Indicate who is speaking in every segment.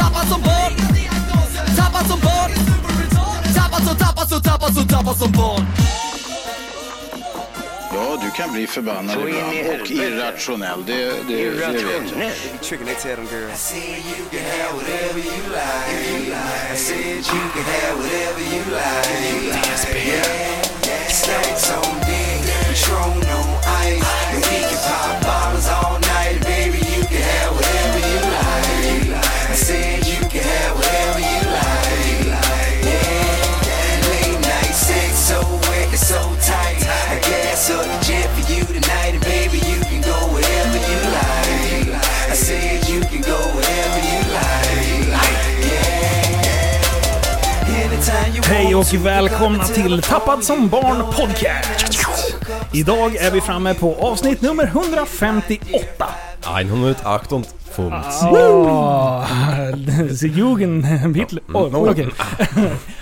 Speaker 1: Tappad som barn Tappad som barn Tappad som, tappad som, tappad som, tappad som barn
Speaker 2: Ja, du kan bli förbannad
Speaker 3: Så in i
Speaker 2: ibland och
Speaker 3: helvete.
Speaker 2: irrationell. Det, det, det vet jag.
Speaker 4: Tricking their tail on girls.
Speaker 5: Hej och välkomna till Tappad som barn podcast! Idag är vi framme på avsnitt nummer 158.
Speaker 6: 158.
Speaker 5: Åh, Sie Jugend Hitler. Oj, oj, okej.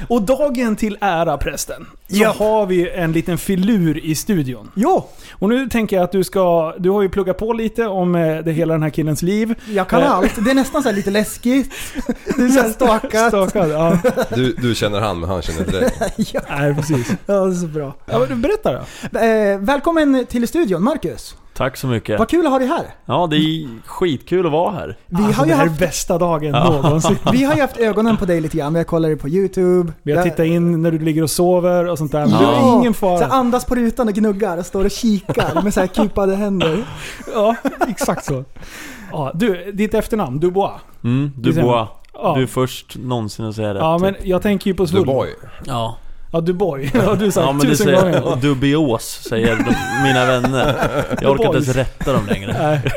Speaker 5: Och dagen till ära prästen, så har vi en liten filur i studion.
Speaker 7: Ja,
Speaker 5: Och nu tänker jag att du ska, du har ju pluggat på lite om eh, det hela den här killens liv.
Speaker 7: jag kan
Speaker 5: Eh,
Speaker 7: allt. Det är nästan så här lite läskigt. Det är så här stakat.
Speaker 5: Stakad, ja.
Speaker 6: Du, du känner han, men han känner inte dig.
Speaker 7: Ja,
Speaker 5: Nej, precis.
Speaker 7: det är så bra.
Speaker 5: Ja, men berätta då.
Speaker 7: Eh, välkommen till studion, Marcus.
Speaker 8: Tack så mycket.
Speaker 7: Vad kul att ha dig här.
Speaker 8: Ja, det är skitkul att vara här.
Speaker 7: Vi
Speaker 5: alltså,
Speaker 7: har ju
Speaker 5: det här
Speaker 7: haft-
Speaker 5: är bästa dagen någonsin.
Speaker 7: Vi har ju haft ögonen på dig lite grann. Vi har kollat dig på YouTube.
Speaker 5: Vi har
Speaker 7: Jag-
Speaker 5: tittat in när du ligger och sover och sånt där. Men
Speaker 7: Ja.
Speaker 5: det var ingen
Speaker 7: Så här
Speaker 5: fara.
Speaker 7: andas på rutan och gnuggar och står och kikar med så här kupade händer.
Speaker 5: Ja, exakt så. Ja, du, ditt efternamn, Dubois.
Speaker 8: Mm,
Speaker 5: Det ser
Speaker 8: du Boa.
Speaker 5: Ja.
Speaker 8: Du är först någonsin att säga rätt.
Speaker 5: Ja, men jag tänker ju på
Speaker 6: Du
Speaker 5: Svull.
Speaker 6: boy.
Speaker 8: Ja.
Speaker 5: Ja, Dubois. Ja, du har sagt
Speaker 8: ja, men det
Speaker 5: tusen
Speaker 8: säger,
Speaker 5: gånger.
Speaker 8: och dubios säger de, mina vänner. Jag orkar inte ens
Speaker 5: Boys.
Speaker 8: rätta dem längre.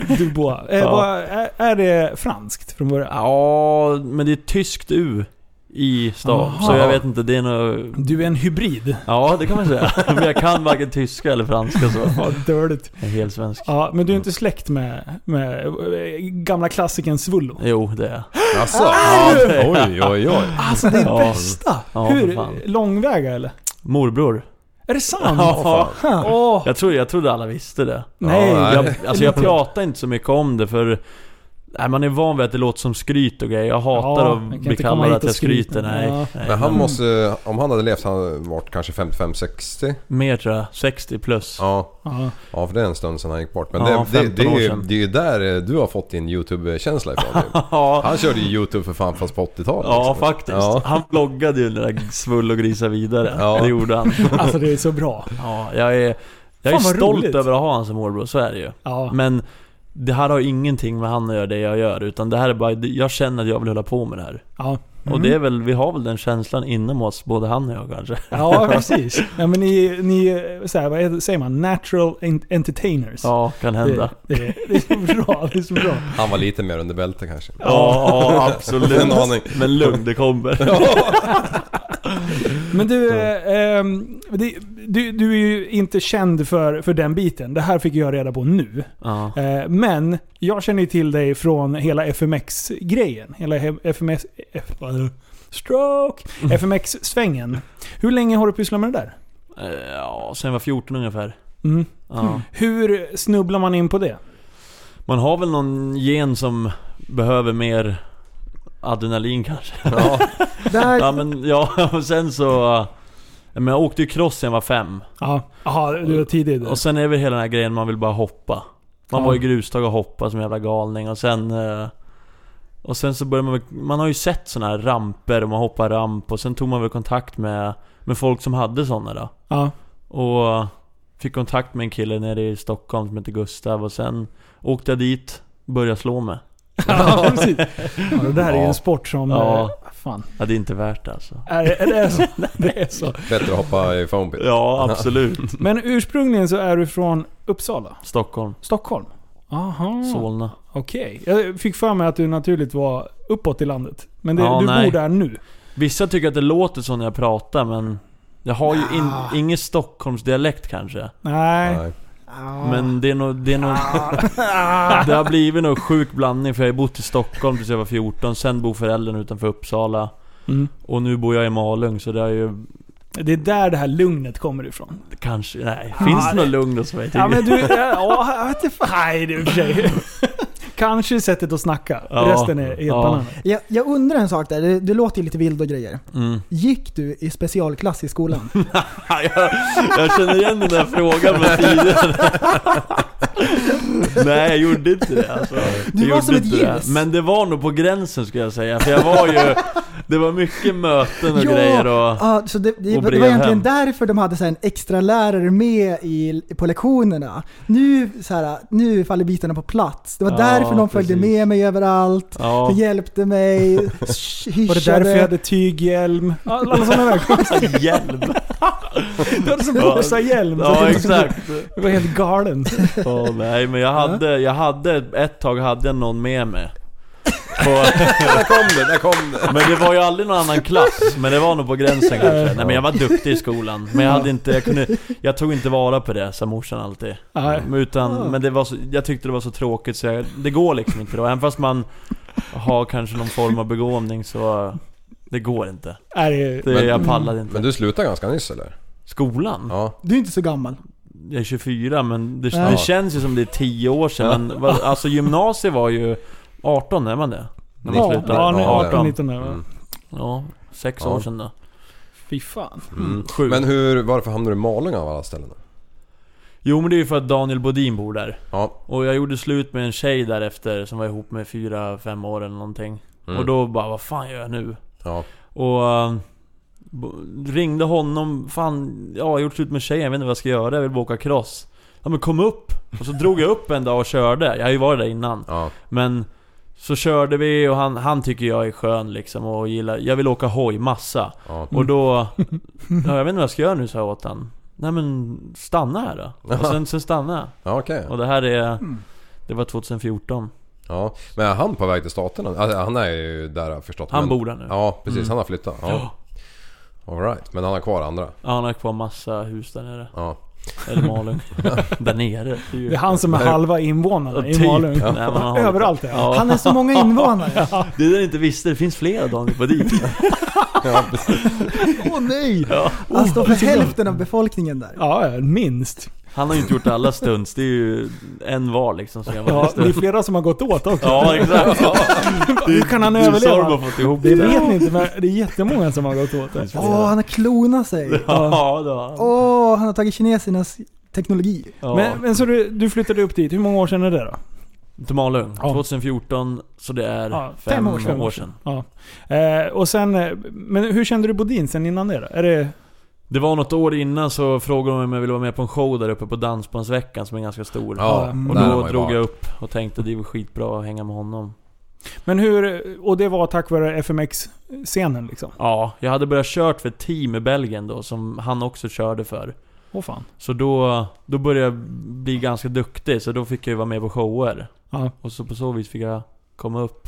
Speaker 5: Nej, Dubois. Eh,
Speaker 8: Ja.
Speaker 5: vad, är, är det franskt från början?
Speaker 8: Ja, men det är ett tyskt U i stav.
Speaker 5: Aha.
Speaker 8: Så jag vet inte, det är nog...
Speaker 5: Du är en hybrid.
Speaker 8: Ja, det kan man säga. Men jag kan varken tyska eller franska så.
Speaker 5: Vad dåligt.
Speaker 8: Jag är helt svensk.
Speaker 5: Ja, men du är inte släkt med, med eh, gamla klassikern Svullo?
Speaker 8: Jo, det är jag.
Speaker 6: Jaså? Ja. Oj, oj, oj.
Speaker 5: Alltså det är
Speaker 8: Ja.
Speaker 5: bästa!
Speaker 8: Ja, för fan.
Speaker 5: Hur? Långväga eller?
Speaker 8: Morbror.
Speaker 5: Är det sant?
Speaker 8: Ja.
Speaker 5: Åh,
Speaker 8: Jag, tror, jag trodde alla visste det.
Speaker 5: nej.
Speaker 6: Ja,
Speaker 8: Jag, alltså jag pratar inte så mycket om det för Nej, man är van vid att det låter som skryt och grejer. Jag hatar
Speaker 5: Ja, man kan
Speaker 8: att bli
Speaker 5: inte komma
Speaker 8: kallad
Speaker 5: hit
Speaker 8: att
Speaker 5: och
Speaker 8: jag skryter.
Speaker 5: skryta.
Speaker 8: Nej,
Speaker 5: Ja.
Speaker 8: nej.
Speaker 6: Men han måste, om han hade levt, han hade varit kanske 55-60.
Speaker 8: Mer tror jag. 60 plus.
Speaker 6: Ja.
Speaker 5: Ja.
Speaker 6: ja, för det är en stund sedan han gick bort. Men
Speaker 8: Ja,
Speaker 6: det, det, det,
Speaker 8: 15
Speaker 6: är
Speaker 8: år
Speaker 6: ju,
Speaker 8: sedan.
Speaker 6: det är ju där eh, du har fått din YouTube-känsla ifrån typ.
Speaker 8: Ja,
Speaker 6: Han körde ju YouTube för fan fast på 80-talet.
Speaker 8: ja
Speaker 6: liksom.
Speaker 8: faktiskt.
Speaker 6: Ja.
Speaker 8: Han vloggade ju den där svull och grisa vidare.
Speaker 6: Ja.
Speaker 8: Det gjorde han.
Speaker 5: Alltså det är så bra.
Speaker 8: Ja, jag är, jag är
Speaker 5: Fan, vad
Speaker 8: stolt
Speaker 5: roligt.
Speaker 8: över att ha honom som morbror, så är det ju.
Speaker 5: Ja.
Speaker 8: Men det här har ju ingenting med han att göra, det jag gör. Utan det här är bara, jag känner att jag vill hålla på med det här.
Speaker 5: Ja,
Speaker 8: Och det är väl, vi har väl den känslan inom oss, både han och jag kanske.
Speaker 5: ja precis. Ja, men ni, ni är så här, vad heter- säger man? Natural en- entertainers.
Speaker 8: Ja, kan hända.
Speaker 5: Det, det, det är så bra. Det är så bra.
Speaker 6: Han var lite mer under bältet kanske.
Speaker 8: Ja, ja, absolut.
Speaker 6: En aning.
Speaker 8: Men lugn, det kommer.
Speaker 5: Men du, eh, ehm, det, du, du är ju inte känd för, för den biten. Det här fick jag reda på nu.
Speaker 8: Ja.
Speaker 5: Eh, men jag känner ju till dig från hela FMX-grejen. Hela he- FMS... F, vad är det? Stroke! FMX-svängen. Hur länge har du pysslat med det där?
Speaker 8: Eh, Ja, sen jag var 14 ungefär.
Speaker 5: Mm.
Speaker 8: Ja.
Speaker 5: Hur snubblar man in på det?
Speaker 8: Man har väl någon gen som behöver mer adrenalin kanske. Ja,
Speaker 7: Där,
Speaker 8: men ja, och sen så... eh, Men jag åkte ju cross när jag var fem.
Speaker 5: Ja, Aha, du var tidig.
Speaker 8: Mm. Och sen är väl hela den här grejen man vill bara hoppa. Man
Speaker 5: Ja.
Speaker 8: var ju grustag och hoppade som en jävla galning och sen... eh, Och sen så började man väl- Man har ju sett såna här ramper och man hoppar ramp och sen tog man väl kontakt med, med folk som hade såna då.
Speaker 5: Ja.
Speaker 8: Och fick kontakt med en kille nere i Stockholm som heter Gustav och sen åkte jag dit, började slå mig.
Speaker 5: ja, precis. Ja, det där är ju en sport som...
Speaker 8: Ja.
Speaker 5: eh, Fan.
Speaker 8: Ja, det är inte värt det alltså.
Speaker 5: Är, är det, är så? det är så.
Speaker 6: Bättre att hoppa i foampit.
Speaker 8: Ja, absolut.
Speaker 5: Men ursprungligen så är du från Uppsala,
Speaker 8: Stockholm.
Speaker 5: Stockholm. Aha,
Speaker 8: Solna.
Speaker 5: okej. Jag fick för mig att du naturligt var uppåt i landet. Men det,
Speaker 8: Ja,
Speaker 5: du
Speaker 8: nej.
Speaker 5: bor där nu.
Speaker 8: Vissa tycker att det låter så när jag pratar men jag har ju in, ingen Stockholmsdialekt kanske.
Speaker 5: Nej.
Speaker 6: Nej.
Speaker 8: Men det är nog... Det, är nog det har blivit nog sjuk blandning för jag har bott i Stockholm tills jag var 14, sen bor föräldrarna utanför Uppsala.
Speaker 5: Mm.
Speaker 8: Och nu bor jag i Malung så det har ju
Speaker 5: Det är där det här lugnet kommer ifrån.
Speaker 8: kanske... Nej, finns det något lugn hos mig?
Speaker 5: Ja men du, ja, jag vet inte fan. Nej det är i och för sig. Kanske sättet att snacka.
Speaker 8: Ja.
Speaker 5: Resten är helt
Speaker 8: Ja.
Speaker 5: banan.
Speaker 7: Jag, jag undrar en sak där, det, det låter ju lite vild och grejer.
Speaker 8: Mm.
Speaker 7: Gick du i specialklass i skolan?
Speaker 8: Ja, jag, jag känner igen den där frågan från tidigare. Nej, jag gjorde inte det alltså.
Speaker 7: Du var
Speaker 8: Jag gjorde
Speaker 7: som ett
Speaker 8: inte det.
Speaker 7: ljus.
Speaker 8: Men det var nog på gränsen skulle jag säga. För jag var ju... Det var mycket möten och
Speaker 7: Ja.
Speaker 8: grejer och...
Speaker 7: Ja, så det, det,
Speaker 8: Och
Speaker 7: det
Speaker 8: brev
Speaker 7: var egentligen
Speaker 8: hem.
Speaker 7: därför de hade så här en extra lärare med i, på lektionerna. Nu, så här, nu faller bitarna på plats. Det var
Speaker 8: Ja,
Speaker 7: därför de följde
Speaker 8: precis.
Speaker 7: med mig överallt.
Speaker 8: Ja.
Speaker 7: De hjälpte mig, sh-
Speaker 5: Var det därför
Speaker 7: hyschade.
Speaker 5: jag hade tyghjälm? Alla sådana där konstiga...
Speaker 8: Hjälp!
Speaker 5: Du hade som rosa hjälm. så
Speaker 8: Ja,
Speaker 5: det- liksom-
Speaker 8: exakt.
Speaker 5: Det var helt galen.
Speaker 8: Åh, nej, men jag hade, jag hade... Ett tag hade jag någon med mig. På,
Speaker 6: Där kom det, där kom det.
Speaker 8: men det var ju aldrig någon annan klass, men det var nog på gränsen kanske. Nej men jag var duktig i skolan, men jag hade inte, jag kunde, jag tog inte vara på det sa morsan alltid.
Speaker 5: Nej.
Speaker 8: Men Utan, men det var så, jag tyckte det var så tråkigt så jag, det går liksom inte då. Även fast man har kanske någon form av begåvning så, det går inte.
Speaker 5: Är det,
Speaker 8: Det,
Speaker 6: Men-
Speaker 8: jag pallade inte.
Speaker 6: Men du slutade ganska nyss eller?
Speaker 8: Skolan?
Speaker 6: Ja.
Speaker 7: Du är inte så gammal.
Speaker 8: Jag är 24 men det,
Speaker 7: Ja.
Speaker 8: det känns ju som det är 10 år sedan. Men, vad- alltså gymnasiet var ju 18, är man det? När man
Speaker 5: Ja,
Speaker 8: slutar?
Speaker 5: ja, nu- 18,
Speaker 8: 18.
Speaker 5: 19 där va?
Speaker 6: Mm.
Speaker 8: Ja, 6
Speaker 6: Ja.
Speaker 8: år sedan då.
Speaker 5: Fy fan.
Speaker 6: Mm.
Speaker 8: Sju.
Speaker 6: Men hur, varför hamnade du i Malung av alla ställen? då?
Speaker 8: Jo men det är ju för att Daniel Bodin bor där.
Speaker 6: Ja.
Speaker 8: Och jag gjorde slut med en tjej därefter som var ihop med 4-5 år eller någonting.
Speaker 6: Mm.
Speaker 8: Och då bara, vad fan gör jag nu?
Speaker 6: Ja.
Speaker 8: Och eh, bo- ringde honom, fan, ja, jag har gjort slut med tjejen, jag vet inte vad jag ska göra, jag vill bara åka cross. Ja men kom upp! Och så drog jag upp en dag och körde, jag har ju varit där innan.
Speaker 6: Ja.
Speaker 8: Men så körde vi och han, han tycker jag är skön liksom och gillar, jag vill åka hoj massa.
Speaker 6: Ja.
Speaker 5: Mm.
Speaker 8: Och då, ja, jag vet inte vad jag ska göra nu sa jag åt han. Nej men stanna här då. Och sen, sen stanna jag.
Speaker 6: Ja, okej.
Speaker 8: Och det här är...
Speaker 5: Mm.
Speaker 8: Det var 2014.
Speaker 6: Ja. Men är han på väg till staterna? Alltså, han är ju där har jag förstått.
Speaker 8: Han
Speaker 6: men...
Speaker 8: bor där nu. Mm.
Speaker 6: Ja, precis. Han har flyttat. Ja.
Speaker 8: Ja.
Speaker 6: All right. Men han har kvar andra.
Speaker 8: Ja, han har kvar massa hus där nere.
Speaker 6: Ja.
Speaker 8: Eller Malung. där nere. Det är ju-
Speaker 5: Det är han som är halva invånarna i
Speaker 8: Typ.
Speaker 5: Malung.
Speaker 8: Nej, men han har-
Speaker 5: Överallt är han.
Speaker 8: Ja.
Speaker 7: Han är så många invånare.
Speaker 8: Det är det jag inte visste, det finns flera Daniel Bodin.
Speaker 6: ja precis.
Speaker 7: Åh nej!
Speaker 8: Ja.
Speaker 7: Han står för hälften av befolkningen där.
Speaker 5: Ja, ja, minst.
Speaker 8: Han har ju inte gjort alla stunts, det är ju en var liksom som jag var
Speaker 5: Ja,
Speaker 8: ja,
Speaker 5: det är flera som har gått åt också.
Speaker 8: ja, exakt. Ja.
Speaker 5: Hur kan han
Speaker 8: Det är så de
Speaker 5: överleva?
Speaker 8: har fått ihop
Speaker 5: Det
Speaker 8: det.
Speaker 5: vet ni inte, men det är jättemånga som har gått åt det.
Speaker 7: Åh, han har klonat sig.
Speaker 8: Ja, det har han.
Speaker 7: Åh, han har tagit kinesernas teknologi.
Speaker 8: ja.
Speaker 5: Men, men så du, du flyttade upp dit, hur många år sedan är det då?
Speaker 8: Till Malung.
Speaker 5: Ja.
Speaker 8: 2014, så det är
Speaker 5: Ja,
Speaker 8: fem, år sedan.
Speaker 5: Ja. Eh, och sen, eh, men hur kände du Bodin sen innan det då? Är det...
Speaker 8: Det var något år innan så frågade de om jag ville vara med på en show där uppe på Dansbandsveckan som är ganska stor.
Speaker 6: Ja,
Speaker 8: Och
Speaker 6: där har man
Speaker 8: då
Speaker 6: ju
Speaker 8: drog
Speaker 6: varit.
Speaker 8: jag upp och tänkte det var skitbra att hänga med honom.
Speaker 5: Men hur, och det var tack vare FMX-scenen liksom?
Speaker 8: Ja, jag hade börjat kört för ett team i Belgien då som han också körde för.
Speaker 5: Åh fan.
Speaker 8: Så då, då började jag bli ganska duktig så då fick jag ju vara med på shower.
Speaker 5: Ja.
Speaker 8: Och så på så vis fick jag komma upp.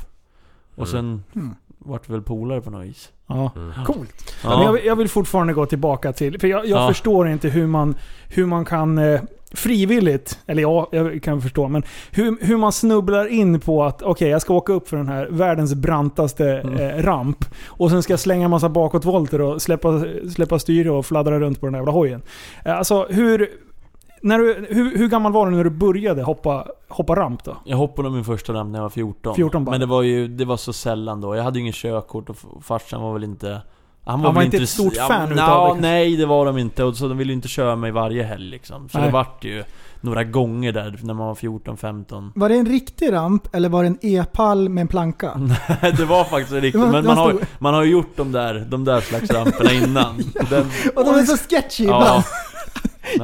Speaker 8: Och sen
Speaker 7: Mm.
Speaker 8: vart vi väl polare på något vis.
Speaker 5: Ja.
Speaker 7: Coolt.
Speaker 8: Ja.
Speaker 5: Men jag, vill- jag vill fortfarande gå tillbaka till, för jag, jag
Speaker 8: Ja.
Speaker 5: förstår inte hur man, hur man kan eh, frivilligt, eller ja, jag kan förstå, men hur, hur man snubblar in på att okej, jag ska åka upp för den här världens brantaste
Speaker 8: Mm.
Speaker 5: eh, ramp och sen ska jag slänga en massa bakåtvolter och släppa, släppa styre och fladdra runt på den här jävla hojen. Eh, alltså hur... När du, hur, hur gammal var du när du började hoppa, hoppa ramp då?
Speaker 8: Jag hoppade min första ramp när jag var 14.
Speaker 5: 14 bara.
Speaker 8: Men det var ju, det var så sällan då. Jag hade ju ingen körkort och f- farsan var väl inte...
Speaker 5: var
Speaker 8: väl
Speaker 5: inte ett
Speaker 8: s-
Speaker 5: stort
Speaker 8: ja,
Speaker 5: fan
Speaker 8: nja,
Speaker 5: utav det.
Speaker 8: Nej, det var de inte. Och så de ville ju inte köra mig varje helg liksom. Så
Speaker 5: Nej.
Speaker 8: det vart ju några gånger där när man var 14, 15.
Speaker 7: Var det en riktig ramp eller var det en e-pall med en planka?
Speaker 8: det var faktiskt riktigt.
Speaker 7: Det var-
Speaker 8: Men
Speaker 7: det
Speaker 8: man
Speaker 7: var
Speaker 8: har,
Speaker 7: stor.
Speaker 8: man har ju gjort de där, de där slags ramperna innan. Den,
Speaker 7: Och de är så sketchy ibland.
Speaker 8: ja. Men-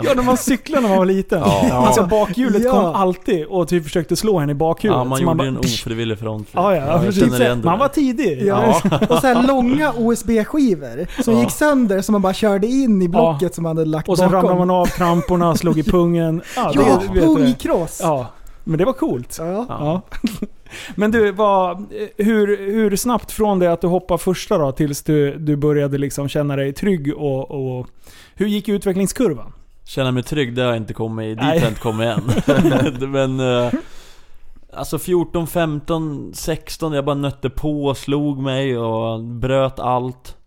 Speaker 5: Ja, när man cyklade när man var liten.
Speaker 6: Ja.
Speaker 5: Alltså bakhjulet
Speaker 7: Ja.
Speaker 5: kom alltid och typ försökte slå henne i bakhjulet.
Speaker 8: ja, man
Speaker 5: Så
Speaker 8: gjorde
Speaker 5: bara-
Speaker 8: ju en ofrivillig frontflip.
Speaker 5: Ja, ja,
Speaker 8: jag
Speaker 5: precis.
Speaker 8: känner igen det
Speaker 5: Man
Speaker 8: där.
Speaker 5: var tidig.
Speaker 7: Ja. Och så här långa OSB-skivor som
Speaker 8: Ja.
Speaker 7: gick sönder som man bara körde in i blocket som man hade lagt
Speaker 5: Och sen
Speaker 7: bakom.
Speaker 5: ramlade man av kramporna, slog i pungen. Ja,
Speaker 7: Ja,
Speaker 5: vet du det.
Speaker 7: pungkross!
Speaker 5: Ja. Men det var coolt.
Speaker 7: Ja.
Speaker 5: Ja. Men du, vad, hur, hur snabbt från det att du hoppade första då tills du, du började liksom känna dig trygg och, och... Hur gick utvecklingskurvan?
Speaker 8: Känna mig trygg, det har jag inte kommit i. Dit har
Speaker 5: Nej.
Speaker 8: jag inte kommit än. Men... eh, Alltså 14, 15, 16, jag bara nötte på och slog mig och bröt allt.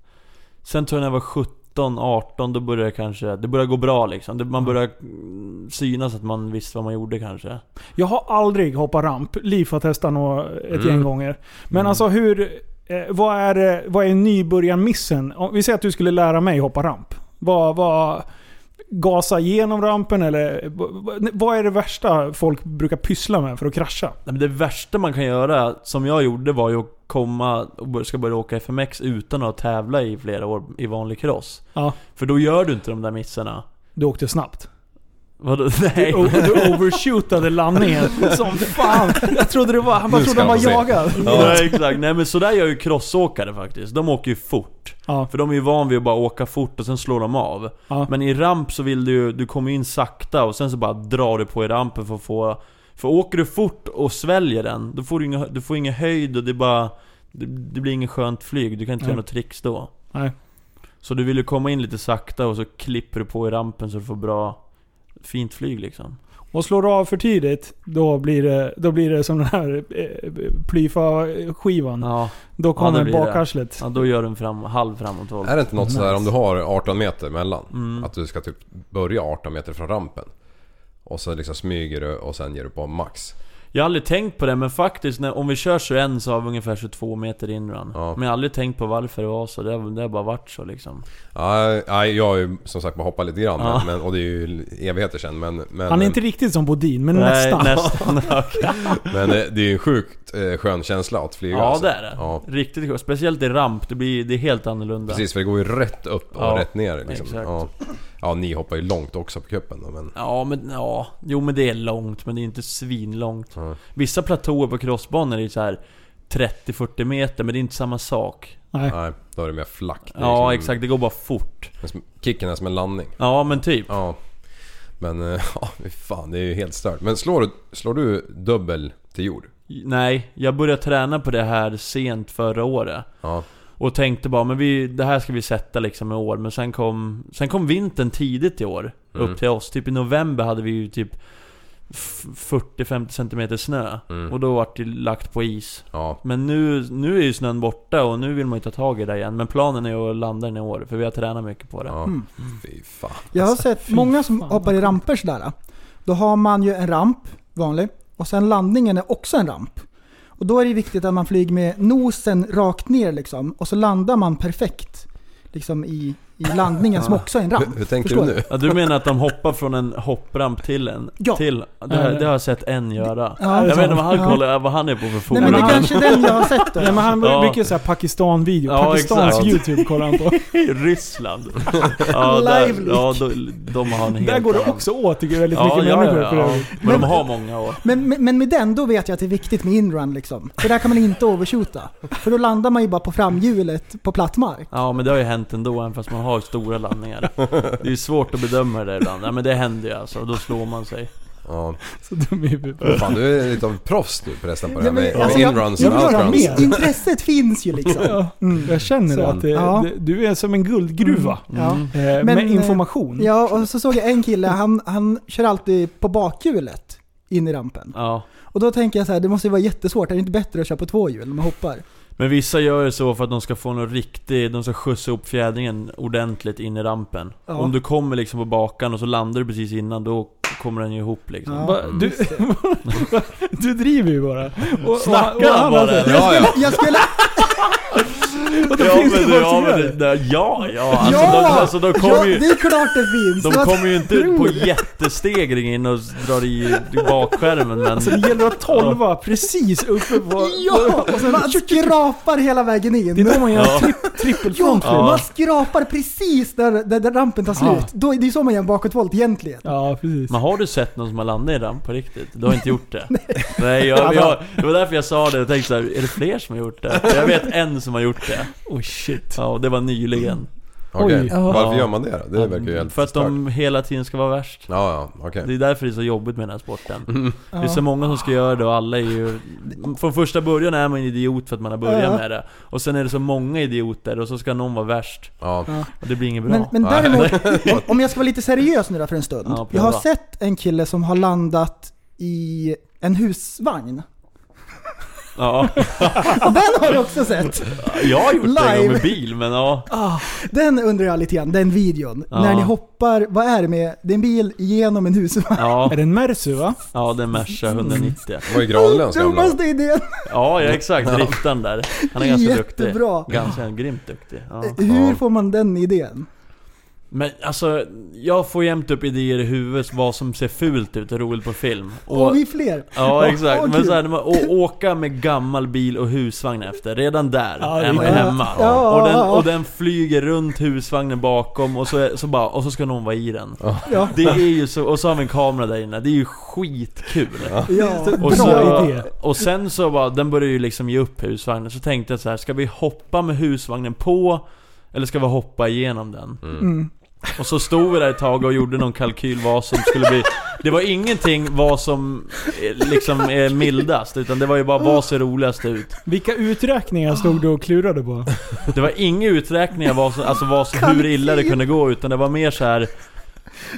Speaker 8: Sen tror jag när jag var 17, 18, då började jag kanske... Det började gå bra liksom. Det- Man började mm, synas att man visste vad man gjorde kanske.
Speaker 5: Jag har aldrig hoppat ramp. Liv har testat nog ett
Speaker 8: Mm.
Speaker 5: gäng gånger. Men alltså hur... Eh, vad är, eh, vad är nybörjarmissen? Om vi säger att du skulle lära mig hoppa ramp. Vad... vad gasa igenom rampen eller... vad- Vad är det värsta folk brukar pyssla med för att krascha?
Speaker 8: Nej, men det värsta man kan göra, som jag gjorde, var ju att komma och bör- ska börja åka FMX utan att ha tävlat i flera år i vanlig cross.
Speaker 5: Ja.
Speaker 8: För då gör du inte de där missarna.
Speaker 5: Du åkte snabbt.
Speaker 8: Vadå? Nej.
Speaker 5: Du, du overshootade landningen som fan. Jag trodde det var... Han bara
Speaker 6: Nu
Speaker 5: trodde
Speaker 6: ska
Speaker 5: han var
Speaker 6: han få se.
Speaker 5: jagad.
Speaker 8: Nej exakt, nej men sådär gör ju crossåkare faktiskt. De åker ju fort.
Speaker 5: Ja.
Speaker 8: För de är ju van vid att bara åka fort och sen slår de av.
Speaker 5: Ja.
Speaker 8: Men i ramp så vill du ju- du kommer in sakta och sen så bara drar du på i rampen för att få... För åker du fort och sväljer den, då får du ingen, du får ingen höjd och det är bara... Det, det blir inget skönt flyg, du kan inte
Speaker 5: Nej.
Speaker 8: göra något tricks då.
Speaker 5: Nej.
Speaker 8: Så du vill ju komma in lite sakta och så klipper du på i rampen så du får bra... Fint flyg liksom.
Speaker 5: Och slår du av för tidigt, då blir det, då blir det som den här eh, plyfa-skivan.
Speaker 8: Ja,
Speaker 5: Då kommer
Speaker 8: det blir det.
Speaker 5: bakarslet.
Speaker 8: ja då gör du en fram, halv framåtvolt.
Speaker 6: Är det inte något
Speaker 5: Nice.
Speaker 6: sådär om du har 18 meter mellan?
Speaker 8: Mm.
Speaker 6: Att du ska typ börja 18 meter från rampen. Och så liksom smyger du och sen ger du på max.
Speaker 8: Jag har aldrig tänkt på det, men faktiskt när, om vi kör 21 så har vi ungefär 22 meter inrun.
Speaker 6: Ja.
Speaker 8: Men jag har aldrig tänkt på varför det var så, det har, det har bara varit så liksom.
Speaker 6: Nej, nej, jag har ju som sagt bara hoppat lite grann.
Speaker 8: Ja.
Speaker 6: Men, och det är ju evigheter sedan. Men, men,
Speaker 5: Han är inte riktigt som Bodin, men nästan.
Speaker 8: Nej, nästan. okej.
Speaker 6: men det det är ju en sjukt eh, skön känsla att flyga.
Speaker 8: Ja
Speaker 6: alltså.
Speaker 8: det är det.
Speaker 6: Ja,
Speaker 8: Riktigt skönt. Speciellt i ramp, det, blir, det är helt annorlunda.
Speaker 6: precis, för det går ju rätt upp och
Speaker 8: Ja,
Speaker 6: rätt ner. Liksom.
Speaker 8: exakt.
Speaker 6: Ja. ja, ni hoppar ju långt också på kuppen då, men...
Speaker 8: Ja men ja, jo men det är långt men det är inte svinlångt.
Speaker 6: Ja.
Speaker 8: Vissa platåer på crossbanor är ju så här 30-40 meter men det är inte samma sak.
Speaker 5: Nej.
Speaker 6: Nej, då är det mer flackt. Det är
Speaker 8: Ja
Speaker 6: liksom-
Speaker 8: exakt, det går bara fort.
Speaker 6: Men som- Kicken är som en landning.
Speaker 8: Ja men typ.
Speaker 6: Ja. Men eh, ja, fy fan det är ju helt stört. Men slår du, slår du dubbel till jord?
Speaker 8: Nej, jag började träna på det här sent förra året.
Speaker 6: Ja.
Speaker 8: Och tänkte bara, men vi, det här ska vi sätta liksom i år. Men sen kom, sen kom vintern tidigt i år.
Speaker 6: Mm.
Speaker 8: Upp till oss. Typ i november hade vi ju typ f- 40-50 cm snö.
Speaker 6: Mm.
Speaker 8: Och då vart det lagt på is.
Speaker 6: Ja.
Speaker 8: Men nu, nu är ju snön borta och nu vill man ju ta tag i det igen. Men planen är att landa den i år, för vi har tränat mycket på det.
Speaker 6: ja.
Speaker 7: Mm.
Speaker 6: Fy fan. Alltså,
Speaker 7: Jag har sett
Speaker 5: fy
Speaker 7: många som
Speaker 5: fan.
Speaker 7: hoppar i ramper sådär. Då har man ju en ramp, vanlig, och sen landningen är också en ramp. Och då är det viktigt att man flyger med nosen rakt ner liksom, och så landar man perfekt. Liksom i, i landningen som också är en
Speaker 6: Hur,
Speaker 7: ramp.
Speaker 6: hur tänker
Speaker 7: Förstår
Speaker 6: du nu?
Speaker 8: Ja, du menar att de hoppar från en hoppramp till en?
Speaker 7: Ja.
Speaker 8: Till, det, har- det har jag sett en göra.
Speaker 7: Ja.
Speaker 8: Jag vet inte vad han
Speaker 7: Ja.
Speaker 8: kollar, vad han är på för
Speaker 7: Nej men det är
Speaker 5: han-
Speaker 7: kanske är den jag har sett då.
Speaker 5: Nej, men han
Speaker 8: Ja.
Speaker 5: brukar mycket så här Pakistan-video.
Speaker 8: Ja,
Speaker 5: Pakistans
Speaker 8: exakt.
Speaker 5: YouTube kollar han på.
Speaker 8: Ryssland. Ja, där,
Speaker 7: Lively.
Speaker 8: ja de, de har en helt
Speaker 5: Där går det
Speaker 8: annan-
Speaker 5: också åt tycker jag, väldigt
Speaker 8: ja,
Speaker 5: mycket
Speaker 8: ja,
Speaker 5: människor
Speaker 8: ja,
Speaker 5: för
Speaker 8: ja.
Speaker 5: övrigt.
Speaker 8: Men de har många år.
Speaker 7: Men, men, men med den, då vet jag att det är viktigt med inrun liksom. För där kan man inte overshoota. För då landar man ju bara på framhjulet på platt mark.
Speaker 8: Ja men det har ju hänt ändå även fast man har stora landningar. Det är ju svårt att bedöma det ibland. Ja men det händer ju alltså, och då slår man sig.
Speaker 6: Ja.
Speaker 5: Så dum i huvudet.
Speaker 6: Fan du är lite av proffs nu förresten på det
Speaker 7: Ja,
Speaker 6: här
Speaker 7: men
Speaker 6: med
Speaker 7: alltså,
Speaker 6: med inruns
Speaker 5: jag
Speaker 6: och
Speaker 5: vill göra
Speaker 6: outruns.
Speaker 5: mer.
Speaker 7: Intresset finns ju liksom.
Speaker 5: Ja, mm, jag känner
Speaker 6: Så.
Speaker 5: att det,
Speaker 7: Ja. Mm.
Speaker 5: det, du är som en guldgruva.
Speaker 7: Ja.
Speaker 5: Eh,
Speaker 7: Men,
Speaker 5: med
Speaker 7: eh,
Speaker 5: information.
Speaker 7: ja, och så såg jag en kille, han, han kör alltid på bakhjulet in i rampen.
Speaker 8: Ja.
Speaker 7: Och då tänker jag så här, det måste ju vara jättesvårt. Är det inte bättre att köra på två hjul när man hoppar?
Speaker 8: Men vissa gör ju så för att de ska få någon riktig, de ska skjutsa upp fjädringen ordentligt in i rampen.
Speaker 7: Ja.
Speaker 8: Om du kommer liksom på bakan och så landar du precis innan, då kommer den ju ihop liksom.
Speaker 7: Ja.
Speaker 5: Va, du, du driver ju bara. Och- Och,
Speaker 8: Snackar han bara
Speaker 5: alltså-
Speaker 8: eller?
Speaker 6: Ja, ja.
Speaker 7: Jag skulle...
Speaker 5: Och då
Speaker 8: Ja
Speaker 5: finns det
Speaker 8: men,
Speaker 5: folk
Speaker 8: ja,
Speaker 5: som
Speaker 8: men
Speaker 5: gör
Speaker 8: det,
Speaker 5: det.
Speaker 8: det, ja, ja, alltså,
Speaker 7: Ja!
Speaker 8: De, alltså de
Speaker 7: Ja,
Speaker 8: kommer ju...
Speaker 7: det är klart det finns!
Speaker 8: De
Speaker 7: Vad
Speaker 8: kommer ju inte
Speaker 7: tror
Speaker 8: på
Speaker 7: du?
Speaker 8: jättestegring in och drar i bakskärmen men...
Speaker 7: Alltså,
Speaker 5: Det gäller att tolva precis uppe på...
Speaker 7: Ja! Och sen man skrapar hela vägen in.
Speaker 5: Det är då man gör
Speaker 8: Ja.
Speaker 5: tripp,
Speaker 7: Jo,
Speaker 5: trippelfrontflip.
Speaker 7: man skrapar precis där, där, där rampen tar
Speaker 5: Ja.
Speaker 7: slut. Då, det är så man gör en bakåtvolt egentligen.
Speaker 5: Ja, precis.
Speaker 8: Men har du sett någon som har landat i ramp på riktigt? Du har inte gjort det? Nej, jag,
Speaker 7: Alltså-
Speaker 8: jag, det var därför jag sa det och tänkte såhär, är det fler som har gjort det? Jag vet en som har gjort det.
Speaker 5: Oh shit.
Speaker 8: Ja, och det var nyligen.
Speaker 6: Okej,
Speaker 5: Oj.
Speaker 6: varför gör man det då? Det verkar ju helt
Speaker 8: För att
Speaker 6: stört.
Speaker 8: de hela tiden ska vara värst.
Speaker 6: Ja, ja, okej.
Speaker 8: Det är därför det är så jobbigt med den här sporten.
Speaker 6: Mm.
Speaker 8: Det är så
Speaker 7: Ja.
Speaker 8: många som ska göra det och alla är ju... Från första början är man en idiot för att man har börjat
Speaker 7: Ja.
Speaker 8: med det. Och sen är det så många idioter och så ska någon vara värst.
Speaker 6: Ja.
Speaker 8: Och det blir inget bra.
Speaker 7: Men, men däremot, om jag ska vara lite seriös nu då för en stund.
Speaker 8: Ja,
Speaker 7: jag har
Speaker 8: prova.
Speaker 7: sett en kille som har landat i en husvagn.
Speaker 8: Ja,
Speaker 7: Och den har jag också sett!
Speaker 8: jag har gjort det en gång
Speaker 7: Live.
Speaker 8: med bil men ja.
Speaker 7: Den undrar jag lite grann, den videon.
Speaker 8: Ja.
Speaker 7: När ni hoppar, vad är det med, det är en bil genom en husvagn.
Speaker 8: Ja,
Speaker 5: Är det en Mercu va?
Speaker 8: ja det är Merca 190.
Speaker 6: Det var ju Granlunds gamla.
Speaker 7: Dummaste idén!
Speaker 8: Ja, ja exakt. Driftaren där. Han är ganska
Speaker 7: Jättebra.
Speaker 8: duktig. Ganska grymt duktig. Ja.
Speaker 7: Hur
Speaker 6: Ja.
Speaker 7: får man den idén?
Speaker 8: Men alltså, jag får jämt upp idéer i huvudet vad som ser fult ut och roligt på film.
Speaker 7: Och, vi är fler!
Speaker 8: Ja exakt,
Speaker 7: Åh,
Speaker 8: men
Speaker 7: gud.
Speaker 8: såhär, när man- å- åka med gammal bil och husvagn efter, redan där
Speaker 5: Ja, det
Speaker 8: är man
Speaker 5: är-
Speaker 8: hemma.
Speaker 7: Ja.
Speaker 8: Och, den, och den flyger runt husvagnen bakom och så, är, så bara, och så ska någon vara i den.
Speaker 7: Ja.
Speaker 8: Det är ju så, och så har vi en kamera där inne, det är ju skitkul.
Speaker 7: Ja.
Speaker 8: Och,
Speaker 5: Bra
Speaker 8: så,
Speaker 5: idé.
Speaker 8: och sen så bara, den började ju liksom ge upp husvagnen, så tänkte jag så här: ska vi hoppa med husvagnen på? Eller ska vi hoppa igenom den?
Speaker 7: Mm.
Speaker 8: Och så stod vi där ett tag och gjorde någon kalkyl vad som skulle bli Det var ingenting vad som eh, liksom är mildast utan det var ju bara vad ser roligast ut
Speaker 5: Vilka uträkningar stod du och klurade på?
Speaker 8: Det var inga uträkningar vad som, alltså vad som, hur illa det kunde gå utan det var mer så här.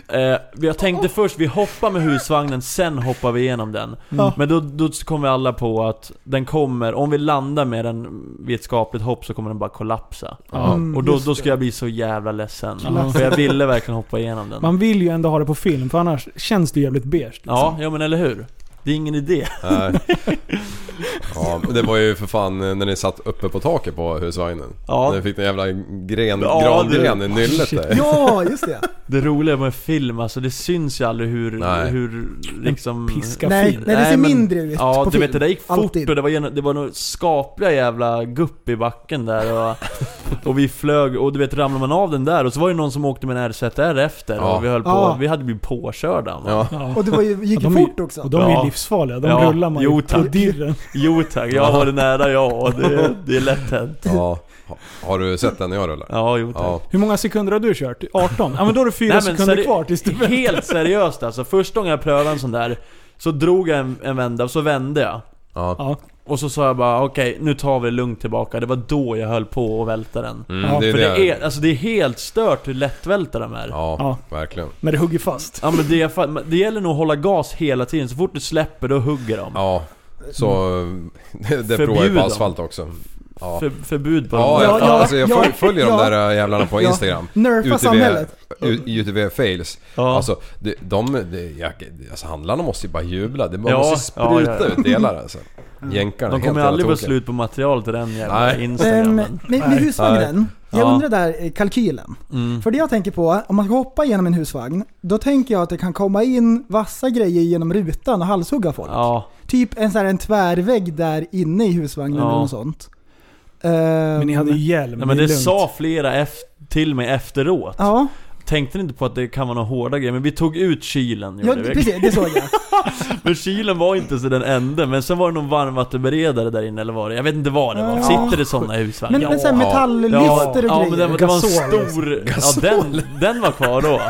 Speaker 8: Eh, jag tänkte först vi hoppar med husvagnen, sen hoppar vi igenom den.
Speaker 7: Mm. Ja.
Speaker 8: Men då, då kom vi alla på att den kommer, om vi landar med den vid ett skapligt hopp så kommer den bara kollapsa.
Speaker 6: Ja.
Speaker 7: Mm,
Speaker 8: Och då,
Speaker 7: just
Speaker 8: då
Speaker 7: det.
Speaker 8: ska jag bli så jävla ledsen.
Speaker 5: Ja.
Speaker 8: För jag ville verkligen hoppa igenom den.
Speaker 5: Man vill ju ändå ha det på film för annars känns det jävligt beige. Liksom.
Speaker 8: Ja, ja men eller hur? Det är ingen idé.
Speaker 6: Nej. Ja, men det var ju för fan eh, när ni satt uppe på taket på husvagnen.
Speaker 8: Ja.
Speaker 6: När ni fick den jävla gren,
Speaker 8: Ja,
Speaker 6: grangren i nyllet där.
Speaker 7: Ja, just det.
Speaker 8: Det roliga med film, alltså det syns ju aldrig hur,
Speaker 6: Nej.
Speaker 8: hur liksom...
Speaker 5: Piska
Speaker 7: Mm. Nej,
Speaker 5: film.
Speaker 7: nej, det ser
Speaker 8: men-
Speaker 7: mindre ut
Speaker 8: Ja,
Speaker 7: på
Speaker 8: du
Speaker 7: film.
Speaker 8: vet det där gick fort
Speaker 7: Alltid.
Speaker 8: och det var, gen- det var nog skapliga jävla gupp i backen där och, och vi flög och du vet ramlade man av den där och så var det någon som åkte med en RZR efter
Speaker 6: Ja.
Speaker 8: och vi höll på,
Speaker 7: Ja.
Speaker 8: vi hade blivit påkörda. va?
Speaker 6: Ja.
Speaker 5: Ja.
Speaker 7: Och det var ju, gick
Speaker 5: Ja,
Speaker 7: ju
Speaker 5: de är-
Speaker 7: fort också.
Speaker 5: Och de är
Speaker 8: Ja.
Speaker 5: ju livsfarliga. De
Speaker 8: Ja.
Speaker 5: rullar man
Speaker 8: Jo,
Speaker 5: ju på
Speaker 8: tack.
Speaker 5: dirren.
Speaker 8: Jo tack, jag var det nära jag och det, det är lätt hänt.
Speaker 6: ja. Ha- Har du sett den när jag rullar?
Speaker 8: Ja, jo tack.
Speaker 6: Ja.
Speaker 5: Hur många sekunder har du kört? 18? Ja men då är det fyra sekunder
Speaker 8: seri-
Speaker 5: kvar tills du
Speaker 8: Helt seriöst alltså, första gången jag prövade en sån där Så drog jag en, en vända och så vände jag
Speaker 6: ja.
Speaker 5: Ja.
Speaker 8: Och så sa jag bara okej, nu tar vi det lugnt tillbaka Det var då jag höll på att välta den
Speaker 6: Mm,
Speaker 5: Ja,
Speaker 6: det är
Speaker 8: För
Speaker 6: det.
Speaker 8: det är, alltså det är helt stört hur lättvälta de är
Speaker 6: Ja,
Speaker 5: Ja.
Speaker 6: verkligen.
Speaker 5: När det hugger fast.
Speaker 8: Ja men det, är fan- men det gäller nog att hålla gas hela tiden, så fort du släpper då hugger de
Speaker 6: Ja. Så det, det
Speaker 8: Förbjud
Speaker 6: provar jag på
Speaker 8: dem.
Speaker 6: asfalt också. Ja.
Speaker 8: För, Förbud på
Speaker 6: Ja,
Speaker 8: dem.
Speaker 6: jag,
Speaker 7: Ja, ja,
Speaker 6: alltså jag
Speaker 7: ja,
Speaker 6: följ- följer
Speaker 7: ja.
Speaker 6: de där eh, jävlarna på
Speaker 7: Ja.
Speaker 6: Instagram.
Speaker 7: Nerfa samhället.
Speaker 6: U- UTV fails.
Speaker 8: Ja.
Speaker 6: Alltså, det, de, det, jag, alltså handlarna måste ju bara jubla. Det bara
Speaker 8: Ja,
Speaker 6: måste spruta
Speaker 8: ja, ja, ja.
Speaker 6: ut delar alltså. Jänkarna,
Speaker 8: De
Speaker 6: helt
Speaker 8: kommer
Speaker 6: jävla
Speaker 8: aldrig få
Speaker 6: tokiga.
Speaker 8: slut på material till den jävla
Speaker 6: Nej.
Speaker 7: Ehm,
Speaker 8: instagrammen
Speaker 7: med, med husvagnen, jag
Speaker 8: Ja.
Speaker 7: undrar där eh, kalkylen.
Speaker 8: mm.
Speaker 7: För det jag tänker på, om man ska hoppa genom en husvagn, då tänker jag att det kan komma in vassa grejer genom rutan och halshugga folk.
Speaker 8: Ja,
Speaker 7: Typ en, så här, en tvärvägg där inne i husvagnen
Speaker 8: Ja.
Speaker 7: eller något sånt. Ehm,
Speaker 5: Men ni hade ju hjälm.
Speaker 8: Nej, men
Speaker 5: är
Speaker 8: det
Speaker 5: lugnt.
Speaker 8: sa flera eft- till mig efteråt
Speaker 7: Ja,
Speaker 8: Tänkte ni inte på att det kan vara några hårda grejer? Men vi tog ut kylen
Speaker 7: ja
Speaker 8: gjorde vi.
Speaker 7: precis, det såg jag.
Speaker 8: Men kylen var inte så den ände, men sen var det någon varmvattenberedare där inne eller vad det Jag vet inte vad det var.
Speaker 7: Ja.
Speaker 8: Sitter det sådana i husvagnar?
Speaker 7: Men, men sen
Speaker 8: ja,
Speaker 7: metalllister och
Speaker 8: ja, men
Speaker 7: grejer.
Speaker 8: det var, det var en
Speaker 5: Gasol.
Speaker 8: stor... Ja, den, den var kvar då.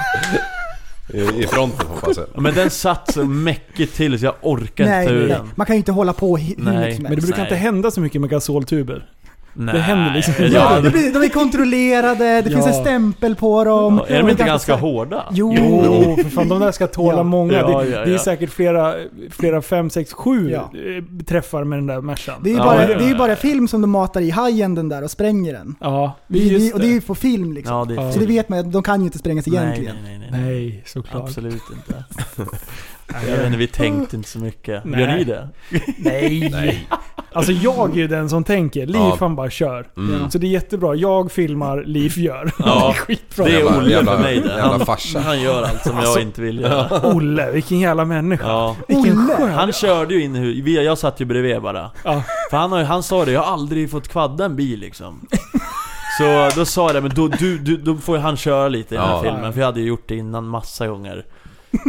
Speaker 6: I, I fronten hoppas jag.
Speaker 8: Men den satt så mäckigt till så jag orkade
Speaker 7: nej,
Speaker 8: inte ta
Speaker 7: nej,
Speaker 8: ur den.
Speaker 7: man kan ju inte hålla på hi- hur
Speaker 8: Nej.
Speaker 7: mycket som
Speaker 5: Men det
Speaker 7: helst.
Speaker 5: brukar
Speaker 8: Nej.
Speaker 5: inte hända så mycket med gasoltuber.
Speaker 8: Nej.
Speaker 5: händer liksom.
Speaker 8: Ja,
Speaker 7: Ja,
Speaker 8: det-
Speaker 7: det blir, de är kontrollerade, det
Speaker 5: Ja.
Speaker 7: finns en stämpel på dem.
Speaker 8: ja, är de
Speaker 7: Det
Speaker 8: inte ganska
Speaker 7: så-
Speaker 8: hårda?
Speaker 7: Jo.
Speaker 5: Jo, för fan de där ska tåla
Speaker 7: Ja.
Speaker 5: många.
Speaker 8: Ja,
Speaker 5: det,
Speaker 8: ja,
Speaker 5: det är
Speaker 8: ja.
Speaker 5: säkert flera, flera fem, sex, sju
Speaker 7: Ja.
Speaker 5: eh, träffar med den där Mercan.
Speaker 7: Det är ju
Speaker 8: Ja,
Speaker 7: bara,
Speaker 8: det är
Speaker 7: det är ju
Speaker 8: det.
Speaker 7: bara film som de matar i hajen den där och spränger den.
Speaker 5: Ja,
Speaker 7: Det är, ju-
Speaker 5: just
Speaker 7: och det är ju på film liksom.
Speaker 8: Ja, det är
Speaker 5: Ja.
Speaker 7: Så det vet man ju att de kan ju inte sprängas egentligen.
Speaker 8: Nej, nej, nej. nej.
Speaker 5: Nej, såklart.
Speaker 8: Absolut inte. Jag vet inte, vi tänkte inte så mycket.
Speaker 5: Nej.
Speaker 8: Gör ni det?
Speaker 5: Nej. Alltså jag är ju den som tänker. Liv
Speaker 6: Ja.
Speaker 5: han bara kör.
Speaker 6: Mm.
Speaker 5: Så det är jättebra. Jag filmar, Liv gör.
Speaker 8: Ja.
Speaker 5: det är skitbra.
Speaker 8: Det är
Speaker 6: Jävla-
Speaker 8: Olle
Speaker 6: jävla-
Speaker 8: för mig det.
Speaker 6: jävla
Speaker 8: Han,
Speaker 6: farsa.
Speaker 8: han gör allt som jag inte vill göra.
Speaker 5: Olle, vilken jävla människa.
Speaker 8: Ja.
Speaker 5: Vilken
Speaker 7: Olle.
Speaker 5: skön.
Speaker 8: Han körde ju in i hu- vi- jag satt ju bredvid bara.
Speaker 5: Ja.
Speaker 8: För han, har ju- han sa det, jag har aldrig fått kvadda en bil liksom. Så då sa jag det, men då, du, du, då får ju han köra lite i den här
Speaker 6: Ja.
Speaker 8: filmen, för jag hade ju gjort det innan massa gånger.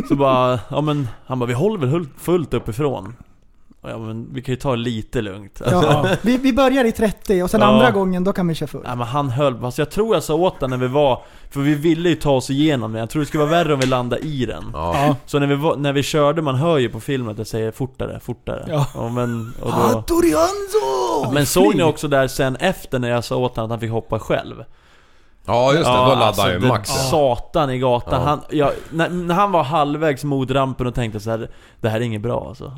Speaker 8: Så bara, ja men, han bara vi håller väl hul- fullt uppifrån? Ja men vi kan ju ta det lite lugnt.
Speaker 7: Ja, vi, vi börjar i 30 och sen
Speaker 8: Ja.
Speaker 7: andra gången då kan vi köra full.
Speaker 8: Nej men han höll, fast jag tror jag sa åt honom när vi var, för vi ville ju ta oss igenom den, jag tror det skulle vara värre om vi landade i den.
Speaker 6: Ja.
Speaker 8: Så när vi, var, när vi körde, man hör ju på filmen att jag säger fortare, fortare.
Speaker 5: Ja.
Speaker 8: Och men, och då,
Speaker 7: Hattori Hanzo!
Speaker 8: men såg ni också där sen efter när jag sa åt honom att han fick hoppa själv?
Speaker 6: ja just det, då laddar
Speaker 8: alltså,
Speaker 6: ju
Speaker 8: det-
Speaker 6: Max. Ja.
Speaker 8: Satan i gatan.
Speaker 6: Ja.
Speaker 8: Han, jag, när, när han var halvvägs mot rampen och tänkte så här, det här är inget bra alltså.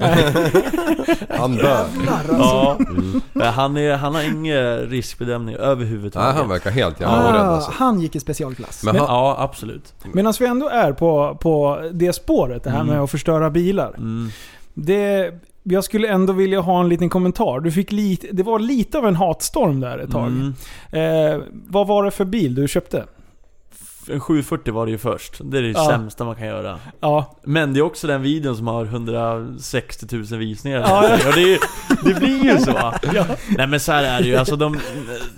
Speaker 6: Han dör.
Speaker 8: Ja.
Speaker 6: Mm.
Speaker 8: Men Han, är, han har ingen riskbedömning överhuvudtaget.
Speaker 6: Nej, han verkar helt jävla orädd
Speaker 7: Ah,
Speaker 6: alltså.
Speaker 7: han gick i specialklass.
Speaker 6: Men han,
Speaker 8: Ja, absolut.
Speaker 5: Medan alltså, vi ändå är på, på det spåret, det här med att förstöra bilar.
Speaker 8: Mm.
Speaker 5: Det, jag skulle ändå vilja ha en liten kommentar. Du fick lite, det var lite av en hatstorm där ett tag.
Speaker 8: Mm.
Speaker 5: Eh, vad var det för bil du köpte?
Speaker 8: En 740 var det ju först. Det är det
Speaker 5: Ja.
Speaker 8: sämsta man kan göra.
Speaker 5: Ja,
Speaker 8: Men det är också den videon som har 160 000 visningar.
Speaker 5: Ja, ja.
Speaker 8: Och det, är, ju- det blir ju så. Nej men så här är det ju. Alltså de,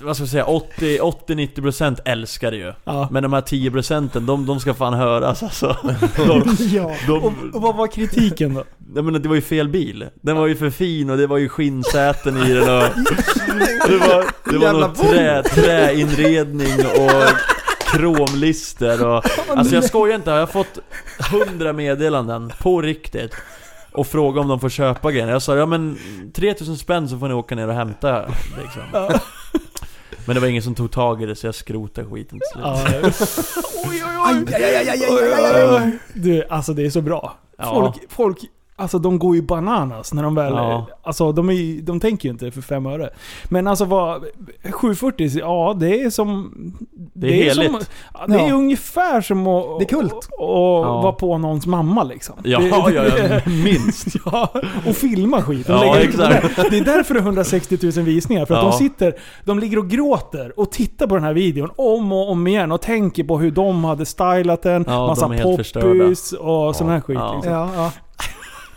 Speaker 8: vad ska jag säga, 80-90% älskar det ju.
Speaker 5: ja.
Speaker 8: Men de här 10 procenten, de, de ska fan höras alltså. De,
Speaker 7: Ja.
Speaker 8: de,
Speaker 5: Och vad var kritiken då?
Speaker 8: jag menar, det var ju fel bil. Den var ju för fin och det var ju skinnsäten i den och... Det var, det var
Speaker 6: Jävla
Speaker 8: någon trä, träinredning och kromlister och... Alltså jag skojar inte, jag har fått hundra meddelanden på riktigt. Och fråga om de får köpa grejer. Jag sa ja men 3000 spänn så får ni åka ner och hämta liksom. Men det var ingen som tog tag i det så jag skrotade skiten till slut.
Speaker 5: Ja.
Speaker 7: Aj, aj, aj, aj, aj, aj, aj, aj.
Speaker 5: Du, alltså det är så bra.
Speaker 8: Ja.
Speaker 5: Folk, folk, alltså de går ju bananas när de väl...
Speaker 8: Ja.
Speaker 5: Alltså de, är, ju- de tänker ju inte för fem öre. Men alltså vad... 740, ja det är som...
Speaker 8: Det är
Speaker 5: som,
Speaker 8: heligt.
Speaker 5: ja, Det är
Speaker 7: Ja.
Speaker 5: ungefär som att...
Speaker 7: Det är kult.
Speaker 5: Och, och
Speaker 8: Ja.
Speaker 5: vara på någons mamma liksom.
Speaker 8: Ja,
Speaker 5: det,
Speaker 8: ja, ja, minst.
Speaker 5: ja, och filma skiten. och
Speaker 8: Ja,
Speaker 5: lägga ut det
Speaker 8: exakt.
Speaker 5: där. Det är därför det är 160 000 visningar. För att
Speaker 8: Ja.
Speaker 5: de sitter, de ligger och gråter och tittar på den här videon om och om igen och tänker på hur de hade stylat den.
Speaker 8: Ja,
Speaker 5: massa
Speaker 8: de är helt
Speaker 5: poppis och sån här skit.
Speaker 8: Ja.
Speaker 5: Liksom.
Speaker 7: Ja, ja.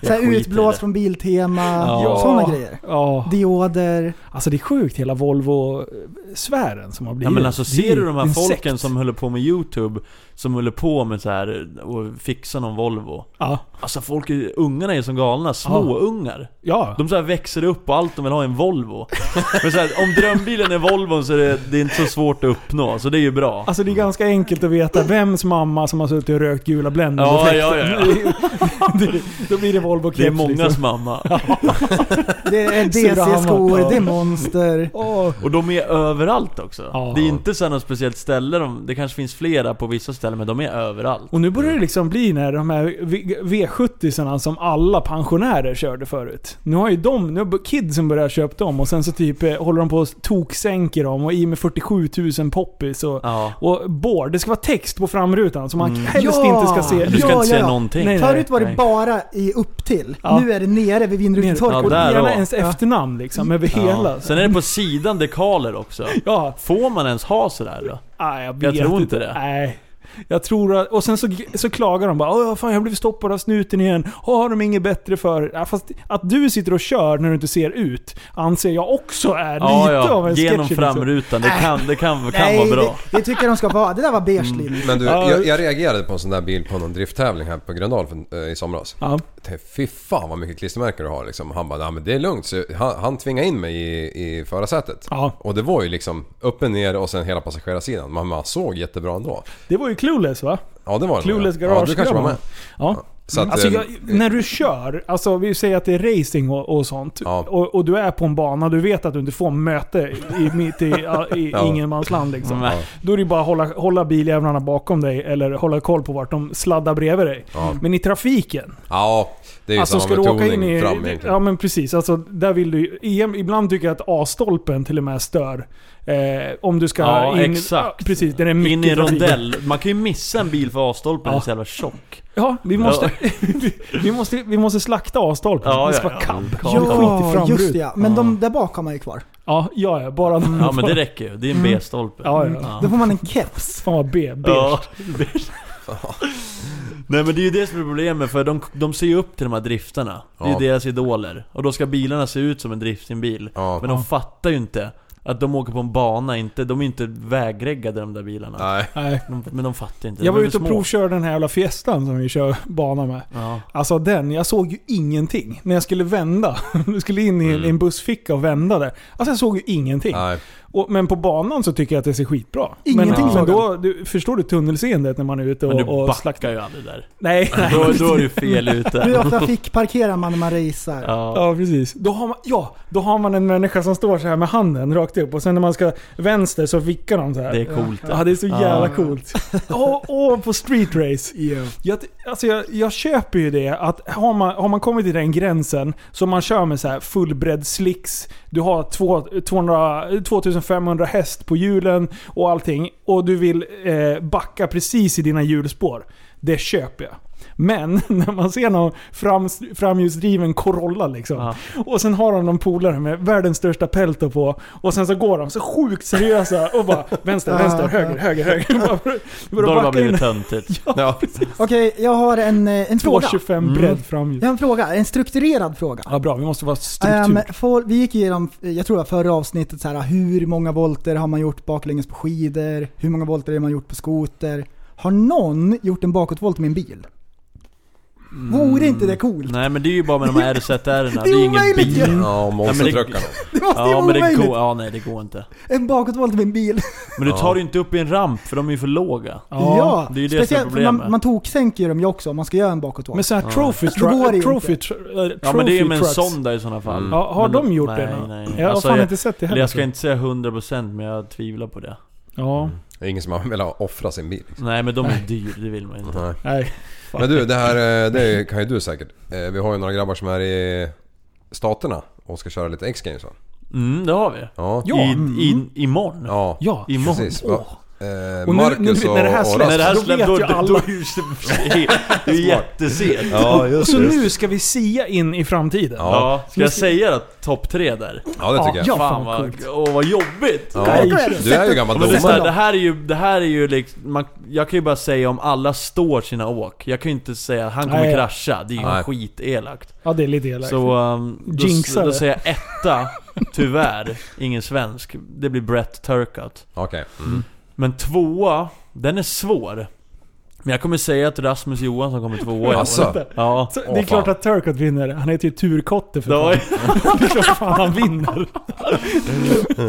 Speaker 8: Jag
Speaker 7: Så här
Speaker 8: skiter i
Speaker 7: utblås
Speaker 8: det.
Speaker 7: från Biltema,
Speaker 8: Ja.
Speaker 7: sådana grejer.
Speaker 5: Ja.
Speaker 7: Dioder.
Speaker 5: Alltså det är sjukt hela Volvo-sfären som har blivit.
Speaker 8: Ja men alltså
Speaker 5: Det är
Speaker 8: ser du de här
Speaker 5: en
Speaker 8: folken
Speaker 5: sekt.
Speaker 8: som håller på med YouTube, som håller på med så här och fixa någon Volvo.
Speaker 5: Ja.
Speaker 8: Alltså folk, är- ungarna är som galna, småungar.
Speaker 5: ja.
Speaker 8: De så här växer upp och allt de vill ha är en Volvo. Men så här, om drömbilen är Volvon så är det, det är inte så svårt att uppnå, så det är ju bra.
Speaker 5: Alltså det är ganska enkelt att veta vems mamma som har suttit och rökt gula Blend.
Speaker 8: Ja, ja, ja,
Speaker 5: Då blir det Volvo
Speaker 8: Alltså, Det är
Speaker 5: Keps, liksom.
Speaker 8: mångas mamma.
Speaker 7: Det är
Speaker 5: Ja.
Speaker 7: DC-skor, det är monster.
Speaker 5: Åh.
Speaker 8: Och de är överallt också.
Speaker 5: Ja.
Speaker 8: Det är inte så här något speciellt ställe, de, det kanske finns flera på vissa ställen men de är överallt.
Speaker 5: Och nu börjar det liksom bli när de här v 70 som alla pensionärer körde förut. Nu har ju de, nu har kidsen börjat köpa dem och sen så typ eh, håller de på och toksänker dem och i med 47 000 poppis och...
Speaker 8: Ja.
Speaker 5: Och board, det ska vara text på framrutan som man helst
Speaker 7: Mm. Ja!
Speaker 5: inte ska se.
Speaker 8: Du ska
Speaker 7: Ja,
Speaker 8: inte
Speaker 7: ja,
Speaker 8: säga
Speaker 7: ja.
Speaker 8: någonting.
Speaker 5: Nej, nej.
Speaker 7: Förut var det
Speaker 8: nej.
Speaker 7: bara i upp till.
Speaker 5: Ja.
Speaker 7: Nu är det nere vid
Speaker 8: Ja,
Speaker 7: vindrutetorkar.
Speaker 5: Och
Speaker 8: där
Speaker 5: gärna
Speaker 8: då.
Speaker 5: ens efternamn liksom, över hela.
Speaker 8: Ja. Sen är det på sidan dekaler också.
Speaker 5: Ja,
Speaker 8: Får man ens ha sådär då?
Speaker 5: nej, jag, vet
Speaker 8: Jag tror inte det.
Speaker 5: Nej. Jag tror att, och sen så, så klagar de bara Åh, fan jag blev stoppad av snuten igen. Åh, har de inget bättre för? Ja, fast att du sitter och kör när du inte ser ut anser jag också är lite av en sketch.
Speaker 8: Genom
Speaker 5: liksom.
Speaker 8: framrutan, det kan, det kan, kan
Speaker 7: Nej,
Speaker 8: vara bra. Mm.
Speaker 7: Det, det tycker jag de ska vara. Det där var beige linje.
Speaker 6: men du,
Speaker 5: Ja.
Speaker 6: jag, jag reagerade på en sån där bil på någon drifttävling här på Gröndal för, eh, i somras.
Speaker 5: Ja.
Speaker 6: Jag tänkte, Fy fan vad mycket klistermärken du har liksom. Han bara, "Ja, men det är lugnt. Så han, han tvingade in mig i, i förarsätet.
Speaker 5: Ja.
Speaker 6: Och det var ju liksom uppe, ner och sen hela passagerarsidan. Men man såg jättebra ändå.
Speaker 5: Det var ju Clueless va?
Speaker 6: Ja det var det. nog, ja.
Speaker 5: Clueless
Speaker 6: Ja,
Speaker 5: Garage.
Speaker 6: du kanske var med.
Speaker 5: Ja.
Speaker 6: Så att,
Speaker 5: Alltså,
Speaker 6: eh,
Speaker 5: jag, när du kör, alltså vi säger att det är racing och, och sånt.
Speaker 6: Ja.
Speaker 5: Och, och du är på en bana, du vet att du inte får möte i, mitt i, i, i
Speaker 6: Ja.
Speaker 5: ingenmansland. Liksom.
Speaker 8: Nej.
Speaker 5: Då är det ju bara att hålla, hålla biljävlarna bakom dig eller hålla koll på vart de sladdar bredvid dig.
Speaker 6: Ja.
Speaker 5: Men i trafiken,
Speaker 6: Ja, det är ju
Speaker 5: alltså
Speaker 6: samma
Speaker 5: ska du åka in
Speaker 6: betoning
Speaker 5: i...
Speaker 6: fram egentligen.
Speaker 5: Ja men precis. Alltså, där vill du, ju- igen, ibland tycker jag att A-stolpen till och med stör. Eh, om du ska
Speaker 8: Ja,
Speaker 5: in...
Speaker 8: exakt.
Speaker 5: Ja, precis, det är mycket
Speaker 8: In i
Speaker 5: trafik.
Speaker 8: rondell. Man kan ju missa en bil för avstolpen, den är
Speaker 5: Ja.
Speaker 8: så jävla tjock.
Speaker 5: Ja, vi måste, vi måste, vi måste slakta A-stolpen.
Speaker 8: Ja,
Speaker 5: det ska
Speaker 8: ja,
Speaker 5: vara
Speaker 8: ja.
Speaker 5: kamp.
Speaker 8: Ja,
Speaker 5: Skit i
Speaker 7: Ja,
Speaker 5: framrutan.
Speaker 7: just det, ja. Mm. Men de där bak har man ju kvar.
Speaker 5: Ja, ja, ja. Bara de
Speaker 8: Ja men det räcker ju, det är en B-stolpe.
Speaker 5: Mm. Ja, ja.
Speaker 7: Då får man en keps.
Speaker 5: Fan vad B, B.
Speaker 8: Ja, beige. Nej men det är ju det som är problemet, för de, de ser ju upp till de här driftarna. Det är ju
Speaker 6: Ja.
Speaker 8: deras idoler. Och då ska bilarna se ut som en driftingbil.
Speaker 6: Ja.
Speaker 8: Men de fattar ju inte Att de åker på en bana, inte, de är inte vägreggade de där bilarna.
Speaker 6: Nej.
Speaker 5: Nej.
Speaker 8: De, men de fattar inte.
Speaker 5: Jag
Speaker 8: de
Speaker 5: var
Speaker 8: är
Speaker 5: ute och
Speaker 8: små.
Speaker 5: provkörde den här jävla Fiestan som vi kör bana med.
Speaker 8: Ja.
Speaker 5: Alltså den, jag såg ju ingenting. När jag skulle vända, du skulle in i
Speaker 8: Mm.
Speaker 5: en- i en bussficka och vända där. Alltså jag såg ju ingenting.
Speaker 6: Nej.
Speaker 5: Och, men på banan så tycker jag att det ser skitbra.
Speaker 7: Ingenting
Speaker 5: men,
Speaker 7: såg
Speaker 5: men då, du, förstår du tunnelseendet när man är ute
Speaker 8: Men du
Speaker 5: och, och
Speaker 8: backar ju aldrig där.
Speaker 5: Nej, nej.
Speaker 8: Då, då är du fel ute.
Speaker 7: Hur ofta fick parkera man när man racear?
Speaker 8: Ja.
Speaker 5: Ja, precis. Då har, man, ja, då har man en människa som står så här med handen rakt upp och sen när man ska vänster så vickar de så här.
Speaker 8: Det är coolt.
Speaker 5: Ja, det är så jävla
Speaker 8: Ja.
Speaker 5: coolt. Och, och på street race. Jag, alltså jag, jag köper ju det att har man, har man kommit till den gränsen så man kör med så här fullbredd slicks, du har två, 200, 2500 häst på hjulen och allting och du vill eh, backa precis i dina hjulspår. Det köper jag. Men när man ser någon fram, framhjulsdriven Corolla liksom.
Speaker 8: Ja.
Speaker 5: Och sen har de någon polare med världens största pelto på. Och sen så går de så sjukt seriösa och bara vänster, vänster, höger, höger, höger. Bara,
Speaker 8: Då har det
Speaker 5: bara
Speaker 8: bara
Speaker 5: backa in
Speaker 8: blivit töntigt.
Speaker 6: Ja.
Speaker 7: Okej, jag har en, eh, en fråga.
Speaker 5: 225 bredd framhjul.
Speaker 7: Jag har en fråga, en strukturerad fråga.
Speaker 5: Ja bra, vi måste vara
Speaker 7: Ehm,
Speaker 5: struktur.
Speaker 7: får- vi gick igenom, eh, jag tror det var förra avsnittet, så här, hur många volter har man gjort baklänges på skidor? Hur många volter har man gjort på skoter? Har någon gjort en bakåtvolt med en bil? Vore inte det coolt?
Speaker 8: Mm. Nej men det är ju bara med de här RZR-erna. Det är ju ingen
Speaker 7: omöjligt ju.
Speaker 8: bil.
Speaker 6: Ja, och monstertruckarna.
Speaker 7: Det måste ju
Speaker 8: Ja
Speaker 7: vara
Speaker 8: men det
Speaker 7: omöjligt!
Speaker 8: går, ja nej det går inte.
Speaker 7: En bakåtvolt med en bil.
Speaker 8: Men du tar ju inte upp i en ramp för de är ju för låga.
Speaker 7: Ja,
Speaker 8: det är ju det som är
Speaker 7: speciellt för man,
Speaker 8: problemet.
Speaker 7: man toksänker ju dem ju också om man ska göra en bakåtvolt.
Speaker 5: Med så här trophy,
Speaker 7: Alltså, det går
Speaker 5: tro-
Speaker 7: ju
Speaker 5: trophy,
Speaker 7: inte.
Speaker 5: tr- eh, trophy
Speaker 8: Ja men det är ju med en
Speaker 5: trucks.
Speaker 8: sonda i sådana fall.
Speaker 6: Mm.
Speaker 5: Ja, har
Speaker 8: Men
Speaker 5: de gjort det?
Speaker 8: nej,
Speaker 5: då?
Speaker 8: nej.
Speaker 5: Jag har
Speaker 8: Alltså,
Speaker 5: fan
Speaker 8: jag-
Speaker 5: inte sett det
Speaker 8: Eller
Speaker 5: heller.
Speaker 8: jag ska inte säga 100% men jag tvivlar på det.
Speaker 5: Ja,
Speaker 6: Det är ingen som har velat offra sin bil.
Speaker 5: Mm.
Speaker 8: Nej men de är dyr, det vill man ju inte.
Speaker 6: Nej.
Speaker 5: nej.
Speaker 6: Men du, det här eh, det kan ju du säkert. Eh, Vi har ju några grabbar som är i Staterna och ska köra lite X-Games va?
Speaker 8: Mm, det har vi.
Speaker 6: Ja.
Speaker 5: Ja.
Speaker 8: I,
Speaker 7: Mm.
Speaker 8: i, imorgon.
Speaker 6: Ja.
Speaker 5: Mm. Ja.
Speaker 8: Imorgon.
Speaker 6: Precis. Va? Eh,
Speaker 5: Och nu- nu
Speaker 6: Marcus
Speaker 5: vet-
Speaker 6: och,
Speaker 5: när det här
Speaker 6: och
Speaker 5: släpps-
Speaker 8: När det här
Speaker 5: Då vet
Speaker 8: släpps då,
Speaker 5: ju alla.
Speaker 8: då är det ju- det är ju jättesent.
Speaker 6: Ja,
Speaker 5: Och så nu ska vi sia in i framtiden.
Speaker 6: Ja.
Speaker 8: Ja, ska jag säga att topp tre där?
Speaker 6: Ja, det tycker jag.
Speaker 5: Ja, fan
Speaker 8: Fan vad,
Speaker 5: coolt.
Speaker 8: åh, vad jobbigt!
Speaker 6: Ja. Du är ju gammal
Speaker 8: Ja, Men det, är så här, det
Speaker 6: domare.
Speaker 8: här är ju, det här är ju liksom, man, jag kan ju bara säga om alla står sina åk. Jag kan ju inte säga han kommer
Speaker 5: Nej.
Speaker 8: krascha, det är ju
Speaker 6: Nej.
Speaker 8: skitelakt.
Speaker 5: Ja, det är lite elakt.
Speaker 8: Så um, då,
Speaker 5: Jinxar
Speaker 8: då
Speaker 5: det.
Speaker 8: säger jag etta, tyvärr, ingen svensk. Det blir Brett Turcott.
Speaker 6: Okej. Mm.
Speaker 8: Men tvåa, den är svår. Men jag kommer säga att Rasmus Johansson kommer tvåa i år.
Speaker 6: Alltså.
Speaker 8: Ja.
Speaker 5: Så
Speaker 6: Åh,
Speaker 5: det är klart
Speaker 6: fan.
Speaker 5: att Turcot vinner. Han heter ju Turkotte för
Speaker 8: Det var,
Speaker 5: fan. Det är klart fan han vinner.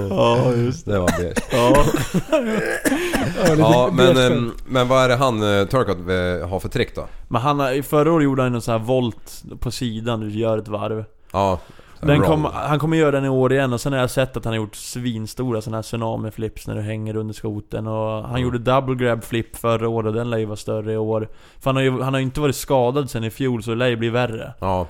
Speaker 8: ja, just
Speaker 6: Det var det.
Speaker 8: ja.
Speaker 6: Ja, men,
Speaker 5: det är
Speaker 6: ehm, men vad är det han eh, Turcott eh, har för trick då?
Speaker 8: Men han, har- förra året gjorde han ju någon sån här volt på sidan, du gör ett varv.
Speaker 6: Ja.
Speaker 8: Den
Speaker 6: Roll.
Speaker 8: kom, han kommer göra den i år igen och sen har jag sett att han har gjort svinstora sådana här tsunami-flips när du hänger under skoten och han gjorde double grab flip förra året och den lär ju vara större i år. För han har ju, han har ju inte varit skadad sen i fjol så det lär ju bli värre.
Speaker 6: Ja.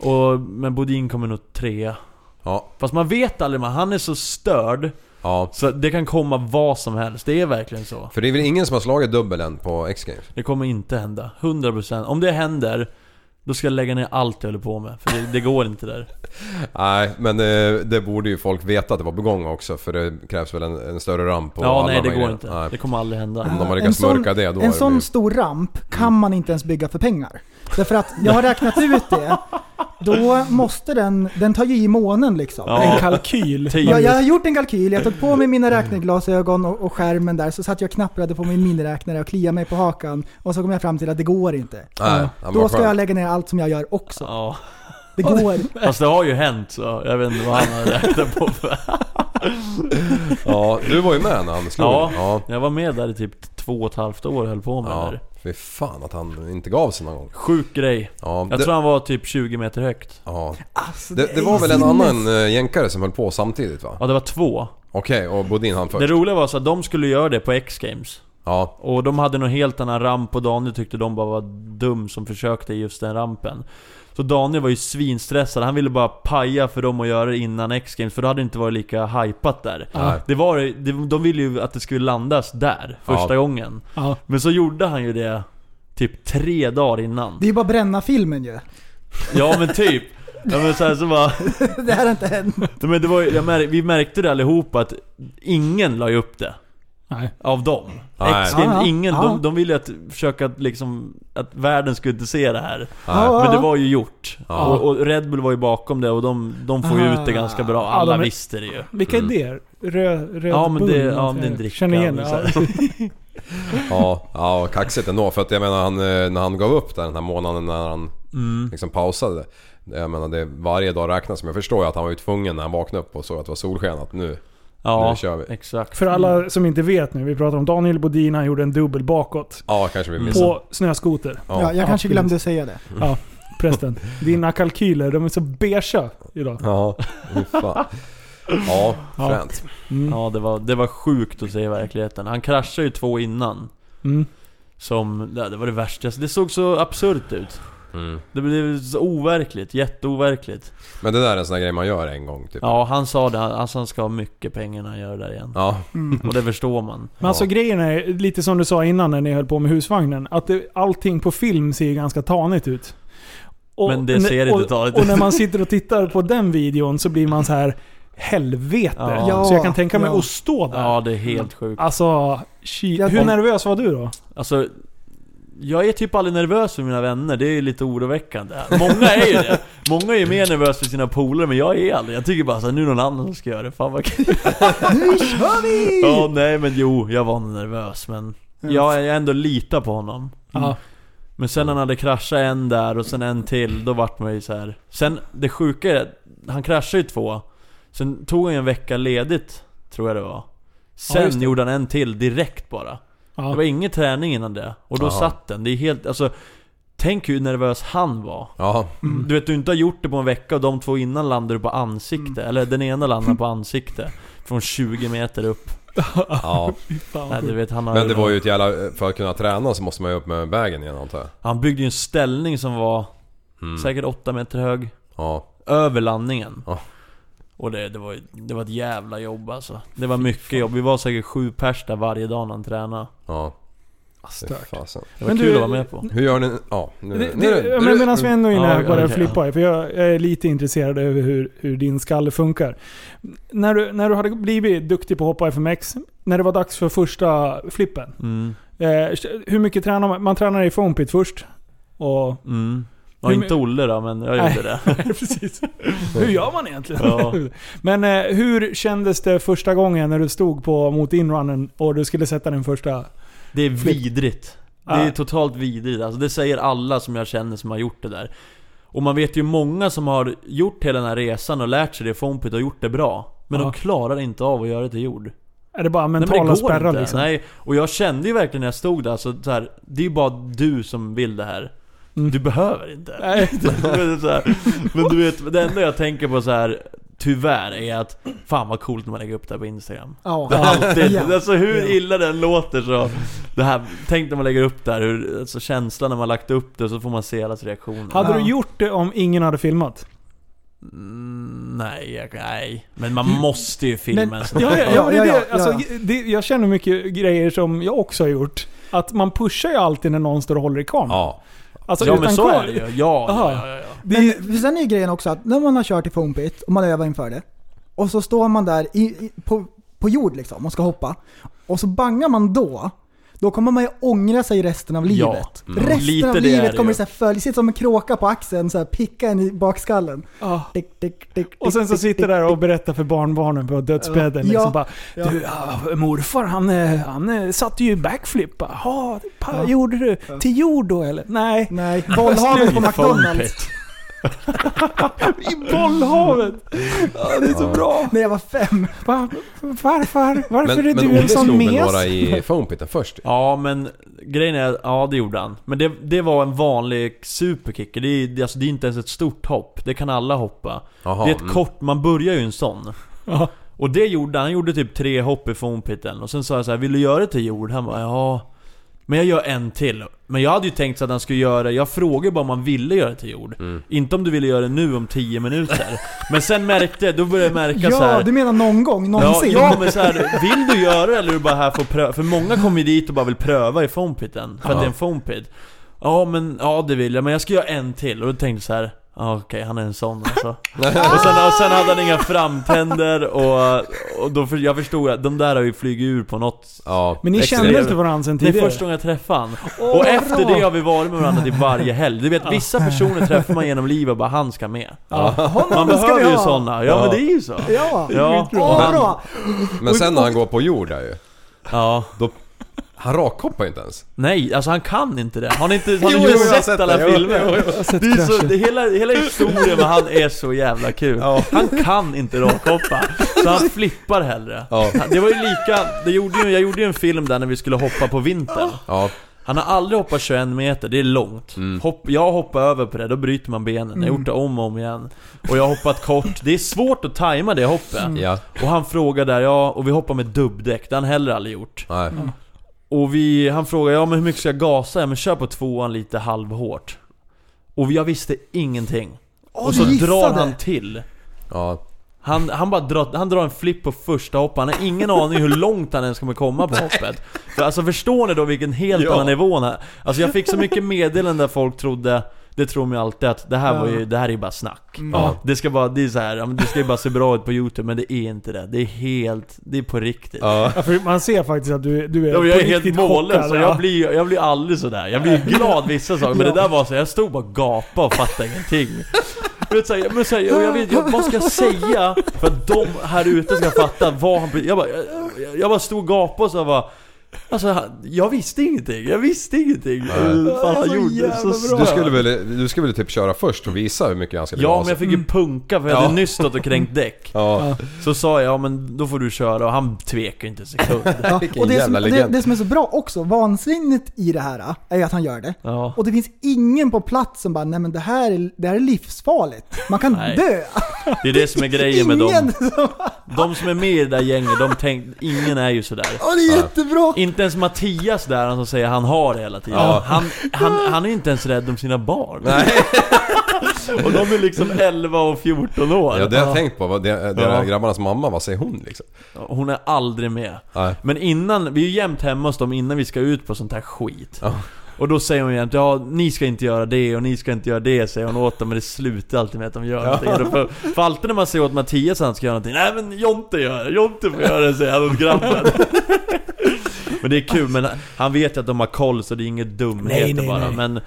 Speaker 8: Och, men Bodin kommer nog trea.
Speaker 6: Ja.
Speaker 8: Fast man vet aldrig man, han är så störd
Speaker 6: Ja.
Speaker 8: så det kan komma vad som helst. Det är verkligen så.
Speaker 6: För det är väl ingen som har slagit dubbel än på X-Games?
Speaker 8: Det kommer inte hända. 100%. Om det händer, då ska jag lägga ner allt jag håller på med. För det, det går inte där.
Speaker 6: Nej, men det, det borde ju folk veta att det var på gång också för det krävs väl en, en större ramp och
Speaker 8: Ja,
Speaker 6: alla
Speaker 8: nej
Speaker 6: de
Speaker 8: det går
Speaker 6: här grejerna.
Speaker 8: inte.
Speaker 6: Nej.
Speaker 8: Det kommer aldrig hända.
Speaker 6: Om de har
Speaker 7: En
Speaker 6: lyckats
Speaker 7: sån-
Speaker 6: mörka det, då är
Speaker 7: En
Speaker 6: det Mm.
Speaker 7: sån
Speaker 6: ju-
Speaker 7: stor ramp kan man inte ens bygga för pengar. Därför att jag har räknat ut det. Då måste den, den tar ju i månen liksom.
Speaker 8: Ja.
Speaker 5: En kalkyl.
Speaker 8: Typ.
Speaker 7: Jag, jag har gjort en kalkyl, jag tog på mig mina räkneglasögon och, och skärmen där, så satt jag och knapprade på min miniräknare och kliade mig på hakan. Och så kom jag fram till att det går inte.
Speaker 6: Nej, ja,
Speaker 7: Då ska jag lägga ner allt som jag gör också.
Speaker 8: Ja.
Speaker 7: Det går.
Speaker 8: Fast det har ju hänt så jag vet inte vad han har räknat på för.
Speaker 6: Ja, du var ju med när han slog.
Speaker 8: Ja.
Speaker 6: ja.
Speaker 8: Jag var med där i typ två och ett halvt år och höll på med det
Speaker 6: ja.
Speaker 8: där.
Speaker 6: Fy fan att han inte gav sig någon gång.
Speaker 8: Sjuk grej.
Speaker 6: Ja,
Speaker 8: Jag
Speaker 6: det,
Speaker 8: tror han var typ 20 meter högt.
Speaker 6: ja.
Speaker 7: Alltså,
Speaker 6: Det, det var
Speaker 7: är
Speaker 6: väl en
Speaker 7: sinnes.
Speaker 6: annan eh, jänkare som höll på samtidigt va?
Speaker 8: Ja det var två.
Speaker 6: Okej, och Bodin han
Speaker 8: Det
Speaker 6: först?
Speaker 8: roliga var så att de skulle göra det på X-games.
Speaker 6: Ja,
Speaker 8: Och de hade någon helt annan ramp och Daniel tyckte de bara var dum som försökte i just den rampen. Så Daniel var ju svinstressad, han ville bara paja för dem att göra det innan X-games för då hade det inte varit lika hypat där.
Speaker 6: Nej.
Speaker 8: Det var, det, de ville ju att det skulle landas där, första
Speaker 6: Ja.
Speaker 8: gången.
Speaker 5: Ja.
Speaker 8: Men så gjorde han ju det typ tre dagar innan.
Speaker 7: Det är ju bara att bränna filmen ju.
Speaker 8: Ja men typ. Ja, men så här, så bara,
Speaker 7: Det här har inte hänt.
Speaker 8: men det var, ju- jag mär, vi märkte det allihopa att ingen la ju upp det.
Speaker 5: Nej.
Speaker 8: Av dem.
Speaker 6: Nej.
Speaker 8: X Games,
Speaker 7: Ja, ja.
Speaker 8: ingen,
Speaker 7: Ja.
Speaker 8: de, de ville ju att, försöka att liksom, att världen skulle inte se det här.
Speaker 7: Ja,
Speaker 8: Men det
Speaker 7: ja.
Speaker 8: var ju gjort.
Speaker 6: Ja.
Speaker 8: Och, och Red Bull var ju bakom det och de, de får ju
Speaker 7: Ah.
Speaker 8: ut det ganska bra.
Speaker 5: Ja,
Speaker 8: Alla
Speaker 5: de är-
Speaker 8: visste det ju.
Speaker 5: Vilka
Speaker 6: Mm.
Speaker 5: idéer? Röd, röd
Speaker 8: Ja, men
Speaker 5: Bull,
Speaker 8: det- ja,
Speaker 5: någonting.
Speaker 8: det är en dricka,
Speaker 5: Känner igen det.
Speaker 8: men
Speaker 5: Ja.
Speaker 8: så
Speaker 6: Ja, ja, kaxigt ändå. För att jag menar han, eh, när han gav upp där den här månaden när han liksom pausade. Jag menar det, varje dag räknas. Men jag förstår ju att han var ju tvungen när han vaknade upp och såg att det var solsken att nu,
Speaker 8: Ja,
Speaker 6: nu kör vi.
Speaker 8: exakt.
Speaker 5: För alla som inte vet nu, vi pratar om Daniel Bodin, han gjorde en dubbel bakåt.
Speaker 6: Ja, kanske vi missade.
Speaker 5: På snöskoter.
Speaker 6: Ja.
Speaker 7: Ja, jag kanske
Speaker 5: Absolut.
Speaker 7: glömde säga det.
Speaker 5: Prästen, dina kalkyler, de är så beiga idag.
Speaker 6: Ja, fy fan. Ja,
Speaker 5: Ja.
Speaker 6: fränt.
Speaker 5: Mm.
Speaker 8: Ja, det var, det var sjukt att se i verkligheten. Han kraschade ju två innan.
Speaker 5: Mm.
Speaker 8: Som, det det var det värsta. Det såg så absurt ut.
Speaker 6: Mm.
Speaker 8: Det blev så overkligt, jätteoverkligt.
Speaker 6: Men det där är en sån där grej man gör en gång typ.
Speaker 8: Ja, han sa det. Han- Alltså han ska ha mycket pengar när han gör det där igen.
Speaker 6: Ja,
Speaker 8: Och det förstår man.
Speaker 5: Men alltså grejen är, lite som du sa innan när ni höll på med husvagnen, att det, allting på film ser ju ganska tanigt ut. Och-
Speaker 8: Men det ser
Speaker 5: och,
Speaker 8: inte tanigt
Speaker 5: ut. Och
Speaker 8: ut.
Speaker 5: när man sitter och tittar på den videon så blir man så här helvete.
Speaker 8: Ja.
Speaker 5: så jag kan tänka mig
Speaker 7: Ja.
Speaker 5: att stå där.
Speaker 8: Ja, det är helt sjukt.
Speaker 5: Alltså, shit.
Speaker 7: Jag-
Speaker 5: hur nervös var du då?
Speaker 8: Alltså, jag är typ aldrig nervös för mina vänner. Det är lite oroväckande. Många är ju det. Många är ju mer nervösa för sina polare, men jag är aldrig. Jag tycker bara såhär, nu är det någon annan som ska göra det. Fan vad kul.
Speaker 7: Nu kör vi!
Speaker 8: Ja, nej men jo, jag var nervös men... Jag jag ändå litar på honom.
Speaker 5: Ja.
Speaker 8: Men sen när han hade kraschat en där och sen en till, då vart man ju så här. Sen det sjuka är, han kraschade ju två. Sen tog han ju en vecka ledigt, tror jag det var. Sen
Speaker 5: just det.
Speaker 8: gjorde han en till direkt bara.
Speaker 5: Ja.
Speaker 8: Det var ingen träning innan det. Och då
Speaker 6: Ja.
Speaker 8: satt den. Det är helt, alltså. Tänk hur nervös han var.
Speaker 6: ja.
Speaker 5: Mm.
Speaker 8: Du vet, du inte har gjort det på en vecka och de två innan landar du på ansikte.
Speaker 5: Mm.
Speaker 8: Eller den ena landar på ansikte. Från 20 meter upp.
Speaker 6: ja.
Speaker 5: Fan,
Speaker 8: Nej, du vet, han har
Speaker 6: Men det var ju ett jävla... För att kunna träna så måste man ju upp med vägen igen antar jag.
Speaker 8: Han byggde ju en ställning som var
Speaker 6: Mm.
Speaker 8: säkert 8 meter hög.
Speaker 6: Ja.
Speaker 8: Över landningen.
Speaker 6: Ja.
Speaker 8: Och det, det, var, ju- det var ett jävla jobb alltså. Det var mycket jobb. Vi var säkert sju pers där varje dag när han tränade.
Speaker 6: Ja. Fy
Speaker 5: stört.
Speaker 6: fasen.
Speaker 8: Det var
Speaker 5: Men
Speaker 8: kul
Speaker 5: du-
Speaker 8: att vara med på.
Speaker 6: Hur gör ni? Ja, nu...
Speaker 5: Ah, Det,
Speaker 6: nu,
Speaker 5: det, men medan vi ändå är inne
Speaker 8: Ja,
Speaker 5: här på det och
Speaker 8: okej,
Speaker 5: flippar, för jag, jag är lite intresserad över hur, hur din skalle funkar. När du, när du hade blivit duktig på att hoppa FMX, när det var dags för första flippen,
Speaker 8: Mm,
Speaker 5: eh, hur mycket tränar man? Man tränar i foampit först. Och,
Speaker 8: mm. Ja,
Speaker 5: Hur-
Speaker 8: inte Olle då, men jag
Speaker 5: Nej.
Speaker 8: gjorde det.
Speaker 5: precis. Hur gör man egentligen?
Speaker 8: Ja.
Speaker 5: Men eh, hur kändes det första gången när du stod på, mot inrunnen och du skulle sätta den första?
Speaker 8: Det är vidrigt. Det är
Speaker 5: Ja.
Speaker 8: totalt vidrigt. Alltså, det säger alla som jag känner som har gjort det där. Och man vet ju många som har gjort hela den här resan och lärt sig det i fompit och gjort det bra. Men
Speaker 5: Ja.
Speaker 8: de klarar inte av att göra det till jord.
Speaker 5: Är det bara mentala
Speaker 8: det går
Speaker 5: spärrar
Speaker 8: inte.
Speaker 5: liksom?
Speaker 8: Nej, och jag kände ju verkligen när jag stod där, alltså, så, så här, det är ju bara du som vill det här.
Speaker 5: Mm.
Speaker 8: Du behöver inte.
Speaker 5: Nej.
Speaker 8: Men så här, men du vet, det enda jag tänker på så här. Tyvärr är att, fan vad coolt när man lägger upp det här på Instagram.
Speaker 7: Ja.
Speaker 8: Alltid.
Speaker 7: Ja.
Speaker 8: Alltså hur
Speaker 7: Ja.
Speaker 8: illa den låter så. Det här, tänk när man lägger upp det här, hur, alltså känslan när man lagt upp det så får man se allas reaktioner.
Speaker 5: Hade
Speaker 7: Ja.
Speaker 5: du gjort det om ingen hade filmat?
Speaker 8: Mm, nej, jag- nej. Men man måste ju filma
Speaker 7: Men-
Speaker 8: en sån
Speaker 5: Ja, ja, ja,
Speaker 7: Ja,
Speaker 5: men
Speaker 7: ja,
Speaker 5: det,
Speaker 7: ja,
Speaker 5: alltså,
Speaker 7: ja.
Speaker 5: Det, jag känner mycket grejer som jag också har gjort. Att man pushar ju alltid när någon står och håller i kameran.
Speaker 6: Ja.
Speaker 5: Alltså,
Speaker 8: Ja
Speaker 5: utan
Speaker 8: men så
Speaker 5: kameran-
Speaker 8: är det ju. Ja,
Speaker 5: Aha.
Speaker 8: ja, ja, ja, ja.
Speaker 5: Det är ju-
Speaker 7: Men sen är ju grejen också att när man har kört i foampit och man övar inför det. Och så står man där i, i, på, på jord liksom och ska hoppa. Och så bangar man då. Då kommer man ju ångra sig resten av
Speaker 8: Ja.
Speaker 7: livet.
Speaker 6: Mm.
Speaker 7: Resten
Speaker 8: Lite det
Speaker 7: av
Speaker 8: är det
Speaker 7: livet kommer
Speaker 8: ju.
Speaker 7: det så här följa, sitta som en kråka på axeln, så här picka en i bakskallen.
Speaker 5: ja.
Speaker 7: Tick, tick, tick, tick,
Speaker 5: Och sen så
Speaker 7: tick,
Speaker 5: sitter
Speaker 7: tick,
Speaker 5: där och
Speaker 7: tick.
Speaker 5: berättar för barnbarnen på dödsbädden.
Speaker 7: Ja.
Speaker 5: Liksom bara,
Speaker 7: Ja.
Speaker 5: du, ja, morfar han, eh, han eh, satte ju backflip. Jaha, pa,
Speaker 7: Ja.
Speaker 5: gjorde du? Till jord då eller? Nej,
Speaker 7: Nej, bollhavet på
Speaker 8: I
Speaker 7: McDonalds.
Speaker 8: foampit.
Speaker 5: i bollhavet. Ja, det är så bra.
Speaker 7: När jag var fem.
Speaker 5: Va, varför varför
Speaker 6: Men,
Speaker 5: är
Speaker 6: men
Speaker 5: du
Speaker 6: Olle
Speaker 5: en sån
Speaker 6: slog väl
Speaker 5: mes?
Speaker 6: några i foampiten först?
Speaker 8: Ja men grejen är, ja det gjorde han. Men det, det var en vanlig superkicker, det är, det, alltså, det är inte ens ett stort hopp. Det kan alla hoppa.
Speaker 6: Jaha,
Speaker 8: det är ett
Speaker 6: mm.
Speaker 8: kort, man börjar ju en sån.
Speaker 5: Ja.
Speaker 8: Och det gjorde han, han gjorde typ tre hopp i fompitten. Och sen sa jag så här, vill du göra det till jord? Han bara, ja. Men jag gör en till. Men jag hade ju tänkt så att han skulle göra, jag frågade bara om han ville göra det till jord.
Speaker 6: Mm.
Speaker 8: Inte om du ville göra det nu om 10 minuter. Men sen märkte, då började jag märka så
Speaker 7: Ja,
Speaker 8: här.
Speaker 7: du menar någon gång,
Speaker 8: Ja,
Speaker 7: någonsin?
Speaker 8: ja men så här, vill du göra det eller är du bara här för att pröva? För många kommer ju dit och bara vill pröva i foampiten, för att det är en foampit. Ja men, ja det vill jag, men jag ska göra en till. Och då tänkte jag så här. Ja, Okej, han är en sån alltså. och, sen, och sen hade han inga framtänder och, och då för, jag förstod att de där har ju flugit ur på något
Speaker 6: Ja,
Speaker 5: Men ni
Speaker 6: extremt.
Speaker 5: kände inte varandra sen
Speaker 8: Det är
Speaker 5: tidigare?
Speaker 8: första gången jag träffade han. och efter det har vi varit med varandra till varje helg. Du vet, vissa personer träffar man genom livet och bara 'Han ska med' Man
Speaker 7: ska
Speaker 8: behöver
Speaker 7: vi
Speaker 8: ju
Speaker 7: ha.
Speaker 8: sådana, ja, men det är ju så.
Speaker 7: Ja!
Speaker 8: Ja, och
Speaker 7: Åh,
Speaker 8: han,
Speaker 7: bra!
Speaker 6: Men sen när han går på jord där ju.
Speaker 8: ja.
Speaker 6: Då, han rakhoppar ju inte ens.
Speaker 8: Nej, alltså han kan inte det. Har ni inte, har ni
Speaker 6: Jo,
Speaker 8: inte
Speaker 6: jo, jag har
Speaker 8: sett,
Speaker 6: sett
Speaker 8: alla
Speaker 6: det. Jo,
Speaker 8: filmer? det är så, det, hela, hela historien med han är så jävla kul. Han kan inte rakhoppa, så han flippar hellre.
Speaker 6: Ja.
Speaker 8: Det var ju lika, det gjorde ju, jag gjorde ju en film där när vi skulle hoppa på vintern.
Speaker 6: Ja,
Speaker 8: Han har aldrig hoppat 21 meter, det är långt.
Speaker 6: Mm.
Speaker 8: Hopp, jag hoppar över på det, då bryter man benen. Jag har gjort det om och om igen. Och jag har hoppat kort. Det är svårt att tajma det hoppet.
Speaker 6: ja,
Speaker 8: Och han frågar där, ja, och vi hoppar med dubbdäck, det har han heller aldrig gjort.
Speaker 6: nej.
Speaker 8: Och vi, han frågar, ja men hur mycket ska jag gasa? Ja men kör på tvåan lite halvhårt. Och jag visste ingenting.
Speaker 7: Åh,
Speaker 8: och så
Speaker 7: du gissade.
Speaker 8: drar han till.
Speaker 6: Ja,
Speaker 8: Han, han bara drar, han drar en flipp på första hoppet, han har ingen aning hur långt han ens kommer komma på hoppet. För alltså förstår ni då vilken helt
Speaker 6: Ja.
Speaker 8: annan nivå han är? Alltså jag fick så mycket meddelanden där folk trodde det tror mig alltid att det här var ju, det här är ju bara snack.
Speaker 6: Ja.
Speaker 8: Det ska bara, det är så här, ja, men det ska ju bara se bra ut på youtube, men det är inte det. Det är helt, det är på riktigt.
Speaker 6: ja.
Speaker 5: Ja, för man ser faktiskt att du, du är
Speaker 8: Ja, men jag
Speaker 5: på
Speaker 8: är helt
Speaker 5: riktigt
Speaker 8: mållös,
Speaker 5: chockad.
Speaker 8: så jag blir, jag blir aldrig sådär. Jag blir glad vissa saker, men det där var så jag stod bara och gapade och fattade ingenting. Du vet, så här, men så här, jag, jag vet, jag, vad ska jag säga för att de här ute ska fatta vad han... Jag bara, jag, jag bara stod och gapade och så bara... Alltså, han- jag visste ingenting, jag visste ingenting.
Speaker 6: Nej.
Speaker 8: Fan, han gjorde så
Speaker 6: Du
Speaker 8: stört.
Speaker 6: skulle, väl, du skulle väl typ köra först och visa hur mycket han skulle
Speaker 8: Ja,
Speaker 6: gasa?
Speaker 8: men jag fick ju punka för jag hade
Speaker 6: Ja.
Speaker 8: nyss stått och kränkt däck.
Speaker 6: Ja,
Speaker 8: Så sa jag, ja men då får du köra och han tvekar inte en sekund.
Speaker 7: Ja,
Speaker 6: Vilken
Speaker 7: och det, som,
Speaker 6: jävla
Speaker 7: det,
Speaker 6: legend.
Speaker 7: det som är så bra också, vansinnigt i det här, eh, är ju att han gör det.
Speaker 8: Ja.
Speaker 7: Och det finns ingen på plats som bara nej men det här är, det här är livsfarligt. Man kan
Speaker 8: Nej.
Speaker 7: dö.
Speaker 8: Det är det som är grejen med dem.
Speaker 7: ingen som...
Speaker 8: De som är med i det där gänget, de tänk, ingen är ju sådär.
Speaker 7: Åh, det är jättebra!
Speaker 8: Inte ens Mattias där, han som säger han har det hela tiden.
Speaker 6: Ja.
Speaker 8: Han, han, han är ju inte ens rädd om sina barn. och de är liksom 11 och 14 år.
Speaker 6: ja det har jag tänkt på. Vad- Det, det
Speaker 8: Ja.
Speaker 6: grabbarnas mamma, vad säger hon liksom?
Speaker 8: Hon är aldrig med.
Speaker 6: Nej.
Speaker 8: Men innan, vi är ju jämt hemma hos dem innan vi ska ut på sånt här skit.
Speaker 6: Ja.
Speaker 8: Och då säger hon jämt ja ni ska inte göra det och ni ska inte göra det säger hon åt dem men det slutar alltid med att de gör någonting. Och då För, för alltid när man säger åt Mattias att han ska göra någonting, nej men Jonte gör det, Jonte får göra det säger han åt grabben. men det är kul, men han vet ju att de har koll så det är inget dumheter
Speaker 5: Nej, nej,
Speaker 8: bara.
Speaker 5: nej.
Speaker 8: Men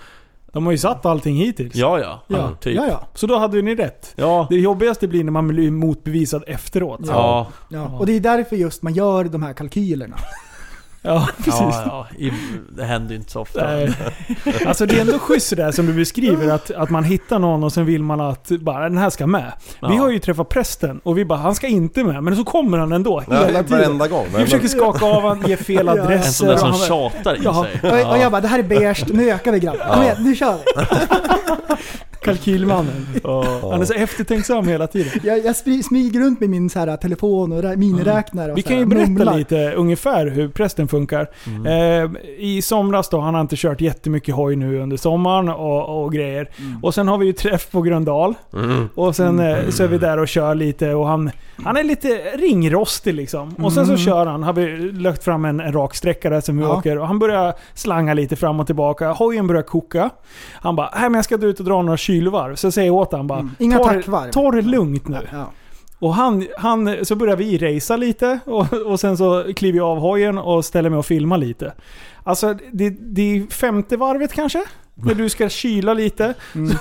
Speaker 5: De har ju satt allting hittills.
Speaker 8: ja ja,
Speaker 5: Ja,
Speaker 8: typ.
Speaker 7: Ja, ja.
Speaker 5: Så då hade ju ni rätt.
Speaker 8: Ja.
Speaker 5: Det jobbigaste blir när man blir motbevisad efteråt.
Speaker 8: Ja,
Speaker 7: ja. Och det är därför just man gör de här kalkylerna.
Speaker 5: Ja, precis.
Speaker 8: ja, ja, I- det händer ju inte så ofta.
Speaker 5: Nej. Alltså det är ändå schysst det där som du beskriver, att, att man hittar någon och sen vill man att bara, den här ska med. Vi
Speaker 8: Ja.
Speaker 5: har ju träffat prästen och vi bara, han ska inte med. Men så kommer han ändå hela
Speaker 6: Ja,
Speaker 5: tiden.
Speaker 6: varenda gång.
Speaker 5: Vi försöker skaka av honom, ge fel
Speaker 8: En sån där
Speaker 5: adresser.
Speaker 8: som
Speaker 5: och han-
Speaker 8: tjatar i
Speaker 5: Ja.
Speaker 8: sig.
Speaker 7: Och, och jag bara det här är beige, nu ökar vi grabbar. Kom igen, nu kör vi.
Speaker 5: Kalkylmannen. Han är så eftertänksam hela tiden.
Speaker 7: Jag, jag spri- smyger runt med min så här, eh, telefon och rä- miniräknare och
Speaker 5: Vi
Speaker 7: så
Speaker 5: kan ju
Speaker 7: här,
Speaker 5: berätta
Speaker 7: mumlar.
Speaker 5: lite ungefär hur prästen funkar.
Speaker 8: Mm.
Speaker 5: Eh, I somras då, han har inte kört jättemycket hoj nu under sommaren och, och grejer.
Speaker 8: Mm.
Speaker 5: Och sen har vi ju träff på Gröndal.
Speaker 6: Mm.
Speaker 5: Och sen eh,
Speaker 7: Mm.
Speaker 5: så är vi där och kör lite och han, han är lite ringrostig liksom. Och sen så kör han, har vi lagt fram en, en rak sträcka där som vi
Speaker 7: Mm. Ja.
Speaker 5: åker. Och han börjar slanga lite fram och tillbaka. Hojen börjar koka. Han bara, "Nej, men jag ska ut och dra några kylvarv. Så jag säger åt han bara,
Speaker 7: Mm. Inga
Speaker 5: "Ta det-
Speaker 7: tackvarv."
Speaker 5: Ta det lugnt nu.
Speaker 7: Ja.
Speaker 5: Och han, han, så börjar vi racea lite och, och sen så kliver jag av hojen och ställer mig och filmar lite. Alltså det, det är femte varvet kanske? När du ska kyla lite.
Speaker 7: Mm.
Speaker 5: Så,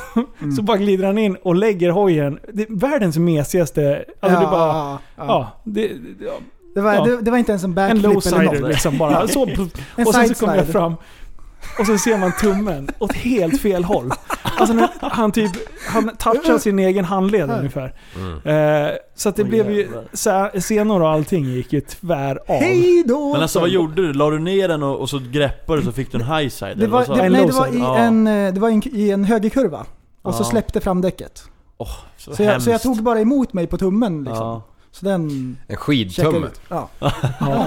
Speaker 5: så bara glider han in och lägger hojen. Det är världens mesigaste... Alltså
Speaker 7: ja,
Speaker 5: det bara...
Speaker 7: ja, ja.
Speaker 5: Ja, det, ja,
Speaker 7: Det, var,
Speaker 5: Ja.
Speaker 7: det, det var inte ens en
Speaker 5: en
Speaker 7: backflip eller
Speaker 5: low-sider
Speaker 7: något.
Speaker 5: liksom bara. Så,
Speaker 7: En
Speaker 5: och sen så
Speaker 7: side
Speaker 5: kommer jag
Speaker 7: slide.
Speaker 5: fram och så ser man tummen åt helt fel håll. Alltså när han typ, han touchar sin egen handled ungefär.
Speaker 8: Mm.
Speaker 5: Eh, så att det
Speaker 8: Åh,
Speaker 5: blev ju,
Speaker 8: jävlar.
Speaker 5: sä- senor och allting gick ju tvär av.
Speaker 7: Hej då!
Speaker 8: Men alltså vad gjorde du? La du ner den och, och så greppade du så fick du en highside?
Speaker 7: Det
Speaker 8: eller vad
Speaker 7: var,
Speaker 8: sa
Speaker 7: det,
Speaker 8: du?
Speaker 7: nej, det
Speaker 5: low
Speaker 7: var,
Speaker 5: side.
Speaker 7: i,
Speaker 8: Ja.
Speaker 7: en, eh, det var i en, i en högerkurva. Och så
Speaker 8: Ja.
Speaker 7: släppte framdäcket.
Speaker 8: Åh, så,
Speaker 7: Så jag, så jag
Speaker 8: hemskt.
Speaker 7: tog bara emot mig på tummen liksom.
Speaker 8: Ja.
Speaker 7: Så den
Speaker 6: En
Speaker 7: checkade
Speaker 6: skidtumme.
Speaker 7: ut. Ja.
Speaker 5: Ja.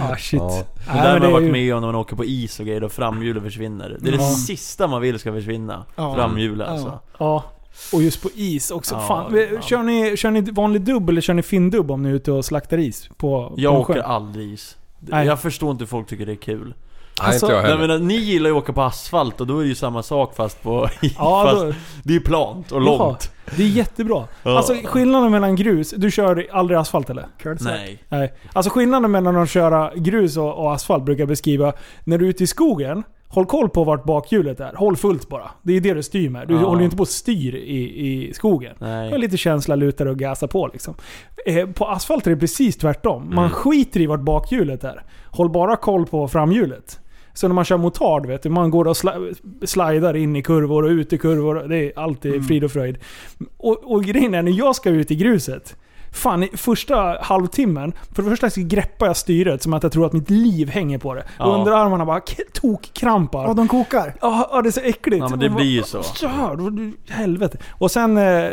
Speaker 5: Ah, shit.
Speaker 6: Ja.
Speaker 5: Nej,
Speaker 8: Det där man
Speaker 5: men
Speaker 8: har
Speaker 5: det är
Speaker 8: varit
Speaker 5: ju-
Speaker 8: med om när man åker på is och grejer, då framhjulet försvinner. Det är det
Speaker 5: Ja.
Speaker 8: sista man vill ska försvinna.
Speaker 7: Ja.
Speaker 8: Framhjulet
Speaker 7: Ja.
Speaker 8: alltså.
Speaker 5: Ja. Och just på is också.
Speaker 8: Ja,
Speaker 5: Fan.
Speaker 8: ja.
Speaker 5: Kör, ni, kör ni vanlig dubb eller kör ni findubb om ni är ute och slaktar is? På,
Speaker 8: Jag
Speaker 5: på sjön?
Speaker 8: åker aldrig is.
Speaker 5: Nej.
Speaker 8: Jag förstår inte hur folk tycker det är kul. Alltså,
Speaker 6: inte jag
Speaker 8: nej,
Speaker 6: heller.
Speaker 8: men, ni gillar ju att åka på asfalt och då är det ju samma sak fast på...
Speaker 5: Ja,
Speaker 8: fast
Speaker 5: då-
Speaker 8: det är ju plant och långt.
Speaker 5: Det är jättebra.
Speaker 8: Ja.
Speaker 5: Alltså skillnaden mellan grus, du kör aldrig asfalt eller?
Speaker 8: Nej.
Speaker 5: Nej. Alltså skillnaden mellan att köra grus och, och asfalt brukar jag beskriva, när du är ute i skogen, håll koll på vart bakhjulet är. Håll fullt bara. Det är det du styr med. Du
Speaker 8: Ja.
Speaker 5: håller ju inte på och styr i, i skogen.
Speaker 8: Nej.
Speaker 5: Med lite känsla, lutar och gasar på liksom. Eh, på asfalt är det precis tvärtom. Man
Speaker 8: Mm.
Speaker 5: skiter i vart bakhjulet är. Håll bara koll på framhjulet. Så när man kör motard, vet du, man går och sla- slidar in i kurvor och ut i kurvor. Det är alltid frid och fröjd. Och, och grejen är, när jag ska ut i gruset. Fan, i första halvtimmen. För det första så greppar jag styret som att jag tror att mitt liv hänger på det. Och
Speaker 8: Ja.
Speaker 5: underarmarna bara k-
Speaker 7: Ja,
Speaker 5: tokkrampar.
Speaker 7: de kokar.
Speaker 5: Ja, ja, det är så äckligt.
Speaker 8: Ja, men det
Speaker 5: Och-
Speaker 8: blir ju så.
Speaker 5: Störd, och du- helvete. Och sen, eh,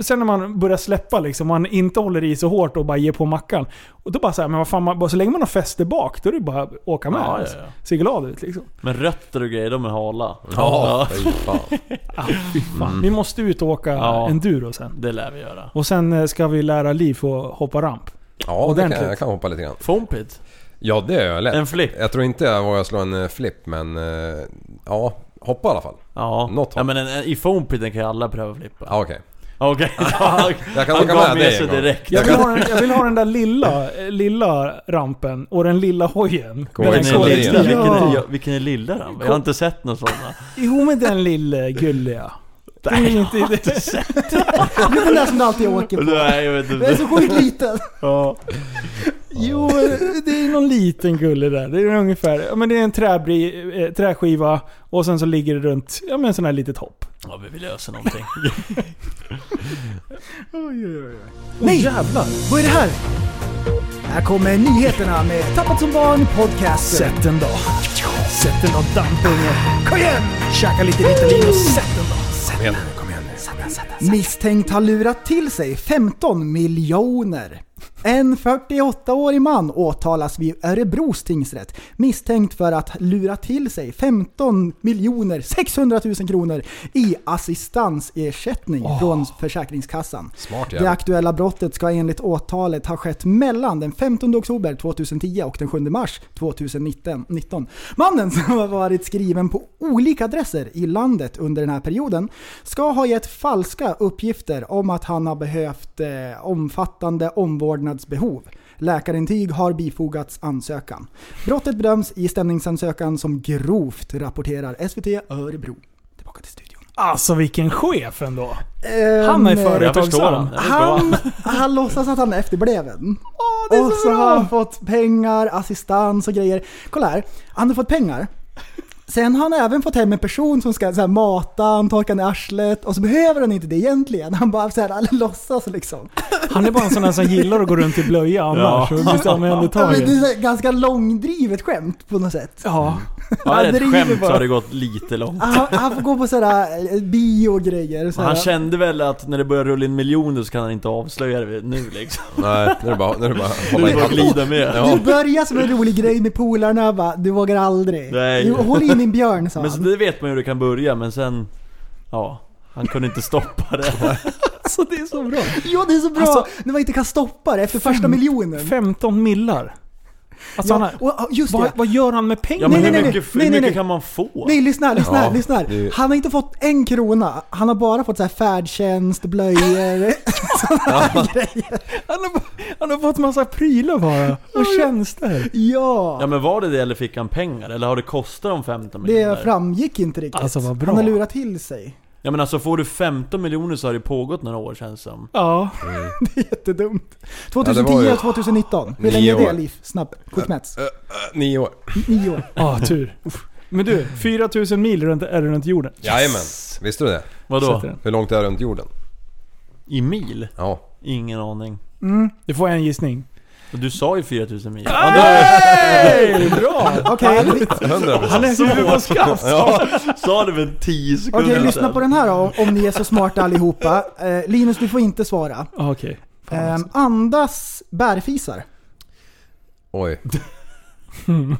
Speaker 5: sen när man börjar släppa liksom, man inte håller i så hårt och bara ger på mackan. Och då bara såhär, men vad fan, man, bara så länge man har fäste bak, då är det bara att åka med.
Speaker 8: Ja, ja, ja.
Speaker 5: alltså. Ser glad ut liksom.
Speaker 8: Men rötter och grejer, de är hala.
Speaker 6: Ja, fy fan.
Speaker 5: Fan. Vi måste ut och åka
Speaker 8: Ah, mm. Ja.
Speaker 5: enduro sen.
Speaker 8: Det lär vi göra.
Speaker 5: Och sen eh, ska vi lära Liv att hoppa ramp.
Speaker 6: Ja, det kan,
Speaker 5: Ordentligt.
Speaker 6: jag- jag kan hoppa lite grann.
Speaker 8: Fompit?
Speaker 6: Ja, det gör jag lätt.
Speaker 8: En flip?
Speaker 6: Jag tror inte jag vågar slå en eh, flip, men eh, ja, hoppa i alla fall.
Speaker 8: Ja.
Speaker 6: Något
Speaker 8: ja
Speaker 6: håll.
Speaker 8: men en, en, i fompiten kan ju alla pröva att flippa.
Speaker 6: Ja, okej.
Speaker 8: Okej.
Speaker 6: Jag kan
Speaker 8: Han
Speaker 6: åka
Speaker 8: gav
Speaker 6: med
Speaker 8: med
Speaker 6: dig
Speaker 8: sig
Speaker 6: en gång.
Speaker 8: direkt.
Speaker 5: Jag vill, ha den, jag vill ha den där lilla, eh, lilla rampen och den lilla hojen.
Speaker 6: Vilken
Speaker 5: Den
Speaker 8: Vilken är
Speaker 6: Kolla
Speaker 5: kollektiva.
Speaker 8: lilla? Vilken
Speaker 6: in.
Speaker 5: Ja.
Speaker 8: är, ja, vilken är lilla då? Jag har inte sett någon sådana.
Speaker 5: Jo men den lilla gulliga. Nej, inte,
Speaker 7: Det är den där som du alltid åker på.
Speaker 8: Nej jag vet
Speaker 7: Det är
Speaker 8: inte.
Speaker 7: så sjukt liten.
Speaker 5: Ja. Jo, det är någon liten gulle där. Det är ungefär, ja, men det är en träbri, eh, träskiva och sen så ligger det runt, ja men sån här litet hopp.
Speaker 8: Ja men vi löser någonting.
Speaker 7: Nej! jävlar. Vad är det här? Här kommer nyheterna med Tappat som barn podcast.
Speaker 5: Sätt den då. Sätt den då dampunge.
Speaker 7: Kom igen!
Speaker 5: Käka lite Ritalin och sätt den då.
Speaker 6: Kom igen nu, kom igen nu.
Speaker 7: Misstänkt har lurat till sig 15 miljoner. En 48-årig man åtalas vid Örebros tingsrätt misstänkt för att lura till sig 15 miljoner 600 000 kronor i assistansersättning från Försäkringskassan.
Speaker 6: Smart
Speaker 7: Det
Speaker 6: jävel.
Speaker 7: aktuella brottet ska enligt åtalet ha skett mellan den 15 oktober 2010 och den 7 mars 2019. 19. Mannen som har varit skriven på olika adresser i landet under den här perioden ska ha gett falska uppgifter om att han har behövt eh, omfattande omvårdnadsbehov. Läkarintyg har bifogats ansökan. Brottet bedöms i stämningsansökan som grovt, rapporterar SVT Örebro. Tillbaka till studion.
Speaker 5: Alltså vilken chef ändå.
Speaker 7: Ehm,
Speaker 5: Han är
Speaker 7: eh,
Speaker 8: Jag förstår
Speaker 5: företagsam.
Speaker 8: honom.
Speaker 7: han, han låtsas att han är efterbliven.
Speaker 5: det är
Speaker 7: och
Speaker 5: så
Speaker 7: så,
Speaker 5: bra.
Speaker 7: har han fått pengar, assistans och grejer. Kolla här, han har fått pengar. Sen har han även fått hem en person som ska så här, mata han, torka ner arslet och så behöver han inte det egentligen. Han bara så här, låtsas liksom.
Speaker 5: Han är bara en sån där som gillar att gå runt i blöja annars
Speaker 8: Ja.
Speaker 5: och bli så
Speaker 7: Ja, men Det
Speaker 5: omhändertagen.
Speaker 7: är så här, ganska långdrivet skämt på något sätt.
Speaker 5: Ja.
Speaker 8: Ja, det är
Speaker 7: driver
Speaker 8: ett skämt så
Speaker 7: bara.
Speaker 8: har det gått lite långt.
Speaker 7: Han, han får gå på sådana bio och grejer. Så
Speaker 8: Men
Speaker 7: här.
Speaker 8: han kände väl att när det börjar rulla in miljoner så kan han inte avslöja det nu liksom.
Speaker 6: Nej, nu är det bara, nu är det bara
Speaker 8: Nu
Speaker 6: hålla
Speaker 8: är det bara att
Speaker 6: i
Speaker 8: glida med.
Speaker 6: Ja.
Speaker 7: Det börjar som en rolig grej med polarna bara, du vågar aldrig.
Speaker 8: Nej.
Speaker 7: Jo, håll in din björn sa
Speaker 8: Men så
Speaker 7: han.
Speaker 8: det vet man ju hur det kan börja men sen... Ja, han kunde inte stoppa det.
Speaker 5: Alltså det är så bra.
Speaker 7: Ja det är så bra!
Speaker 5: Alltså-
Speaker 7: när man inte kan stoppa det efter första miljonen.
Speaker 5: 15 millar. Alltså han
Speaker 7: ja,
Speaker 5: är,
Speaker 7: och, och just
Speaker 5: vad,
Speaker 7: det.
Speaker 5: vad gör han med
Speaker 8: Ja
Speaker 5: pengar?
Speaker 8: men
Speaker 7: Nej,
Speaker 8: hur
Speaker 7: nej, nej,
Speaker 8: mycket,
Speaker 7: nej, nej,
Speaker 8: hur mycket
Speaker 7: nej.
Speaker 8: kan man få?
Speaker 7: Nej lyssna, lyssna,
Speaker 6: Ja,
Speaker 7: lyssna. här.
Speaker 6: det är-
Speaker 7: Han har inte fått en krona. Han har bara fått så här färdtjänst, blöjor.
Speaker 5: Han, har, han har fått massa prylar bara. Och tjänster.
Speaker 8: Ja
Speaker 7: ja,
Speaker 8: men var det det eller fick han pengar? Eller har det kostat dem 15 miljoner?
Speaker 7: det framgick inte riktigt.
Speaker 5: Alltså, vad bra.
Speaker 7: Han har lurat till sig.
Speaker 8: Ja men alltså får du 15 miljoner så har det pågått några år känns som.
Speaker 5: Ja.
Speaker 7: Jättedumt.
Speaker 6: det
Speaker 7: 2010
Speaker 6: var ju-
Speaker 7: 2019. Hur
Speaker 6: Nio
Speaker 7: länge är det
Speaker 6: år.
Speaker 7: Liv? Snabbt. Quickmats.
Speaker 6: Nio år.
Speaker 7: Nio år.
Speaker 5: Ja, tur. Men du, 4000 mil runt, är det runt jorden.
Speaker 6: Jajamän. Visste du det?
Speaker 8: Vadå?
Speaker 5: Sätter den.
Speaker 6: Hur långt är det runt jorden?
Speaker 8: I mil?
Speaker 6: Ja.
Speaker 8: Ingen aning.
Speaker 5: Du får en gissning.
Speaker 8: Du sa ju 4000
Speaker 7: Ah,
Speaker 8: mil.
Speaker 5: Hey! Bra!
Speaker 7: Okej, vi-
Speaker 6: Hundra
Speaker 5: Han
Speaker 6: procent.
Speaker 5: är huvud på skaft.
Speaker 8: Sa du väl 10 sekunder
Speaker 7: okej, lyssna på den här då, om ni är så smarta allihopa. Eh, Linus, du får inte svara.
Speaker 5: Ja, Okej.
Speaker 7: Eh,
Speaker 5: alltså.
Speaker 7: andas bärfisar.
Speaker 6: Oj.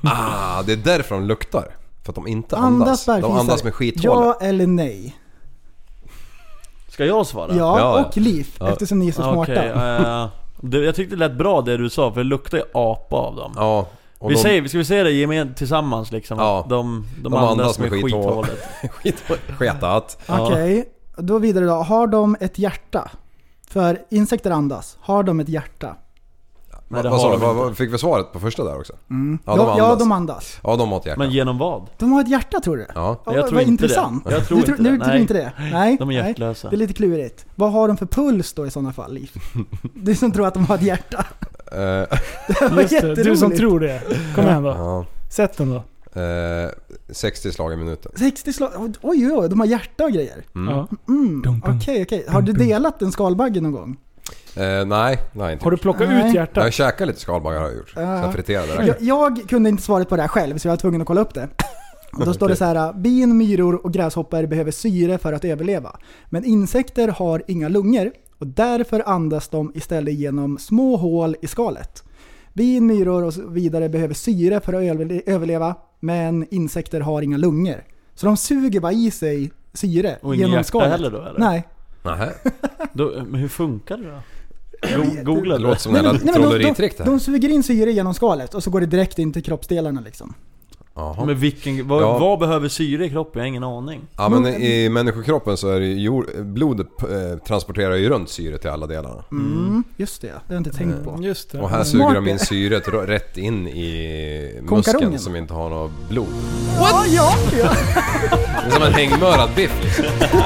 Speaker 6: Ah, det är därför de luktar. För att de inte
Speaker 7: Andas
Speaker 6: andas.
Speaker 7: bärfisar.
Speaker 6: De andas med skithålet.
Speaker 7: Ja eller nej?
Speaker 8: Ska jag svara?
Speaker 7: Ja,
Speaker 6: ja.
Speaker 7: och liv,
Speaker 6: Ja.
Speaker 7: eftersom ni är så smarta.
Speaker 8: Okej, eh, det- jag tyckte det lät bra det du sa för det luktar ju apa av dem.
Speaker 6: Ja. Och
Speaker 8: vi
Speaker 6: de-
Speaker 8: säger, ska vi säga det gemen, tillsammans liksom?
Speaker 6: Ja.
Speaker 8: Att De, de, andas med
Speaker 6: skithål.
Speaker 8: skithålet.
Speaker 6: skit, sketat.
Speaker 8: Ja.
Speaker 7: Okej, då vidare då. Har de ett hjärta? För insekter andas. Har de ett hjärta?
Speaker 8: Nej, det
Speaker 6: vad,
Speaker 8: har de
Speaker 6: vad, vad,
Speaker 8: inte. Mm.
Speaker 6: vad, fick vi svaret på första där också? Ja, de
Speaker 7: ja, ja,
Speaker 6: andas.
Speaker 7: de andas.
Speaker 6: Ja, de har ett hjärta.
Speaker 8: Men genom vad?
Speaker 7: De har ett hjärta tror du?
Speaker 6: Ja.
Speaker 7: Ja,
Speaker 8: Jag
Speaker 7: vad-
Speaker 8: tror
Speaker 7: vad
Speaker 8: inte det.
Speaker 7: intressant.
Speaker 8: Jag tror
Speaker 7: du, du,
Speaker 8: inte det.
Speaker 7: Du tror
Speaker 8: Nej.
Speaker 7: inte det? Nej.
Speaker 8: De är
Speaker 7: nej.
Speaker 8: hjärtlösa.
Speaker 7: Det är lite klurigt. Vad har de för puls då i sådana fall, Liv? Du som tror att de har ett hjärta.
Speaker 6: Eh,
Speaker 7: Det var
Speaker 5: Just det, du som
Speaker 7: jätteroligt.
Speaker 5: tror det. Kom igen då.
Speaker 6: ja.
Speaker 5: Sätt den då.
Speaker 6: Eh, 60 slag i minuten.
Speaker 7: 60 slag. Oj, oj, oj. De har hjärta och grejer.
Speaker 5: Ja.
Speaker 7: Mm.
Speaker 5: Dum, dum.
Speaker 7: Okej, okej. Har du
Speaker 5: Dum, dum.
Speaker 7: delat en skalbagge någon gång?
Speaker 6: Eh, nej, nej inte.
Speaker 5: Har du
Speaker 7: Nej.
Speaker 5: plockat ut
Speaker 6: Jag har
Speaker 5: hjärtat?
Speaker 6: käkat lite skalbaggar har jag gjort.
Speaker 7: Ja.
Speaker 6: Sen friterade det.
Speaker 7: Jag, jag kunde inte svaret på det här själv, så jag var tvungen att kolla upp det. Och då står det så här, bin, myror och gräshoppor behöver syre för att överleva. Men insekter har inga lungor och därför andas de istället genom små hål i skalet. Bin, myror och så vidare behöver syre för att överle- överleva, men insekter har inga lungor. Så de suger bara i sig syre
Speaker 8: Och ingen
Speaker 7: genom
Speaker 8: hjärta
Speaker 7: skalet.
Speaker 8: heller då eller?
Speaker 7: Nej.
Speaker 6: Nähä.
Speaker 8: Då, eh, men hur funkar det då? Go- Googla
Speaker 6: Det
Speaker 8: det.
Speaker 6: låter som en jävla
Speaker 7: de,
Speaker 6: trolleritrick
Speaker 7: de,
Speaker 6: det
Speaker 7: de
Speaker 6: här.
Speaker 7: suger in syre genom skalet och så går det direkt in till kroppsdelarna liksom.
Speaker 6: Jaha.
Speaker 8: Men vilken, vad,
Speaker 6: Ja.
Speaker 8: vad behöver syre i kroppen? Jag har ingen aning.
Speaker 6: Ja men i människokroppen så är det ju jord, blodet eh, transporterar ju runt syre till alla delarna.
Speaker 7: Mm, just det. Det har jag inte
Speaker 8: Eh,
Speaker 7: tänkt på.
Speaker 5: Just det.
Speaker 6: Och här suger de
Speaker 7: Smart.
Speaker 6: in syret r- rätt in i
Speaker 7: Konkarongen.
Speaker 6: muskeln som inte har något blod.
Speaker 7: Ja, ja, ja.
Speaker 6: Det är som en hängmörad biff liksom.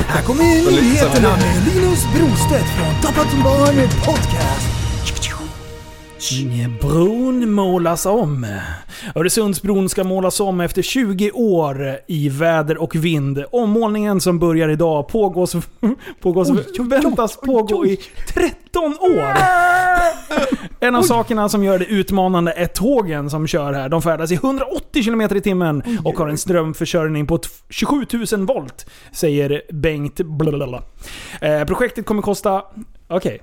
Speaker 7: Här kommer nyheterna med Linus Brostedt från Tappat som barn podcast.
Speaker 5: Bron målas om. Öresundsbron ska målas om efter 20 år i väder och vind. Ommålningen som börjar idag pågås, pågås, väntas pågå i 13 år. En av sakerna som gör det utmanande är tågen som kör här. De färdas i 180 km i timmen och har en strömförsörjning på t- 27 000 volt, säger Bengt blablabla. Eh, projektet kommer kosta... Okej.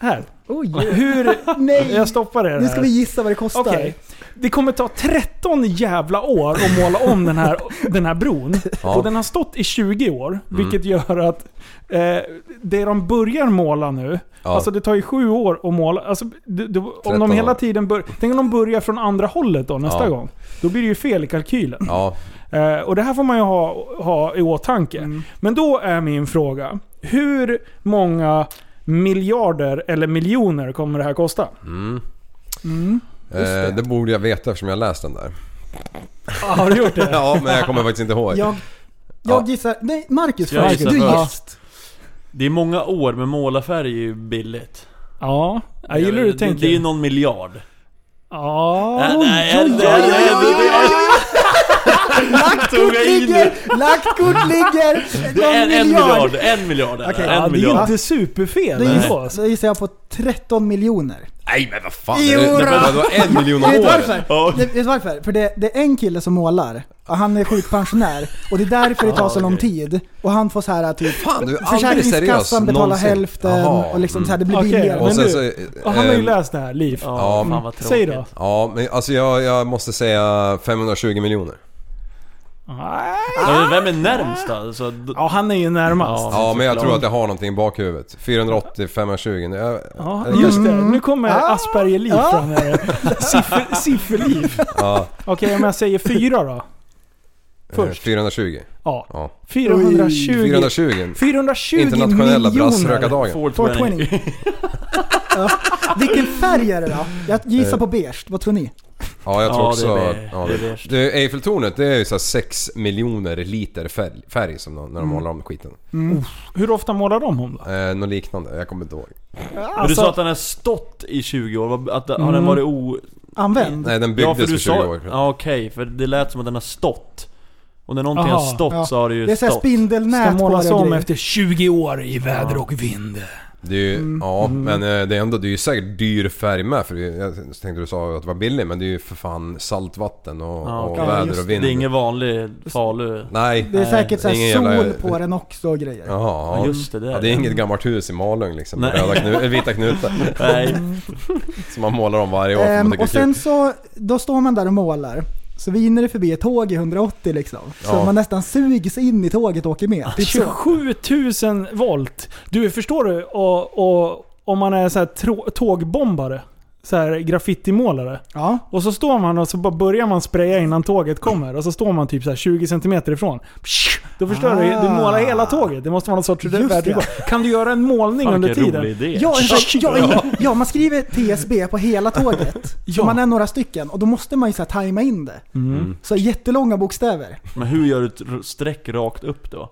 Speaker 5: Här. Hur...
Speaker 7: Nej.
Speaker 5: Jag stoppar er här.
Speaker 7: Nu ska vi gissa vad det kostar.
Speaker 5: Okej. Det kommer ta 13 jävla år att måla om den här, den här bron.
Speaker 6: Ja. Mm.
Speaker 5: Och den har stått i 20 år, vilket gör att eh, det de börjar måla nu,
Speaker 6: Ja.
Speaker 5: alltså det tar ju 7 år att måla. Alltså, det, det, om
Speaker 6: 13
Speaker 5: de
Speaker 6: år.
Speaker 5: hela tiden bör, Tänk om de börjar från andra hållet då nästa
Speaker 6: Ja.
Speaker 5: gång. Då blir det ju fel i kalkylen.
Speaker 6: Ja,
Speaker 5: Eh, och det här får man ju ha, ha i åtanke. Men då är min fråga, hur många miljarder eller miljoner kommer det här kosta?
Speaker 6: eh, det borde jag veta eftersom jag har läst den där.
Speaker 5: Har du gjort det?
Speaker 6: Ja men jag kommer faktiskt inte ihåg.
Speaker 7: Jag,
Speaker 6: Ja.
Speaker 7: jag gissar... Nej, Marcus
Speaker 8: Jag
Speaker 7: först.
Speaker 8: gissar
Speaker 7: Du
Speaker 8: först.
Speaker 7: gissar.
Speaker 8: Det är många år, men målarfärg är ju billigt.
Speaker 5: Ja, jag gillar hur du
Speaker 8: det, det är ju
Speaker 5: tänker.
Speaker 8: någon miljard.
Speaker 5: Ja,
Speaker 8: Nej, nej, jag- jag- jag- jag- Tog jag i nu?
Speaker 7: Ligger, lagt kort ligger.
Speaker 8: Det är en,
Speaker 7: någon
Speaker 8: en miljard, en miljard.
Speaker 7: Okej,
Speaker 8: en
Speaker 5: ja, det är ju
Speaker 8: miljard.
Speaker 5: inte superfel
Speaker 7: Då
Speaker 5: ändå.
Speaker 7: gissar, då gissar jag på 13 miljoner.
Speaker 6: Nej men vad fan.
Speaker 7: Jo,
Speaker 6: det,
Speaker 7: då.
Speaker 6: det var en miljon om
Speaker 7: Vet du
Speaker 6: året.
Speaker 7: varför? Nej, Vet du varför? För det, det är en kille som målar, och han är sjukpensionär, och det är därför det tar så lång tid. Och han får så här typ...
Speaker 6: Fan du är aldrig seriös
Speaker 7: Försäkringskassan betalar
Speaker 6: någonsin.
Speaker 7: hälften
Speaker 6: Jaha,
Speaker 7: och liksom
Speaker 6: mm.
Speaker 7: så här, det blir
Speaker 5: Okej,
Speaker 7: billigare.
Speaker 5: men
Speaker 6: Och sen
Speaker 5: du-
Speaker 6: så...
Speaker 5: Och han har ju Mm.
Speaker 6: eh,
Speaker 5: läst det här, Liv.
Speaker 8: Ehm. Ja,
Speaker 6: Ja.
Speaker 8: fan vad tråkigt.
Speaker 5: Säg då.
Speaker 6: Ja, men alltså jag, jag måste säga 520 miljoner.
Speaker 5: Nej.
Speaker 8: Ja, men Vem är närmst då? Alltså, d-
Speaker 5: Ja, han är ju närmast.
Speaker 8: Ja.
Speaker 6: Ja, men jag tror att jag har någonting i bakhuvudet. 480, 520. Jag,
Speaker 5: Ja, just
Speaker 6: Eh,
Speaker 5: det. Nu kommer Asperger-Liv
Speaker 7: Ah.
Speaker 5: från er. Siffer- Siffer-Liv.
Speaker 6: ja,
Speaker 5: Okej, om jag säger fyra då?
Speaker 6: eh,
Speaker 5: Först.
Speaker 6: 420.
Speaker 5: Ja.
Speaker 6: Ja.
Speaker 5: 420.
Speaker 6: 420.
Speaker 5: 420
Speaker 6: Internationella
Speaker 5: miljoner.
Speaker 6: brassrökardagen.
Speaker 8: 420.
Speaker 7: 420. ja. Vilken färg är det då? Jag gissar
Speaker 6: Eh.
Speaker 7: på beige, vad tror ni?
Speaker 6: Ja, jag tror
Speaker 8: Ja,
Speaker 6: också...
Speaker 8: det är det.
Speaker 6: ja,
Speaker 8: Det är
Speaker 6: det.
Speaker 8: värst.
Speaker 6: Det, Eiffeltornet, det är ju såhär 6 miljoner liter färg, färg som de, när de
Speaker 5: Mm.
Speaker 6: målar om skiten.
Speaker 5: Hur ofta målar de om då?
Speaker 6: Eh, något liknande, jag kommer inte ihåg.
Speaker 8: Men du
Speaker 5: Alltså- Mm.
Speaker 8: sa att den har stått i 20 år, vad- att, har den varit o...
Speaker 7: Använd?
Speaker 6: Nej, den
Speaker 8: Ja,
Speaker 6: byggdes
Speaker 8: för
Speaker 6: för
Speaker 8: du
Speaker 6: 20
Speaker 8: sa...
Speaker 6: år sedan.
Speaker 8: Ja, okej, för det lät som att den har stått. Och när någonting
Speaker 5: Aha,
Speaker 8: har stått
Speaker 7: ja.
Speaker 8: så har det ju
Speaker 7: Det är såhär
Speaker 8: stått.
Speaker 5: Ska
Speaker 7: spindelnät
Speaker 5: målas
Speaker 7: det och
Speaker 5: om
Speaker 7: grejer.
Speaker 5: efter 20 år i väder och vind.
Speaker 6: Det är ju,
Speaker 7: Mm.
Speaker 6: ja, men eh, det är ändå, det är ju säkert dyr färg med för det är- jag tänkte du sa att det var billig men det är ju för fan saltvatten och,
Speaker 8: Ja,
Speaker 6: och
Speaker 8: okej.
Speaker 7: Ja,
Speaker 6: väder
Speaker 7: just
Speaker 6: och
Speaker 8: Det
Speaker 6: vind.
Speaker 8: är ingen vanlig Falu.
Speaker 6: Nej.
Speaker 7: Det är säkert såhär
Speaker 6: Ingen
Speaker 7: sol
Speaker 6: jävla-
Speaker 7: på den också och grejer.
Speaker 6: Jaha,
Speaker 8: Ja, just det, det är
Speaker 6: ja, det är
Speaker 8: det.
Speaker 6: inget gammalt hus i Malung liksom. med
Speaker 8: Nej.
Speaker 6: Röda knu, äh, vita knutar.
Speaker 8: Nej.
Speaker 6: Som man målar om varje år för
Speaker 7: Ehm,
Speaker 6: man tycker
Speaker 7: och
Speaker 6: det är
Speaker 7: sen
Speaker 6: kul.
Speaker 7: så, då står man där och målar. Så viner det förbi ett tåg i 180 liksom. Så
Speaker 6: Ja.
Speaker 7: man nästan sugs in i tåget och åker
Speaker 5: Ah,
Speaker 7: med. Typ så.
Speaker 5: 27 000 volt. Du, förstår du? Och, och, om man är så här trå- tågbombare. så här graffitimålare.
Speaker 7: Ja.
Speaker 5: Och så står man och så bara börjar man spraya innan tåget kommer. Och så står man typ så här 20 cm ifrån. Psh, Då förstör du Du målar hela tåget. Det måste vara någon sorts
Speaker 7: Ah. Just
Speaker 5: värdig- Kan du göra en målning
Speaker 8: Fan
Speaker 5: under
Speaker 8: vilken
Speaker 5: tiden?
Speaker 8: rolig idé.
Speaker 7: Ja, en sån- ja, en- ja, man skriver TSB på hela tåget.
Speaker 5: Ja. Mm.
Speaker 7: Så man är några stycken och då måste man ju så här tajma in det. Så jättelånga bokstäver.
Speaker 8: Men hur gör du ett r- streck rakt upp då?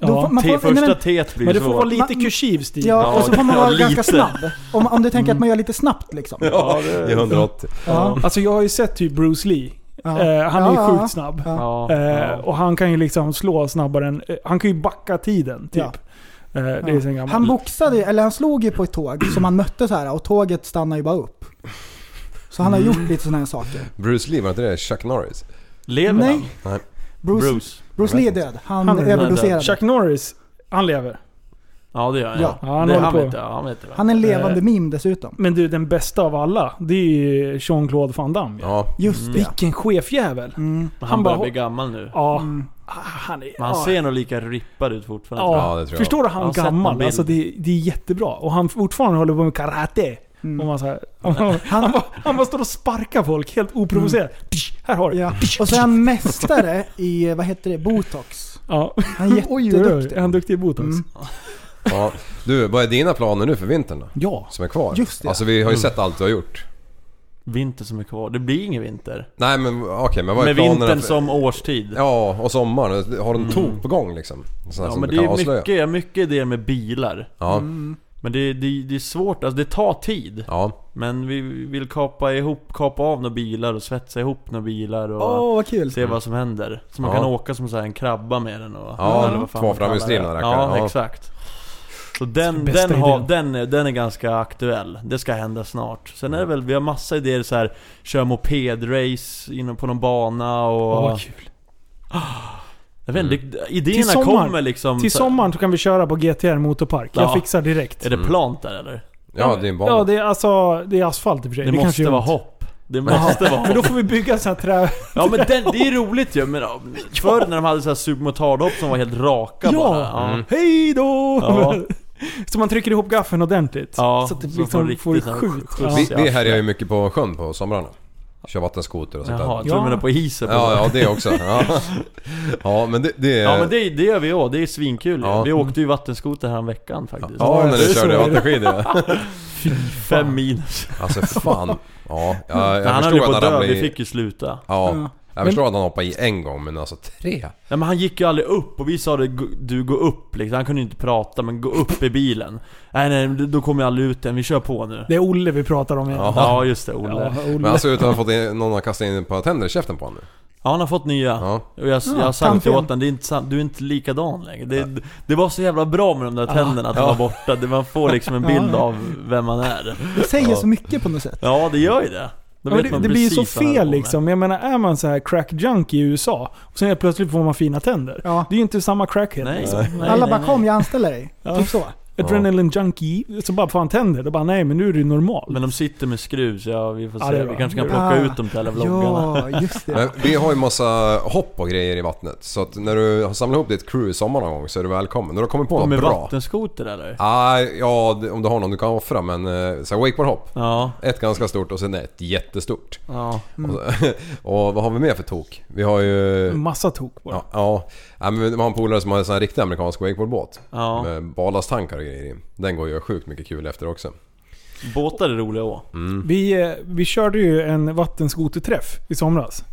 Speaker 5: Ja.
Speaker 7: Då får- man
Speaker 8: T-
Speaker 7: nej,
Speaker 8: första
Speaker 7: men-
Speaker 8: teet blir
Speaker 5: Men
Speaker 8: ju
Speaker 5: du får vara
Speaker 8: svårt.
Speaker 5: lite
Speaker 7: Man-
Speaker 5: kursiv stil.
Speaker 7: Ja, och så får man
Speaker 8: Ja,
Speaker 7: vara
Speaker 8: lite.
Speaker 7: ganska snabb. Om, om du tänker att man gör lite snabbt liksom. Ja.
Speaker 6: Ja, det är 180.
Speaker 7: Ja.
Speaker 5: Alltså jag har ju sett typ Bruce Lee. Eh, han är
Speaker 7: Ja,
Speaker 5: ju
Speaker 7: ja,
Speaker 5: sjukt snabb.
Speaker 7: Ja.
Speaker 8: Ja,
Speaker 5: Eh,
Speaker 8: ja.
Speaker 5: Och han kan ju liksom slå snabbare än... eh, Han kan ju backa tiden, typ.
Speaker 7: Ja.
Speaker 5: Eh, det är sen gammalt.
Speaker 7: Han boxade, eller han slog ju på ett tåg som han mötte så här och tåget stannade ju bara upp. Så han har
Speaker 5: Mm.
Speaker 7: gjort lite sådana här saker.
Speaker 6: Bruce Lee, var inte det Chuck Norris?
Speaker 8: Lever han?
Speaker 7: Nej,
Speaker 8: Bruce.
Speaker 7: Bruce, Bruce Lee är död. Han,
Speaker 5: Han är död.
Speaker 7: överdoserade.
Speaker 5: Chuck Norris, han lever.
Speaker 8: Ja det gör han.
Speaker 7: Ja.
Speaker 5: Ja, han
Speaker 8: det,
Speaker 5: håller
Speaker 8: han,
Speaker 5: på.
Speaker 8: vet det, han vet det.
Speaker 7: Han är en levande
Speaker 5: Eh.
Speaker 7: meme dessutom.
Speaker 5: Men du, den bästa av alla, det är ju Jean-Claude Van Damme. Mm. Ja.
Speaker 6: Ja.
Speaker 7: Just det.
Speaker 5: Vilken chefjävel.
Speaker 7: Mm.
Speaker 8: han,
Speaker 5: han
Speaker 8: börjar
Speaker 5: bara-
Speaker 8: bli gammal nu.
Speaker 5: Ja. Ah, Han är...
Speaker 8: Men han
Speaker 5: ja.
Speaker 8: ser nog lika rippad ut fortfarande. tror
Speaker 5: Ja,
Speaker 6: Ja, det tror jag.
Speaker 5: förstår du?
Speaker 8: Jag
Speaker 5: Han
Speaker 8: har sett någon
Speaker 5: gammal.
Speaker 8: bild.
Speaker 5: Alltså det, det är jättebra. Och han fortfarande håller på med karate.
Speaker 7: Mm.
Speaker 5: Och man så här, han, han, bara, han bara står och sparkar folk helt oprovocerat. Tsch, Här har du.
Speaker 7: Mm. Ja. Och så är han mästare i, vad heter det, botox.
Speaker 5: Ja.
Speaker 7: Han är jätteduktig.
Speaker 5: Är han duktig i botox?
Speaker 7: Mm.
Speaker 6: ja. Du, vad är dina planer nu för vintern då?
Speaker 5: Ja.
Speaker 6: Som är kvar?
Speaker 7: Just det.
Speaker 6: Alltså vi
Speaker 8: Mm.
Speaker 6: har ju sett allt du har gjort.
Speaker 8: jag. Vinter som är kvar. Det blir ingen vinter.
Speaker 6: Nej men okej, men vad är
Speaker 8: Med
Speaker 6: planerna?
Speaker 8: vintern
Speaker 6: för-
Speaker 8: som årstid.
Speaker 6: Ja, och sommaren. Har du en tok på gång liksom?
Speaker 8: Mm.
Speaker 6: Sån här
Speaker 8: Ja,
Speaker 6: som
Speaker 8: men
Speaker 6: du
Speaker 8: det
Speaker 6: kan
Speaker 8: är
Speaker 6: avslöja.
Speaker 8: mycket, Mm. jag har mycket idéer med bilar.
Speaker 6: Ja,
Speaker 8: Men det, det, det är svårt, alltså det tar tid.
Speaker 6: ja.
Speaker 8: Men vi vill kapa ihop, kapa av några bilar och svetsa ihop några bilar och
Speaker 7: Åh, vad kul.
Speaker 8: se vad som händer. Så man
Speaker 6: Ja.
Speaker 8: kan åka som så här en krabba med den och...
Speaker 6: Ja,
Speaker 8: eller vad fan
Speaker 6: två
Speaker 8: man kallar
Speaker 6: framhjulsdrivna
Speaker 8: det.
Speaker 6: rackare,
Speaker 8: Ja,
Speaker 6: ja.
Speaker 8: exakt. Så den,
Speaker 5: Bästa
Speaker 8: den, har,
Speaker 5: idén.
Speaker 8: den, är- den är ganska aktuell. Det ska hända snart. Sen
Speaker 6: Mm.
Speaker 8: är det väl, vi har massa idéer så här köra mopedrace inne på någon bana och...
Speaker 5: Åh, vad kul.
Speaker 8: Jag vet inte,
Speaker 6: Mm.
Speaker 8: idéerna
Speaker 5: Till sommaren-
Speaker 8: kommer liksom...
Speaker 5: Till
Speaker 8: så-
Speaker 5: sommaren så kan vi köra på GTR motorpark. Jag
Speaker 8: Ja.
Speaker 5: fixar direkt.
Speaker 8: Är det plant där eller?
Speaker 6: Ja, det är en bana.
Speaker 5: Ja, det är, alltså, det är asfalt i och för sig.
Speaker 8: Det,
Speaker 5: kanske
Speaker 8: måste
Speaker 5: gör
Speaker 8: vara
Speaker 5: ont.
Speaker 8: hopp. Det måste vara
Speaker 5: Men
Speaker 8: hopp.
Speaker 5: då får vi bygga så här trä...
Speaker 8: Ja men den, det är roligt ju. Men ja, förr när de hade så här supermotardhopp som var helt raka
Speaker 5: Ja!
Speaker 8: bara. Ja. Mm.
Speaker 5: Hej då!
Speaker 8: Ja.
Speaker 5: Så man trycker ihop gaffeln ordentligt.
Speaker 8: Ja,
Speaker 5: så att det
Speaker 8: så man får
Speaker 5: liksom
Speaker 8: riktigt
Speaker 5: får
Speaker 8: sån
Speaker 5: skjut.
Speaker 8: skjuts.
Speaker 5: Ja.
Speaker 6: Vi,
Speaker 8: Ja.
Speaker 6: vi härjar ju mycket på sjön på somrarna. Kör vattenskoter och sånt
Speaker 8: Jaha,
Speaker 6: där.
Speaker 8: jag tror
Speaker 5: Ja.
Speaker 8: du menar på isen?
Speaker 6: Ja, ja det också. Ja, ja men det... det
Speaker 8: Ja men det, det gör vi också, det är svinkul
Speaker 6: Ja.
Speaker 8: ja. Vi åkte ju vattenskoter här veckan faktiskt.
Speaker 6: Ja, när
Speaker 5: det
Speaker 6: du
Speaker 5: är
Speaker 6: körde
Speaker 5: så.
Speaker 6: vattenskidor. ja.
Speaker 8: Fem minus.
Speaker 6: Alltså fan. Ja, jag, jag
Speaker 8: han höll ju
Speaker 6: förstår
Speaker 8: på att
Speaker 6: att han
Speaker 8: dö,
Speaker 6: ramlade
Speaker 8: vi
Speaker 6: i...
Speaker 8: fick ju sluta.
Speaker 6: Ja. Jag förstår att han hoppade i en gång men alltså tre?
Speaker 8: Nej men han gick ju aldrig upp och vi sa det, "Gå- du gå upp liksom. Han kunde ju inte prata men gå upp i bilen. Nej nej, då kommer jag aldrig ut än, vi kör på nu.
Speaker 5: Det är Olle vi pratar om igen.
Speaker 6: Ja.
Speaker 8: Ja just det, Olle.
Speaker 5: Ja, Olle.
Speaker 6: Men alltså utan att ha fått in, någon har kastat in ett par tänder i käften på honom nu.
Speaker 8: Ja, han har fått nya.
Speaker 6: Ja.
Speaker 8: Och jag, jag har sagt
Speaker 7: tandfen.
Speaker 8: åt honom, det är inte sant, du är inte likadan längre. Det, det var så jävla bra med de där tänderna att han var borta. Det- Man får liksom en bild av vem man är.
Speaker 7: Det säger så mycket på något sätt.
Speaker 8: Ja, det gör ju det. Då
Speaker 5: Ja,
Speaker 8: vet
Speaker 5: men det
Speaker 8: man
Speaker 5: det blir ju så
Speaker 8: precis vad han
Speaker 5: fel
Speaker 8: håller på med.
Speaker 5: liksom. Jag menar, är man så här crack junk i USA och sen helt plötsligt får man fina tänder.
Speaker 7: Ja.
Speaker 5: Det är ju inte samma crackhead
Speaker 8: Nej,
Speaker 5: liksom.
Speaker 8: nej,
Speaker 7: Alla
Speaker 8: nej,
Speaker 7: bara
Speaker 8: nej.
Speaker 7: 'Kom, jag anställer dig' Typ så.
Speaker 5: Adrenaline junkie, så bara får han tänder. Då bara nej, men nu är du normal.
Speaker 8: Men de sitter med skruv så ja, vi får
Speaker 5: Ja,
Speaker 8: se.
Speaker 5: det är
Speaker 8: vi
Speaker 5: bra.
Speaker 8: kanske kan plocka
Speaker 7: Ah.
Speaker 8: ut de där jävla vloggarna.
Speaker 7: Ja, just det.
Speaker 6: Men vi har ju massa hopp och grejer i vattnet. Så att när du har samlat ihop ditt crew i sommar någon gång så är du välkommen. När du kommer på
Speaker 8: Och
Speaker 6: något
Speaker 8: med
Speaker 6: bra.
Speaker 8: vattenskoter eller?
Speaker 6: Ah, ja, det- om du har någon du kan offra men eh, så här wakeboardhopp.
Speaker 8: Ja,
Speaker 6: Ett ganska stort och sen ett jättestort.
Speaker 8: ja.
Speaker 6: Och, så- och vad har vi mer för tok? Vi har ju...
Speaker 5: Massa tok bara.
Speaker 6: Ja, ja. ja men man har en polare som har en sån här riktig amerikansk wakeboardbåt.
Speaker 8: Ja.
Speaker 6: Med ballastankar och grejer i. Den går ju sjukt mycket kul efter också.
Speaker 8: Båtar är roliga att
Speaker 5: Vi, eh, vi körde ju en vattenskoterträff i somras.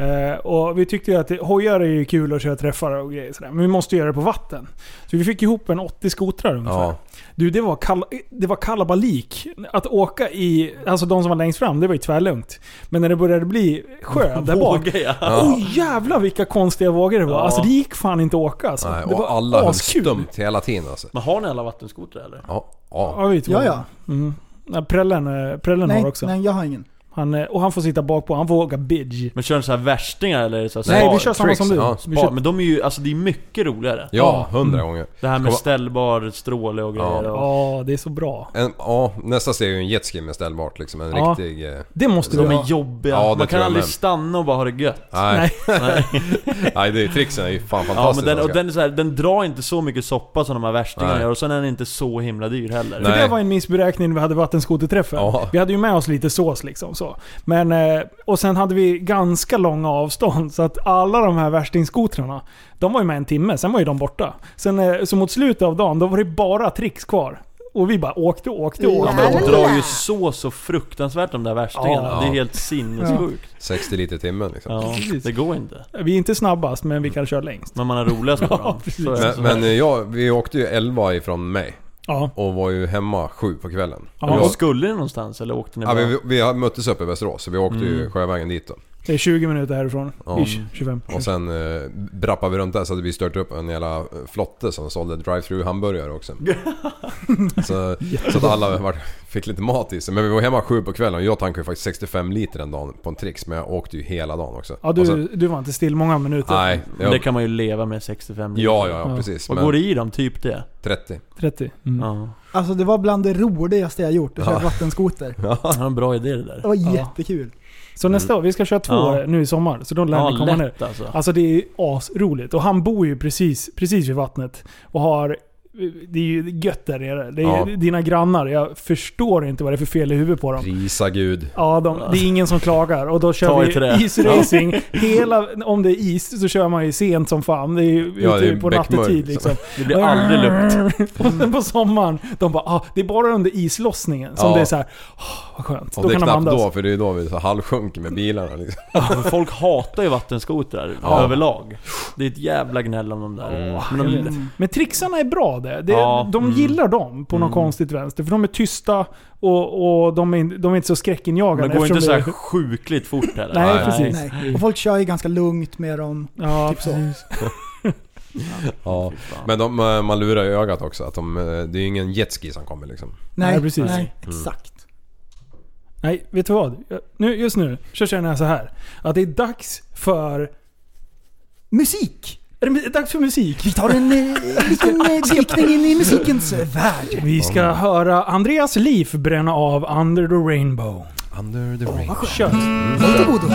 Speaker 5: Eh, och vi tyckte ju att det, hojar är ju kul att köra träffar och grejer sådär. Men vi måste göra det på vatten. Så vi fick ihop en 80 skotrar ungefär.
Speaker 6: Ja.
Speaker 5: Du, det var, kal- det var kalabalik. Att åka i... Alltså de som var längst fram, det var ju tvärlugnt. Men när det började bli sjö där bak.
Speaker 8: Vågar jag?
Speaker 5: Oj jävlar vilka konstiga vågor det var.
Speaker 8: Ja.
Speaker 5: Alltså det gick fan inte att åka alltså.
Speaker 6: Nej,
Speaker 5: det var
Speaker 6: och alla höll
Speaker 5: askul.
Speaker 6: stumt hela tiden alltså.
Speaker 8: Men har ni alla vattenskotrar eller?
Speaker 6: Ja, ja.
Speaker 5: Ja, vi två.
Speaker 7: Ja, ja.
Speaker 5: Mm. Ja, prällen eh, prällen
Speaker 7: Nej,
Speaker 5: har också.
Speaker 7: nej, jag har ingen.
Speaker 5: Han, eh, och han får sitta bak på, han får åka bidge.
Speaker 8: Men kör ni så här värstingar eller? är det Så här
Speaker 5: Nej,
Speaker 8: spar-
Speaker 5: vi kör samma
Speaker 6: tricks,
Speaker 5: som du.
Speaker 6: ja.
Speaker 5: Vi
Speaker 8: spar-
Speaker 5: kör,
Speaker 8: Men de är ju, alltså det är mycket roligare.
Speaker 6: Ja, hundra gånger.
Speaker 8: Det här med
Speaker 6: Ska-
Speaker 8: ställbar stråle och grejer. Och,
Speaker 5: ja, det är så bra.
Speaker 6: En, ja, nästa steg är ju en jetski med ställbart liksom. En
Speaker 5: Ja.
Speaker 6: riktig... Eh,
Speaker 5: Det måste vi
Speaker 8: De
Speaker 5: ha.
Speaker 8: är jobbiga.
Speaker 6: Ja, det
Speaker 8: Man
Speaker 6: tror
Speaker 8: kan
Speaker 6: jag
Speaker 8: aldrig
Speaker 6: med.
Speaker 8: stanna och bara ha det gött.
Speaker 6: nej. Nej, det är, tricksen är ju fan
Speaker 8: Ja, men
Speaker 6: fantastisk.
Speaker 8: den, och
Speaker 6: alltså.
Speaker 8: den, är så här, den drar inte så mycket soppa som de här värstingarna
Speaker 6: Nej.
Speaker 8: gör och sen är den inte så himla dyr heller.
Speaker 5: För
Speaker 6: Nej.
Speaker 5: det var en missberäkning när vi hade vattenskoterträffen.
Speaker 6: Ja.
Speaker 5: Vi hade ju med oss lite sås liksom. Så. Men, eh, och sen hade vi ganska långa avstånd, så att alla de här värstingskotrarna, de var ju med en timme, sen var ju de borta. Sen, eh, så mot slutet av dagen, då var det bara tricks kvar. Och vi bara åkte och åkte och
Speaker 8: Ja,
Speaker 5: åkte.
Speaker 8: men
Speaker 5: och
Speaker 8: de
Speaker 5: åkte.
Speaker 8: drar ju så så fruktansvärt de där värstingarna.
Speaker 5: Ja.
Speaker 8: Det är helt sinnessjukt.
Speaker 6: 60 liter i timmen liksom.
Speaker 8: Ja.
Speaker 5: Precis.
Speaker 8: Det går inte.
Speaker 5: Vi är inte snabbast, men vi kan köra längst.
Speaker 8: Men man har roligast på dem.
Speaker 5: precis.
Speaker 8: Så är det.
Speaker 6: Men, men eh, jag, vi åkte ju 11 ifrån mig
Speaker 5: Ja.
Speaker 6: och var ju hemma sju på kvällen.
Speaker 5: Ja.
Speaker 6: Ja.
Speaker 8: Och
Speaker 6: Jag,
Speaker 8: skulle ni någonstans eller åkte ni
Speaker 6: ja,
Speaker 8: bara?
Speaker 6: vi, vi möttes uppe i Västerås så vi åkte ju sjövägen dit då.
Speaker 5: Det är 20 minuter härifrån.
Speaker 6: Ja.
Speaker 5: Ish, 25.
Speaker 6: Och sen eh, brappade vi runt där så hade vi stört upp en jävla eh, flotte som sålde drive-thru hamburgare också. så, så att alla var, fick lite mat i sig. Men vi var hemma sju på kvällen och jag tankade ju faktiskt 65 liter den dagen på en trix. Men jag åkte ju hela dagen också.
Speaker 5: Ja,
Speaker 6: Och sen,
Speaker 5: du, du var inte still många minuter.
Speaker 6: nej,
Speaker 8: Men
Speaker 6: jag,
Speaker 8: Det kan man ju leva med 65 liter.
Speaker 6: ja, ja,
Speaker 5: Ja.
Speaker 6: ja, precis.
Speaker 8: Vad
Speaker 6: men
Speaker 8: går det i dem? Typ det?
Speaker 6: 30.
Speaker 5: 30. Mm.
Speaker 8: Ja.
Speaker 7: Alltså det var bland det roligaste jag gjort, att köra vattenskoter.
Speaker 8: Han har en bra idé det där.
Speaker 7: Det var
Speaker 5: Ja.
Speaker 7: jättekul.
Speaker 5: Så
Speaker 6: Mm.
Speaker 5: nästa år, vi ska köra två
Speaker 8: Ja.
Speaker 5: nu i sommar. Så då lär
Speaker 8: Ja,
Speaker 5: ni komma nu.
Speaker 8: lätt alltså.
Speaker 5: Alltså det är asroligt. Och han bor ju precis, precis vid vattnet. Och har... Det är ju gött där nere. Det är ju
Speaker 6: Ja.
Speaker 5: dina grannar. Jag förstår inte vad det är för fel i huvudet på dem.
Speaker 6: Prisa gud.
Speaker 5: Ja, de, det är ingen som klagar. Och då
Speaker 8: Ta i
Speaker 5: kör
Speaker 8: till
Speaker 5: vi
Speaker 8: det.
Speaker 5: isracing. Hela, om det är is så kör man ju sent som fan. Det är ju
Speaker 6: Ja,
Speaker 5: ute
Speaker 6: det är
Speaker 5: på
Speaker 6: beckmörkt,
Speaker 5: nattetid
Speaker 6: liksom.
Speaker 5: liksom.
Speaker 8: Det blir aldrig lukt.
Speaker 5: Och sen på sommaren, de bara ah, det är bara under islossningen som
Speaker 6: Ja.
Speaker 5: det är så här, "Ah, vad skönt.
Speaker 6: Och
Speaker 5: då
Speaker 6: det är
Speaker 5: kan de
Speaker 6: knappt
Speaker 5: andas.
Speaker 6: då, för det är då vi så halvsjunker med bilarna liksom.
Speaker 8: Men Folk hatar ju vattenskotrar överlag. Det är ett jävla gnäll om de där.
Speaker 5: Jag
Speaker 8: Men
Speaker 5: vet.
Speaker 8: de,
Speaker 5: Men trixarna är bra det. det
Speaker 8: Mm. Ja,
Speaker 5: de
Speaker 8: mm.
Speaker 5: gillar dem på något konstigt vänster. För de är tysta och, och de, är, in- de är inte så skräckinjagande.
Speaker 8: men det går
Speaker 5: eftersom
Speaker 8: inte så
Speaker 5: det-
Speaker 8: här sjukligt fort heller.
Speaker 5: Nej,
Speaker 6: Nej.
Speaker 5: precis.
Speaker 7: Nej. Och folk kör ju ganska lugnt med dem.
Speaker 5: Ja,
Speaker 7: Typ så.
Speaker 5: precis.
Speaker 6: Ja.
Speaker 8: fan.
Speaker 6: Men de, eh, man lurar ju ögat också. Att de, eh, det är ju ingen jetski som kommer liksom.
Speaker 7: Nej,
Speaker 5: Nej, precis. Mm.
Speaker 7: nej exakt.
Speaker 5: Nej, vet du vad? Jag- Nu, just nu så känner jag så här. Att det är dags för...
Speaker 7: Musik!
Speaker 5: Är det mu- dags för musik?
Speaker 7: Vi tar en eh, liten eh, blickning in i musikens eh, värld.
Speaker 5: Vi ska höra Andreas Liv bränna av Under the Rainbow.
Speaker 6: Under the ring.
Speaker 5: Kör! Mm.
Speaker 7: Varsågodo.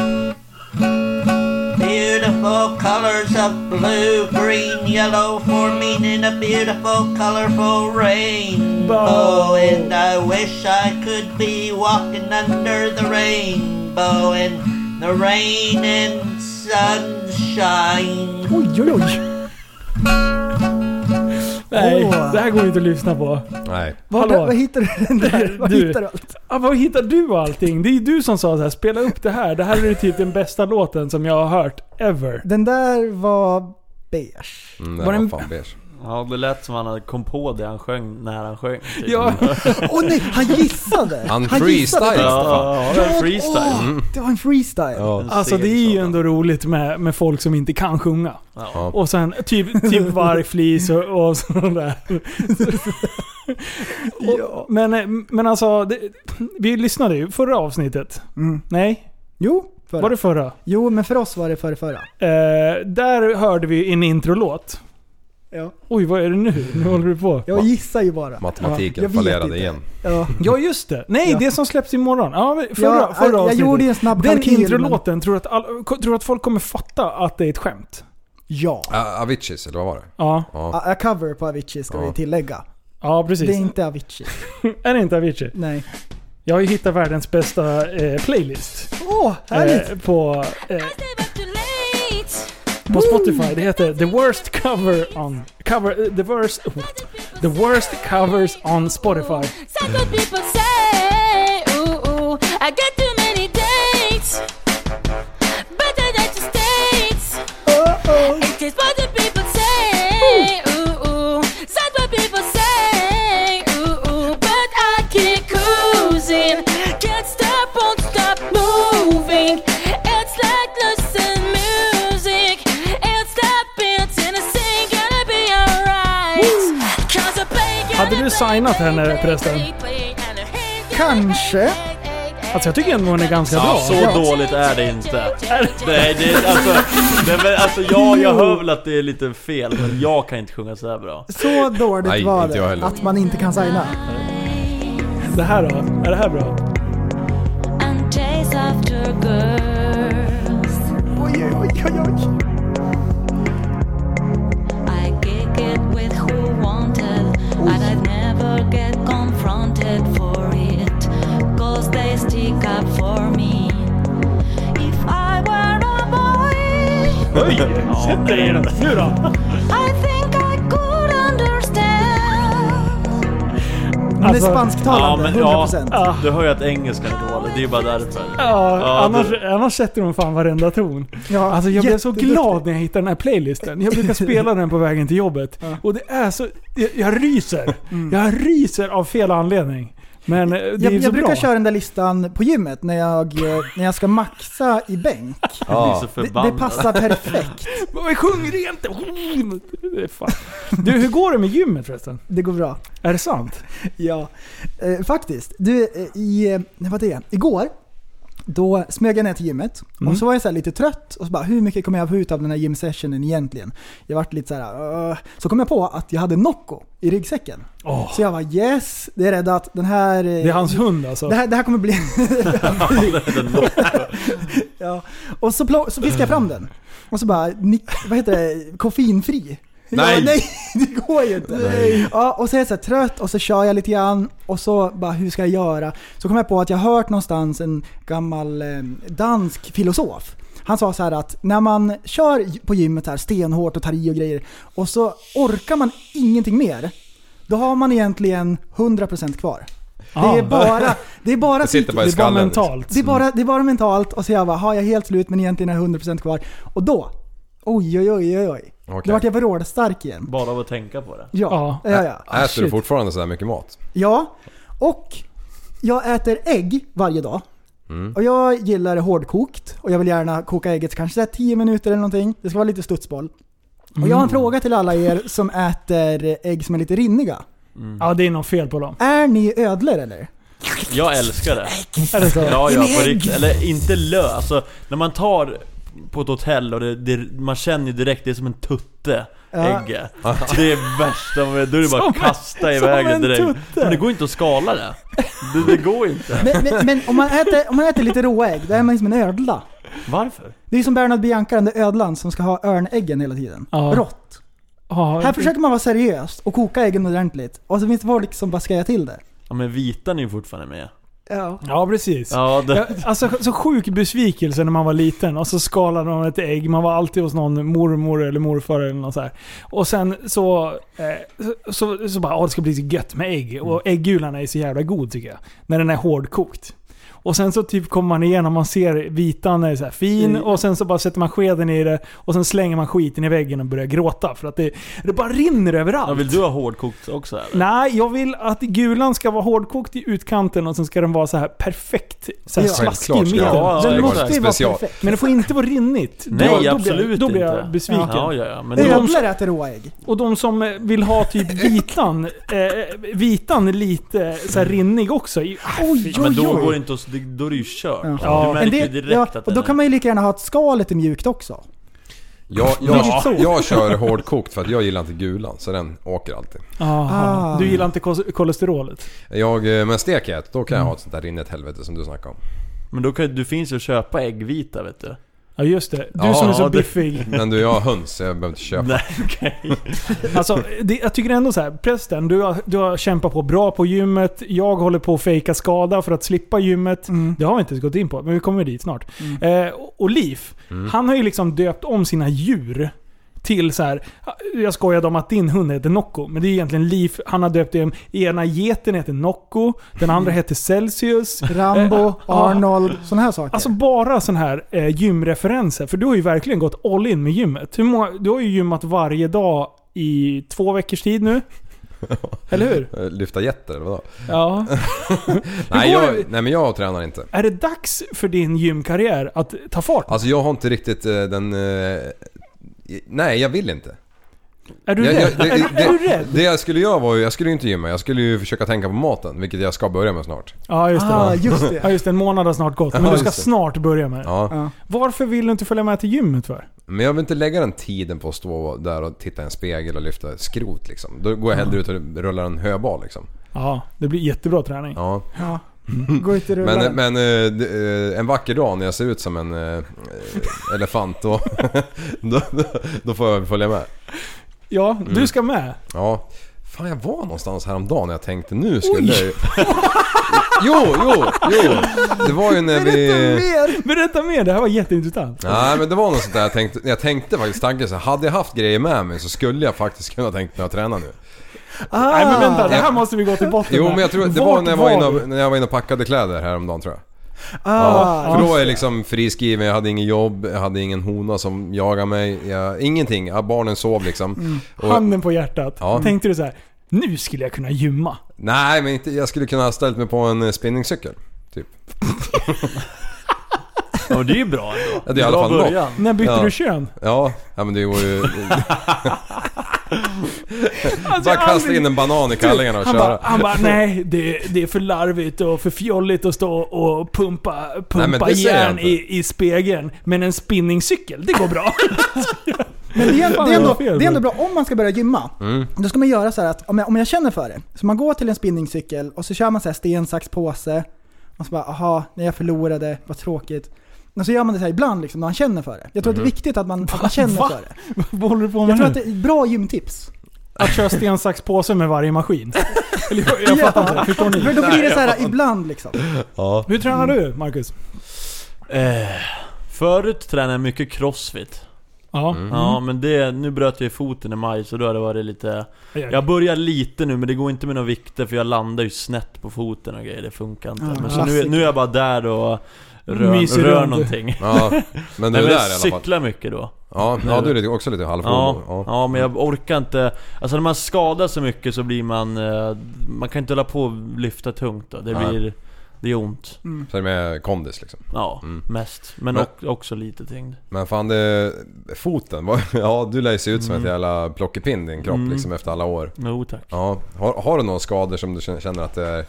Speaker 9: Beautiful colors of blue, green, yellow, forming in a beautiful, colorful rainbow. And I wish I could be walking under the rainbow, and the rain and sunshine.
Speaker 7: Oj, oj, oj.
Speaker 5: Nej,
Speaker 7: Åh.
Speaker 5: det här går ju inte att lyssna på.
Speaker 6: Nej.
Speaker 7: Var,
Speaker 5: Hallå.
Speaker 7: var hittar du den där? Var
Speaker 5: Du.
Speaker 7: hittar du allt?
Speaker 5: Ah, var hittar du allting? Det är ju du som sa så här, spela upp det här. Det här är typ den bästa låten som jag har hört ever.
Speaker 7: Den där var beige.
Speaker 6: Mm, det
Speaker 5: Var
Speaker 6: var,
Speaker 5: det en-
Speaker 6: fan beige.
Speaker 8: Ja, det lät som han hade kom på det han sjöng när han sjöng. typ.
Speaker 5: Ja,
Speaker 7: Åh nej, han gissade!
Speaker 6: Han Mm.
Speaker 7: gissade.
Speaker 6: freestylade.
Speaker 8: ja, det var en freestyle.
Speaker 7: Åh, det var en freestyle.
Speaker 6: Ja.
Speaker 5: alltså det är ju ändå roligt med, med folk som inte kan sjunga.
Speaker 6: Ja.
Speaker 5: Och sen typ, typ vargflis och, och sådär.
Speaker 7: Ja.
Speaker 5: Och, men, eh, men alltså, det, vi lyssnade ju förra avsnittet.
Speaker 7: Mm.
Speaker 5: Nej?
Speaker 7: Jo, förra.
Speaker 5: Var det förra?
Speaker 7: jo, men för oss var det förra, förra.
Speaker 5: Eh, där hörde vi en introlåt.
Speaker 7: Ja.
Speaker 5: Oj, vad är det nu? Nu håller du på.
Speaker 7: Jag gissar ju bara.
Speaker 6: Matematiken
Speaker 7: Jag vet inte.
Speaker 6: fallerade igen.
Speaker 7: Ja.
Speaker 5: Ja, just det. Nej,
Speaker 7: Ja.
Speaker 5: det som släpps imorgon. Ja, men förra,
Speaker 7: Ja,
Speaker 5: förra
Speaker 7: jag, jag
Speaker 5: avsnittet.
Speaker 7: gjorde ju en snabb
Speaker 5: Den
Speaker 7: kalkyl,
Speaker 5: introlåten, tror du att, all, ko- tror du att folk kommer fatta att det är ett skämt?
Speaker 7: men- Ja.
Speaker 6: Ah, Aviciis, eller vad var det?
Speaker 5: Ja,
Speaker 6: Ja.
Speaker 7: A, a cover på Avicii ska
Speaker 6: Ja.
Speaker 7: vi tillägga.
Speaker 5: ja precis.
Speaker 7: Det är inte Avicii.
Speaker 5: Är det inte Avicii?
Speaker 7: Nej.
Speaker 5: Jag har ju hittat världens bästa eh, playlist.
Speaker 7: Åh, härligt!
Speaker 5: Eh, på, eh, på Spotify. Det heter The Worst Cover on... Cover... eh, the worst... oh. The Worst Covers on Spotify.
Speaker 10: Psycho people say, ooh, ooh, I got too many dates. Better that you states. It is what the people say, ooh, ooh. That's what people say, ooh, ooh. But I keep cruising. Can't stop, won't stop moving. It's like losing music. It's like dancing and singing, gonna be alright. 'Cause a pain
Speaker 5: Hade du signat henne förresten?
Speaker 7: Kanske.
Speaker 5: Alltså jag tycker ändå hon är ganska
Speaker 8: Ja,
Speaker 5: bra.
Speaker 8: så dåligt är det inte. Nej, det är alltså... Det är, väl- alltså jag, jag hör väl att det är lite fel, men jag kan inte sjunga så här bra.
Speaker 7: Så dåligt
Speaker 6: Nej,
Speaker 7: var
Speaker 6: inte jag
Speaker 7: det
Speaker 6: heller.
Speaker 7: att man inte kan signa.
Speaker 5: Det här då? Är det här bra?
Speaker 10: and chase after girls.
Speaker 7: Oj, oj, oj, oj.
Speaker 10: I kick it with who wanted, and I never get confronted for it, cause they stick up for me. If I were a boy,
Speaker 5: Sätt dig i den. Nu då?
Speaker 10: I think I could understand.
Speaker 7: Hon
Speaker 5: Alltså,
Speaker 7: är
Speaker 8: Ja,
Speaker 7: spansktalande,
Speaker 8: men ja,
Speaker 7: 100%.
Speaker 8: du hör ju att engelskan är dålig. Det är ju bara därför.
Speaker 5: Ja,
Speaker 8: Ja,
Speaker 5: annars, annars sätter hon fan varenda ton.
Speaker 7: Ja,
Speaker 5: Alltså jag blev så
Speaker 7: jätteduktig.
Speaker 5: glad när jag hittade den här playlisten. Jag brukar spela den på vägen till jobbet. Och det är så... Jag, jag ryser. Jag ryser av fel anledning. Men eh, det är
Speaker 7: Mm. Jag,
Speaker 5: ju så
Speaker 7: jag brukar
Speaker 5: bra.
Speaker 7: köra den där listan på gymmet när jag, eh, när jag ska maxa i bänk.
Speaker 8: Jag blir så
Speaker 7: Det, det
Speaker 8: förbannad.
Speaker 7: passar perfekt.
Speaker 5: Men sjung rent! Det är fan. Du, hur går det med gymmet förresten?
Speaker 7: Det går bra.
Speaker 5: Är det sant?
Speaker 7: Ja, eh, faktiskt. Du, eh, i, eh, när var det? Igår, då smög jag ner till gymmet.
Speaker 5: Mm.
Speaker 7: Och så var jag så här lite trött och så bara, hur mycket kommer jag få ut av den här gymsessionen egentligen? Jag vart lite så här, "Åh." Så kom jag på att jag hade Nocco i ryggsäcken.
Speaker 5: Åh.
Speaker 7: Så jag var yes, det är räddat. Den här... eh,
Speaker 5: Det är hans hund alltså?
Speaker 7: Det här, det här kommer bli... ja. Och så, plo- så fiskade jag fram den. Och så bara, ni- vad heter det, koffeinfri.
Speaker 6: Nej.
Speaker 7: Ja, nej, det går ju inte. Ja, och så är jag så här trött och så kör jag lite grann och så bara, hur ska jag göra? Så kom jag på att jag hört någonstans en gammal eh, dansk filosof. Han sa så här att när man kör på gymmet här stenhårt och tar i och grejer och så orkar man ingenting mer. Då har man egentligen 100% kvar. Det är bara, det är bara
Speaker 6: Det Ah. sitter bara i
Speaker 5: det är bara
Speaker 6: skallen.
Speaker 5: mentalt.
Speaker 7: det är, bara, det är bara mentalt och så jag bara, har jag helt slut men egentligen är jag 100% kvar. Och då, oj oj oj oj oj.
Speaker 6: Okej.
Speaker 7: Då vart jag vrålstark igen.
Speaker 8: Bara av att tänka på det.
Speaker 7: Ja,
Speaker 5: Ja.
Speaker 7: ja, ja.
Speaker 6: Äter du
Speaker 5: shit.
Speaker 6: fortfarande sådär mycket mat?
Speaker 7: Ja, och jag äter ägg varje dag. Och jag gillar det hårdkokt och jag vill gärna koka ägget kanske så här 10 minuter eller någonting. Det ska vara lite studsboll. Och jag har en fråga till alla er som äter ägg som är lite rinniga.
Speaker 5: Ja, det är något fel på dem.
Speaker 7: Är ni ödlor eller?
Speaker 8: Jag älskar det.
Speaker 5: Är det så?
Speaker 8: Ja, ja, på riktigt. Eller inte lö. Alltså, när man tar på ett hotell och det, det, man känner ju direkt, det är som en tutte.
Speaker 7: Ja.
Speaker 8: Ägge. Det är värsta med, då är det bara
Speaker 5: Som
Speaker 8: att
Speaker 5: en-
Speaker 8: kasta iväg
Speaker 5: som
Speaker 8: det
Speaker 5: en
Speaker 8: direkt.
Speaker 5: tutte.
Speaker 8: Men det går inte att skala det. Det, det går inte.
Speaker 7: Men, men, men om, man äter, om man äter lite råa ägg, då är man som en ödla.
Speaker 8: Varför?
Speaker 7: Det är som Bernhard Bianca, den där ödlan som ska ha örnäggen hela tiden.
Speaker 5: Ja.
Speaker 7: Rått.
Speaker 5: Ja,
Speaker 7: Här försöker man vara seriös och koka äggen ordentligt. Och så finns det folk som bara ska göra till det.
Speaker 8: Ja men vitan är ju fortfarande med.
Speaker 7: Ja.
Speaker 5: Ja, precis.
Speaker 8: Ja, det,
Speaker 5: Ja, alltså så sjuk besvikelse när man var liten och så skalade man ett ägg. Man var alltid hos någon mormor eller morfar eller något så här. Och sen så, eh, så, så, så bara "Åh, det ska bli så gött med ägg.
Speaker 8: Mm.
Speaker 5: Och äggulan är så jävla god tycker jag. När den är hårdkokt. Och sen så typ kommer man igenom, man ser vitan är så här fin
Speaker 8: Mm.
Speaker 5: och sen så bara sätter man skeden i det och sen slänger man skiten i väggen och börjar gråta för att det, det bara rinner överallt.
Speaker 8: ja, vill du ha hårdkokt också eller?
Speaker 5: Nej, jag vill att gulan ska vara hårdkokt i utkanten och sen ska den vara så här perfekt så här
Speaker 7: Ja.
Speaker 5: slaskig i
Speaker 6: Självklart ska
Speaker 5: mitten.
Speaker 6: det vara.
Speaker 8: Ja,
Speaker 5: den
Speaker 8: det
Speaker 5: måste
Speaker 8: var
Speaker 5: ju vara
Speaker 6: special.
Speaker 5: perfekt. Men det får inte vara rinnigt.
Speaker 8: Nej,
Speaker 5: då,
Speaker 8: absolut
Speaker 5: då blir jag, Då blir
Speaker 8: inte.
Speaker 5: jag besviken.
Speaker 8: Ja, ja, ja. Men de,
Speaker 7: Ödlor äter råa ägg.
Speaker 5: Och de som eh, vill ha typ vitan, eh, vitan lite så här rinnig också. Oj, oj,
Speaker 8: men då går det inte att, det- då är det ju kört.
Speaker 5: Ja.
Speaker 8: Du märker
Speaker 7: En
Speaker 8: ju
Speaker 7: del-
Speaker 8: direkt
Speaker 7: ja,
Speaker 8: att
Speaker 7: och då
Speaker 8: den
Speaker 7: kan man ju lika gärna ha att skalet är mjukt också.
Speaker 6: Jag,
Speaker 5: Vilket så?
Speaker 6: jag, jag kör hårdkokt för att jag gillar inte gulan så den åker alltid.
Speaker 5: Aha.
Speaker 7: Ah.
Speaker 5: Du gillar inte kos- kolesterolet?
Speaker 6: Jag, eh, men steker jag ett, då kan jag ha ett sånt där rinnigt helvete som du snackade om.
Speaker 8: Men då kan, du finns ju att köpa äggvita vet du.
Speaker 5: Ja just det. Du
Speaker 6: Ja,
Speaker 5: som är så
Speaker 6: det-
Speaker 5: biffig.
Speaker 6: Men du, jag har höns, jag behöver inte köpa.
Speaker 8: Nej okej.
Speaker 5: Alltså, det, jag tycker ändå så här. Prästen, du har, du har kämpat på bra på gymmet. Jag håller på att fejka skada för att slippa gymmet. Det har vi inte ens gått in på, men vi kommer dit snart. Eh, och Liv, han har ju liksom döpt om sina djur till så här. Jag skojade om att din hund heter Nocco, men det är egentligen Liv. Han har döpt dem. Ena geten heter Nocco, den andra heter Celsius.
Speaker 8: Eh,
Speaker 7: Rambo,
Speaker 5: ah.
Speaker 7: Arnold, sådana här saker.
Speaker 5: Alltså bara sån här eh, gymreferenser. För du har ju verkligen gått all in med gymmet. Hur många, du har ju gymmat varje dag i två veckors tid nu. Eller hur?
Speaker 6: Eh, Lyfta getter eller vadå?
Speaker 5: Ja.
Speaker 6: Nej,
Speaker 5: går
Speaker 6: jag,
Speaker 5: det?
Speaker 6: nej men jag tränar inte.
Speaker 5: Är det dags för din gymkarriär att ta fart?
Speaker 6: Alltså jag har inte riktigt eh, den... eh, i- Nej, jag vill inte.
Speaker 5: Är du
Speaker 6: Jag- jag-
Speaker 5: rädd?
Speaker 6: det-
Speaker 5: är,
Speaker 6: det-
Speaker 5: är du rädd?
Speaker 6: Det jag skulle göra var ju, jag skulle ju inte gymma. Jag skulle ju försöka tänka på maten, vilket jag ska börja med snart.
Speaker 5: Ja, just det.
Speaker 7: Ah, just
Speaker 5: Ja,
Speaker 7: det.
Speaker 5: just det. En månad har snart gått. Men
Speaker 6: Ja,
Speaker 5: du ska
Speaker 6: just det.
Speaker 5: snart börja med det.
Speaker 6: Ja.
Speaker 7: Ja.
Speaker 5: Varför vill du inte följa med till gymmet för?
Speaker 6: Men jag vill inte lägga den tiden på att stå där och titta i en spegel och lyfta skrot liksom. Då går jag hellre ut och rullar en höbal liksom.
Speaker 5: Ja, det blir jättebra träning.
Speaker 6: Ja.
Speaker 7: Ja. Gå ut i
Speaker 6: Men,
Speaker 7: rullan.
Speaker 6: men eh, d- eh, en vacker dag när jag ser ut som en eh, eh, elefant då, då, då får jag följa med.
Speaker 5: Ja, du
Speaker 6: Mm.
Speaker 5: ska med.
Speaker 6: Ja. Fan jag var någonstans häromdagen när jag tänkte nu skulle jag ju... Jo, jo, jo! Det var ju när
Speaker 8: eh,
Speaker 6: vi...
Speaker 7: Mer!
Speaker 5: Berätta mer, det här var jätteintressant.
Speaker 6: Nej men det var något sånt där jag tänkte, jag tänkte faktiskt tanken så här, hade jag haft grejer med mig så skulle jag faktiskt kunna tänkt mig att träna nu.
Speaker 7: Ah,
Speaker 5: Nej men vänta, det här
Speaker 6: Ja.
Speaker 5: måste vi gå till botten
Speaker 6: Jo
Speaker 5: med.
Speaker 6: men jag tror det
Speaker 5: Vart
Speaker 6: var när jag var inne
Speaker 5: du?
Speaker 6: och, när jag var inne och packade kläder häromdagen tror jag.
Speaker 7: Ah,
Speaker 6: För då var jag liksom friskriven, jag hade inget jobb, jag hade ingen hona som jagade mig. Jag, ingenting, ja, barnen sov liksom.
Speaker 5: Mm.
Speaker 6: Och,
Speaker 5: Handen på hjärtat.
Speaker 6: Ja.
Speaker 5: Tänkte du så här. nu skulle jag kunna gymma.
Speaker 6: Nej men inte, jag skulle kunna ha ställt mig på en eh, spinningcykel. Typ.
Speaker 8: Ja, men det är ju bra ändå.
Speaker 6: Ja, det är i alla fall något.
Speaker 8: början.
Speaker 5: När bytte
Speaker 6: Ja.
Speaker 5: du kön?
Speaker 6: Ja, ja men det var ju...
Speaker 5: Alltså,
Speaker 6: Bara
Speaker 5: jag har
Speaker 6: kasta
Speaker 5: aldrig-
Speaker 6: in en banan i kallingarna och
Speaker 5: han
Speaker 6: köra.
Speaker 5: bara, han bara, nej det, det är för larvigt och för fjolligt att stå och pumpa,
Speaker 6: men
Speaker 5: pumpa
Speaker 6: det säger jag
Speaker 5: järn
Speaker 6: inte.
Speaker 5: i, i spegeln. Men en spinningcykel, det går bra.
Speaker 7: Men det är,
Speaker 5: Fan,
Speaker 7: det, är
Speaker 5: vad
Speaker 7: ändå,
Speaker 5: fel.
Speaker 7: det är ändå bra om man ska börja gymma.
Speaker 8: Mm.
Speaker 7: Då ska man göra så här att om jag, om jag känner för det, så man går till en spinningcykel och så kör man så här sten, sax, påse. Och så bara aha, när jag förlorade, vad tråkigt. Och så gör man det så här ibland liksom, när man känner för det. Jag
Speaker 8: Mm.
Speaker 7: tror att det är viktigt att man, att man känner
Speaker 5: Va?
Speaker 7: för det.
Speaker 5: Vad håller du på med
Speaker 7: Jag tror
Speaker 5: nu?
Speaker 7: att det är ett bra gymtips.
Speaker 5: Att köra sten, sax, påse med varje maskin. Eller, jag, jag
Speaker 7: Ja.
Speaker 5: fattar inte, förstår ni?
Speaker 7: För då blir det så här ibland liksom.
Speaker 6: Ja.
Speaker 5: Hur tränar du Marcus?
Speaker 8: Eh, förut tränade jag mycket crossfit.
Speaker 5: Ja.
Speaker 6: Mm.
Speaker 8: Ja men det, nu bröt jag ju foten i maj så då har det varit lite... Jag börjar lite nu men det går inte med några vikter för jag landar ju snett på foten och grejer, det funkar inte.
Speaker 7: Ah,
Speaker 8: men så nu,
Speaker 7: klassiker.
Speaker 8: nu är jag bara där och rör,
Speaker 5: Myser
Speaker 8: rör
Speaker 5: runt.
Speaker 8: någonting.
Speaker 6: Ja, men du
Speaker 8: Nej,
Speaker 6: är
Speaker 8: men
Speaker 6: där i
Speaker 8: jag
Speaker 6: alla fall.
Speaker 8: cyklar mycket då.
Speaker 6: Ja, ja du är lite- också lite halvfull.
Speaker 8: Ja,
Speaker 6: Ja.
Speaker 8: ja. men jag orkar inte... Alltså när man skadar så mycket så blir man... eh, Man kan inte hålla på och lyfta tungt då. Det
Speaker 6: Nej.
Speaker 8: blir... Det är ont.
Speaker 6: Så är det med kondis liksom.
Speaker 8: Ja,
Speaker 6: Mm.
Speaker 8: mest. Men,
Speaker 6: Men-
Speaker 8: ock- också lite tyngd.
Speaker 6: Men fan det... Foten, vad- ja du lär ju se ut som ett jävla plockepinn din kropp
Speaker 8: Mm.
Speaker 6: liksom efter alla år.
Speaker 8: Jo tack.
Speaker 6: Ja, har, har du några skador som du känner- känner att det är...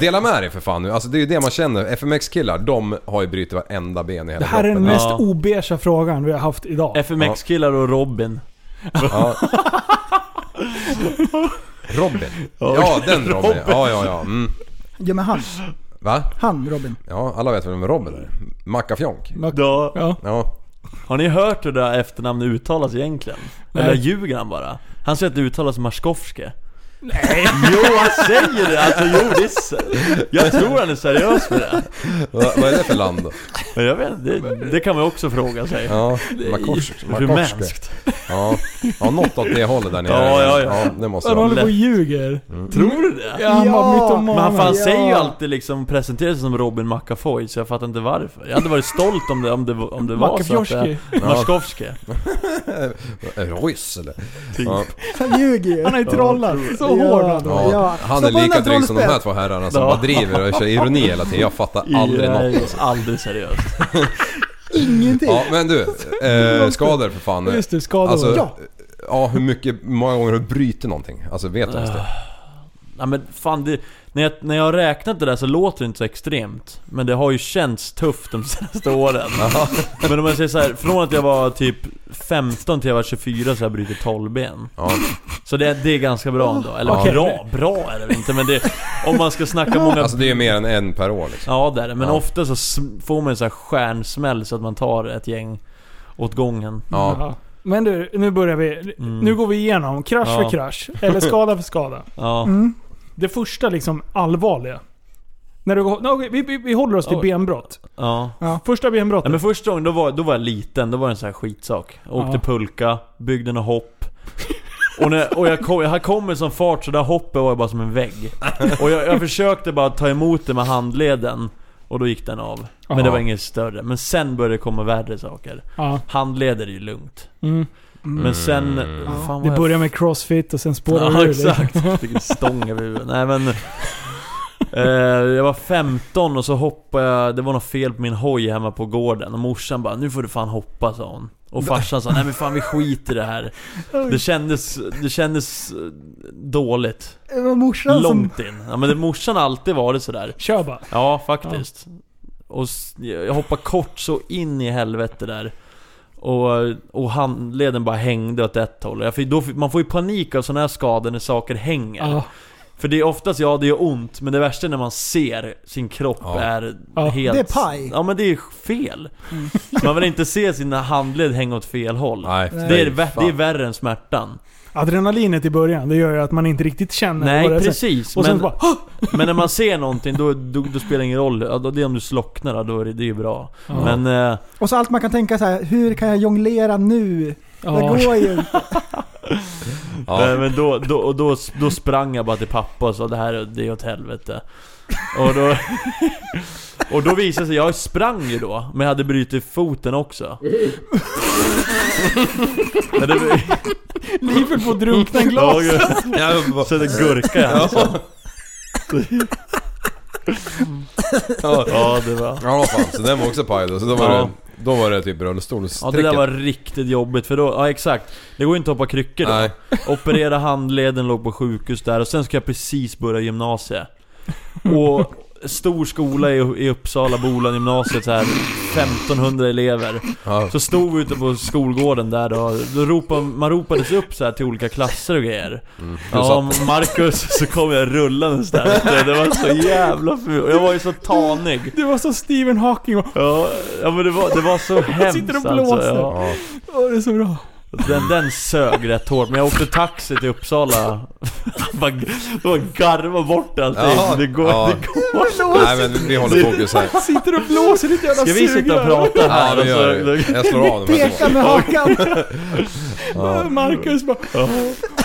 Speaker 6: Dela med dig för fan nu, alltså det är ju det man känner. FMX-killar, de har ju brutit varenda ben i hela
Speaker 5: Det här är den
Speaker 6: kroppen.
Speaker 5: mest
Speaker 8: Ja.
Speaker 5: obeiga frågan vi har haft idag.
Speaker 8: FMX-killar och Robin.
Speaker 6: Ja. Robin. Ja, den Robin. Ja, ja, ja. Mm.
Speaker 7: Ja men han,
Speaker 6: Va?
Speaker 7: han Robin.
Speaker 6: Ja, alla vet vem Robin är. Mackafjonk.
Speaker 8: Då,
Speaker 5: Ja.
Speaker 6: Ja.
Speaker 8: har ni hört hur det där efternamnet uttalas egentligen?
Speaker 5: Nej.
Speaker 8: Eller ljuger han bara? Han säger att det uttalas Marskovske. Nej! Jo han säger det! Alltså jo det är... s- Jag tror han är seriös med det.
Speaker 6: Va, vad är det för land då?
Speaker 8: Men jag vet det, det kan man också fråga sig.
Speaker 6: Ja, Makorsk. Makorsk.
Speaker 8: Rumänskt.
Speaker 6: Ja. ja, något åt det hållet där nere.
Speaker 8: Ja, ja, ja.
Speaker 6: det måste
Speaker 5: Han
Speaker 6: det vara.
Speaker 5: håller på och ljuger.
Speaker 6: Mm.
Speaker 8: Tror du det?
Speaker 5: Ja, han var mytoman.
Speaker 8: Men han fan
Speaker 7: Ja.
Speaker 8: säger ju alltid liksom, presenterar sig som Robin McAfoy så jag fattar inte varför. Jag hade varit stolt om det, om det, om det var så att det...
Speaker 5: Macafjorski.
Speaker 8: Marskovske.
Speaker 6: Eh, Ryss eller?
Speaker 8: Typ.
Speaker 6: Ja.
Speaker 7: Han ljuger ju.
Speaker 5: Han är trollad. Så
Speaker 7: Ja.
Speaker 5: hård han
Speaker 6: Ja,
Speaker 7: Ja.
Speaker 6: Han är
Speaker 7: Stoppa
Speaker 6: lika
Speaker 7: undan
Speaker 6: dryg som de här
Speaker 7: trollspöet.
Speaker 6: två herrarna som
Speaker 8: Ja.
Speaker 6: bara driver och kör ironi hela tiden. Jag fattar aldrig något.
Speaker 8: något. Aldrig seriöst.
Speaker 7: Ingenting.
Speaker 6: Ja, men du. Eh, skador för fan.
Speaker 5: Just det, skador.
Speaker 6: Alltså,
Speaker 5: ja.
Speaker 6: ja. hur mycket, hur många gånger har du brutit någonting? Alltså vet du ens det?
Speaker 8: Nej men fan det, när, jag, när jag har räknat det där så låter det inte så extremt. Men det har ju känts tufft de senaste åren. men om jag säger så här, från att jag var typ 15 till jag var 24 så har jag brutit 12 ben.
Speaker 6: Ja.
Speaker 8: Så det, det är ganska bra ändå. Eller
Speaker 5: Okej.
Speaker 8: bra, bra är det väl inte men det... Om man ska snacka många...
Speaker 6: Alltså det är ju mer än en per år liksom.
Speaker 8: Ja det är det, men
Speaker 6: Ja.
Speaker 8: ofta så sm- får man en sån här stjärnsmäll så att man tar ett gäng åt gången.
Speaker 6: Ja.
Speaker 5: Men du, nu börjar vi. Nu går vi igenom krasch
Speaker 8: Mm. Ja.
Speaker 5: för krasch. Eller skada för skada. Mm.
Speaker 8: Ja.
Speaker 5: Det första liksom allvarliga. När du går, no, okej, vi, vi, vi håller oss till
Speaker 8: Oj.
Speaker 5: benbrott.
Speaker 8: ja.
Speaker 5: Första
Speaker 8: Nej,
Speaker 5: benbrottet.
Speaker 8: men första gången, då var, då var jag liten, då var det en sån här skitsak. Jag åkte
Speaker 5: Ja.
Speaker 8: pulka, byggde några hopp. Och, när, och jag, kom, jag kom med sån fart så där hoppet var ju bara som en vägg. Och jag, jag försökte bara ta emot det med handleden. Och då gick den av. Men det
Speaker 5: Jaha.
Speaker 8: var inget större. Men sen började det komma värre saker.
Speaker 5: Ja.
Speaker 8: Handleder är ju lugnt.
Speaker 5: Mm.
Speaker 8: Men sen... Fan,
Speaker 5: Det
Speaker 8: vad jag
Speaker 5: börjar med crossfit och sen spårar liksom.
Speaker 8: Ja
Speaker 5: det ur dig.
Speaker 8: exakt, fick en stång över huvudet. Nej men... Eh, jag var 15 och så hoppade jag, det var något fel på min hoj hemma på gården och morsan bara 'Nu får du fan hoppa' sa hon Och farsan sa 'Nej men fan vi skiter i det här' Det kändes, det kändes eh, dåligt
Speaker 7: Det var morsan som...
Speaker 8: Långt in. Ja men det, morsan har alltid varit sådär.
Speaker 5: Kör bara.
Speaker 8: Ja, faktiskt. Och s- jag hoppade kort så in i helvete där. Och, och handleden bara hängde åt ett håll. Jag fick, då, fick- man får ju panik av sådana här skador när saker hänger.
Speaker 5: Ja.
Speaker 8: För det är oftast, ja det gör ont, men det värsta är när man ser sin kropp
Speaker 6: Ja.
Speaker 8: är
Speaker 5: Ja,
Speaker 8: helt...
Speaker 7: det är paj.
Speaker 8: Ja men det är fel.
Speaker 5: Mm.
Speaker 8: Man vill inte se sina handled hänga åt fel håll.
Speaker 6: Nej,
Speaker 8: Det är,
Speaker 6: fy
Speaker 8: vä-
Speaker 6: fan.
Speaker 8: det är värre än smärtan.
Speaker 5: Adrenalinet i början, det gör ju att man inte riktigt känner
Speaker 8: Nej
Speaker 5: vad det är.
Speaker 8: precis,
Speaker 5: Och sen
Speaker 8: men,
Speaker 5: bara "Hå!"
Speaker 8: men när man ser någonting då, då, då spelar det ingen roll. Ja, då- Det är om du slocknar då, då är det, det är ju bra. Men... eh,
Speaker 7: Och så allt man kan tänka så här, hur kan jag jonglera nu? Det
Speaker 5: ja.
Speaker 7: går ju inte.
Speaker 8: Nej,
Speaker 6: Ja.
Speaker 8: men då, då, och då, då sprang jag bara till pappa och sa det här det är åt helvete. Och då, och då visade det sig, jag sprang ju då, men jag hade brutit foten också. Men det,
Speaker 5: Livet får drunkna i glas.
Speaker 8: jag,
Speaker 6: Jag bara-
Speaker 8: så det gurka jag alltså.
Speaker 6: Ja.
Speaker 8: Ja, det var...
Speaker 6: Ja fan, så den var också paj då. Så då var,
Speaker 8: Ja.
Speaker 6: det, då var det typ
Speaker 8: Ja det
Speaker 6: rullstolstricket.
Speaker 8: där var riktigt jobbigt för då, ja exakt. Det går ju inte att hoppa kryckor då.
Speaker 6: Nej.
Speaker 8: Operera handleden, låg på sjukhus där och sen ska jag precis börja gymnasiet. Och stor skola i, i Uppsala, Bolan gymnasiet så här 1500 elever.
Speaker 6: Ja.
Speaker 8: Så stod vi ute på skolgården där då, då ropade, man ropades upp så här till olika klasser och grejer.
Speaker 5: Mm.
Speaker 8: Ja, Marcus, så kom jag rullandes där ute. Det var så jävla fult. Och Jag var ju så tanig.
Speaker 5: Det var så Stephen Hawking och
Speaker 8: Ja, ja men det var, det var så hemskt
Speaker 5: sitter och
Speaker 8: Alltså,
Speaker 5: blåser.
Speaker 8: ja.
Speaker 6: Ja.
Speaker 5: Åh, det är så bra.
Speaker 8: Den, den sög rätt hårt, men jag åkte taxi till Uppsala Bara bara garva bort allting,
Speaker 6: Ja.
Speaker 8: det går,
Speaker 6: Ja.
Speaker 8: det går
Speaker 6: Nej men vi håller fokus här.
Speaker 5: Sitter och blåser ditt jävla
Speaker 8: Ska vi sitta och
Speaker 5: sugrör.
Speaker 8: prata här? Alltså,
Speaker 6: Ja
Speaker 8: och
Speaker 6: vi gör
Speaker 8: så-
Speaker 6: det. Jag slår av dem Alltså,
Speaker 7: Peka
Speaker 6: här två.
Speaker 7: med hakan.
Speaker 5: Marcus bara
Speaker 6: I
Speaker 8: Ja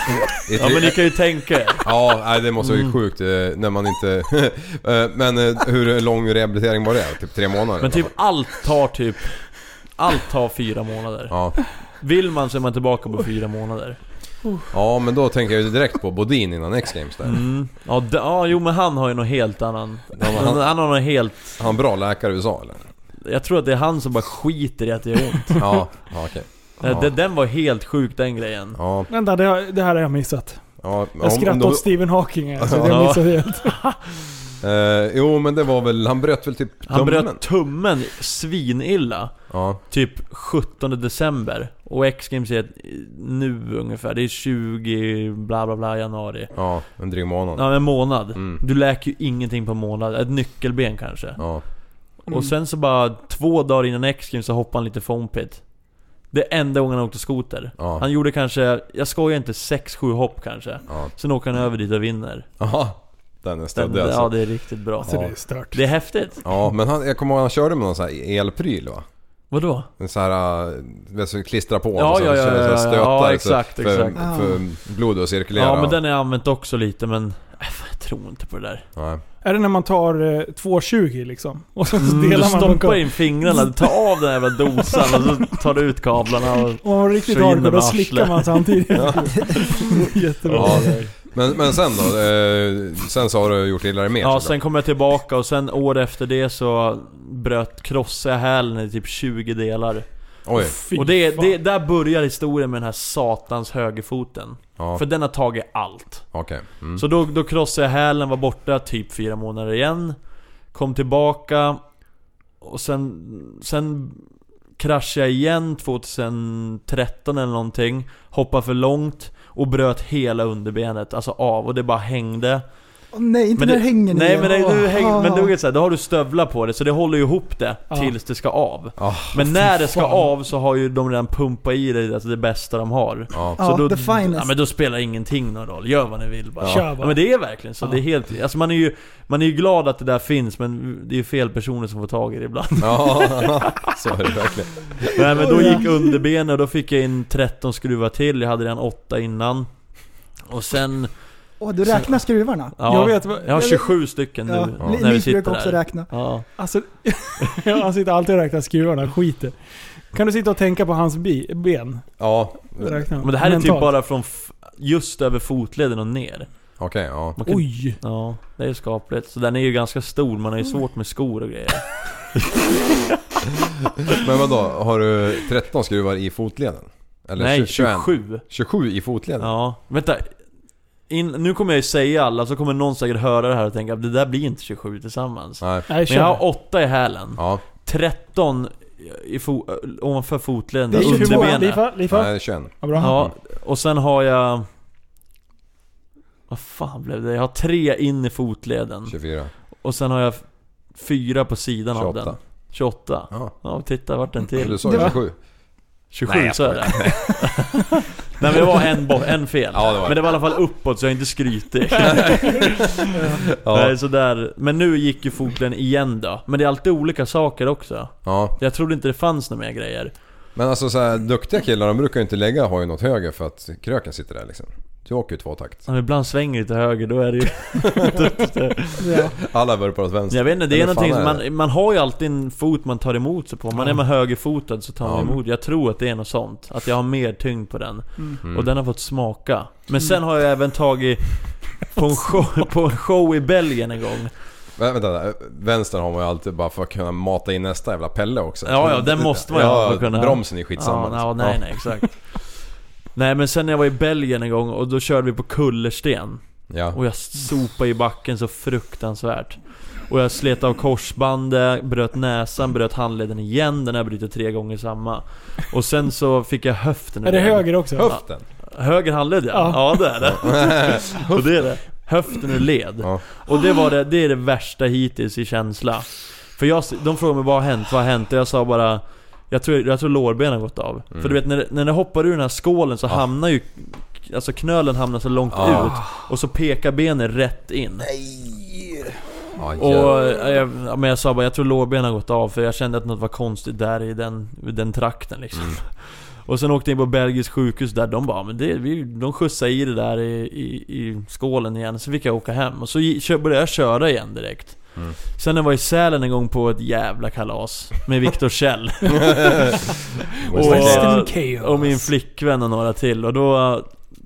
Speaker 6: tre-
Speaker 8: men ni kan ju tänka er.
Speaker 6: Ja, nej, det måste vara sjukt eh, när man inte... Eh, men eh, hur lång rehabilitering var det? Typ tre månader?
Speaker 8: Men typ allt tar typ Allt tar fyra månader
Speaker 6: Ja.
Speaker 8: Vill man så är man tillbaka på fyra månader
Speaker 6: ja, men då tänker jag ju direkt på Bodin innan X-Games där.
Speaker 8: Mm. Ja, d- ja jo men han har ju någon helt annan han, han har någon helt
Speaker 6: Han en bra läkare i USA eller?
Speaker 8: Jag tror att det är han som bara skiter i att det gör ont
Speaker 6: Ja, ja okej.
Speaker 8: Eh, det- Den var helt sjuk den grejen
Speaker 6: Ja,
Speaker 5: Vänta, det, har, det här har jag missat.
Speaker 6: ja,
Speaker 5: Jag skrattade åt Stephen Hawking alltså, det har jag
Speaker 8: Ja.
Speaker 5: missat helt.
Speaker 6: eh, Jo men det var väl, han bröt väl typ
Speaker 8: Han
Speaker 6: tummen?
Speaker 8: bröt tummen svinilla
Speaker 6: Ja,
Speaker 8: Typ 17 december och X-Games är nu ungefär, det är 20 bla bla bla januari
Speaker 6: ja, en dryg månad. Ja.
Speaker 8: Ja en månad.
Speaker 6: Mm.
Speaker 8: Du läker ju ingenting på en månad, ett nyckelben kanske.
Speaker 6: Ja.
Speaker 8: Och sen så bara två dagar innan X-Games så hoppade han lite fompit. Det är enda gången han åkte skoter.
Speaker 6: Ja.
Speaker 8: Han gjorde kanske, jag skojar inte, 6-7 hopp kanske.
Speaker 6: Ja.
Speaker 8: Sen åker han över dit och vinner.
Speaker 6: den är stöddig
Speaker 8: Den, Ja
Speaker 6: alltså.
Speaker 8: det är riktigt bra.
Speaker 5: Så det är stört.
Speaker 8: Det är häftigt.
Speaker 6: Ja, men han, jag kommer ihåg han körde med någon sån här elpryl va?
Speaker 8: Vadå?
Speaker 6: En sån här, eh, vet du, klistra på
Speaker 8: Ja,
Speaker 6: och så
Speaker 8: ja, ja,
Speaker 6: kör en sån här
Speaker 8: ja, ja.
Speaker 6: stötare
Speaker 8: Ja,
Speaker 6: så-
Speaker 8: exakt,
Speaker 6: typ, för,
Speaker 8: exakt.
Speaker 6: för blodet att cirkulera.
Speaker 8: Ja men den har jag använt också lite men... Äh, fan, Jag tror inte på det där.
Speaker 6: Nej.
Speaker 5: Är det när man tar eh, 2,20 liksom? Och så
Speaker 8: Mm, du
Speaker 5: delar man på
Speaker 8: stoppar
Speaker 5: kablarna.
Speaker 8: in fingrarna, du tar av den jävla dosan och så tar du ut kablarna och...
Speaker 5: Om man är riktigt
Speaker 8: Så in
Speaker 5: hardcore,
Speaker 8: med
Speaker 5: då slickar
Speaker 8: arslet.
Speaker 5: man samtidigt. Jättebra.
Speaker 6: Ja, men, men sen då? Eh, sen så har du gjort illa dig mer?
Speaker 8: Ja,
Speaker 6: såklart.
Speaker 8: sen kom jag tillbaka och sen år efter det så bröt, krossade jag hälen i typ 20 delar.
Speaker 6: Oj.
Speaker 5: Fy
Speaker 8: och det,
Speaker 5: fan.
Speaker 8: det, där börjar historien med den här satans högerfoten.
Speaker 6: Ja,
Speaker 8: För den har tagit allt.
Speaker 6: okej. Mm.
Speaker 8: Så då, då krossade jag hälen, var borta typ fyra månader igen. Kom tillbaka. Och sen, sen kraschade jag igen 2013 eller någonting. Hoppade för långt. Och bröt hela underbenet, alltså av. Och det bara hängde.
Speaker 7: Åh, nej, inte
Speaker 8: Men
Speaker 7: när
Speaker 8: det,
Speaker 7: det hänger ner.
Speaker 8: nej men, det, du häng,
Speaker 7: Ah.
Speaker 8: men då, är det så här, då har du stövlar på det så det håller ju ihop det tills det ska av.
Speaker 6: Ah,
Speaker 8: men när det ska av så har ju de redan pumpat i det, alltså det bästa de har.
Speaker 6: Ja.
Speaker 7: Ja,
Speaker 8: Så då,
Speaker 7: the finest.
Speaker 8: ja, men då spelar ingenting någon roll, gör vad ni vill bara.
Speaker 5: Kör bara.
Speaker 8: Ja, men det är verkligen så, det är helt, alltså man är, ju, man är ju glad att det där finns men det är ju fel personer som får tag i det ibland.
Speaker 6: Ja, så är det verkligen.
Speaker 8: Nej men då gick underbenet och då fick jag in 13 skruvar till, jag hade redan 8 innan. Och sen...
Speaker 7: Åh, du räknar skruvarna?
Speaker 8: Ja,
Speaker 5: Jag vet vad-
Speaker 8: jag har
Speaker 5: jag vet-
Speaker 8: 27 stycken nu
Speaker 7: Ja, Li-
Speaker 8: när vi
Speaker 7: Liv brukar
Speaker 8: sitter
Speaker 7: också
Speaker 8: här.
Speaker 7: räkna.
Speaker 8: Ja.
Speaker 5: Alltså, han sitter alltid och räknar skruvarna, skiter. Kan du sitta och tänka på hans bi, ben?
Speaker 6: Ja.
Speaker 5: Räkna.
Speaker 8: Men det här är
Speaker 5: mentalt.
Speaker 8: typ bara från f- just över fotleden och ner.
Speaker 6: Okej, ja.
Speaker 8: Man kan,
Speaker 5: Oj!
Speaker 8: Ja, det är skapligt. Så den är ju ganska stor, man har ju svårt med skor och grejer.
Speaker 6: Men vadå, har du 13 skruvar i fotleden? Eller
Speaker 8: Nej,
Speaker 6: 21?
Speaker 8: 27.
Speaker 6: 27 i fotleden?
Speaker 8: Ja, vänta. In, nu kommer jag ju säga alla, så kommer någon säkert höra det här och tänka att det där blir inte 27 tillsammans.
Speaker 6: Nej.
Speaker 5: Nej,
Speaker 8: Men jag
Speaker 5: kör.
Speaker 8: har 8 i hälen.
Speaker 6: Ja,
Speaker 8: 13 i fo- ovanför fotleden,
Speaker 5: Det är 20 mål.
Speaker 8: underbenet.
Speaker 5: Lifa, Lifa.
Speaker 6: nej 21.
Speaker 5: Ja, bra.
Speaker 8: Ja, och sen har jag... Vad fan blev det? Jag har tre in i fotleden.
Speaker 6: 24.
Speaker 8: Och sen har jag f- fyra på sidan av
Speaker 6: 28.
Speaker 8: den. 28.
Speaker 6: Ja.
Speaker 8: Ja, titta vart den till.
Speaker 6: Du sa ju 27.
Speaker 8: 27 så är det. Nej men det var en, bo- en fel.
Speaker 6: Ja, det var det.
Speaker 8: men det var i alla fall uppåt så jag är inte skrytig.
Speaker 6: Ja.
Speaker 8: Nej, så där. Men nu gick ju fotleden igen då. Men det är alltid olika saker också.
Speaker 6: ja.
Speaker 8: Jag trodde inte det fanns några mer grejer.
Speaker 6: Men alltså så här, duktiga killar de brukar ju inte lägga hojen åt höger för att kröken sitter där liksom. Du åker ju tvåtakt.
Speaker 8: Men ibland svänger det till höger, då är det ju...
Speaker 6: Alla vurpar åt vänster.
Speaker 8: Jag vet inte, det är
Speaker 6: Eller
Speaker 8: någonting
Speaker 6: fan
Speaker 8: som
Speaker 6: är det?
Speaker 8: man, man har ju alltid en fot man tar emot sig på. Om man är med högerfotad så tar man
Speaker 6: Ja.
Speaker 8: emot. Jag tror att det är något sånt. Att jag har mer tyngd på den.
Speaker 6: Mm.
Speaker 8: Och den har fått smaka. Men sen har jag även tagit på en show, på en show i Belgien en gång.
Speaker 6: Vä- Vänta, vänta, vänstern har man ju alltid bara för att kunna mata in nästa jävla pelle också.
Speaker 8: Ja, ja, den måste man ju ha
Speaker 6: ja,
Speaker 8: för att kunna...
Speaker 6: Bromsen är skitsamma.
Speaker 8: ja,
Speaker 6: liksom.
Speaker 8: ja, nej, nej, exakt. nej, men sen när jag var i Belgien en gång och då körde vi på kullersten.
Speaker 6: Ja.
Speaker 8: Och jag sopade i backen så fruktansvärt. Och jag slet av korsbandet, bröt näsan, bröt handleden igen. Den har jag brutit tre gånger samma. Och sen så fick jag höften
Speaker 5: Är det
Speaker 8: ur den.
Speaker 5: höger också?
Speaker 6: Höften?
Speaker 8: Höger handled ja.
Speaker 5: Ja.
Speaker 8: ja. det är det. och det är det. Höften ur led.
Speaker 6: Ja.
Speaker 8: Och det var det, det är det värsta hittills i känsla. För jag, de frågade mig vad har hänt, vad har hänt? Och jag sa bara jag tror, jag tror lårbenen har gått av.
Speaker 6: Mm.
Speaker 8: För du vet när, det- när det hoppar ur den här skålen så hamnar ju Alltså knölen hamnar så långt
Speaker 6: Ah.
Speaker 8: ut och så pekar benen rätt in.
Speaker 6: Ja,
Speaker 8: Och
Speaker 6: jävlar.
Speaker 8: eh, jag, ja, men jag sa bara, jag tror lårbenen har gått av för jag kände att något var konstigt där i den, i den trakten liksom. Och sen åkte jag in på belgisk sjukhus där, de bara men det, vi, de skjutsade i det där i, i, i skålen igen, så fick jag åka hem. Och så gi- kö- började jag köra igen direkt. Sen när jag var i Sälen en gång på ett jävla kalas med Viktor Kjell.
Speaker 5: West
Speaker 6: West-
Speaker 5: in
Speaker 8: och,
Speaker 5: chaos.
Speaker 8: eh, och min flickvän och några till. Och då,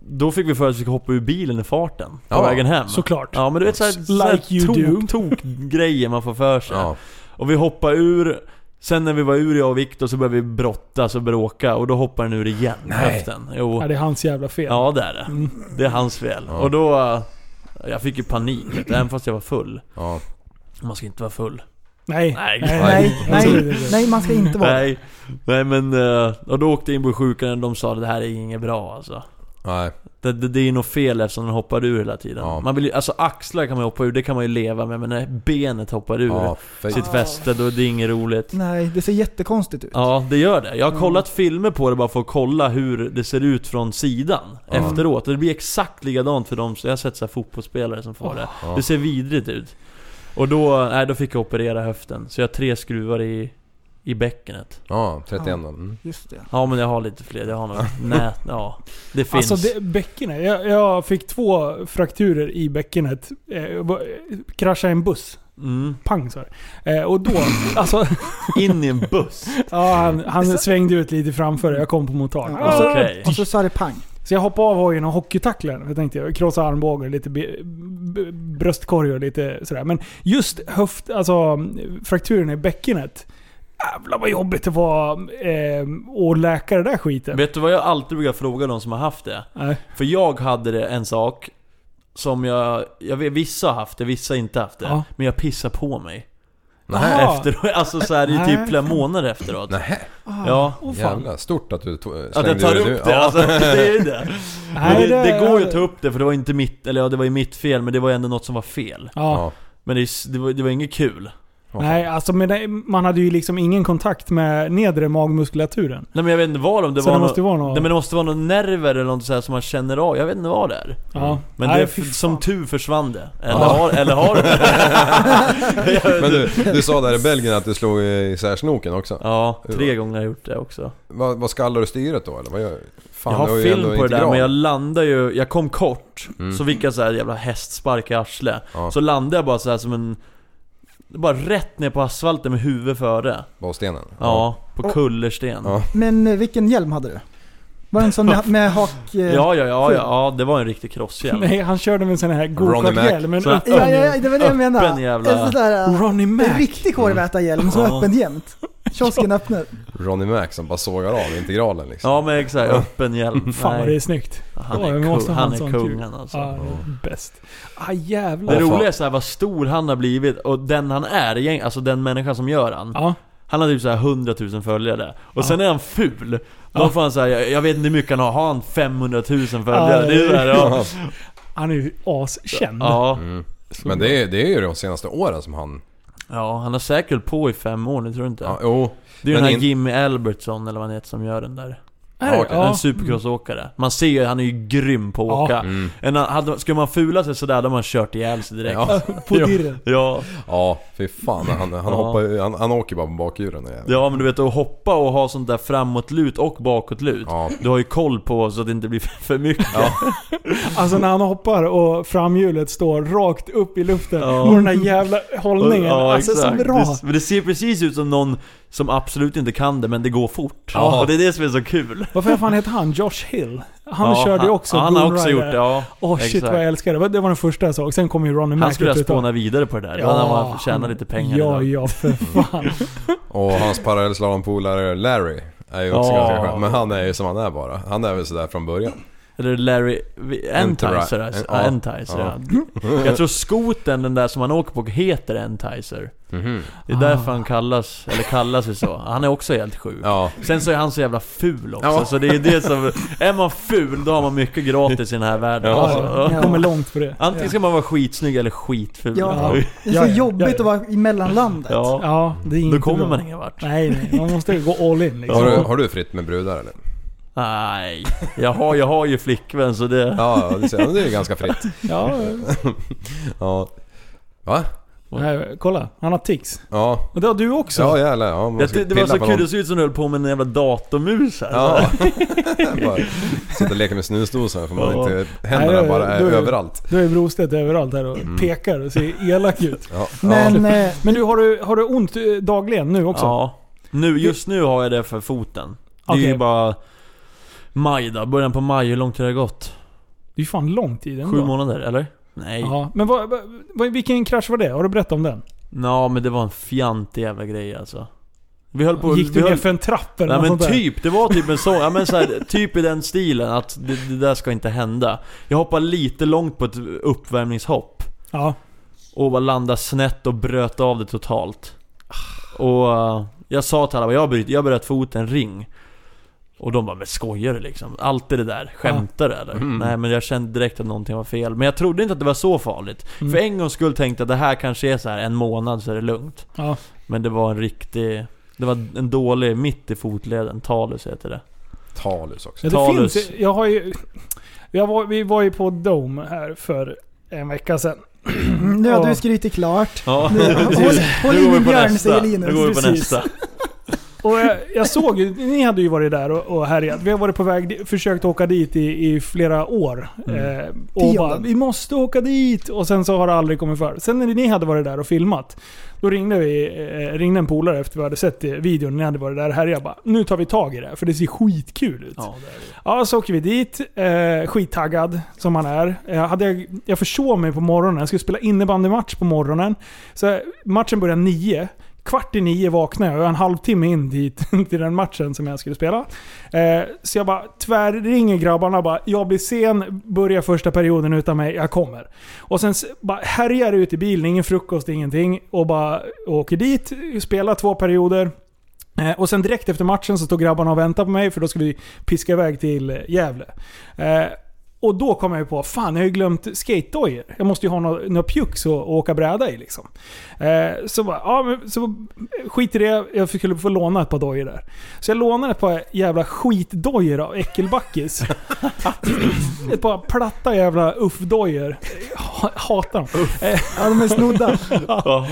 Speaker 8: då fick vi för oss att vi skulle hoppa ur bilen i farten på
Speaker 6: Ja,
Speaker 8: vägen hem.
Speaker 5: Såklart.
Speaker 8: Ja men du vet såhär,
Speaker 5: Like you do.
Speaker 8: tok, tok grejer man får för sig.
Speaker 6: Ja.
Speaker 8: Och vi hoppade ur, sen när vi var ur jag och Viktor så började vi brottas och bråka och då hoppade den ur igen, höften. Jo.
Speaker 5: Ja, det Mm. är hans jävla fel.
Speaker 8: Ja det är det. Det är hans fel. Och då... eh, Jag fick ju panik, vet du, även fast jag var full.
Speaker 6: Ja.
Speaker 8: Man ska inte vara full.
Speaker 5: Nej.
Speaker 8: Nej.
Speaker 7: Nej,
Speaker 5: Nej. Alltså,
Speaker 7: nej, nej, man ska inte vara
Speaker 8: Nej, nej men... eh, Och då åkte jag in på sjukhuset och de sa att det här är inget bra alltså.
Speaker 6: Nej.
Speaker 8: Det, det, det är ju något fel eftersom den hoppar ur hela tiden.
Speaker 6: Ja.
Speaker 8: Man vill ju, alltså axlar kan man hoppa ur, det kan man ju leva med. Men när benet hoppar ur
Speaker 6: Ja, fy.
Speaker 8: sitt fäste, då är det inget roligt.
Speaker 7: Nej, det ser jättekonstigt ut.
Speaker 8: Ja, det gör det. Jag har kollat filmer på det bara för att kolla hur det ser ut från sidan efteråt. Och det blir exakt likadant för dem. Så jag har sett så här fotbollsspelare som får det. Det ser vidrigt ut. Och då, nej, då fick jag operera höften. Så jag har tre skruvar i, i bäckenet.
Speaker 6: Ja, 31 då. Mm.
Speaker 7: Just det.
Speaker 8: Ja, men jag har lite fler. Jag har nog nät. Ja, det finns.
Speaker 5: Alltså det, bäckenet. Jag, jag fick två frakturer i bäckenet. Eh, jag bara, eh, kraschade i en buss.
Speaker 8: Mm.
Speaker 5: Pang så här. Eh, och då, alltså,
Speaker 8: In i en buss.
Speaker 5: ja, han, han svängde ut lite framför jag kom på montage.
Speaker 7: Ja.
Speaker 5: Och så,
Speaker 8: alltså, Okej.
Speaker 7: Och så sa det pang.
Speaker 5: så jag hoppade av hojen och hockeytacklade den. Jag tänkte jag krossade armbågen och lite be, b, bröstkorg och lite sådär. Men just höft, alltså frakturen i bäckenet. Jävlar vad jobbigt det var eh, att läka det där skiten.
Speaker 8: Vet du vad jag alltid brukar fråga de som har haft det?
Speaker 5: Nej.
Speaker 8: För jag hade det en sak som jag... jag vet, vissa har haft det, vissa har inte haft det.
Speaker 5: Ja.
Speaker 8: Men jag pissar på mig.
Speaker 6: Nej.
Speaker 5: Ja.
Speaker 8: Efter, alltså så här i
Speaker 5: Nej.
Speaker 8: typ flera månader efteråt.
Speaker 6: Nej.
Speaker 8: Ja.
Speaker 5: Åh, fan.
Speaker 6: Jävlar, stort att du to- slängde
Speaker 8: Att jag tar
Speaker 6: ur
Speaker 8: upp det, alltså, det är ju det.
Speaker 5: Nej,
Speaker 8: Men det, det går ju att ta upp det för det var inte mitt, eller ja det var ju mitt fel men det var ändå något som var fel.
Speaker 5: Ja.
Speaker 6: Ja.
Speaker 8: Men det, det, var, det var inget kul.
Speaker 5: Nej, alltså men det, man hade ju liksom ingen kontakt med nedre magmuskulaturen.
Speaker 8: Nej men jag vet inte vad om det
Speaker 5: Så
Speaker 8: var
Speaker 5: det måste ju vara något-
Speaker 8: Nej men det måste vara något nerver eller något så här som man känner av, jag vet inte vad det är.
Speaker 5: Ja.
Speaker 8: Men
Speaker 5: Nej,
Speaker 8: det,
Speaker 5: fy fan.
Speaker 8: som tur försvann det. Eller har, eller har det
Speaker 6: Men du, du sa där i Belgien att du slog isär snoken också.
Speaker 8: Ja, tre gånger har jag gjort det också.
Speaker 6: Vad, vad skallar du styret då eller? Vad gör Fan,
Speaker 8: Jag
Speaker 6: du
Speaker 8: har
Speaker 6: ju
Speaker 8: film
Speaker 6: ändå
Speaker 8: på det där
Speaker 6: integral. Mm.
Speaker 8: men jag landade ju, jag kom kort, så fick jag så här jävla hästspark i arslet.
Speaker 6: Ja.
Speaker 8: Så landade jag bara så här som en... Bara rätt ner på asfalten med huvudet före. Ja,
Speaker 6: Bara stenen?
Speaker 8: på kullersten.
Speaker 6: Ja.
Speaker 7: Men eh, vilken hjälm hade du? Var det en sån med, med hak... eh,
Speaker 8: Ja, ja, ja, ja, ja det var en riktig crosshjälm.
Speaker 5: Nej, han körde med en sån här gokarthjälm. en
Speaker 8: Så-
Speaker 5: öppen-
Speaker 7: Ja, ja, ja, det var det jag
Speaker 8: Öppen
Speaker 7: menade.
Speaker 8: jävla-
Speaker 7: En sån där, eh,
Speaker 5: Ronnie
Speaker 7: en
Speaker 5: Mac.
Speaker 7: riktig kårvätarhjälm som är
Speaker 8: Ja.
Speaker 7: öppen jämt. Kiosken öppnar.
Speaker 6: Ronnie Mac som bara sågar av integralen liksom.
Speaker 8: Ja men exakt, öppen hjälm.
Speaker 5: Fan vad det är snyggt.
Speaker 8: han
Speaker 5: Ja,
Speaker 8: är,
Speaker 5: vi
Speaker 8: kung,
Speaker 5: måste ha
Speaker 8: han
Speaker 5: en
Speaker 8: är
Speaker 5: sån
Speaker 8: kungen
Speaker 5: kul.
Speaker 8: alltså.
Speaker 5: Ja, det är bäst. Ah, jävlar.
Speaker 8: Det
Speaker 6: Ja, fan.
Speaker 8: roliga är så här vad stor han har blivit och den han är, egent- alltså den människan som gör han.
Speaker 5: Ja.
Speaker 8: Han har typ så här 100 000 följare. Och sen är han ful. Då får han säga, jag, jag vet inte hur mycket han har, har han 500 000 följare?
Speaker 5: Ja,
Speaker 8: det är så här, ja.
Speaker 5: Han är ju askänd.
Speaker 8: ja.
Speaker 6: Mm. Men det är, det är ju de senaste åren som han...
Speaker 8: ja, han har säkert hållit på i fem år nu, tror du inte?
Speaker 6: Ja, jo.
Speaker 8: det är ju
Speaker 6: men
Speaker 8: den här
Speaker 6: in-
Speaker 8: Jimmy Albertsson eller vad han heter som gör den där.
Speaker 5: Är det?
Speaker 6: Ja, okej.
Speaker 5: Ja.
Speaker 8: En supercrossåkare. Man ser ju, han är ju grym på att
Speaker 5: Ja.
Speaker 8: åka.
Speaker 6: Mm.
Speaker 8: En, annan- hade, skulle man fula sig sådär, då hade man kört ihjäl sig direkt. Ja,
Speaker 6: Ja,
Speaker 5: På dirren.
Speaker 8: ja,
Speaker 6: ja fy fan. Han, han,
Speaker 8: Ja.
Speaker 6: hoppar, ju- han, han åker bara på bakhjulen och jävlar.
Speaker 8: men du vet att hoppa och ha sånt där framåtlut och bakåtlut.
Speaker 6: Ja.
Speaker 8: Du har ju koll på så att det inte blir för mycket.
Speaker 5: Alltså när han hoppar och framhjulet står rakt upp i luften.
Speaker 8: Ja.
Speaker 5: Och den där jävla hållningen. alltså så bra.
Speaker 8: Det, men det ser precis ut som någon som absolut inte kan det, men det går fort.
Speaker 6: Ja.
Speaker 8: Och det är det som är så kul.
Speaker 5: Varför fan heter han Josh Hill? Han
Speaker 8: ja,
Speaker 5: körde ju också
Speaker 8: Han, han har också
Speaker 5: Moonrider.
Speaker 8: gjort det, ja.
Speaker 5: Åh shit vad jag älskar det. Det var- Det var den första jag såg. Sen kom ju Ronny Mac.
Speaker 8: Han skulle ha
Speaker 5: ut utav-
Speaker 8: spånat vidare på det där. Då hade han bara tjänat lite pengar
Speaker 5: Ja,
Speaker 8: idag.
Speaker 5: ja för fan.
Speaker 6: Och hans parallellslalompolare Larry är ju också
Speaker 8: Ja.
Speaker 6: ganska skön. Men han är ju som han är bara. Han är väl sådär från början.
Speaker 8: Eller Larry... vi- Entizer
Speaker 6: Enti-
Speaker 8: alltså.
Speaker 6: ja.
Speaker 8: Ja, Entizer ja. Jag tror skoten den där som han åker på, heter Entizer. Det är
Speaker 5: Ah.
Speaker 8: därför han kallas, eller kallas ju så. Han är också helt sjuk.
Speaker 6: Ja.
Speaker 8: Sen så är han så jävla ful också,
Speaker 6: Ja.
Speaker 8: så det är det som... Är man ful, då har man mycket gratis i den här världen.
Speaker 6: Ja.
Speaker 8: Alltså.
Speaker 5: Kommer långt för det.
Speaker 8: Antingen ska man vara skitsnygg eller skitful.
Speaker 7: Ja. Det är så
Speaker 5: Ja, ja,
Speaker 7: jobbigt
Speaker 5: ja, ja.
Speaker 7: att vara i mellanlandet.
Speaker 8: Ja.
Speaker 5: Ja, det är inte
Speaker 8: Då kommer
Speaker 5: bra.
Speaker 8: man ingen vart.
Speaker 5: Nej, nej. Man måste ju gå all in liksom.
Speaker 6: Har, du, har du fritt med brudar eller?
Speaker 8: Nej. Jag har, jag har ju flickvän så det...
Speaker 6: Ja, ja, det, ser, ja, det är ju ganska fritt.
Speaker 5: Ja,
Speaker 6: Ja. Va?
Speaker 5: nej, kolla. Han har tics.
Speaker 6: Ja.
Speaker 5: Och det har du också.
Speaker 6: Ja jävlar. Ja, man
Speaker 8: Jag
Speaker 6: ska
Speaker 8: ty- det var
Speaker 6: pilla
Speaker 8: så
Speaker 6: på
Speaker 8: kul,
Speaker 6: någon.
Speaker 8: det såg ut som du höll på med en jävla datormus här.
Speaker 6: Ja. bara sitta och leka med snusdosan för man
Speaker 8: Ja.
Speaker 6: inte... Händerna
Speaker 5: Nej,
Speaker 6: bara är
Speaker 5: du-
Speaker 6: överallt.
Speaker 5: Du är Brostedt överallt här och
Speaker 8: Mm.
Speaker 5: pekar och ser elak ut.
Speaker 6: Ja.
Speaker 7: Men eh,
Speaker 5: Men du, har du, har du ont eh, dagligen nu också?
Speaker 8: Ja. Nu, just nu har jag det för foten. Det är
Speaker 5: Okej.
Speaker 8: ju bara... Maj då, början på maj. Hur långt har det gått?
Speaker 5: Det är ju fan lång tid ändå.
Speaker 8: Sju månader, eller? Nej.
Speaker 5: Mm. Ja, men vad, vad- vad, vilken krasch var det? Har du berättat om den?
Speaker 8: Nå, men det var en fjantig jävla grej alltså. Vi höll på...
Speaker 5: Gick
Speaker 8: vi
Speaker 5: du ner
Speaker 8: höll...
Speaker 5: för en trapp eller
Speaker 8: Nej
Speaker 5: något
Speaker 8: men
Speaker 5: sånt där?
Speaker 8: typ, det var typ en sån, ja men så här, typ i den stilen att det, det där ska inte hända. Jag hoppade lite långt på ett uppvärmningshopp
Speaker 5: Ja.
Speaker 8: och bara landade snett och bröt av det totalt. Och eh, jag sa till alla bara, jag har brutit- jag har bröt foten, ring. Och de bara, men skojar du liksom? Alltid det där, skämtar du eller?
Speaker 5: Mm.
Speaker 8: Nej men jag kände direkt att någonting var fel. Men jag trodde inte att det var så farligt. För
Speaker 5: Mm.
Speaker 8: en gångs skull tänkte jag att det här kanske är så här en månad så är det lugnt.
Speaker 5: ja.
Speaker 8: Men det var en riktig... Det var en dålig mitt i fotleden, talus heter det.
Speaker 6: Talus också.
Speaker 5: Ja, det
Speaker 8: Talus.
Speaker 5: finns Jag har ju... Jag var, vi var ju på Dome här för en vecka sedan.
Speaker 7: nu har
Speaker 5: Ja.
Speaker 7: du skrytit klart.
Speaker 8: Ja.
Speaker 7: Nu, håll håll
Speaker 8: Nu går
Speaker 7: i
Speaker 8: vi
Speaker 7: min
Speaker 8: på
Speaker 7: björn,
Speaker 8: nästa.
Speaker 7: säger
Speaker 8: Nu går vi
Speaker 7: Linus.
Speaker 8: på
Speaker 5: Precis.
Speaker 8: nästa.
Speaker 5: Och jag, jag såg ju, ni hade ju varit där och, och härjat. Vi har varit på väg, di- försökt åka dit i, i flera år.
Speaker 8: Mm.
Speaker 5: Eh, och
Speaker 7: Tionden.
Speaker 5: bara, vi måste åka dit! Och sen så har det aldrig kommit för. Sen när ni hade varit där och filmat, då ringde, vi, eh, ringde en polare efter vi hade sett eh, videon, ni hade varit där och härjat. Bara, nu tar vi tag i det, för det ser skitkul ut.
Speaker 8: Ja, det är
Speaker 5: Ja, så åker vi dit. Eh, skittaggad som man är. Jag, hade, jag- jag försov mig på morgonen. Jag skulle spela innebandymatch på morgonen. Så matchen börjar nio. Kvart i nio vaknade jag. Jag var en halvtimme in dit, till den matchen som jag skulle spela. Eh, så jag bara tvärringer grabbarna och bara “Jag blir sen, börjar första perioden utan mig, jag kommer”. Och sen s- bara härjar ut i bilen, ingen frukost, ingenting. Och bara åker dit, spelar två perioder. Eh, Och sen direkt efter matchen så stod grabbarna och väntade på mig för då skulle vi piska iväg till eh, Gävle. Eh, och då kom jag ju på, fan jag har ju glömt skate Jag måste ju ha några nå pjucks att att åka bräda i liksom. Eh, så bara, ja men så skit i det, jag skulle få låna ett par dojor där. Så jag lånade ett par jävla skitdojor av äckelbackis. ett par platta jävla uff-dojor. Jag Hatar dem.
Speaker 7: Ja, de är snodda.
Speaker 8: Jaha.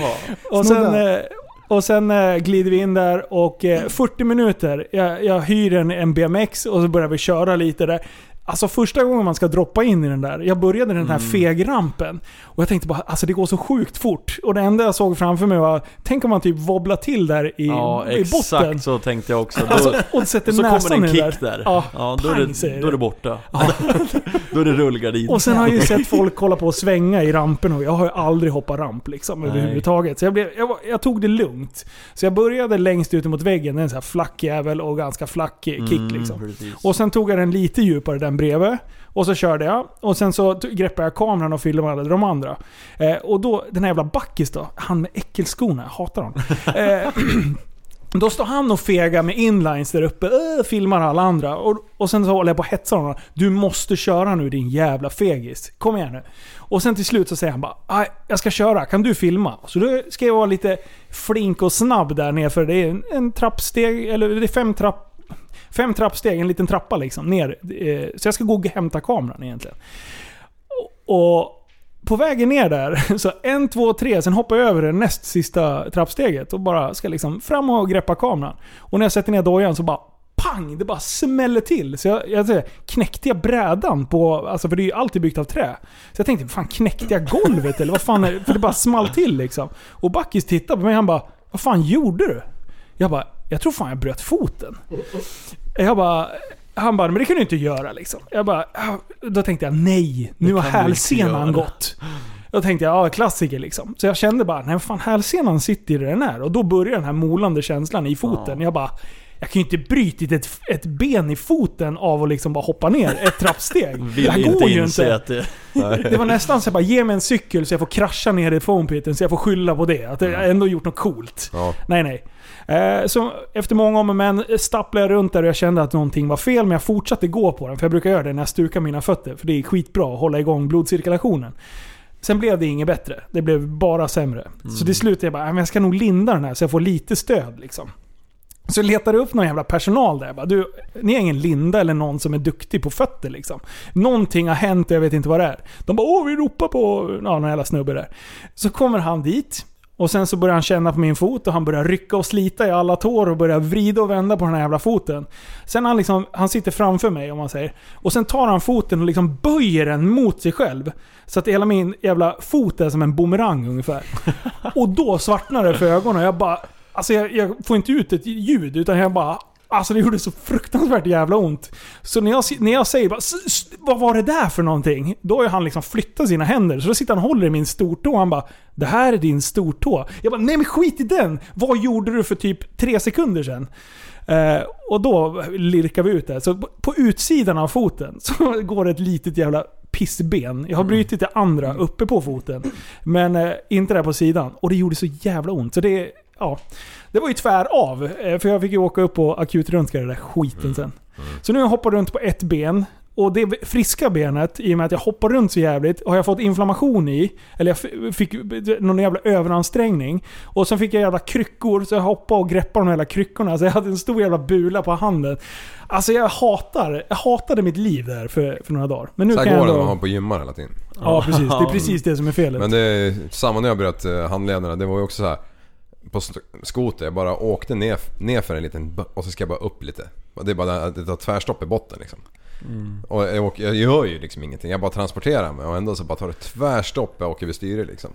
Speaker 5: Och sen,
Speaker 7: Snodda.
Speaker 5: eh, och sen eh, glider vi in där
Speaker 8: Mm.
Speaker 5: och eh, 40 minuter. Jag, jag hyr en, en BMX och så börjar vi köra lite där. Alltså första gången man ska droppa in i den där, jag började den här
Speaker 8: Mm.
Speaker 5: fegrampen. Och jag tänkte bara, alltså det går så sjukt fort. Och det enda jag såg framför mig var, tänk om man typ wobblar till där i,
Speaker 8: Ja,
Speaker 5: i botten.
Speaker 8: exakt så tänkte jag också. Då,
Speaker 5: Alltså, och sätter
Speaker 8: och så kommer det
Speaker 5: näsan
Speaker 8: en
Speaker 5: i den
Speaker 8: kick
Speaker 5: där.
Speaker 8: där.
Speaker 5: Ja,
Speaker 8: då, är
Speaker 5: pang,
Speaker 8: det,
Speaker 5: säger det.
Speaker 8: då är det borta. då är det rullgardin.
Speaker 5: Och sen har jag ju sett folk kolla på och svänga i rampen och jag har ju aldrig hoppat ramp liksom
Speaker 8: Nej.
Speaker 5: överhuvudtaget. Så jag, blev, jag, var- jag tog det lugnt. Så jag började längst ut mot väggen, en sån här flack jävel och ganska flack eh, kick liksom.
Speaker 8: Precis.
Speaker 5: Och sen tog jag den lite djupare, den bredvid. Och så körde jag. Och sen så t- greppade jag kameran och fyllde med alla de andra. Eh, och då, den här jävla Backis då, han med äckelskorna, jag hatar honom. Eh, Då står han och fegar med inlines där uppe, öh, filmar alla andra. Och, och sen så håller jag på och hetsar honom. Du måste köra nu din jävla fegis. Kom igen nu. Och sen till slut så säger han bara "Aj, jag ska köra, kan du filma? Så då ska jag vara lite flink och snabb där nere för det är en, en trappsteg, eller det är fem trapp Fem trappsteg, en liten trappa liksom ner. Eh, Så jag ska gå och hämta kameran egentligen. Och, och på vägen ner där, så en, två, tre, sen hoppar jag över det näst sista trappsteget och bara ska liksom fram och greppa kameran. Och när jag sätter ner dojan så bara pang, det bara smäller till. Så jag, jag säger, knäckte jag brädan på, alltså för det är ju alltid byggt av trä. Så jag tänkte, fan knäckte jag golvet eller vad fan är det? För det bara small till liksom. Och Backis tittar på mig han bara, vad fan gjorde du? Jag bara, jag tror fan jag bröt foten. Jag bara... Han bara, men det kan du inte göra liksom. Jag bara, "Ah." då tänkte jag nej, nu har
Speaker 8: kan du inte
Speaker 5: hälsenan
Speaker 8: göra.
Speaker 5: gått. Då tänkte jag, ja klassiker liksom. Så jag kände bara, nej fan hälsenan sitter ju där den är. Och då börjar den här molande känslan i foten. Jag bara, jag kan ju inte bryta ett, ett ben i foten av att liksom bara hoppa ner ett trappsteg. det
Speaker 8: Vill
Speaker 5: här
Speaker 8: inte
Speaker 5: går ju
Speaker 8: inse
Speaker 5: inte.
Speaker 8: att det...
Speaker 5: Det var nästan så jag bara, ge mig en cykel så jag får krascha ner i foampiten så jag får skylla på det. Att jag ändå gjort något coolt.
Speaker 6: Ja.
Speaker 5: Nej, nej. Eh, Så efter många om och men eh, stapplade jag runt där och jag kände att någonting var fel, men jag fortsatte gå på den. För jag brukar göra det när jag stukar mina fötter, för det är skitbra att hålla igång blodcirkulationen. Sen blev det inget bättre. Det blev bara sämre. Så till slut jag bara, "Äh, men jag ska nog linda den här så jag får lite stöd liksom. Så jag letade upp någon jävla personal där. Jag bara, du, ni har ingen linda eller någon som är duktig på fötter liksom. Någonting har hänt och jag vet inte vad det är. De bara åh vi ropar på ja, någon jävla snubbe där. Så kommer han dit. Och sen så börjar han känna på min fot och han börjar rycka och slita i alla tår och börjar vrida och vända på den här jävla foten. Sen han liksom, han sitter framför mig om man säger. Och sen tar han foten och liksom böjer den mot sig själv. Så att hela min jävla fot är som en bumerang ungefär. Och då svartnar det för ögonen. Jag bara... Alltså jag, jag får inte ut ett ljud utan jag bara... Alltså det gjorde så fruktansvärt jävla ont. Så när jag, si- när jag säger bara, "S- s- Vad var det där för någonting? Då har ju han liksom flyttat sina händer. Så då sitter han och håller i min stortå och han bara Det här är din stortå. Jag bara Nej men skit i den! Vad gjorde du för typ tre sekunder sedan? Eh, och då lirkar vi ut det. Så på, på utsidan av foten så går det ett litet jävla pissben. Jag har brutit det andra uppe på foten. Men eh, inte där på sidan. Och det gjorde så jävla ont. Så det, ja, det var ju tvär av. Eh, för jag fick ju åka upp och akutröntga det där skiten sen. Så nu har jag hoppat runt på ett ben. Och det friska benet, i och med att jag hoppar runt så jävligt, har jag fått inflammation i. Eller jag f- fick någon jävla överansträngning. Och sen fick jag jävla kryckor, så jag hoppade och greppade de jävla kryckorna. Så jag hade en stor jävla bula på handen. Alltså jag hatar, jag hatade mitt liv där för, för några dagar. Men nu
Speaker 6: Så
Speaker 5: kan
Speaker 6: här
Speaker 5: jag
Speaker 6: går det
Speaker 5: ändå...
Speaker 6: när man har på gymmar hela tiden.
Speaker 5: Ja, precis. Det är precis det som är felet.
Speaker 6: Men det är samma när jag bröt eh, handlederna. Det var ju också så här På st- skoter, jag bara åkte ner, ner för en liten b- och så ska jag bara upp lite. Det är bara det här- det tar tvärstopp i botten liksom.
Speaker 5: Mm.
Speaker 6: Och jag, åker, jag gör ju liksom ingenting. Jag bara transporterar mig och ändå så bara tar det tvärstopp jag åker vid styret liksom.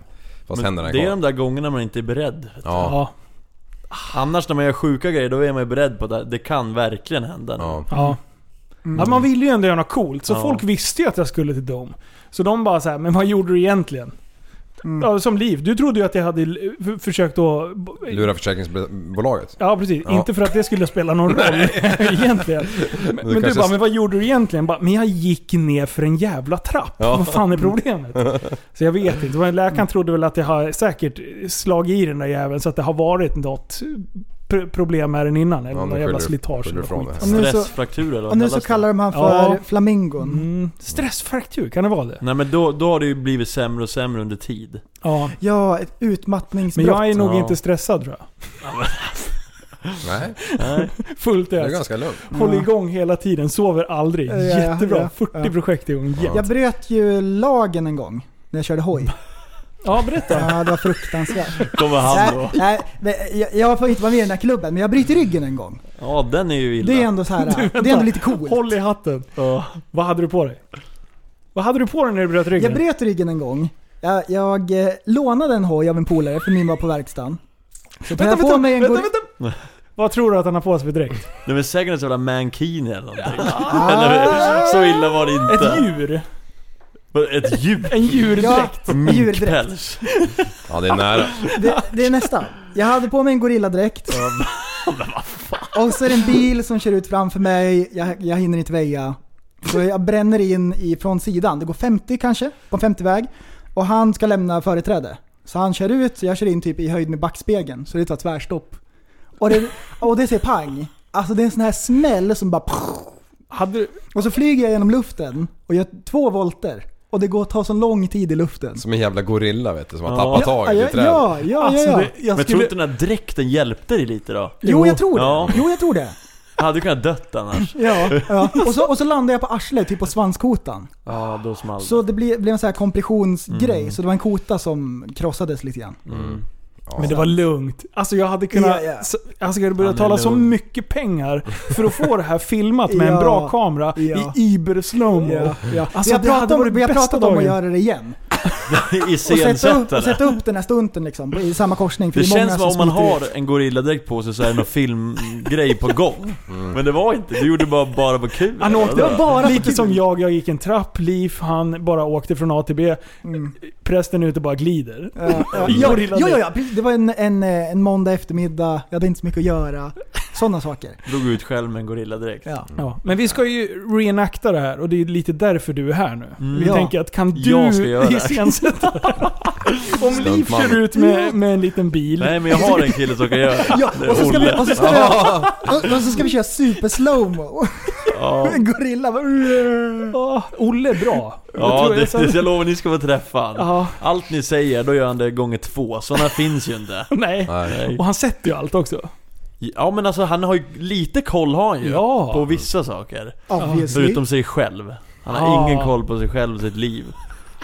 Speaker 6: Fast
Speaker 8: Men
Speaker 6: händerna är
Speaker 8: det är de
Speaker 6: kvar.
Speaker 8: där gångerna man inte är beredd.
Speaker 6: Ja,
Speaker 5: Ja.
Speaker 8: Annars när man gör sjuka grejer, då är man ju beredd på det. Det kan verkligen hända.
Speaker 6: ja.
Speaker 5: Ja.
Speaker 6: Mm.
Speaker 5: ja. Man ville ju ändå göra något coolt, så
Speaker 8: Ja.
Speaker 5: folk visste ju att jag skulle till Dome. Så de bara så här, men vad gjorde du egentligen? Ja, som liv. Du trodde ju att jag hade l- f- försökt att...
Speaker 6: Lura försäkringsbolaget.
Speaker 5: Ja, precis.
Speaker 6: Ja.
Speaker 5: Inte för att det skulle spela någon roll egentligen. Men, men du
Speaker 6: kanske
Speaker 5: bara,
Speaker 6: s-
Speaker 5: men vad gjorde du egentligen? Bara, men jag gick ner för en jävla trapp. Vad fan är problemet? Så jag vet inte. Men Läkaren trodde väl att jag har säkert slagit i den där jäveln så att det har varit något pr- problem med den innan. Eller
Speaker 6: Ja,
Speaker 5: något
Speaker 6: nu
Speaker 5: jävla
Speaker 6: skyller du-
Speaker 5: slitage
Speaker 6: skyller
Speaker 5: eller
Speaker 6: du ifrån
Speaker 5: skit.
Speaker 6: det.
Speaker 7: Och nu så,
Speaker 8: Stressfraktur eller vad
Speaker 7: och nu så
Speaker 8: kallas det?
Speaker 7: kallar de han för
Speaker 5: Ja.
Speaker 7: flamingon.
Speaker 5: Mm. Stressfraktur, kan det vara det?
Speaker 8: Nej men då, då har det ju blivit sämre och sämre under tid.
Speaker 5: Ja.
Speaker 7: Ja, ett utmattningsbrott.
Speaker 5: Men jag är nog
Speaker 8: Ja.
Speaker 5: inte stressad tror jag.
Speaker 6: Nej,
Speaker 8: Nej.
Speaker 5: Fullt
Speaker 6: det är
Speaker 5: ös.
Speaker 6: ganska lugnt.
Speaker 5: Håller igång hela tiden, sover aldrig.
Speaker 7: Ja, ja,
Speaker 5: Jättebra.
Speaker 7: ja,
Speaker 5: 40
Speaker 7: ja.
Speaker 5: projekt igång. Ja,
Speaker 7: Jag bröt ju lagen en gång. När jag körde hoj.
Speaker 5: ja berätta.
Speaker 7: Ja, det var fruktansvärt.
Speaker 8: Kommer han
Speaker 7: nej,
Speaker 8: då.
Speaker 7: nej, men jag, jag får inte vara med i den här klubben, men jag bryter ryggen en gång.
Speaker 8: Ja, den är ju illa.
Speaker 7: Det är ändå så här.
Speaker 5: vänta.
Speaker 7: det är ändå lite coolt.
Speaker 5: Håll i hatten. Vad hade du på dig? Vad hade du på dig när du bröt ryggen?
Speaker 7: Jag bröt ryggen en gång. Jag, jag eh, lånade en hoj av en polare för min var på verkstaden. Så tar
Speaker 5: vänta,
Speaker 7: jag
Speaker 5: vänta,
Speaker 7: på mig en
Speaker 5: vänta,
Speaker 7: gor-
Speaker 5: vänta. Vad tror du att han har på sig för dräkt?
Speaker 8: Det är väl säkert en sån jävla mankini eller någonting. Eller, så illa var det
Speaker 5: Ett
Speaker 8: inte.
Speaker 5: djur?
Speaker 8: Ett djur. Ett djur.
Speaker 5: En
Speaker 7: Ja,
Speaker 5: djurdräkt?
Speaker 7: en djurdräkt.
Speaker 8: Päls.
Speaker 6: Ja, det är nära.
Speaker 7: Det, det är nästa. Jag hade på mig en gorilladräkt. Och så är det en bil som kör ut framför mig. Jag, jag hinner inte väja. Så jag bränner in i, från sidan. Det går 50 kanske, på en 50-väg. Och han ska lämna företräde. Så han kör ut, så jag kör in typ i höjd med backspegeln. Så det tar tvärstopp. Och det, och det ser pang. Alltså det är en sån här smäll som bara...
Speaker 5: Hade du...
Speaker 7: Och så flyger jag genom luften och gör två volter. Och det går att ta så lång tid i luften.
Speaker 6: Som en jävla gorilla vet du, som har
Speaker 8: Ja.
Speaker 6: tappat taget
Speaker 7: ja,
Speaker 6: i trädet.
Speaker 7: ja, ja, ja,
Speaker 5: Alltså,
Speaker 7: ja.
Speaker 5: det, jag
Speaker 8: Men tror
Speaker 5: skulle...
Speaker 8: inte den här dräkten hjälpte dig lite då?
Speaker 7: Jo, jag tror det.
Speaker 8: Ja.
Speaker 7: Jo, jag tror det.
Speaker 8: Jag hade kunnat dött annars.
Speaker 7: Ja, ja. Och, så, och så landade jag på arslet, typ på svanskotan.
Speaker 8: Ja, då small det.
Speaker 7: Så det blev, blev en sån här kompressionsgrej,
Speaker 8: Mm.
Speaker 7: så det var en kota som krossades lite grann.
Speaker 5: Mm. Men det var lugnt. Alltså jag hade kunnat...
Speaker 7: Ja, ja.
Speaker 5: så- Alltså jag hade börjat
Speaker 8: Han är
Speaker 5: tala så
Speaker 8: lugn.
Speaker 5: mycket pengar för att få det här filmat med en
Speaker 7: Ja,
Speaker 5: bra kamera
Speaker 7: ja.
Speaker 5: i iber slow
Speaker 7: Ja, ja.
Speaker 5: Alltså,
Speaker 7: vi har pratat
Speaker 5: det hade
Speaker 7: om,
Speaker 5: varit
Speaker 7: vi har
Speaker 5: bästa
Speaker 7: pratat om att
Speaker 5: dagen.
Speaker 7: göra det igen. Och sätta upp, och
Speaker 8: Iscensättare.
Speaker 7: sätta upp den här stunten liksom, på- i samma korsning. För
Speaker 8: Det
Speaker 7: är många
Speaker 8: känns som om man
Speaker 7: smiter
Speaker 8: har
Speaker 7: ut.
Speaker 8: en gorilladräkt på sig så är det någon filmgrej på gång. Men det var inte, du gjorde bara bara vad kul.
Speaker 5: Han åkte
Speaker 8: det var.
Speaker 5: bara lite som jag, jag gick en trapp, Liv, han bara åkte från A till B.
Speaker 8: Mm.
Speaker 5: Prästen är ute och bara glider.
Speaker 7: Ja, ja, ja, ja, ja, ja, precis. det var en, en, eh, en måndag eftermiddag, jag hade inte så mycket att göra. Sådana saker.
Speaker 8: Drog ut själv med en gorilladräkt.
Speaker 7: Ja.
Speaker 5: Ja, men vi ska ju reenacta det här och det är lite därför du är här nu. vi
Speaker 7: Ja.
Speaker 5: tänker att kan du
Speaker 8: Mm. Jag ska göra det här.
Speaker 5: iscensätta det här? Om Liv
Speaker 6: Stuntman.
Speaker 5: kör ut med, med en liten bil.
Speaker 8: Nej men jag har en kille som kan göra det.
Speaker 7: Ja,
Speaker 8: Det är
Speaker 7: och så ska vi,
Speaker 8: Olle.
Speaker 7: och så ska vi, och så ska vi köra super slowmo.
Speaker 8: Ja,
Speaker 5: Alltså,
Speaker 7: En gorilla bara...
Speaker 5: Åh, Olle är bra. Jag
Speaker 8: ja
Speaker 5: tror
Speaker 8: det,
Speaker 5: jag-
Speaker 8: det, jag lovar ni ska få träffa han.
Speaker 5: Ja,
Speaker 8: Allt ni säger, då gör han det gånger två. Sådana finns ju inte.
Speaker 5: nej.
Speaker 8: Nej.
Speaker 5: Och han sätter ju allt också.
Speaker 8: Ja men alltså han har ju, lite koll har han ju.
Speaker 5: Ja.
Speaker 8: På vissa saker.
Speaker 7: Obviously.
Speaker 8: Förutom sig själv. Han har
Speaker 5: Ja.
Speaker 8: ingen koll på sig själv och sitt liv.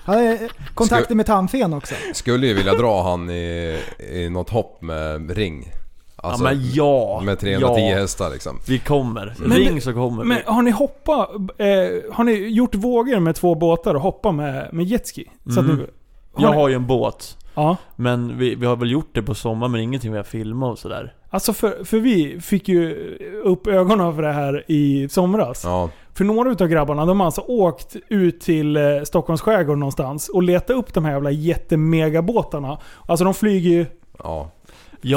Speaker 7: Han har eh, kontakter med tandfen också.
Speaker 6: Skulle ju vilja dra han i, i något hopp med ring. Alltså,
Speaker 8: ja men ja.
Speaker 6: Med 310
Speaker 8: ja.
Speaker 6: hästar liksom.
Speaker 8: Vi kommer.
Speaker 5: Men-
Speaker 8: Ring så kommer
Speaker 5: Men
Speaker 8: vi.
Speaker 5: har ni hoppat... Eh, har ni gjort vågor med två båtar och hoppat med, med jetski? Så att
Speaker 8: Mm.
Speaker 5: ni, har
Speaker 8: Jag
Speaker 5: ni-
Speaker 8: har ju en båt.
Speaker 5: Ja.
Speaker 8: Men vi, vi har väl gjort det på sommaren men ingenting vi har filmat och sådär.
Speaker 5: Alltså för, för vi fick ju upp ögonen för det här i somras.
Speaker 6: Ja.
Speaker 5: För några utav grabbarna, de har alltså åkt ut till eh, Stockholms skärgård någonstans och letat upp de här jävla jättemegabåtarna. Alltså de flyger ju...
Speaker 6: Ja.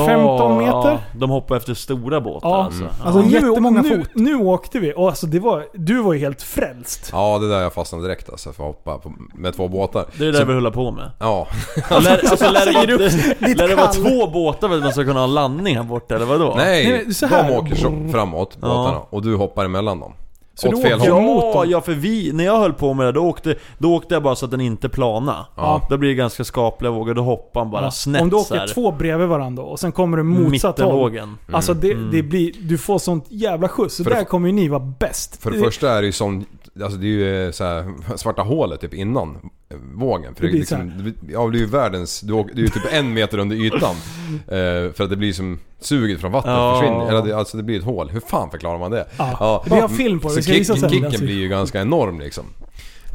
Speaker 5: 15 meter?
Speaker 8: Ja, de hoppar efter stora båtar
Speaker 5: Ja.
Speaker 8: alltså.
Speaker 6: Mm.
Speaker 8: Ja.
Speaker 7: Alltså jättemånga
Speaker 5: nu,
Speaker 7: fot.
Speaker 5: Nu, nu åkte vi och alltså det var... Du var ju helt frälst.
Speaker 6: ja, det där jag fastnade direkt alltså för att hoppa på, med två båtar.
Speaker 8: Det är det
Speaker 6: Så-
Speaker 8: vi håller på med.
Speaker 6: Ja.
Speaker 8: Lär, alltså, lär, det vara,
Speaker 7: ditt
Speaker 8: lär det vara
Speaker 7: kall.
Speaker 8: två båtar för att man ska kunna ha landning här borta eller vadå?
Speaker 6: Nej,
Speaker 5: Nej, men så här.
Speaker 6: de åker så framåt båtarna och du hoppar emellan dem.
Speaker 5: Så
Speaker 6: Åt
Speaker 5: du
Speaker 6: fel
Speaker 5: åker-
Speaker 6: håll.
Speaker 5: mot
Speaker 8: Ja,
Speaker 5: dem.
Speaker 8: ja för vi, när jag höll på med det då åkte, då åkte jag bara så att den inte plana.
Speaker 6: Ja.
Speaker 8: Då blir det ganska skapliga vågor, då hoppar han bara
Speaker 5: Ja.
Speaker 8: snett
Speaker 5: Om du
Speaker 8: så här.
Speaker 5: åker två bredvid varandra och sen kommer du motsatt håll.
Speaker 8: Mittenvågen. Mm.
Speaker 5: Alltså det, det blir, du får sånt jävla skjuts. Så
Speaker 6: För det-
Speaker 5: där kommer ju ni vara bäst.
Speaker 6: För det första är det ju som, alltså det är ju eh, så här, svarta hålet typ innan eh, vågen. För det,
Speaker 5: Det blir
Speaker 6: liksom, det- ja, det är ju världens, du, åker, det är ju typ en meter under ytan. Eh, för att det blir som suget från vattnet
Speaker 8: Ja.
Speaker 6: försvinner, eller det, alltså det blir ett hål. Hur fan förklarar man det?
Speaker 5: Ja. Vi har film på det,
Speaker 6: så
Speaker 5: vi ska visa
Speaker 6: kicken,
Speaker 5: sen.
Speaker 6: kicken blir ju ganska enorm liksom.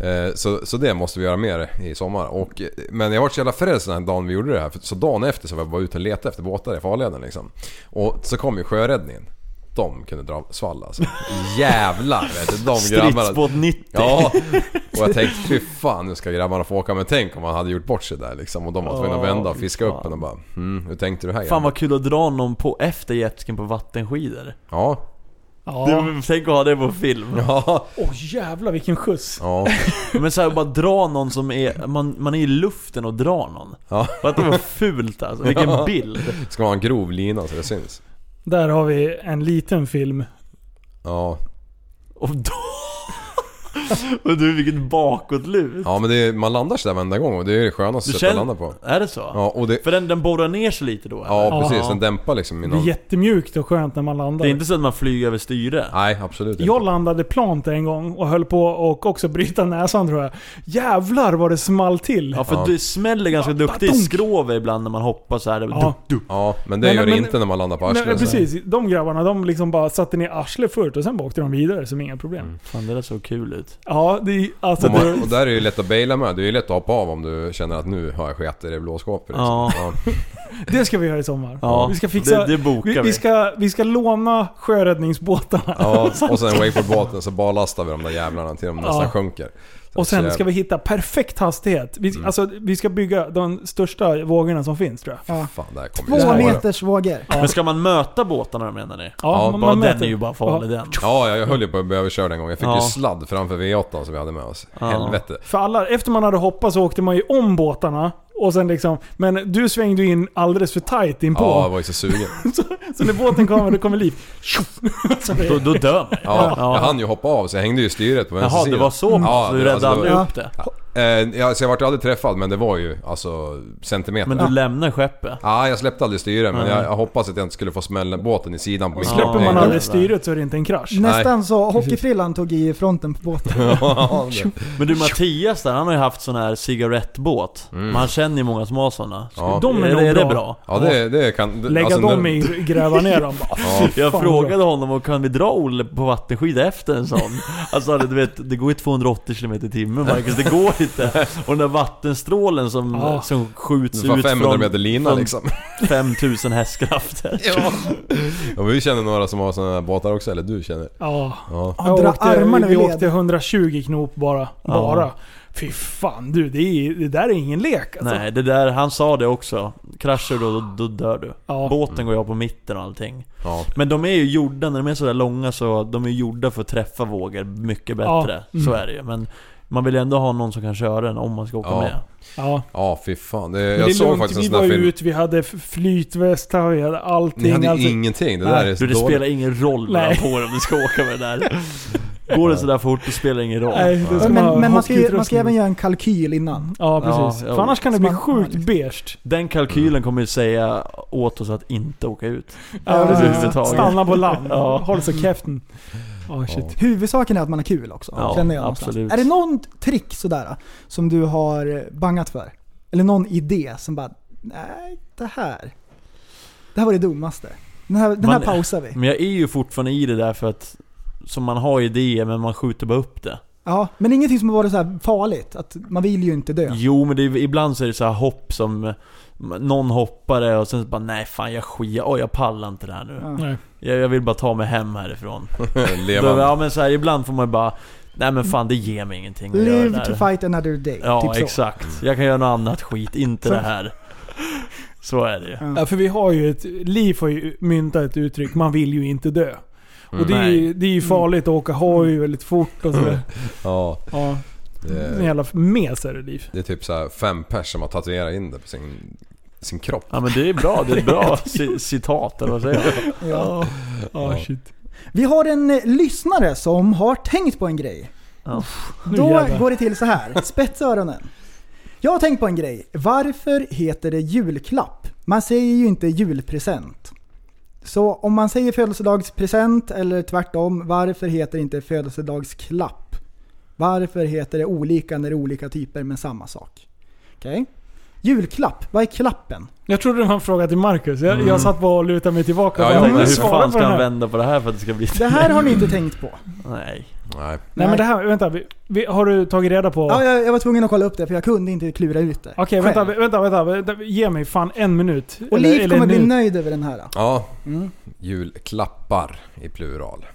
Speaker 6: Eh, Så, så det måste vi göra mer i sommar. Och, eh, men jag var så jävla frälst den här dagen vi gjorde det här. För, så dagen efter så var jag bara ute och letade efter båtar i farleden liksom. Och så kom ju sjöräddningen. De kunde dra svall alltså. Jävlar vet du, de grabbarna.
Speaker 8: Stridsbåt 90.
Speaker 6: Ja, och jag tänkte fy fan nu ska grabbarna få åka. Men tänk om man hade gjort bort sig där liksom. Och de var tvungna att vända och fiska upp en och bara mm, hur tänkte du här
Speaker 8: Fan
Speaker 6: grabbar?
Speaker 8: vad kul att dra någon på efter jetskin på vattenskidor.
Speaker 6: Ja,
Speaker 5: Ja.
Speaker 8: Du, tänk att ha det på film.
Speaker 6: ja,
Speaker 5: Åh jävlar vilken skjuts.
Speaker 6: ja.
Speaker 8: Men såhär bara dra någon som är, man, man är i luften och drar någon.
Speaker 6: Ja.
Speaker 8: Fattar du vad fult alltså? Vilken
Speaker 6: Ja.
Speaker 8: bild.
Speaker 6: Ska man ha en grov lina så det syns?
Speaker 5: Där har vi en liten film.
Speaker 6: Ja.
Speaker 8: Och då, Och du, vilket bakåtlut.
Speaker 6: Ja men det är, man landar sådär varenda gång och det är det skönaste
Speaker 8: Du
Speaker 6: sättet att
Speaker 8: känner-
Speaker 6: landa på.
Speaker 8: Är det så?
Speaker 6: Ja, och det,
Speaker 8: För den, den borrar ner sig lite då? eller?
Speaker 6: ja precis,
Speaker 5: Ja.
Speaker 6: den dämpar liksom
Speaker 5: Det är
Speaker 6: innan...
Speaker 5: jättemjukt och skönt när man landar.
Speaker 8: Det är inte så att man flyger över styre?
Speaker 6: Nej absolut inte.
Speaker 5: Jag landade plant en gång och höll på och också bryta näsan tror jag. Jävlar vad det small till.
Speaker 8: Ja för
Speaker 6: Ja.
Speaker 8: du smäller ganska duktigt i
Speaker 5: badunk.
Speaker 8: skrovet ibland när man hoppar så här.
Speaker 5: Ja.
Speaker 8: Duk, duk.
Speaker 6: Ja men det
Speaker 5: Men-
Speaker 6: gör det
Speaker 5: men-
Speaker 6: inte när man landar på
Speaker 5: Nej,
Speaker 6: arslet.
Speaker 5: precis. De grabbarna, de liksom bara satte ner arslet först och sen bara åkte de vidare som inga problem.
Speaker 8: Fan det där såg kul ut.
Speaker 5: Ja, det är alltså...
Speaker 6: Och, man,
Speaker 5: Det,
Speaker 6: och där är det ju lätt att baila med. Det är ju lätt att hoppa av om du känner att nu har jag skett i det blå skåpet. Liksom.
Speaker 8: Ja.
Speaker 5: det ska vi göra i sommar.
Speaker 8: Ja,
Speaker 5: vi ska fixa...
Speaker 8: det, det bokar vi.
Speaker 5: vi, vi, ska, vi ska låna sjöräddningsbåtarna.
Speaker 6: Ja, och sen wakeboardbåten så barlastar vi de där jävlarna till de nästan
Speaker 5: Ja.
Speaker 6: sjunker. Så
Speaker 5: Och sen
Speaker 6: att-
Speaker 5: ska vi hitta perfekt hastighet. Vi,
Speaker 8: Mm.
Speaker 5: alltså, vi ska bygga de största vågorna som finns tror jag. Ja,
Speaker 6: Fan, det här kommer ju
Speaker 7: Två
Speaker 6: spåra.
Speaker 7: meters vågor.
Speaker 8: Men ska man möta båtarna menar ni?
Speaker 6: Ja,
Speaker 5: man-
Speaker 8: Bara
Speaker 5: man
Speaker 8: den
Speaker 5: mäter.
Speaker 8: är ju bara farlig
Speaker 5: Ja.
Speaker 8: den.
Speaker 6: Ja, jag höll ju på att bli överkörd en gång. Jag fick
Speaker 8: Ja.
Speaker 6: ju sladd framför V8 som vi hade med oss.
Speaker 8: Ja.
Speaker 6: Helvete.
Speaker 5: För alla, efter man hade hoppat så åkte man ju om båtarna. Och sen liksom, men du svängde ju in alldeles för tight inpå.
Speaker 6: Ja, jag var ju så sugen.
Speaker 5: Så när båten kommer, då kommer liv. Så det-
Speaker 8: Då, då dör man
Speaker 6: Ja, jag hann ju hoppa av så jag hängde ju i styret på vänster
Speaker 8: Jaha, det
Speaker 6: sida.
Speaker 8: var så pass?
Speaker 6: Ja,
Speaker 8: du
Speaker 6: det-
Speaker 8: räddade
Speaker 6: alltså, det var-
Speaker 8: aldrig upp det?
Speaker 6: Eh, alltså, jag vart ju aldrig träffad men det var ju alltså centimeter.
Speaker 8: Men du lämnar skeppet?
Speaker 6: Ja, jag släppte aldrig styret men
Speaker 8: Nej.
Speaker 6: jag, jag hoppas att jag inte skulle få smälla båten i sidan på min
Speaker 8: Släpper
Speaker 5: Om
Speaker 6: kropp.
Speaker 5: man
Speaker 8: Ja,
Speaker 5: aldrig
Speaker 8: det-
Speaker 5: styret så är det inte en krasch.
Speaker 7: Nästan så hockeyfrillan tog i fronten på båten.
Speaker 6: Ja, det-
Speaker 8: Men du Mattias där, han har ju haft sån här cigarettbåt. Men han känner ju många som har såna. Ska-
Speaker 6: Mm. Ja.
Speaker 5: De är nog
Speaker 8: det,
Speaker 5: bra.
Speaker 8: det bra?
Speaker 6: Ja, det, det kan... det-
Speaker 5: Lägga
Speaker 6: alltså,
Speaker 5: dem
Speaker 6: när-
Speaker 5: i, gräva ner dem bara.
Speaker 8: Jag
Speaker 5: Fan,
Speaker 8: frågade honom och kan vi dra Olle på vattenskida efter en sån? Alltså du vet, det går ju 280 km i timmen Marcus, det går inte. Och den där vattenstrålen som,
Speaker 5: Ja.
Speaker 8: som skjuts
Speaker 6: Det var
Speaker 8: ut
Speaker 6: 500
Speaker 8: från
Speaker 6: meter lina
Speaker 8: från
Speaker 6: liksom.
Speaker 8: 5000 hästkrafter.
Speaker 6: Ja. och vi känner några som har sådana här båtar också, eller du känner?
Speaker 5: Ja.
Speaker 6: Ja.
Speaker 7: Han drar armarna
Speaker 5: vi
Speaker 7: ur
Speaker 5: åkte
Speaker 7: led.
Speaker 5: 120 knop bara. bara. Fy fan du, det, är, det där är ingen lek alltså.
Speaker 8: Nej, det där, han sa det också. Kraschar du då, då, då dör du.
Speaker 5: Ja.
Speaker 8: Båten går ju av på mitten och allting.
Speaker 6: Ja.
Speaker 8: Men de är ju gjorda, när de är sådär långa så, de är gjorda för att träffa vågor mycket bättre.
Speaker 5: Ja.
Speaker 8: Så
Speaker 5: Mm.
Speaker 8: är det ju. Men man vill ju ändå ha någon som kan köra den om man ska åka
Speaker 6: Ja.
Speaker 8: med.
Speaker 5: Ja.
Speaker 6: Ja, fy fan. Det,
Speaker 5: Men det
Speaker 6: jag
Speaker 5: är
Speaker 6: såg
Speaker 5: lugnt,
Speaker 6: faktiskt
Speaker 5: vi
Speaker 6: en sån
Speaker 5: var
Speaker 6: här film.
Speaker 5: ut, vi hade f- flytvästar, vi hade allting.
Speaker 6: Ni hade ju
Speaker 5: alltså.
Speaker 6: ingenting. Det där
Speaker 5: Nej.
Speaker 6: är så
Speaker 8: Du, det
Speaker 6: dåligt.
Speaker 8: spelar ingen roll vad
Speaker 5: Nej.
Speaker 8: han får om du ska åka med det där. Går det sådär fort, då spelar det ingen roll.
Speaker 5: Nej, det ska
Speaker 7: Men,
Speaker 5: ha
Speaker 7: men man, ska ju, man ska
Speaker 5: hockeyutrustning.
Speaker 7: även göra en kalkyl innan.
Speaker 5: Ja, precis.
Speaker 8: Ja, ja.
Speaker 5: För annars kan det bli
Speaker 7: Smart.
Speaker 5: sjukt beige.
Speaker 8: Den kalkylen kommer ju säga åt oss att inte åka ut.
Speaker 5: Ja, precis.
Speaker 8: överhuvudtaget.
Speaker 5: Stanna på land.
Speaker 8: Ja.
Speaker 5: Håll så käften. Oh, shit.
Speaker 7: Huvudsaken är att man har kul också.
Speaker 8: Ja,
Speaker 7: känner jag någonstans.
Speaker 8: absolut.
Speaker 7: Är det någon trick sådär som du har bangat för? Eller någon idé som bara, nej det här. Det här var det dummaste. Den här, den här
Speaker 8: Man-
Speaker 7: pausar vi.
Speaker 8: Men jag är ju fortfarande i det där för att som man har idéer men man skjuter bara upp det.
Speaker 7: Ja, men ingenting som har varit så här farligt. Att man vill ju inte dö.
Speaker 8: Jo men det är, ibland så är det så här hopp som eh, någon hoppare och sen så bara nej fan jag skit, oj jag pallar inte det här nu.
Speaker 7: Ja.
Speaker 5: Nej.
Speaker 8: Jag, jag vill bara ta mig hem härifrån. Då,
Speaker 6: Levande.
Speaker 8: ja men så här, ibland får man ju bara nej men fan det ger mig ingenting att göra det
Speaker 7: Live
Speaker 8: där.
Speaker 7: to fight another day.
Speaker 8: Ja
Speaker 7: typ så.
Speaker 8: exakt. Jag kan göra något annat skit, inte det här. Så är det ju.
Speaker 5: Ja, för vi har ju ett... Liv har ju myntat ett uttryck, man vill ju inte dö. Och det är, ju,
Speaker 8: Nej.
Speaker 5: det är ju farligt att åka hoj väldigt fort och
Speaker 6: Mm.
Speaker 5: sådär.
Speaker 6: Ja,
Speaker 5: Ja, en
Speaker 6: det,
Speaker 5: jävla mes är det liv.
Speaker 6: det är typ så här fem pers som har tatuerat in det på sin, sin kropp.
Speaker 8: Ja men det är bra, det är ett bra ci- citat eller vad säger jag?
Speaker 5: Ja, ja Ah, shit.
Speaker 7: Vi har en eh, lyssnare som har tänkt på en grej.
Speaker 8: Ja.
Speaker 5: Nu
Speaker 7: Då
Speaker 5: jävlar.
Speaker 7: går det till så här. Spetsa öronen. Jag har tänkt på en grej. Varför heter det julklapp? Man säger ju inte julpresent. Så om man säger födelsedagspresent eller tvärtom, varför heter det inte födelsedagsklapp? Varför heter det olika när det är olika typer men samma sak? Okej? Julklapp, vad är klappen?
Speaker 5: Jag trodde det var en fråga till Marcus. Jag, jag satt bara och lutade mig tillbaka.
Speaker 6: Ja,
Speaker 5: och
Speaker 6: jag
Speaker 5: bara,
Speaker 6: tänkte,
Speaker 5: "Men
Speaker 8: Hur
Speaker 5: svara
Speaker 8: fan
Speaker 5: på
Speaker 8: ska
Speaker 5: den
Speaker 8: han
Speaker 5: här."
Speaker 8: vända på det här för att det ska bli...
Speaker 7: Det här har ni inte tänkt på.
Speaker 8: Nej.
Speaker 6: Nej.
Speaker 5: Nej men det här, vänta. Vi, vi, har du tagit reda på...
Speaker 7: Ja, jag, jag var tvungen att kolla upp det för jag kunde inte klura ut det.
Speaker 5: Okej,
Speaker 7: själv.
Speaker 5: vänta, vänta, vänta, vänta. Ge mig fan en minut.
Speaker 7: Och Liv kommer bli
Speaker 5: minut.
Speaker 7: nöjd över den här.
Speaker 6: Ja.
Speaker 5: Mm.
Speaker 6: Julklappar i plural.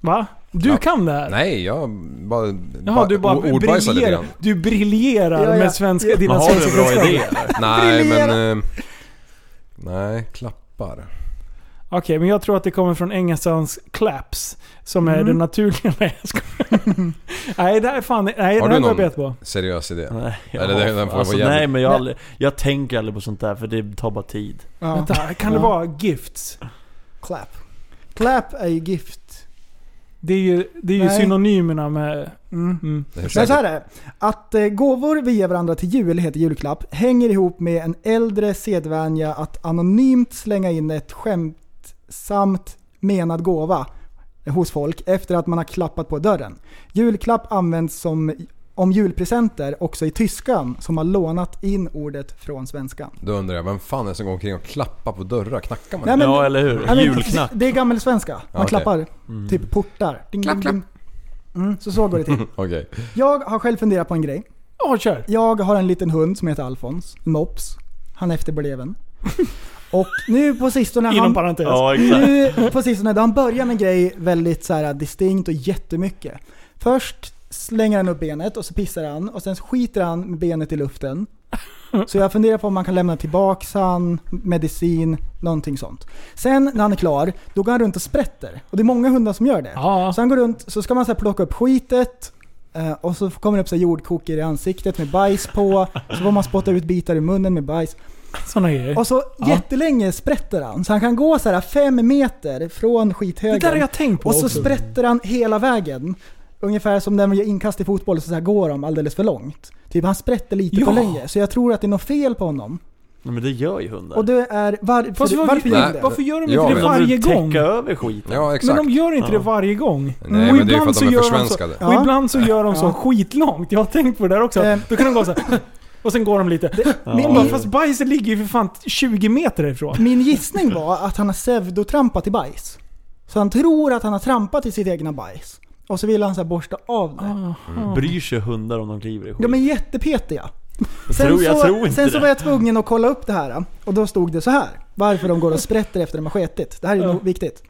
Speaker 5: Va? Du
Speaker 6: Ja.
Speaker 5: kan det här?
Speaker 6: Nej, jag bara...
Speaker 5: Jaha, du bara
Speaker 6: o- ordbajsar lite
Speaker 5: briljerar,
Speaker 6: grann.
Speaker 5: du briljerar
Speaker 7: Ja, ja.
Speaker 5: med svenska,
Speaker 7: Ja.
Speaker 5: dina
Speaker 8: Men har du
Speaker 5: svenska
Speaker 8: en bra idé
Speaker 5: kunskaper.
Speaker 8: eller?
Speaker 6: Nej,
Speaker 7: Briljera.
Speaker 6: men... Eh, nej, klappar.
Speaker 5: Okej, men jag tror att det kommer från engelskans claps. Som
Speaker 7: Mm.
Speaker 5: är den naturliga. Nej, jag skojar. Nej, det här är fan... Nej, det
Speaker 6: Har
Speaker 5: här
Speaker 6: du
Speaker 5: går jag
Speaker 6: någon-
Speaker 5: bet på.
Speaker 6: Seriös idé.
Speaker 5: Mm.
Speaker 8: Nej, jag,
Speaker 6: Eller den- den får
Speaker 8: alltså,
Speaker 6: vara jävligt-
Speaker 8: nej men jag, har aldrig, jag tänker aldrig på sånt där för det tar bara tid.
Speaker 7: Ja.
Speaker 5: Vänta, kan det
Speaker 7: Ja.
Speaker 5: vara gifts?
Speaker 7: Clap. Clap är ju gift.
Speaker 5: Det är ju, det är ju
Speaker 7: Nej.
Speaker 5: synonymerna med...
Speaker 7: Mm.
Speaker 5: Mm.
Speaker 6: Det är
Speaker 7: Men så
Speaker 6: säkert-
Speaker 7: här är det. Att eh, gåvor vi ger varandra till jul, eller heter julklapp, hänger ihop med en äldre sedvänja att anonymt slänga in ett skämtsamt menad gåva hos folk efter att man har klappat på dörren. Julklapp används som om julpresenter också i tyskan som har lånat in ordet från svenskan.
Speaker 6: Då undrar jag, vem fan är det som går omkring och klappar på dörrar? Knackar man?
Speaker 7: Nej, men-
Speaker 8: ja, eller hur?
Speaker 7: Ja, men
Speaker 8: Julknack.
Speaker 7: Det är gammelsvenska. Man
Speaker 6: okej.
Speaker 7: klappar typ portar. Ding, klapp, klapp. Mm, så så går det till.
Speaker 6: Okej.
Speaker 7: Jag har själv funderat på en grej.
Speaker 5: Ja, kör.
Speaker 7: Jag har en liten hund som heter Alfons. En Mops. Han är efterbleven. Och nu på sistone... har
Speaker 5: Inom
Speaker 7: han-
Speaker 5: parentes.
Speaker 8: Ja, exakt.
Speaker 7: nu på sistone, då han börjar med en grej väldigt så här distinkt och jättemycket. Först slänger han upp benet och så pissar han och sen skiter han med benet i luften. Så jag funderar på om man kan lämna tillbaks han, medicin, någonting sånt. Sen när han är klar, då går han runt och sprätter. Och det är många hundar som gör det.
Speaker 5: Ja.
Speaker 7: Så han går runt, så ska man så här plocka upp skitet eh, och så kommer det upp så här jordkokor i ansiktet med bajs på. Så får man spotta ut bitar i munnen med bajs.
Speaker 5: Såna grejer.
Speaker 7: Och så jättelänge sprätter han. Så han kan gå så här fem meter från
Speaker 5: Det
Speaker 7: skithögen.
Speaker 5: där har jag tänkt på
Speaker 7: och så
Speaker 5: också.
Speaker 7: sprätter han hela vägen. Ungefär som när man gör inkast i fotboll så, så här går de alldeles för långt. Typ han sprätter lite
Speaker 5: Ja.
Speaker 7: för länge. Så jag tror att det är något fel på honom.
Speaker 8: Nej, men det gör ju hundar.
Speaker 7: Och det är varför,
Speaker 5: Fast vad-
Speaker 7: varför gör
Speaker 6: Nej.
Speaker 7: han det?
Speaker 5: Varför gör de inte
Speaker 6: Ja,
Speaker 5: det
Speaker 6: men-
Speaker 5: varje
Speaker 8: de vill
Speaker 5: gång?
Speaker 8: täcka över skiten.
Speaker 6: Ja,
Speaker 5: Men
Speaker 6: exakt.
Speaker 5: de gör inte det
Speaker 8: Ja.
Speaker 5: varje gång.
Speaker 6: men det är ju för att de är
Speaker 5: gör
Speaker 6: försvenskade.
Speaker 5: Så, och
Speaker 7: Ja.
Speaker 5: ibland så gör de så
Speaker 7: Ja.
Speaker 5: skitlångt. Jag har tänkt på det där också.
Speaker 7: Eh.
Speaker 5: Då kan de gå så här. Och sen går de lite.
Speaker 8: Ja.
Speaker 5: Och bara, Fast bajset ligger ju för fan 20 meter ifrån.
Speaker 7: Min gissning var att han har pseudotrampat i bajs. Så han tror att han har trampat i sitt egna bajs. Och så vill han så här borsta av det.
Speaker 8: Bryr sig hundar om de kliver i skiten?
Speaker 7: De är jättepetiga.
Speaker 8: Jag tror- jag
Speaker 7: så,
Speaker 8: tror inte
Speaker 7: sen så
Speaker 8: det.
Speaker 7: var jag tvungen att kolla upp det här och då stod det så här. Varför de går och sprätter efter de har skitit. Det här är nog viktigt.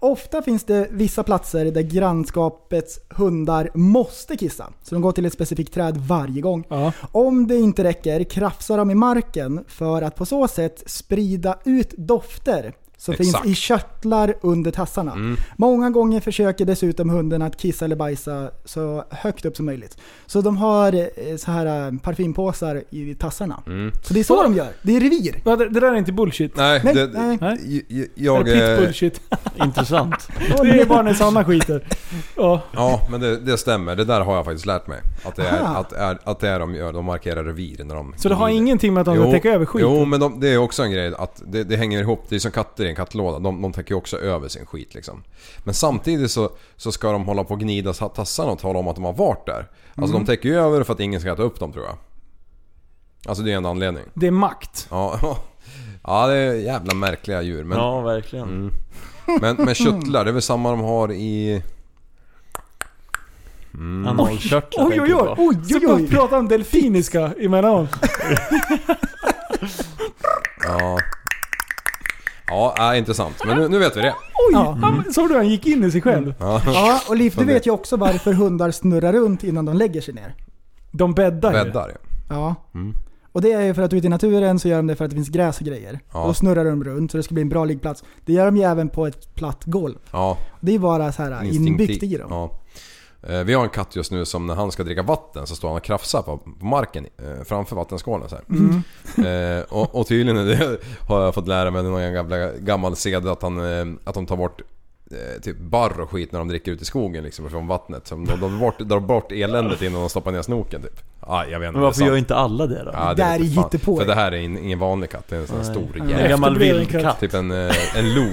Speaker 7: Ofta finns det vissa platser där grannskapets hundar måste kissa. Så de går till ett specifikt träd varje gång.
Speaker 5: Ja.
Speaker 7: Om det inte räcker krafsar de i marken för att på så sätt sprida ut dofter som
Speaker 6: Exakt.
Speaker 7: finns i körtlar under tassarna. Många gånger försöker dessutom hunden att kissa eller bajsa så högt upp som möjligt. Så de har eh, så här eh, parfympåsar i tassarna. Så det är så de gör. Det är revir.
Speaker 5: Ja, Det det där är inte bullshit.
Speaker 6: Nej,
Speaker 7: Nej,
Speaker 6: det,
Speaker 7: nej.
Speaker 6: j- j-
Speaker 5: Eller
Speaker 6: Jag...
Speaker 5: pit
Speaker 6: eh,
Speaker 5: bullshit.
Speaker 8: Intressant.
Speaker 5: Det är bara när Sanna skiter. Ja.
Speaker 6: Ja, men det, det stämmer. Det där har jag faktiskt lärt mig. Att det
Speaker 7: Aha.
Speaker 6: är, att, är, att det är de gör. De markerar revir när de...
Speaker 5: Så det har
Speaker 6: glider.
Speaker 5: ingenting med att de ska
Speaker 6: Jo,
Speaker 5: täcka över skiten?
Speaker 6: Jo, men de, det är också en grej att det, det hänger ihop. Det är som katter i en kattlåda. De, de täcker ju också över sin skit liksom. Men samtidigt så, så ska de hålla på och gnida sa- tassarna och tala om att de har varit där. Alltså
Speaker 5: Mm.
Speaker 6: de täcker ju över för att ingen ska äta upp dem tror jag. Alltså det är en anledning.
Speaker 5: Det är makt.
Speaker 6: Ja, ja det är jävla märkliga djur. Men,
Speaker 8: Ja, verkligen.
Speaker 6: Mm. men, men köttlar, det är väl samma de har i...
Speaker 8: Analkörtlar
Speaker 5: Oj, oj, oj.
Speaker 8: på.
Speaker 5: oj, oj, oj. Så pratar om delfiniska emellanåt.
Speaker 6: Ja, ja äh, intressant. Men nu, nu vet vi det.
Speaker 5: Oj! Han, såg du han gick in i sig själv?
Speaker 7: Ja, och Liv, du vet ju också varför hundar snurrar runt innan de lägger sig ner.
Speaker 5: De bäddar, ju.
Speaker 6: Bäddar ja.
Speaker 7: Ja. Och det är ju för att ute i naturen så gör de det för att det finns gräs och grejer.
Speaker 6: Ja.
Speaker 7: Och då snurrar de runt så det ska bli en bra liggplats. Det gör de ju även på ett platt golv.
Speaker 6: Ja,
Speaker 7: Det är bara så här inbyggt i
Speaker 6: instinktiv.
Speaker 7: dem.
Speaker 6: Ja. Eh, Vi har en katt just nu som när han ska dricka vatten så står han och krafsar på på marken eh, framför vattenskålen så här.
Speaker 7: Mm.
Speaker 6: Eh, och, och tydligen är det, har jag fått lära mig någon jävla gammal sed att, han, eh, att de tar bort eh, typ barr och skit när de dricker ut i skogen liksom från vattnet. Så de de drar bort, drar bort eländet innan de stoppar ner snoken typ. Ah, jag vet inte.
Speaker 8: Men varför gör inte alla det då?
Speaker 7: Där
Speaker 6: ja, Ah, vet jag
Speaker 7: är
Speaker 6: fan.
Speaker 7: hittepå.
Speaker 6: För det här är in, ingen vanlig katt, det är en sån här
Speaker 8: Nej.
Speaker 6: stor
Speaker 7: Mm.
Speaker 8: En
Speaker 6: jävel.
Speaker 8: gammal
Speaker 5: Efterbleven
Speaker 8: vildkatt.
Speaker 6: Typ en, eh, en lo.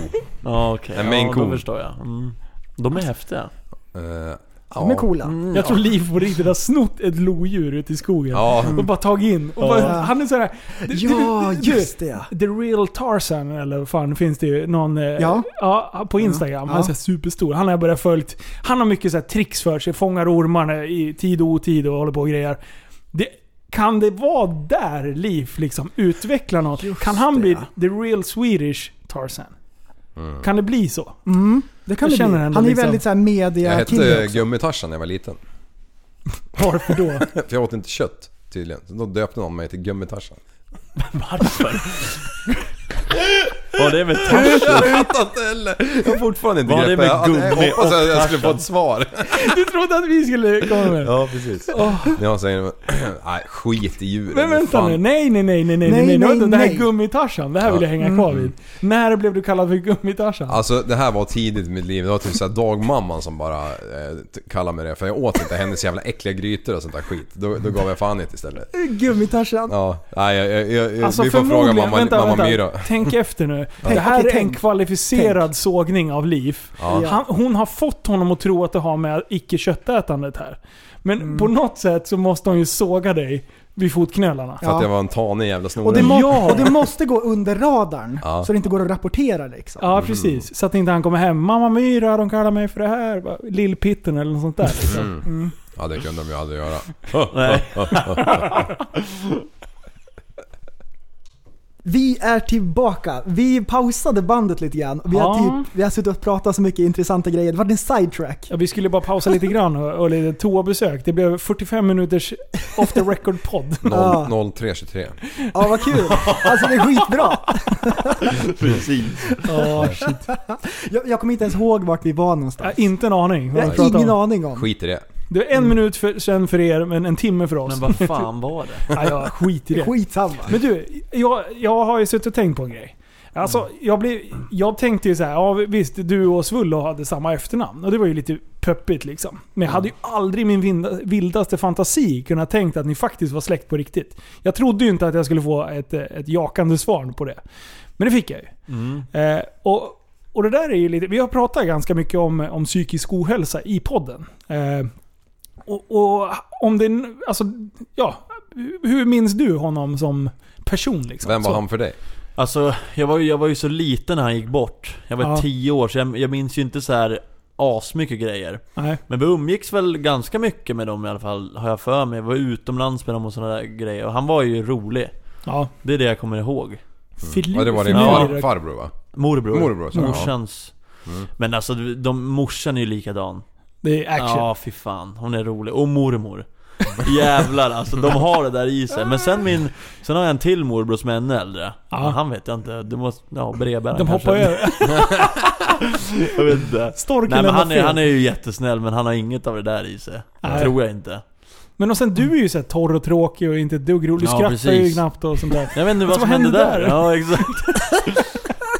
Speaker 8: Ja, okej.
Speaker 6: En Maine
Speaker 8: Ja,
Speaker 6: Coon.
Speaker 8: då förstår jag. Mm. De är häftiga.
Speaker 6: Eh,
Speaker 7: De är
Speaker 6: ja.
Speaker 7: coola.
Speaker 5: Jag tror Liv på riktigt har snott ett lodjur ute i skogen.
Speaker 6: Ja.
Speaker 7: Mm.
Speaker 5: Och bara tagit in. Och bara, Han är såhär...
Speaker 7: Ja, just det.
Speaker 5: The real Tarzan eller vad fan finns det ju någon... eh,
Speaker 7: Ja.
Speaker 5: ja på Instagram. Han är
Speaker 7: Ja.
Speaker 5: så här superstor. Han har jag börjat följt. Han har mycket så här tricks för sig. Fångar ormarna i tid och otid och håller på och grejer. Det, kan det vara där Liv liksom utvecklar något? kan han bli the real Swedish Tarzan? Kan det bli så?
Speaker 7: Mm, det kan
Speaker 5: Jag
Speaker 7: det bli.
Speaker 5: känner ändå
Speaker 7: Han är ju
Speaker 5: liksom-
Speaker 7: väldigt så här
Speaker 6: Jag
Speaker 7: media-kille
Speaker 6: hette
Speaker 7: också.
Speaker 6: Gummitarsan när jag var liten.
Speaker 5: Varför då?
Speaker 6: För jag åt inte kött tydligen. Så då döpte någon mig till Gummitarsan.
Speaker 8: Varför? Var det med touch?
Speaker 6: Jag vet inte heller. Jag har fortfarande inte
Speaker 8: Var det
Speaker 6: greppet.
Speaker 8: med
Speaker 6: Jag
Speaker 8: gummi
Speaker 6: hoppas att
Speaker 8: och
Speaker 6: jag skulle få
Speaker 8: tarzan?
Speaker 6: ett svar.
Speaker 5: Du trodde att vi skulle komma med det.
Speaker 6: Ja, precis. Jag säger nej, skit i djuren.
Speaker 5: Men vänta
Speaker 6: fan.
Speaker 5: nu. Nej, nej, nej, nej, nej,
Speaker 7: Nej,
Speaker 5: nej, nej.
Speaker 7: nej,
Speaker 5: Vänta, Det här
Speaker 7: nej. Mm.
Speaker 5: är gummitarsan. Det här vill jag hänga kvar vid. När blev du kallad för gummitarsan?
Speaker 6: Alltså det här var tidigt i mitt liv. Det var typ såhär dagmamman som bara eh, t- kallade mig det. För jag åt inte hennes jävla äckliga grytor och sånt där skit. Då, då gav jag fan i det istället.
Speaker 7: Gummitarsan.
Speaker 6: Ja, nej jag, jag, jag, jag-
Speaker 5: Alltså
Speaker 6: vi Eh, får fråga
Speaker 5: förmodligen,
Speaker 6: mamma,
Speaker 5: vänta,
Speaker 6: mamma
Speaker 5: vänta.
Speaker 6: Myra.
Speaker 5: Tänk efter nu. Det här
Speaker 7: Okej,
Speaker 5: är en
Speaker 7: tänk.
Speaker 5: kvalificerad sågning av liv. Han, hon har fått honom att tro att det har med icke-köttätandet här. Men
Speaker 7: Mm.
Speaker 5: på något sätt så måste hon ju såga dig vid fotknölarna.
Speaker 6: För att
Speaker 7: Ja.
Speaker 6: jag var en tanig jävla
Speaker 7: Och det,
Speaker 6: snore.
Speaker 7: må-
Speaker 5: Ja.
Speaker 7: och det måste gå under radarn.
Speaker 6: Ja.
Speaker 7: Så det inte går att rapportera liksom.
Speaker 5: Ja,
Speaker 6: Mm.
Speaker 5: precis. Så att inte han kommer hem. Mamma Myra, de kallar mig för det här. Bara, Lillpitten eller något sånt där. liksom.
Speaker 6: Mm. Ja det kunde de ju aldrig göra.
Speaker 8: Nej.
Speaker 7: Vi är tillbaka. Vi pausade bandet lite grann. Vi, har
Speaker 5: Ja.
Speaker 7: typ, vi har suttit och pratat så mycket intressanta grejer. Det var en sidetrack.
Speaker 5: Ja, vi skulle bara pausa lite grann och, och lite toabesök. Det blev 45 minuters off the record-podd.
Speaker 7: Ja.
Speaker 6: 0, 0323.
Speaker 7: Ja, vad kul. Alltså det är skitbra.
Speaker 5: Ja, shit.
Speaker 7: Jag, jag kommer inte ens ihåg vart vi var
Speaker 5: Jag har
Speaker 7: någonstans.
Speaker 5: inte en aning. vad
Speaker 7: Jag
Speaker 5: vi
Speaker 7: har
Speaker 5: pratar
Speaker 7: ingen
Speaker 5: om.
Speaker 7: aning om.
Speaker 6: Skit i det.
Speaker 5: Det var en minut för, sen för er, men en timme för oss.
Speaker 8: Men vad fan var det?
Speaker 5: Ja, jag skit i det.
Speaker 7: Skitsamma.
Speaker 5: Men du, jag, jag har ju suttit och tänkt på en grej. Alltså, jag, blev, jag tänkte ju så här, ja visst, du och Svullo hade samma efternamn. Och det var ju lite pöppigt liksom. Men jag hade ju aldrig i min vinda- vildaste fantasi kunnat tänkt att ni faktiskt var släkt på riktigt. Jag trodde ju inte att jag skulle få ett, eh, ett jakande svar på det. Men det fick jag ju. Eh, och, och det där är ju lite, vi har pratat ganska mycket om, om psykisk ohälsa i podden. Eh, och, och om det, är n- alltså, ja, hur minns du honom som person liksom?
Speaker 6: Vem var
Speaker 5: Så.
Speaker 6: han för dig?
Speaker 8: Alltså, jag var, ju, jag var ju så liten när han gick bort. Jag var
Speaker 5: Ja.
Speaker 8: tio år, så jag, jag minns ju inte så här asmycket grejer.
Speaker 5: Nej.
Speaker 8: Men vi umgicks väl ganska mycket med dem i alla fall, har jag för mig. Jag var utomlands med dem och sådana där grejer. Och han var ju rolig.
Speaker 5: Ja.
Speaker 8: Det är det jag kommer ihåg. Mm.
Speaker 5: Fili-
Speaker 6: Ja, det var din
Speaker 5: Filip-
Speaker 6: far, farbror va?
Speaker 8: Morbror.
Speaker 6: Morbror, så, ja. Mm.
Speaker 8: Morsans. Men alltså, de, morsan är ju likadan.
Speaker 5: Det är action.
Speaker 8: Ja, fy fan. Hon är rolig. Och mormor. Jävlar alltså, de har det där i sig. Men sen min... Sen har jag en till morbror som är ännu äldre.
Speaker 5: Ja.
Speaker 8: Men Han vet jag inte. Det måste... Ja, brevbäraren
Speaker 5: De hoppar
Speaker 8: kanske.
Speaker 5: över.
Speaker 8: Jag vet inte.
Speaker 5: Storken
Speaker 8: Nej men
Speaker 5: lämnar
Speaker 8: han är,
Speaker 5: fel.
Speaker 8: han är ju jättesnäll men han har inget av det där i sig.
Speaker 5: Nej.
Speaker 8: Tror jag inte.
Speaker 5: Men och sen du är ju så här torr och tråkig och inte ett dugg rolig. Du
Speaker 8: Ja,
Speaker 5: skrattar ju
Speaker 8: precis.
Speaker 5: knappt och sånt där.
Speaker 8: Jag vet inte vad
Speaker 5: Alltså,
Speaker 8: som
Speaker 5: vad
Speaker 8: hände
Speaker 5: hände
Speaker 8: där.
Speaker 5: där?
Speaker 8: Ja exakt.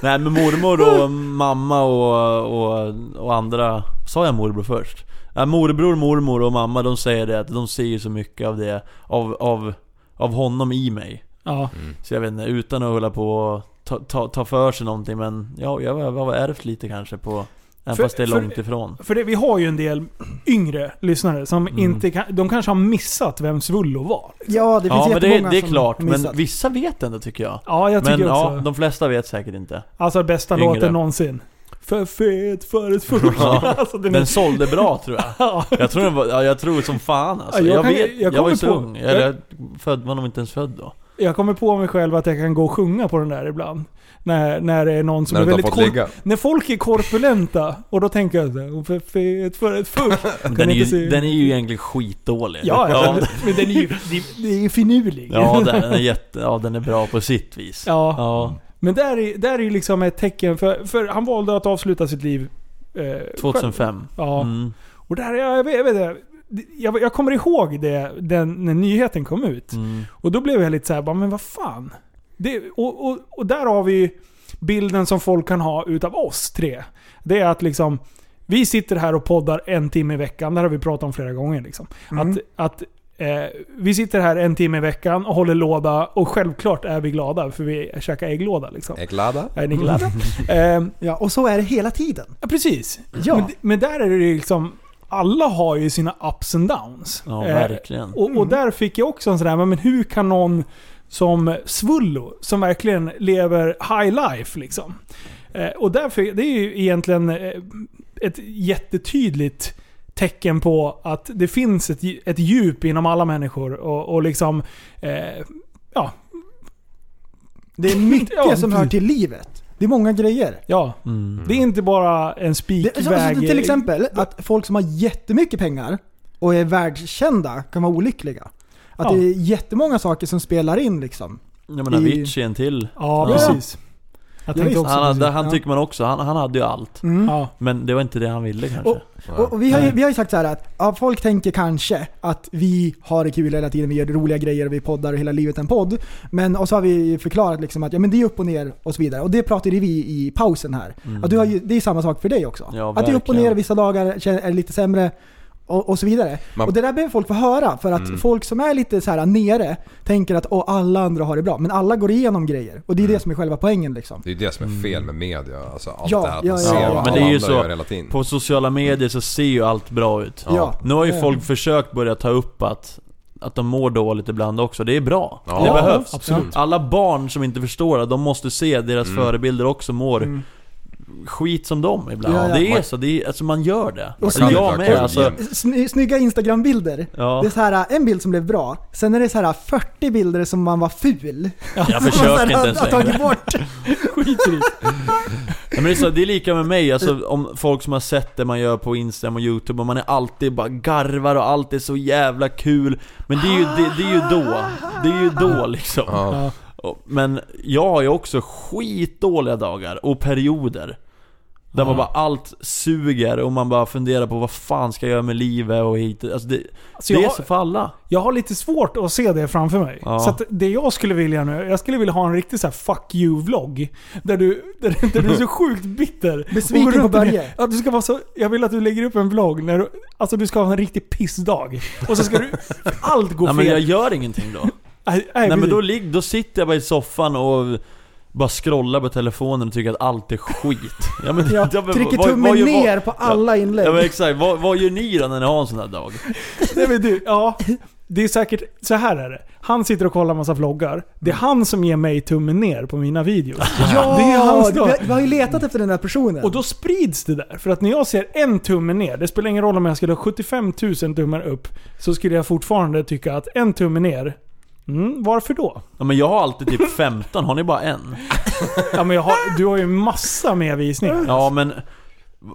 Speaker 8: Nej men mormor och mamma och, och, och andra... Sa jag morbror först? Ja, morbror, mormor och mamma de säger det att de ser ju så mycket av det, av, av, av honom i mig.
Speaker 5: Ja.
Speaker 8: Så jag vet inte, utan att hålla på och ta, ta, ta för sig någonting men ja, jag har- jag har ärvt lite kanske på... Även
Speaker 5: För-
Speaker 8: fast det är
Speaker 5: för-
Speaker 8: långt ifrån.
Speaker 5: För det, vi har ju en del yngre lyssnare som
Speaker 8: Mm.
Speaker 5: inte kan, De kanske har missat vem Svullo var.
Speaker 7: Ja, det finns
Speaker 8: Ja men det,
Speaker 7: jättemånga
Speaker 8: det är
Speaker 7: som
Speaker 8: klart,
Speaker 7: har
Speaker 8: men
Speaker 7: missat.
Speaker 8: vissa vet ändå tycker jag.
Speaker 5: Ja, jag tycker
Speaker 8: Men
Speaker 5: också.
Speaker 8: ja, de flesta vet säkert inte.
Speaker 5: alltså bästa
Speaker 8: Yngre.
Speaker 5: låten någonsin. För fet för ett fuck.
Speaker 8: Ja.
Speaker 5: alltså, den
Speaker 8: Den
Speaker 5: är,
Speaker 8: sålde bra tror jag.
Speaker 5: ja.
Speaker 8: Jag tror, den var, ja, jag tror som fan alltså.
Speaker 5: Ja, jag
Speaker 8: jag,
Speaker 5: kan-
Speaker 8: vet,
Speaker 5: jag
Speaker 8: jag, var
Speaker 5: kommer
Speaker 8: ju så
Speaker 5: på-
Speaker 8: ung. Eller jag född, var nog inte ens född då.
Speaker 5: Jag kommer på mig själv att jag kan gå och sjunga på den där ibland. När, när det är någon som
Speaker 6: När
Speaker 5: är
Speaker 6: du inte
Speaker 5: väldigt
Speaker 6: har
Speaker 5: korp-
Speaker 6: fått ligga.
Speaker 5: När folk är korpulenta och då tänker jag såhär, för fet för ett fuck. Kan
Speaker 8: Den är,
Speaker 5: inte
Speaker 8: ju,
Speaker 5: se-
Speaker 8: den är ju egentligen skitdålig.
Speaker 5: Ja, ja,
Speaker 8: ja,
Speaker 5: men den är ju, det- det är ju finurlig.
Speaker 8: ja, den, är jätte, ja den är bra på sitt vis.
Speaker 5: Ja.
Speaker 8: ja
Speaker 5: Men där är, där är ju liksom ett tecken, för, för han valde att avsluta sitt liv eh, själv.
Speaker 8: 2005.
Speaker 5: Ja.
Speaker 8: Mm.
Speaker 5: Och där, jag, jag, vet, jag, vet, inte, jag, jag kommer ihåg det den, när nyheten kom ut.
Speaker 8: Mm.
Speaker 5: Och då blev jag lite så här, bara, men vad fan. Det, och, och, och där har vi ju bilden som folk kan ha utav oss tre. Det är att liksom, vi sitter här och poddar en timme i veckan. Det här har vi pratat om flera gånger. Liksom. Att, att eh, vi sitter här en timme i veckan och håller låda och självklart är vi glada för vi käkar ägglåda. Liksom.
Speaker 6: Ägglada?
Speaker 5: Är ni glada? eh,
Speaker 7: Ja, och så är det hela tiden.
Speaker 5: ja, precis.
Speaker 7: Ja.
Speaker 5: Men, men där är det ju liksom, alla har ju sina ups and downs.
Speaker 8: Ja,
Speaker 5: Eh,
Speaker 8: verkligen.
Speaker 5: och, och där fick jag också en sån där, men hur kan någon som Svullo, som verkligen lever high life liksom. Eh, och därför, det är ju egentligen eh, ett jättetydligt tecken på att det finns ett, dju- ett djup inom alla människor och, och liksom... Eh, ja,
Speaker 7: Det är mycket
Speaker 5: Ja,
Speaker 7: som hör till livet. Det är många grejer.
Speaker 5: ja.
Speaker 8: Mm.
Speaker 5: Det är inte bara en spikväg...
Speaker 7: Det, alltså, alltså, till exempel att folk som har jättemycket pengar och är världskända kan vara olyckliga. Att
Speaker 5: Ja.
Speaker 7: det är jättemånga saker som spelar in liksom.
Speaker 8: Jag menar
Speaker 7: i-
Speaker 8: Avicii en till.
Speaker 5: Ja,
Speaker 8: Ja.
Speaker 5: precis. Jag tänkte också
Speaker 8: Han, hade,
Speaker 5: precis.
Speaker 8: han
Speaker 7: ja.
Speaker 8: tycker man också, han, han hade ju allt.
Speaker 7: Mm.
Speaker 5: Ja.
Speaker 8: Men det var inte det han ville kanske.
Speaker 7: Och, och, och vi, har ju, vi har ju sagt så här att ja, folk tänker kanske att vi har det kul hela tiden, vi gör roliga grejer och vi poddar och hela livet är en podd. Men och så har vi förklarat liksom att ja, men det är upp och ner och så vidare. Och det pratade vi i pausen här. Att du har ju, det är samma sak för dig också.
Speaker 8: Mm. Ja,
Speaker 7: att det är upp och
Speaker 8: verkligen.
Speaker 7: ner, vissa dagar kän- är det lite sämre. Och, och så vidare.
Speaker 6: Man-
Speaker 7: och det där behöver folk få höra för att
Speaker 8: Mm.
Speaker 7: folk som är lite så här nere tänker att åh, alla andra har det bra. Men alla går igenom grejer. Och det
Speaker 8: Mm.
Speaker 7: är det som är själva poängen liksom.
Speaker 6: Det är ju det som är fel med media. Alltså allt
Speaker 7: Ja,
Speaker 6: det här att
Speaker 7: ja,
Speaker 6: man
Speaker 7: ja,
Speaker 6: ser
Speaker 7: ja.
Speaker 6: vad
Speaker 8: Men
Speaker 6: alla
Speaker 8: det är ju
Speaker 6: andra
Speaker 8: så-
Speaker 6: gör hela tiden.
Speaker 8: På sociala medier så ser ju allt bra ut.
Speaker 7: Ja.
Speaker 8: Nu har ju
Speaker 7: Ja.
Speaker 8: folk försökt börja ta upp att, att de mår dåligt ibland också. Det är bra.
Speaker 6: Ja, Mm.
Speaker 8: det behövs.
Speaker 5: absolut.
Speaker 8: Alla barn som inte förstår det, de måste se att deras förebilder också mår skit som dem ibland.
Speaker 7: Mm. Ja, ja.
Speaker 8: Det är så. Det är, alltså man gör det.
Speaker 7: Och
Speaker 8: Alltså,
Speaker 7: så-
Speaker 8: jag med. Alltså,
Speaker 7: Sny, snygga Instagram-bilder.
Speaker 8: Ja.
Speaker 7: Det är så här, en bild som blev bra, sen är det så här 40 bilder som man var ful.
Speaker 8: jag
Speaker 7: Som man så här
Speaker 8: försöker inte
Speaker 7: har-
Speaker 8: ens
Speaker 7: har
Speaker 8: längre.
Speaker 7: tagit bort.
Speaker 8: Ja, men det, är så, det är lika med mig, alltså, om folk som har sett det man gör på Instagram och YouTube och man är alltid bara garvar och allt är så jävla kul Men det är ju, det, det är ju då, det är ju då liksom
Speaker 6: Ja.
Speaker 8: Och- Men jag har ju också skitdåliga dagar och perioder Där man bara allt suger och man bara funderar på vad fan ska jag göra med livet och hit alltså, det,
Speaker 5: Alltså,
Speaker 8: det är
Speaker 5: jag-
Speaker 8: så för alla
Speaker 5: Jag har lite svårt att se det framför mig.
Speaker 8: Ja.
Speaker 5: Så att det jag skulle vilja nu, jag skulle vilja ha en riktig så här 'fuck you'-vlogg. Där du, där, där du är så sjukt bitter.
Speaker 7: Besviken
Speaker 5: Och går
Speaker 7: på
Speaker 5: runt med-
Speaker 7: Börje.
Speaker 5: Ja, du ska vara så, jag vill att du lägger upp en vlogg när du, alltså du ska ha en riktig pissdag. Och så ska du, allt gå
Speaker 8: Nej
Speaker 5: fel.
Speaker 8: men jag gör ingenting då
Speaker 5: Nej,
Speaker 8: Nej men
Speaker 5: precis.
Speaker 8: då, ligg- då sitter jag bara i soffan och bara scrollar på telefonen och tycker att allt är skit. Ja, men,
Speaker 7: Ja,
Speaker 8: men
Speaker 7: trycker
Speaker 8: vad- vad
Speaker 7: tummen
Speaker 8: gör- vad-
Speaker 7: ner på alla inlägg.
Speaker 8: Ja men exakt, vad, vad gör ni då när ni har en sån här dag?
Speaker 5: Nej, men du, ja. Det är säkert, så här är det. Han sitter och kollar massa vloggar. Det är han som ger mig tummen ner på mina videos.
Speaker 7: ja,
Speaker 5: det är hans dag.
Speaker 7: vi, vi har ju letat efter den här personen.
Speaker 5: Och då sprids det där. För att när jag ser en tumme ner, det spelar ingen roll om jag skulle ha 75 000 tummar upp, så skulle jag fortfarande tycka att en tumme ner, mm, varför då?
Speaker 8: Ja, men jag har alltid typ 15, har ni bara en?
Speaker 5: Ja, men jag har, du har ju massa mer visningar.
Speaker 8: Ja men, v-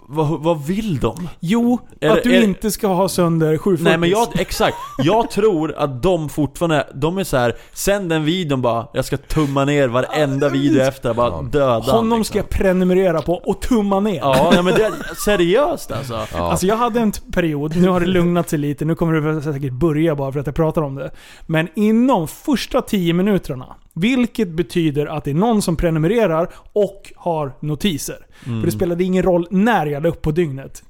Speaker 8: vad, vad vill de?
Speaker 5: Jo,
Speaker 8: Är det-
Speaker 5: att du
Speaker 8: är det-
Speaker 5: inte ska ha sönder 740.
Speaker 8: Nej men jag, exakt, jag tror att de fortfarande, de är så här. sänd den videon bara, jag ska tumma ner varenda video efter, bara döda
Speaker 5: Honom
Speaker 8: liksom.
Speaker 5: ska jag prenumerera på och tumma ner.
Speaker 8: Ja, nej, men det, seriöst alltså.
Speaker 5: Alltså jag hade en t- period, nu har det lugnat sig lite, nu kommer det väl säkert börja bara för att jag pratar om det. Men inom första 10 minuterna, vilket betyder att det är någon som prenumererar och har notiser.
Speaker 8: Mm.
Speaker 5: För det spelade ingen roll när jag la upp på dygnet.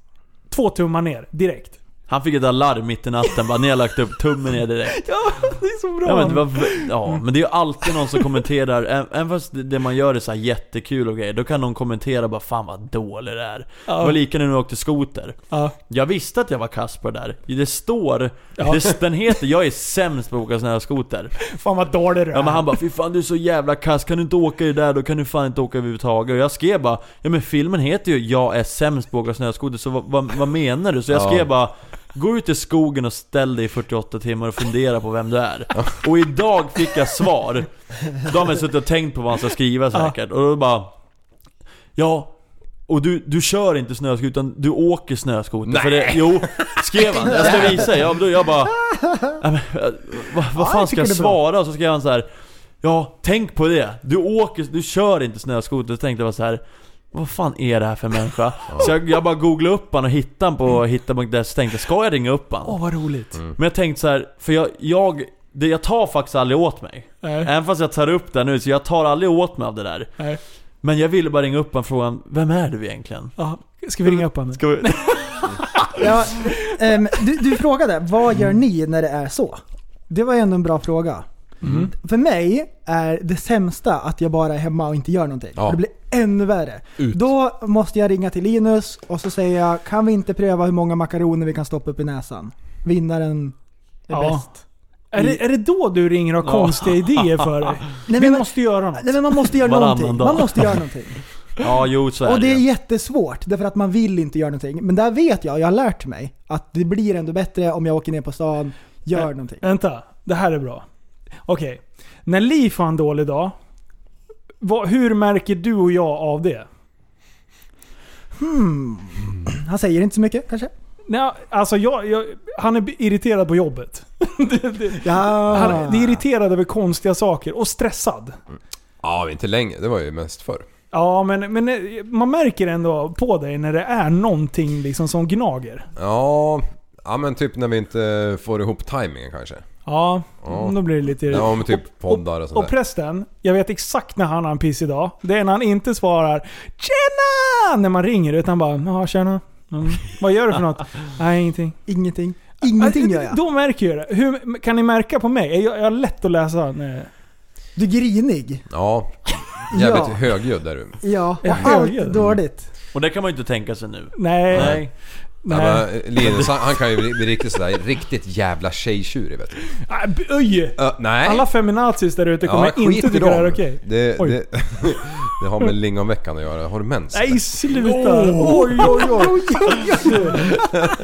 Speaker 5: Två tummar ner, direkt.
Speaker 8: Han fick ett alarm mitt i natten bara, ni har lagt upp tummen ner direkt.
Speaker 5: Ja, det är så bra.
Speaker 8: Ja men, det var, ja, men det är ju alltid någon som kommenterar, ä- även fast det- det man gör är så här jättekul och grejer, då kan någon kommentera bara 'Fan vad dålig det är' Det var lika nu när jag åkte skoter.
Speaker 5: Ja.
Speaker 8: Jag visste att jag var kass på det där. Det står,
Speaker 5: Ja.
Speaker 8: det, den heter 'Jag är sämst på att åka sån här skoter'
Speaker 5: Fan vad dålig du är.
Speaker 8: Ja men han bara 'Fy fan du är så jävla kass, kan du inte åka i det där då kan du fan inte åka överhuvudtaget' Och jag skrev bara 'Ja men filmen heter ju 'Jag är sämst på att åka snöskoter' så vad, vad, vad menar du?' Så jag
Speaker 6: Ja.
Speaker 8: skrev bara 'Gå ut i skogen och ställ dig i 48 timmar och fundera på vem du är' Och idag fick jag svar Då har man suttit och tänkt på vad han ska skriva säkert och då bara Ja och du, du kör inte snöskoter utan du åker snöskoter för det, Jo, skrev han. Jag ska visa er. Ja, men då jag bara... ja, men, eh, Vad, vad fan ska
Speaker 7: tycker
Speaker 8: jag
Speaker 7: det är bra.
Speaker 8: svara? Och så skrev han så här. Ja, tänk på det. Du åker, du kör inte snöskoter. Så tänkte jag bara så här. Vad fan är det här för människa? Så jag, jag bara googlade upp han och hittade han på hitta.se så tänkte jag, ska jag ringa upp han?
Speaker 5: Åh vad roligt.
Speaker 8: Men jag tänkte så här, för jag, jag, det, jag tar faktiskt aldrig åt mig.
Speaker 5: Nej.
Speaker 8: Även fast jag tar upp det här nu, så jag tar aldrig åt mig av det där.
Speaker 5: Nej.
Speaker 8: Men jag ville bara ringa upp honom och fråga, vem är du egentligen?
Speaker 5: Ja, ska vi ringa upp honom?
Speaker 8: Ska vi...
Speaker 7: ja, ehm, du, du frågade, vad gör ni när det är så? Det var ju ändå en bra fråga. För mig är det sämsta att jag bara är hemma och inte gör någonting.
Speaker 6: Ja.
Speaker 7: Det blir ännu värre. Då måste jag ringa till Linus och så säger jag, kan vi inte pröva hur många makaroner vi kan stoppa upp i näsan? Vinnaren är
Speaker 5: Ja.
Speaker 7: bäst.
Speaker 5: Är det, är det då du ringer och har konstiga idéer för dig?
Speaker 7: Nej,
Speaker 5: Vi
Speaker 7: men-
Speaker 5: måste göra något.
Speaker 7: Nej men man måste göra
Speaker 8: Varannan
Speaker 7: någonting.
Speaker 8: dag.
Speaker 7: Man måste göra någonting.
Speaker 8: Ja, jo så är
Speaker 7: Och det är
Speaker 8: ju.
Speaker 7: jättesvårt, därför att man vill inte göra någonting. Men där vet jag, jag har lärt mig, att det blir ändå bättre om jag åker ner på stan, gör
Speaker 5: Ä-
Speaker 7: någonting.
Speaker 5: Vänta, det här är bra. Okej. När Liv har en dålig dag, vad, hur märker du och jag av det?
Speaker 7: Mm. Han säger inte så mycket kanske?
Speaker 5: Nej, alltså jag, jag, han är irriterad på jobbet.
Speaker 7: Ja.
Speaker 5: Han är irriterad över konstiga saker och stressad.
Speaker 6: Ja, inte länge. Det var ju mest förr.
Speaker 5: Ja, men, men eh, man märker ändå på dig när det är någonting liksom som gnager.
Speaker 6: Ja, ja men typ när vi inte får ihop timingen kanske.
Speaker 5: Ja,
Speaker 6: Ja.
Speaker 5: då blir det lite...
Speaker 6: Ja men typ poddar och
Speaker 5: Och
Speaker 6: sånt där.
Speaker 5: prästen, jag vet exakt när han har en piss idag. Det är när han inte svarar ”Tjena!” när man ringer, utan bara ”Jaha, tjena”. Mm. Vad gör du för något? Nej, ingenting.
Speaker 7: Ingenting. Ingenting gör jag.
Speaker 5: Då märker jag det. Hur, kan ni märka på mig? Är jag, jag har lätt att läsa? Nej.
Speaker 7: Du är grinig.
Speaker 6: Ja. Jävligt
Speaker 7: Ja.
Speaker 6: högljudd är du.
Speaker 7: Ja,
Speaker 5: Jag
Speaker 7: och allt
Speaker 5: höjer.
Speaker 7: är dåligt.
Speaker 8: Och det kan man ju inte tänka sig nu.
Speaker 5: Nej. Nej.
Speaker 6: Ja, men eh, Linus han, han kan ju bli, bli riktigt sådär, riktigt jävla tjejtjurig vet du.
Speaker 5: Ah, b- Öj!
Speaker 6: Ö, nej.
Speaker 5: Alla feminazis där ute kommer
Speaker 6: skit
Speaker 5: inte
Speaker 6: i
Speaker 5: tycka det
Speaker 6: dem.
Speaker 5: här är okej.
Speaker 6: Det,
Speaker 5: Oj.
Speaker 6: det, det har med lingonveckan att göra. Har du mens?
Speaker 5: Nej, sluta! Oj, oj, oj.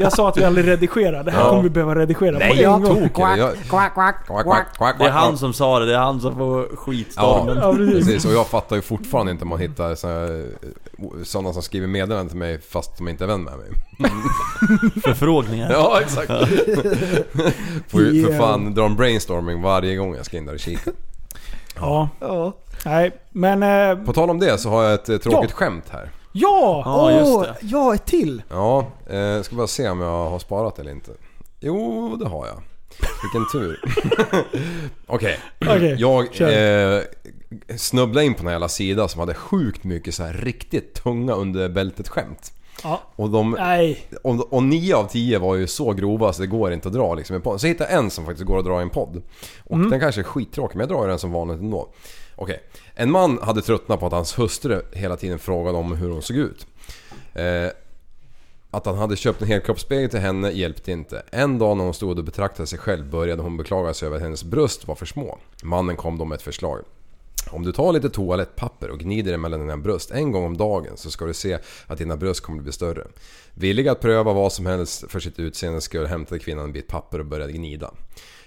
Speaker 5: Jag sa att vi aldrig redigerar. Det här
Speaker 6: Ja.
Speaker 5: kommer vi behöva redigera
Speaker 6: Nej,
Speaker 5: på en
Speaker 6: jag
Speaker 5: gång.
Speaker 6: tog det. Jag-
Speaker 7: Quack, quack.
Speaker 6: Quack, quack, quack,
Speaker 8: Det är
Speaker 6: quack.
Speaker 8: han som sa det, det är han som får skitstormen.
Speaker 5: Ja,
Speaker 6: Ja,
Speaker 5: precis.
Speaker 6: precis. Och jag fattar ju fortfarande inte om man hittar sådana som skriver meddelanden till mig fast de inte är vän med mig.
Speaker 8: Förfrågningar.
Speaker 6: Ja, exakt. Får ju för
Speaker 7: Yeah.
Speaker 6: fan dra en brainstorming varje gång jag ska in där och kika.
Speaker 5: Ja.
Speaker 7: Ja.
Speaker 5: Nej, men... Eh,
Speaker 6: På tal om det så har jag ett eh, tråkigt
Speaker 5: Ja.
Speaker 6: skämt här.
Speaker 5: ja!
Speaker 8: Ja, just
Speaker 7: Åh,
Speaker 8: det.
Speaker 7: ja, ett till.
Speaker 6: Ja, eh, ska bara se om jag har sparat eller inte. Jo, det har jag. Vilken tur. Okej.
Speaker 5: Okej,
Speaker 6: jag
Speaker 5: kör.
Speaker 6: eh, snubblade in på en jävla sida som hade sjukt mycket så här riktigt tunga under bältet skämt.
Speaker 5: ja.
Speaker 6: Och de
Speaker 5: Nej.
Speaker 6: Och, och nio av tio var ju så grova så det går inte att dra liksom i en podd. Så jag hittade en som faktiskt går att dra i en podd. Och den kanske är skittråkig men jag drar ju den som vanligt ändå. Okej. En man hade tröttnat på att hans hustru hela tiden frågade om hur hon såg ut. Eh, att han hade köpt en helkroppsspegel till henne hjälpte inte. En dag när hon stod och betraktade sig själv började hon beklaga sig över att hennes bröst var för små. Mannen kom då med ett förslag. Om du tar lite toalettpapper och gnider det mellan dina bröst en gång om dagen så ska du se att dina bröst kommer bli större. Villig att pröva vad som helst för sitt utseende skulle hämtade kvinnan en bit papper och började gnida.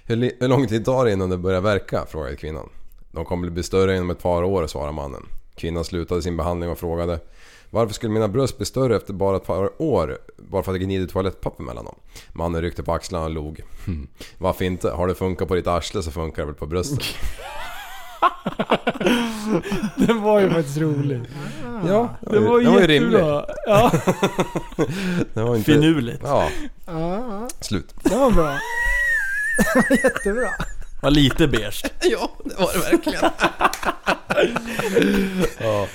Speaker 6: Hur, li- hur lång tid tar det innan det börjar verka? frågade kvinnan. De kommer bli större inom ett par år, svarade mannen. Kvinnan slutade sin behandling och frågade varför skulle mina bröst bli större efter bara ett par år? Bara för att jag gnider toalettpapper mellan dem? Mannen ryckte på axlarna och log. "Hm, Varför inte? Har det funkat på ditt arsle så funkar det väl på bröstet?
Speaker 5: Den var ju faktiskt rolig.
Speaker 6: Ja,
Speaker 5: Den var,
Speaker 6: den var ju rimlig.
Speaker 5: jättebra. Ja.
Speaker 6: Den var inte-
Speaker 8: Finurligt.
Speaker 6: Ja. Slut.
Speaker 7: Det var bra. Jättebra.
Speaker 8: Var lite beige.
Speaker 6: Ja, det var det verkligen. ja.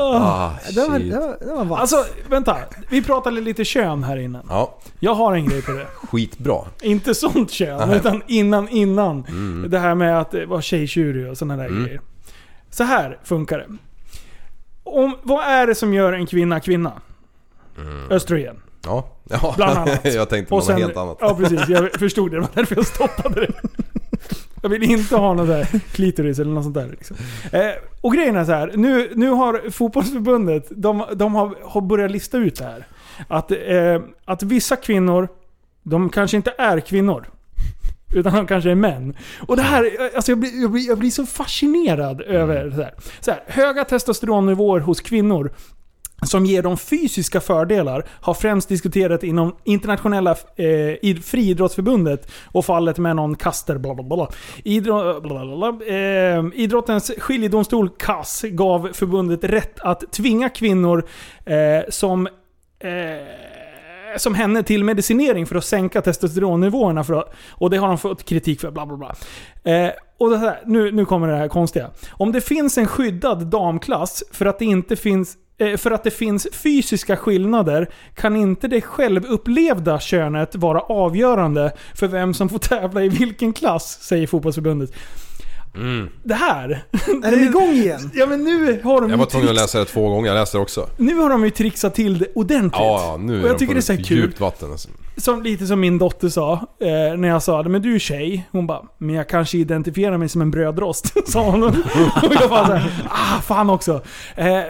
Speaker 6: Ah,
Speaker 7: Det var,
Speaker 6: shit.
Speaker 7: det var, det var vass.
Speaker 5: Alltså, vänta. Vi pratade lite kön här innan.
Speaker 6: Ja,
Speaker 5: Jag har en grej på det.
Speaker 6: skitbra.
Speaker 5: Inte sånt kön,
Speaker 6: Nej.
Speaker 5: utan innan innan. Det här med att eh, vara tjejtjurig och sådana där grejer. Så här funkar det. Om, vad är det som gör en kvinna kvinna? Östrogen.
Speaker 6: Ja. ja.
Speaker 5: Bland annat.
Speaker 6: jag tänkte på något helt annat.
Speaker 5: Ja precis, jag förstod det. Det var därför jag stoppade det. Jag vill inte ha någon där klitoris eller något sånt där. Liksom. Eh, och grejen är så här. Nu, nu har fotbollsförbundet de, de har, har börjat lista ut det här. Att, eh, att vissa kvinnor, de kanske inte är kvinnor. Utan de kanske är män. Och det här, alltså jag, blir, jag, blir, jag blir så fascinerad över
Speaker 6: Mm.
Speaker 5: det här. Så här. Höga testosteronnivåer hos kvinnor som ger dem fysiska fördelar har främst diskuterat inom internationella eh, id- friidrottsförbundet och fallet med någon kaster bla bla bla. Idro, bla, bla, bla. Eh, idrottens skiljedomstol CAS gav förbundet rätt att tvinga kvinnor eh, som eh, som henne till medicinering för att sänka testosteronnivåerna. För att, och det har de fått kritik för. Bla bla bla. Eh, och det här, nu, nu kommer det här konstiga. Om det finns en skyddad damklass för att det inte finns eh, för att det finns fysiska skillnader kan inte det självupplevda könet vara avgörande för vem som får tävla i vilken klass, säger fotbollsförbundet.
Speaker 6: Mm.
Speaker 5: Det här...
Speaker 7: är de igång igen?
Speaker 5: Ja men nu har de ju
Speaker 6: Jag var tvungen att
Speaker 5: trixat-
Speaker 6: läsa det två gånger, jag läste det också.
Speaker 5: nu har de ju trixat till det ordentligt.
Speaker 6: Ja, ja nu
Speaker 5: och jag
Speaker 6: de
Speaker 5: tycker
Speaker 6: på
Speaker 5: det är så här kul.
Speaker 6: djupt vatten alltså.
Speaker 5: Som, lite som min dotter sa, eh, när jag sa men du är tjej. Hon bara, men jag kanske identifierar mig som en brödrost. sa hon. och jag bara så här, ah fan också. Eh,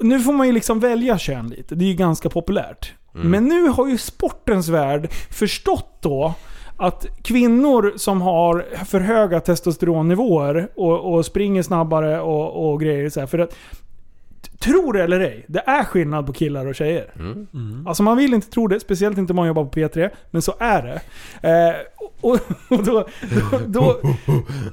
Speaker 5: nu får man ju liksom välja kön lite, det är ju ganska populärt. Men nu har ju sportens värld förstått då att kvinnor som har för höga testosteronnivåer och, och springer snabbare och, och grejer så här, för att Tror det eller ej, det är skillnad på killar och tjejer. Alltså man vill inte tro det, speciellt inte om man jobbar på P3, men så är det. Eh, och, och då, då, då,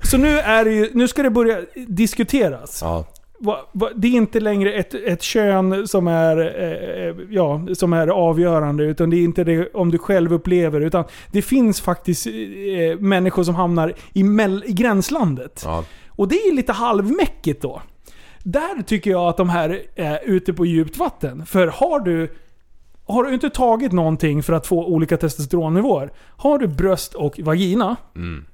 Speaker 5: så nu, är det ju, nu ska det börja diskuteras.
Speaker 6: Ja.
Speaker 5: va, va, det är inte längre ett, ett kön som är, eh, ja, som är avgörande, utan det är inte det om du själv upplever utan det finns faktiskt eh, människor som hamnar i, mell- i gränslandet.
Speaker 6: Ja.
Speaker 5: Och det är lite halvmäckigt då. Där tycker jag att de här är ute på djupt vatten. För har du, har du inte tagit någonting för att få olika testosteronnivåer, har du bröst och vagina,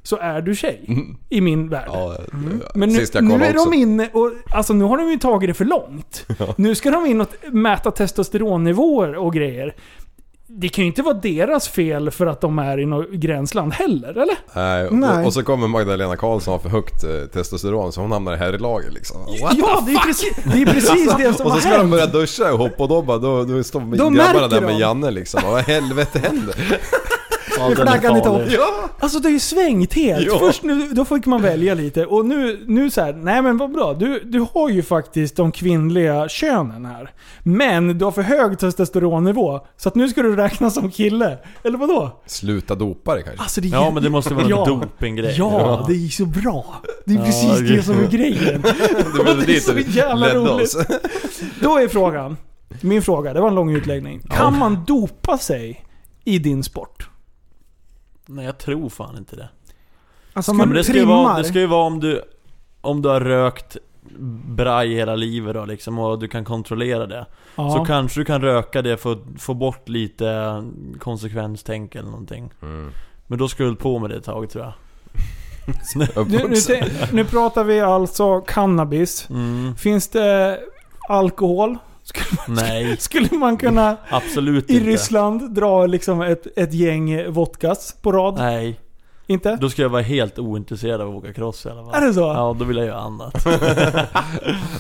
Speaker 5: så är du tjej. I min värld.
Speaker 6: Mm. Ja,
Speaker 5: Mm. Men nu,
Speaker 6: Sist jag
Speaker 5: nu
Speaker 6: kollade
Speaker 5: är
Speaker 6: också.
Speaker 5: de inne och, alltså nu har de ju tagit det för långt. Nu ska de in och mäta testosteronnivåer och grejer. Det kan ju inte vara deras fel för att de är i något gränsland heller, eller?
Speaker 6: Nej,
Speaker 7: Nej.
Speaker 6: och, och så kommer Magdalena Karlsson ha för högt eh, testosteron så hon hamnar i herrlaget liksom. What?
Speaker 5: ja, det är, precis, det är precis det som
Speaker 6: Och
Speaker 5: har
Speaker 6: så ska de
Speaker 5: hänt.
Speaker 6: börja duscha ihop och då bara, då, då står
Speaker 7: Då
Speaker 6: grabbarna
Speaker 7: märker
Speaker 6: där med
Speaker 7: de.
Speaker 6: Janne liksom. Vad i helvete händer?
Speaker 8: Ja, den är
Speaker 7: flaggar lite
Speaker 8: farlig.
Speaker 6: Ja!
Speaker 5: Alltså det är ju svängt helt.
Speaker 6: Ja.
Speaker 5: Först nu, då fick man välja lite. Och nu, nu så här, nej men vad bra. Du, du har ju faktiskt de kvinnliga könen här. Men du har för hög testosteronnivå. Så att nu ska du räknas som kille. Eller vadå?
Speaker 6: Sluta dopa det kanske.
Speaker 5: Alltså det är
Speaker 8: Ja men det måste vara en
Speaker 5: Ja.
Speaker 8: dopinggrej.
Speaker 5: Ja, det är ju så bra. Det är precis
Speaker 8: det-
Speaker 5: det som är grejen.
Speaker 6: var
Speaker 5: det är
Speaker 6: dit
Speaker 5: Alltså, så
Speaker 6: vi
Speaker 5: jävla
Speaker 6: ledde
Speaker 5: roligt.
Speaker 6: oss.
Speaker 5: Då är frågan, min fråga, det var en lång utläggning. Kan man dopa sig i din sport?
Speaker 8: Nej jag tror fan inte det.
Speaker 7: Alltså
Speaker 8: Men
Speaker 7: man
Speaker 8: det ska, ju vara,
Speaker 7: trimmar.
Speaker 8: det ska ju vara om du, om du har rökt braj hela livet då liksom och du kan kontrollera det.
Speaker 5: Ja.
Speaker 8: Så kanske du kan röka det för att få bort lite konsekvenstänk eller någonting.
Speaker 6: Mm.
Speaker 8: Men då ska du väl på med det ett tag tror jag.
Speaker 5: nu, nu, se- nu pratar vi alltså cannabis.
Speaker 8: Mm,
Speaker 5: Finns det alkohol? Skulle,
Speaker 8: nej,
Speaker 5: skulle man kunna
Speaker 8: absolut
Speaker 5: i
Speaker 8: inte.
Speaker 5: Ryssland dra liksom ett, ett gäng vodkas på rad?
Speaker 8: Nej,
Speaker 5: Inte?
Speaker 8: då ska jag vara helt ointresserad av att åka cross i alla fall.
Speaker 5: Är det så?
Speaker 8: Ja, då vill jag göra annat.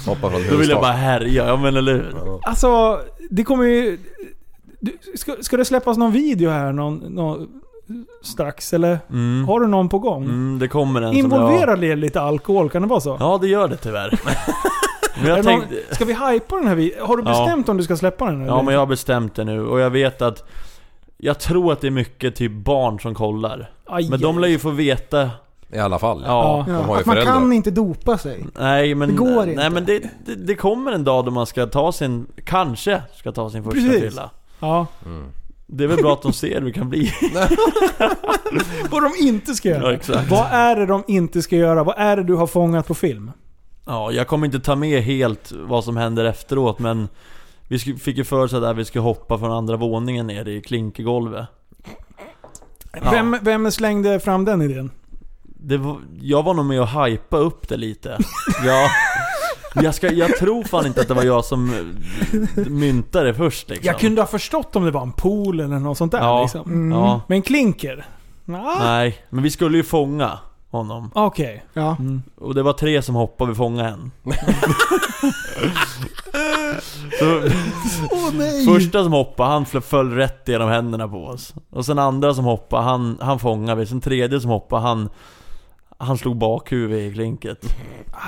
Speaker 6: Hoppa från
Speaker 8: Då vill jag bara
Speaker 6: huvudstaden.
Speaker 8: härja, ja men eller hur?
Speaker 5: Alltså, det kommer ju... Du, ska, ska det släppas någon video här någon, någon, strax? Eller
Speaker 8: Mm.
Speaker 5: har du någon på gång?
Speaker 8: Mm, det kommer en som
Speaker 5: Involvera
Speaker 8: jag...
Speaker 5: det lite alkohol, kan det vara så?
Speaker 8: Ja, det gör det tyvärr. men
Speaker 5: Är
Speaker 8: jag
Speaker 5: det någon-
Speaker 8: tänkte...
Speaker 5: Ska vi hypa den här videon? Har du
Speaker 8: Ja.
Speaker 5: bestämt om du ska släppa den?
Speaker 8: Ja men jag har bestämt det nu och jag vet att Jag tror att det är mycket typ barn som kollar
Speaker 5: Aj,
Speaker 8: Men de lär ju få veta Ja,
Speaker 6: I alla fall.
Speaker 5: Ja.
Speaker 6: De har
Speaker 7: Ja,
Speaker 6: ju
Speaker 7: att man
Speaker 6: föräldrar.
Speaker 7: kan inte dopa sig.
Speaker 8: Nej men,
Speaker 7: Det går
Speaker 8: nej,
Speaker 7: inte.
Speaker 8: men det, det, det kommer en dag då man ska ta sin, kanske ska ta sin första
Speaker 5: Precis.
Speaker 8: fylla
Speaker 5: Ja.
Speaker 8: Det är väl bra att de ser hur det kan bli
Speaker 5: Vad de inte ska göra.
Speaker 8: Ja, exakt.
Speaker 5: Vad är det de inte ska göra? Vad är det du har fångat på film?
Speaker 8: Ja, jag kommer inte ta med helt vad som händer efteråt men Vi sk- fick ju för oss att vi skulle hoppa från andra våningen ner i klinkergolvet Ja.
Speaker 5: Vem, vem slängde fram den idén?
Speaker 8: Det var, jag var nog med och hypa upp det lite. Ja. Jag, ska, jag tror fan inte att det var jag som eh, myntade det först liksom.
Speaker 5: Jag kunde ha förstått om det var en pool eller något sånt där.
Speaker 8: Ja. Mm.
Speaker 5: Liksom.
Speaker 8: Ja.
Speaker 5: Men klinker? Ah.
Speaker 8: Nej, men vi skulle ju fånga honom.
Speaker 5: Okej.
Speaker 7: Ja.
Speaker 8: Och det var tre som hoppade, vi fångade en. Så,
Speaker 7: Åh nej!
Speaker 8: första som hoppade, han fl- föll rätt genom händerna på oss. Och sen andra som hoppade, han, han fångade vi. Sen tredje som hoppade, han, han slog bakhuvudet i klinket.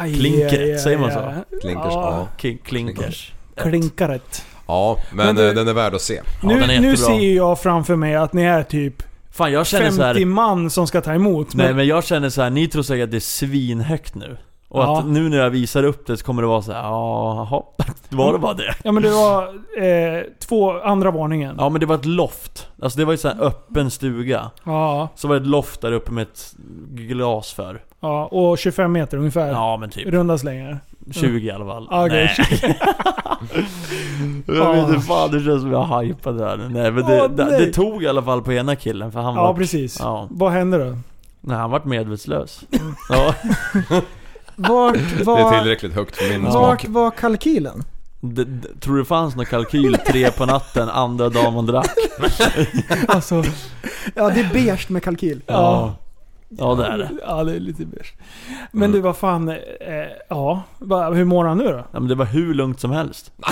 Speaker 5: Aj,
Speaker 8: Klinker,
Speaker 5: aj, aj,
Speaker 8: säger man
Speaker 5: aj.
Speaker 8: så?
Speaker 6: Klinkers, ja.
Speaker 8: Ki- Klinkers.
Speaker 5: Klinkaret.
Speaker 6: Ja, men,
Speaker 5: Men du-
Speaker 6: eh, den är värd att se.
Speaker 8: Ja, den
Speaker 5: nu,
Speaker 8: är
Speaker 5: nu
Speaker 8: jättebra.
Speaker 5: ser ju jag framför mig att ni är typ
Speaker 8: Fan jag känner
Speaker 5: 50
Speaker 8: så här.
Speaker 5: man som ska ta emot.
Speaker 8: Nej men jag känner så här, ni tror säkert att det är svinhögt nu. Och
Speaker 5: Ja.
Speaker 8: att nu när jag visar upp det så kommer det vara så här, jaha, var det bara det?
Speaker 5: Ja men det var eh, två, andra våningen.
Speaker 8: Ja men det var ett loft. Alltså det var ju så här öppen stuga.
Speaker 5: Ja,
Speaker 8: Så var det ett loft där uppe med ett glas för.
Speaker 5: ja och 25 meter ungefär.
Speaker 8: Ja men typ
Speaker 5: Runda slängar.
Speaker 8: 20 i alla fall.
Speaker 5: Ja, okej.
Speaker 8: jag vet
Speaker 7: Ah.
Speaker 8: inte fan, det känns som jag hypade här nu. Nej men det,
Speaker 5: Åh, nej.
Speaker 8: det, det tog i alla fall på ena killen för han
Speaker 5: Ja,
Speaker 8: var...
Speaker 5: precis.
Speaker 8: Ja,
Speaker 5: Vad händer då?
Speaker 8: nej, han vart medvetslös. ja,
Speaker 7: Vart
Speaker 6: Det är
Speaker 7: var,
Speaker 6: tillräckligt högt för min smak.
Speaker 7: vart var kalkylen?
Speaker 8: det, det, tror du det fanns någon kalkyl tre på natten, andra dagen man drack?
Speaker 5: Alltså,
Speaker 7: Ja, det är beige med kalkyl.
Speaker 8: Ja. Ja det är det.
Speaker 5: Ja, det är lite beige. Men
Speaker 6: Mm.
Speaker 5: du, vad fan... Eh, ja, Va, hur mår han nu då?
Speaker 8: Ja, men det var hur lugnt som helst.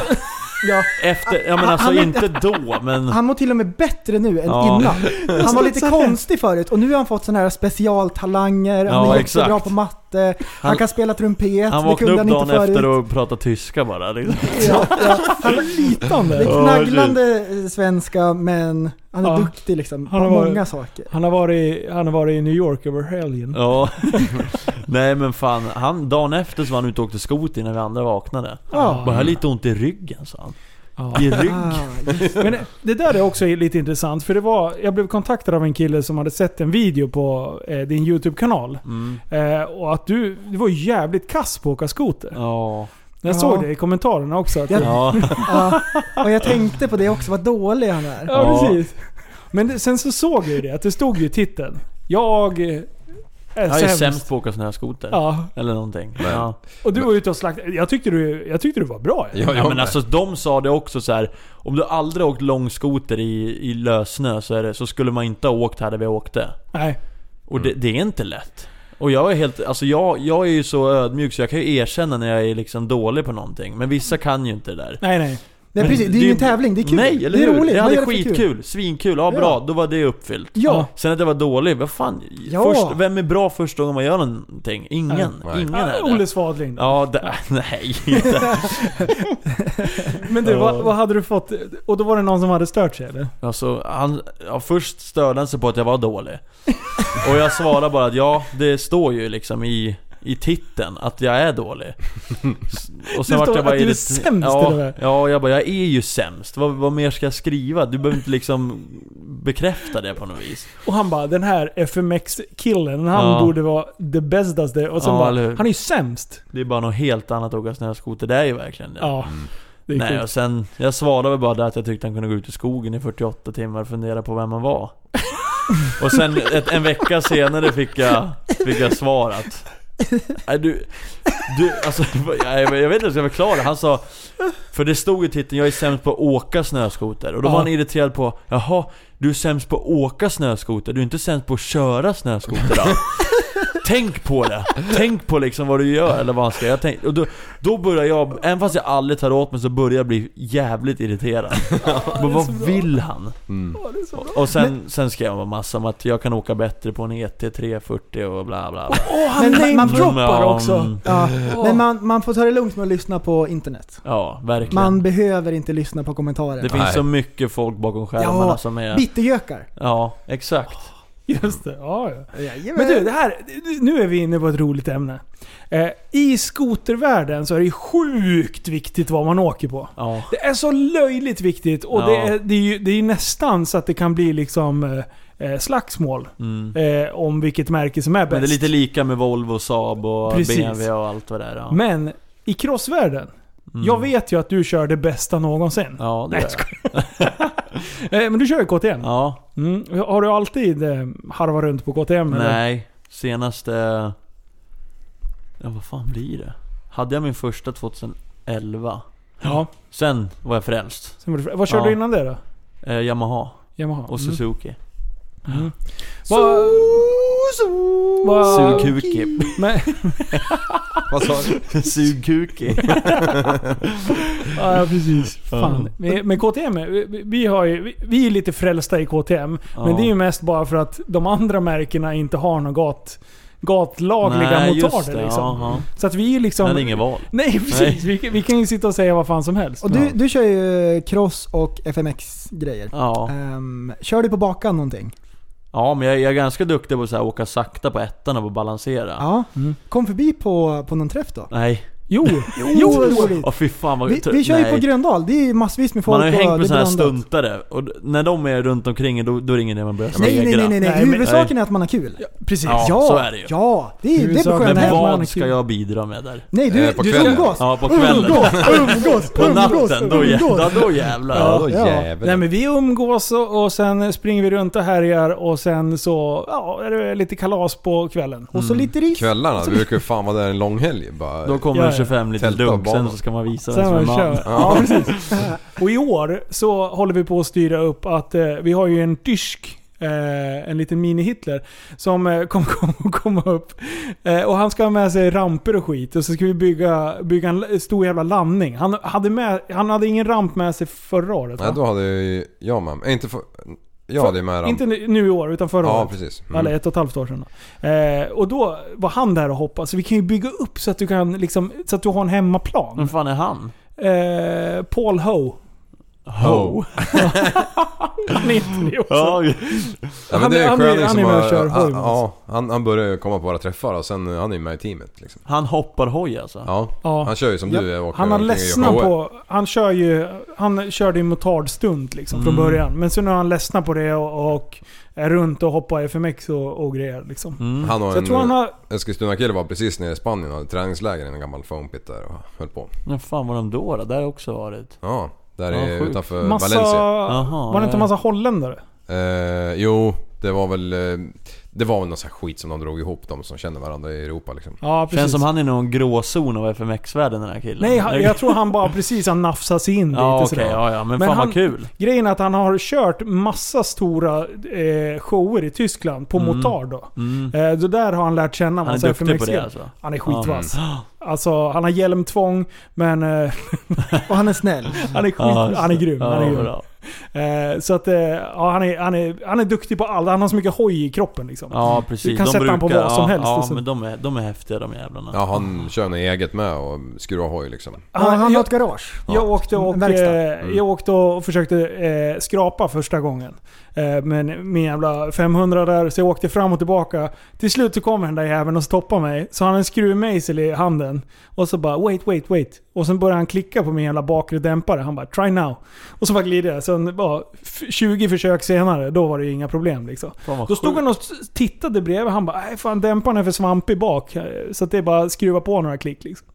Speaker 7: Ja.
Speaker 8: Efter, ja men alltså
Speaker 7: Han-
Speaker 8: inte då men...
Speaker 7: Han mår till och med bättre nu än
Speaker 8: Ja.
Speaker 7: Alltså, innan. Han var lite konstig förut och nu har han fått sådana här specialtalanger, han
Speaker 8: Ja,
Speaker 7: är
Speaker 8: exakt.
Speaker 7: jättebra på matte, han,
Speaker 8: Han-
Speaker 7: kan spela trumpet.
Speaker 8: Han
Speaker 7: det
Speaker 8: vaknade
Speaker 7: kunde
Speaker 8: upp
Speaker 7: han
Speaker 8: dagen
Speaker 7: inte förut.
Speaker 8: efter och pratade tyska bara. Liksom.
Speaker 7: Ja, ja. Han var
Speaker 5: Flytande.
Speaker 7: lite
Speaker 8: Ja,
Speaker 7: naglande eh, svenska men han är
Speaker 5: Ja.
Speaker 7: duktig liksom.
Speaker 5: Han
Speaker 7: på
Speaker 5: har varit-
Speaker 7: många saker.
Speaker 5: Han har, varit, han har varit i New York över helgen.
Speaker 8: Ja. Nej men fan, han, dagen efter så var han ute och åkte skoter när vi andra vaknade.
Speaker 7: Ja.
Speaker 8: Bara, jag har lite ont i ryggen sa han.
Speaker 5: Ja.
Speaker 8: I rygg?
Speaker 7: Ah, just
Speaker 5: Men eh, det där är också lite intressant. För det var, jag blev kontaktad av en kille som hade sett en video på eh, din YouTube-kanal.
Speaker 8: Mm.
Speaker 5: Eh, och att du, du var jävligt kass på att åka skoter.
Speaker 8: Ja.
Speaker 5: Jag
Speaker 7: Ja.
Speaker 5: såg det i kommentarerna också. Att, ja.
Speaker 8: ja.
Speaker 7: ja. Och jag tänkte på det också, vad dålig han är.
Speaker 5: ja,
Speaker 8: Ja.
Speaker 5: precis. Men det, sen så såg jag ju det, att det stod ju i titeln. Jag eh, är
Speaker 8: Jag är
Speaker 5: sämst.
Speaker 8: sämst på att åka snöskoter.
Speaker 5: Ja,
Speaker 8: Eller någonting.
Speaker 6: Men-
Speaker 8: Ja.
Speaker 5: och du var ute och slaktade. Jag tyckte du, jag tyckte du var bra. Ja.
Speaker 8: Ja, men alltså de sa det också så här. Om du aldrig åkt långskoter i, i lössnö så, är det, så skulle man inte ha åkt här där vi åkte.
Speaker 5: Nej.
Speaker 8: Och
Speaker 5: Mm.
Speaker 8: det, det är inte lätt. Och jag är helt, alltså jag, jag är ju så ödmjuk så jag kan ju erkänna när jag är liksom dålig på någonting. Men vissa kan ju inte det där.
Speaker 5: Nej, nej.
Speaker 7: Nej, precis, det är ju en tävling, det är kul.
Speaker 8: Nej, eller
Speaker 7: det är
Speaker 8: hur?
Speaker 7: roligt. Man
Speaker 8: Jag hade
Speaker 7: gör det för
Speaker 8: skitkul, svinkul, ja bra, då var det uppfyllt.
Speaker 5: Ja.
Speaker 8: Sen att jag var dålig, vad fan?
Speaker 7: Ja.
Speaker 8: Först, vem är bra första gången man gör någonting? Ingen.
Speaker 6: Nej.
Speaker 8: Ingen
Speaker 5: Ah,
Speaker 8: är
Speaker 5: Olle
Speaker 8: det.
Speaker 5: Svadling.
Speaker 8: Ja, det, nej. inte.
Speaker 5: Men du, vad, vad hade du fått? Och då var det någon som hade stört sig eller?
Speaker 8: Alltså, han, ja, först störde han sig på att jag var dålig. Och jag svarade bara att ja, det står ju liksom i, i titeln att jag är dålig. S- Och
Speaker 5: Det
Speaker 8: vart
Speaker 5: står att du är
Speaker 8: irrit-
Speaker 5: sämst
Speaker 8: ja,
Speaker 5: till och med.
Speaker 8: Ja, jag bara jag är ju sämst. Vad, vad mer ska jag skriva? Du behöver inte liksom bekräfta det på något vis.
Speaker 5: Och han bara, den här FMX-killen, han
Speaker 8: Ja.
Speaker 5: borde vara det bästaste. Och sen
Speaker 8: Ja,
Speaker 5: bara,
Speaker 8: eller hur?
Speaker 5: han är ju sämst.
Speaker 8: Det är bara något helt annat att åka snöskoter. Det är ju verkligen det.
Speaker 5: Ja. Det är
Speaker 8: Nej,
Speaker 5: sjukt.
Speaker 8: och sen, jag svarade väl bara där att jag tyckte han kunde gå ut i skogen i 48 timmar och fundera på vem han var. och sen ett, en vecka senare fick jag, fick jag svarat. Nej du, du alltså, jag, jag vet inte hur jag ska förklara. Han sa, för det stod i titeln 'Jag är sämst på att åka snöskoter' och då
Speaker 5: Ja.
Speaker 8: var han irriterad på 'Jaha, du är sämst på att åka snöskoter, du är inte sämst på att köra snöskoter då?' Tänk på det! Tänk på liksom vad du gör eller vad han ska göra. Jag tänk- Och då, då börjar jag, även fast jag aldrig tar åt mig så börjar jag bli jävligt irriterad. Men vad vill han? Och- Och sen, sen skrev jag massa om att jag kan åka bättre på en E ET 340 och bla bla bla.
Speaker 5: Åh, han
Speaker 7: Men man- man
Speaker 5: namedroppar
Speaker 8: droppar
Speaker 5: också.
Speaker 7: Ja. Men man, man får ta det lugnt med att lyssna på internet.
Speaker 8: Ja, verkligen.
Speaker 7: Man behöver inte lyssna på kommentarer.
Speaker 8: det
Speaker 6: Nej.
Speaker 8: finns så mycket folk bakom skärmarna
Speaker 7: Ja,
Speaker 8: som är...
Speaker 7: Bittergökar.
Speaker 8: Ja, exakt.
Speaker 5: Just det, ja, ja. Men du, det här, nu är vi inne på ett roligt ämne. Eh, I skotervärlden så är det ju sjukt viktigt vad man åker på.
Speaker 8: Ja.
Speaker 5: Det är så löjligt viktigt och
Speaker 8: Ja.
Speaker 5: det, är, det, är ju, det är ju nästan så att det kan bli liksom eh, slagsmål
Speaker 8: Mm.
Speaker 5: eh, om vilket märke som är bäst.
Speaker 8: Men det är lite lika med Volvo, Saab och
Speaker 5: Precis.
Speaker 8: BMW och allt vad det är. Ja. Mm.
Speaker 5: Men i crossvärlden, jag vet ju att du kör det bästa någonsin.
Speaker 8: Ja, det
Speaker 5: Nej,
Speaker 8: är
Speaker 5: jag Eh, men du kör ju KTM.
Speaker 8: Ja,
Speaker 5: Mm. Har du alltid eh, harvat runt på KTM? Eller?
Speaker 8: nej. Senaste... Ja, vad fan blir det? Hade jag min första 2011.
Speaker 5: Ja.
Speaker 8: Sen var jag frälst.
Speaker 5: Sen var det- Vad körde
Speaker 8: Ja.
Speaker 5: du innan det då?
Speaker 8: Eh, Yamaha
Speaker 5: Yamaha?
Speaker 8: och
Speaker 5: Mm.
Speaker 8: Suzuki.
Speaker 5: Vad- vad-
Speaker 8: Sugkuki.
Speaker 5: Men,
Speaker 6: Vad sa du?
Speaker 8: Sugkuki.
Speaker 5: ja, precis. Fan. Men, men KTM, är- vi, vi, har ju, vi, vi är lite frälsta i KTM. Men
Speaker 8: Ja.
Speaker 5: det är ju mest bara för att de andra märkena inte har något gat, gatlagliga
Speaker 8: Nej, just
Speaker 5: motarder.
Speaker 8: det,
Speaker 5: Liksom.
Speaker 8: ja, ja.
Speaker 5: Så att vi är liksom...
Speaker 8: Jag hade inget val.
Speaker 5: Nej precis, Vi, kan- vi kan ju sitta och säga vad fan som helst.
Speaker 7: Och du, du kör ju cross och FMX-grejer.
Speaker 8: Ja.
Speaker 7: Ehm, kör du på bakan någonting?
Speaker 8: ja, men jag, jag är ganska duktig på att åka sakta på ettan och balansera.
Speaker 7: Ja.
Speaker 8: Mm.
Speaker 7: Kom förbi på, på någon träff då.
Speaker 8: Nej.
Speaker 5: Jo!
Speaker 7: Jo, vad roligt.
Speaker 8: Åh fy fan vad
Speaker 7: Vi,
Speaker 8: tr-
Speaker 7: vi kör ju
Speaker 8: nej.
Speaker 7: på Gröndal, det är ju massvis med folk
Speaker 8: Man har ju
Speaker 7: och
Speaker 8: hängt
Speaker 7: det är
Speaker 8: med såna här
Speaker 7: blandat.
Speaker 8: stuntare och d- när de är runt omkring er, då, då ringer det när man börjar
Speaker 7: Nej, nej, nej, nej, nej.
Speaker 5: Nej, men-
Speaker 7: Huvudsaken är att man har kul.
Speaker 5: Precis.
Speaker 8: Ja,
Speaker 7: Ja,
Speaker 8: så är det ju.
Speaker 7: Ja, det är det
Speaker 5: Huvudsaken-
Speaker 7: sköna
Speaker 8: Men
Speaker 5: Nej,
Speaker 7: här.
Speaker 5: man har
Speaker 8: vad ska
Speaker 5: kul.
Speaker 8: jag bidra med där?
Speaker 7: Nej, du,
Speaker 6: Eh, på
Speaker 7: du
Speaker 6: kvällen.
Speaker 7: umgås.
Speaker 8: Ja, på kvällen.
Speaker 7: Umgås, umgås,
Speaker 8: På
Speaker 7: umgås,
Speaker 8: natten, då, jä-
Speaker 7: umgås.
Speaker 8: då, då jävlar.
Speaker 6: Ja, då
Speaker 7: ja.
Speaker 6: jävlar.
Speaker 5: Nej men vi umgås och, och sen springer vi runt och härjar och sen så ja, är det lite kalas på kvällen.
Speaker 8: Mm.
Speaker 7: Och så lite ris.
Speaker 6: Kvällarna, vi brukar ju fan vara där en lång helg bara.
Speaker 8: Då kommer
Speaker 5: Ja,
Speaker 8: en
Speaker 5: ja.
Speaker 8: 25 liter
Speaker 6: Tälta och
Speaker 8: dunk, sen
Speaker 6: banan.
Speaker 8: så ska man visa vem
Speaker 5: Sen
Speaker 8: som är
Speaker 5: man
Speaker 8: man.
Speaker 5: kör. Ja, precis. Och i år så håller vi på att styra upp att eh, vi har ju en tysk Eh, en liten mini-Hitler som eh, kommer kom, komma upp. Eh, och han ska ha med sig ramper och skit. Och så ska vi bygga, bygga en l- stor jävla landning. Han hade, med, han hade ingen ramp med sig förra året
Speaker 6: Nej,
Speaker 5: va?
Speaker 6: då hade ju jag med mig. Inte för... Ja, det är med
Speaker 5: Inte nu nu i år, utan förra
Speaker 6: Ja,
Speaker 5: året.
Speaker 6: precis.
Speaker 5: Eller
Speaker 6: Mm.
Speaker 5: ett och ett halvt år sedan. då. Eh, och då var han där och hoppade. Så vi kan ju bygga upp så att du kan liksom, så att du har en hemmaplan.
Speaker 8: Vem fan är han?
Speaker 5: Eh, Paul Ho.
Speaker 6: Ho.
Speaker 5: Han är inte det också.
Speaker 8: Ja,
Speaker 6: Ja, men
Speaker 5: Han
Speaker 6: det
Speaker 5: är-
Speaker 6: är en
Speaker 5: han är-
Speaker 6: sköning
Speaker 5: han
Speaker 6: som
Speaker 5: är med och
Speaker 6: har,
Speaker 5: kör hoj
Speaker 6: han,
Speaker 5: med
Speaker 6: ja, han, han börjar ju komma på våra träffar och sen eh, han är ju med i teamet liksom.
Speaker 8: Han hoppar hoj alltså?
Speaker 6: Ja,
Speaker 5: Ja.
Speaker 6: han kör ju som
Speaker 5: Ja.
Speaker 6: du åker
Speaker 5: Han har
Speaker 6: omkring och gör
Speaker 5: ledsnat
Speaker 6: shower.
Speaker 5: på... Han kör ju... Han körde ju motardstunt liksom från
Speaker 6: Mm.
Speaker 5: början. Men så nu har han ledsnat på det och, och är runt och hoppar FMX och, och grejer liksom.
Speaker 8: Mm.
Speaker 6: Han och
Speaker 5: Så jag
Speaker 6: en eh,
Speaker 5: tror han har...
Speaker 6: Eskilstuna-kille var precis nere i Spanien och hade träningsläger i en gammal foam pit där och höll på.
Speaker 8: När fan var de då då? Där har jag också varit.
Speaker 6: Ja, där
Speaker 8: Ja,
Speaker 6: är
Speaker 8: sjukt.
Speaker 6: utanför
Speaker 5: Massa...
Speaker 6: Eh, Valencia.
Speaker 8: Aha,
Speaker 5: var det inte
Speaker 8: ja.
Speaker 5: massa holländare?
Speaker 6: Eh, jo, det var väl... eh, Det var väl någon sån här skit som de drog ihop, de som känner varandra i Europa liksom.
Speaker 5: Ja, precis.
Speaker 8: Känns som han är någon gråzon av FMX-världen den här killen.
Speaker 5: Nej, han, jag tror han bara precis har nafsat sig in
Speaker 8: Ja
Speaker 5: lite
Speaker 8: okej,
Speaker 5: sådär.
Speaker 8: ja ja. Men,
Speaker 5: Men
Speaker 8: fan
Speaker 5: han-
Speaker 8: vad kul.
Speaker 5: Grejen är att han har kört massa stora eh, shower i Tyskland på motard då.
Speaker 8: Mm.
Speaker 5: Eh, så där har han lärt känna
Speaker 8: Han
Speaker 5: massa
Speaker 8: är duktig på
Speaker 5: FMX-grejer.
Speaker 8: det alltså.
Speaker 5: Han är skitvass. Alltså, han har hjälmtvång, men eh,
Speaker 7: Och han är snäll.
Speaker 5: han är skit, han är grym.
Speaker 8: Ja,
Speaker 5: han är grym.
Speaker 8: bra.
Speaker 5: Eh, så att, eh, ja, han, är, han, är, han är duktig på allt. Han har så mycket hoj i kroppen liksom.
Speaker 8: Ja precis.
Speaker 5: Du kan sätta han på vad som
Speaker 8: ja,
Speaker 5: helst,
Speaker 8: Ja
Speaker 5: alltså.
Speaker 8: men de är, de är häftiga de jävlarna.
Speaker 6: Ja,
Speaker 5: Ah.
Speaker 6: han kör något eget med och skruvar hoj liksom.
Speaker 7: Har han
Speaker 5: jag,
Speaker 7: något garage?
Speaker 5: jag, åkte och,
Speaker 7: Verkstad.
Speaker 5: eh, jag åkte och försökte eh, skrapa första gången. Eh, men min jävla 500 där, så jag åkte fram och tillbaka. Till slut så kom den där jäveln och stoppade mig. Så han hade en skruvmejsel i handen. Och så bara wait, wait, wait. Och sen började han klicka på min jävla bakre dämpare. Han bara try now. Och så bara glider jag. Sen bara f- 20 försök senare, då var det ju inga problem liksom.
Speaker 8: Fan, vad
Speaker 5: Då stod
Speaker 8: sjukt.
Speaker 5: han och s- tittade bredvid. Han bara nej fan dämparen är för svampig bak. Så att det är bara att skruva på några klick liksom.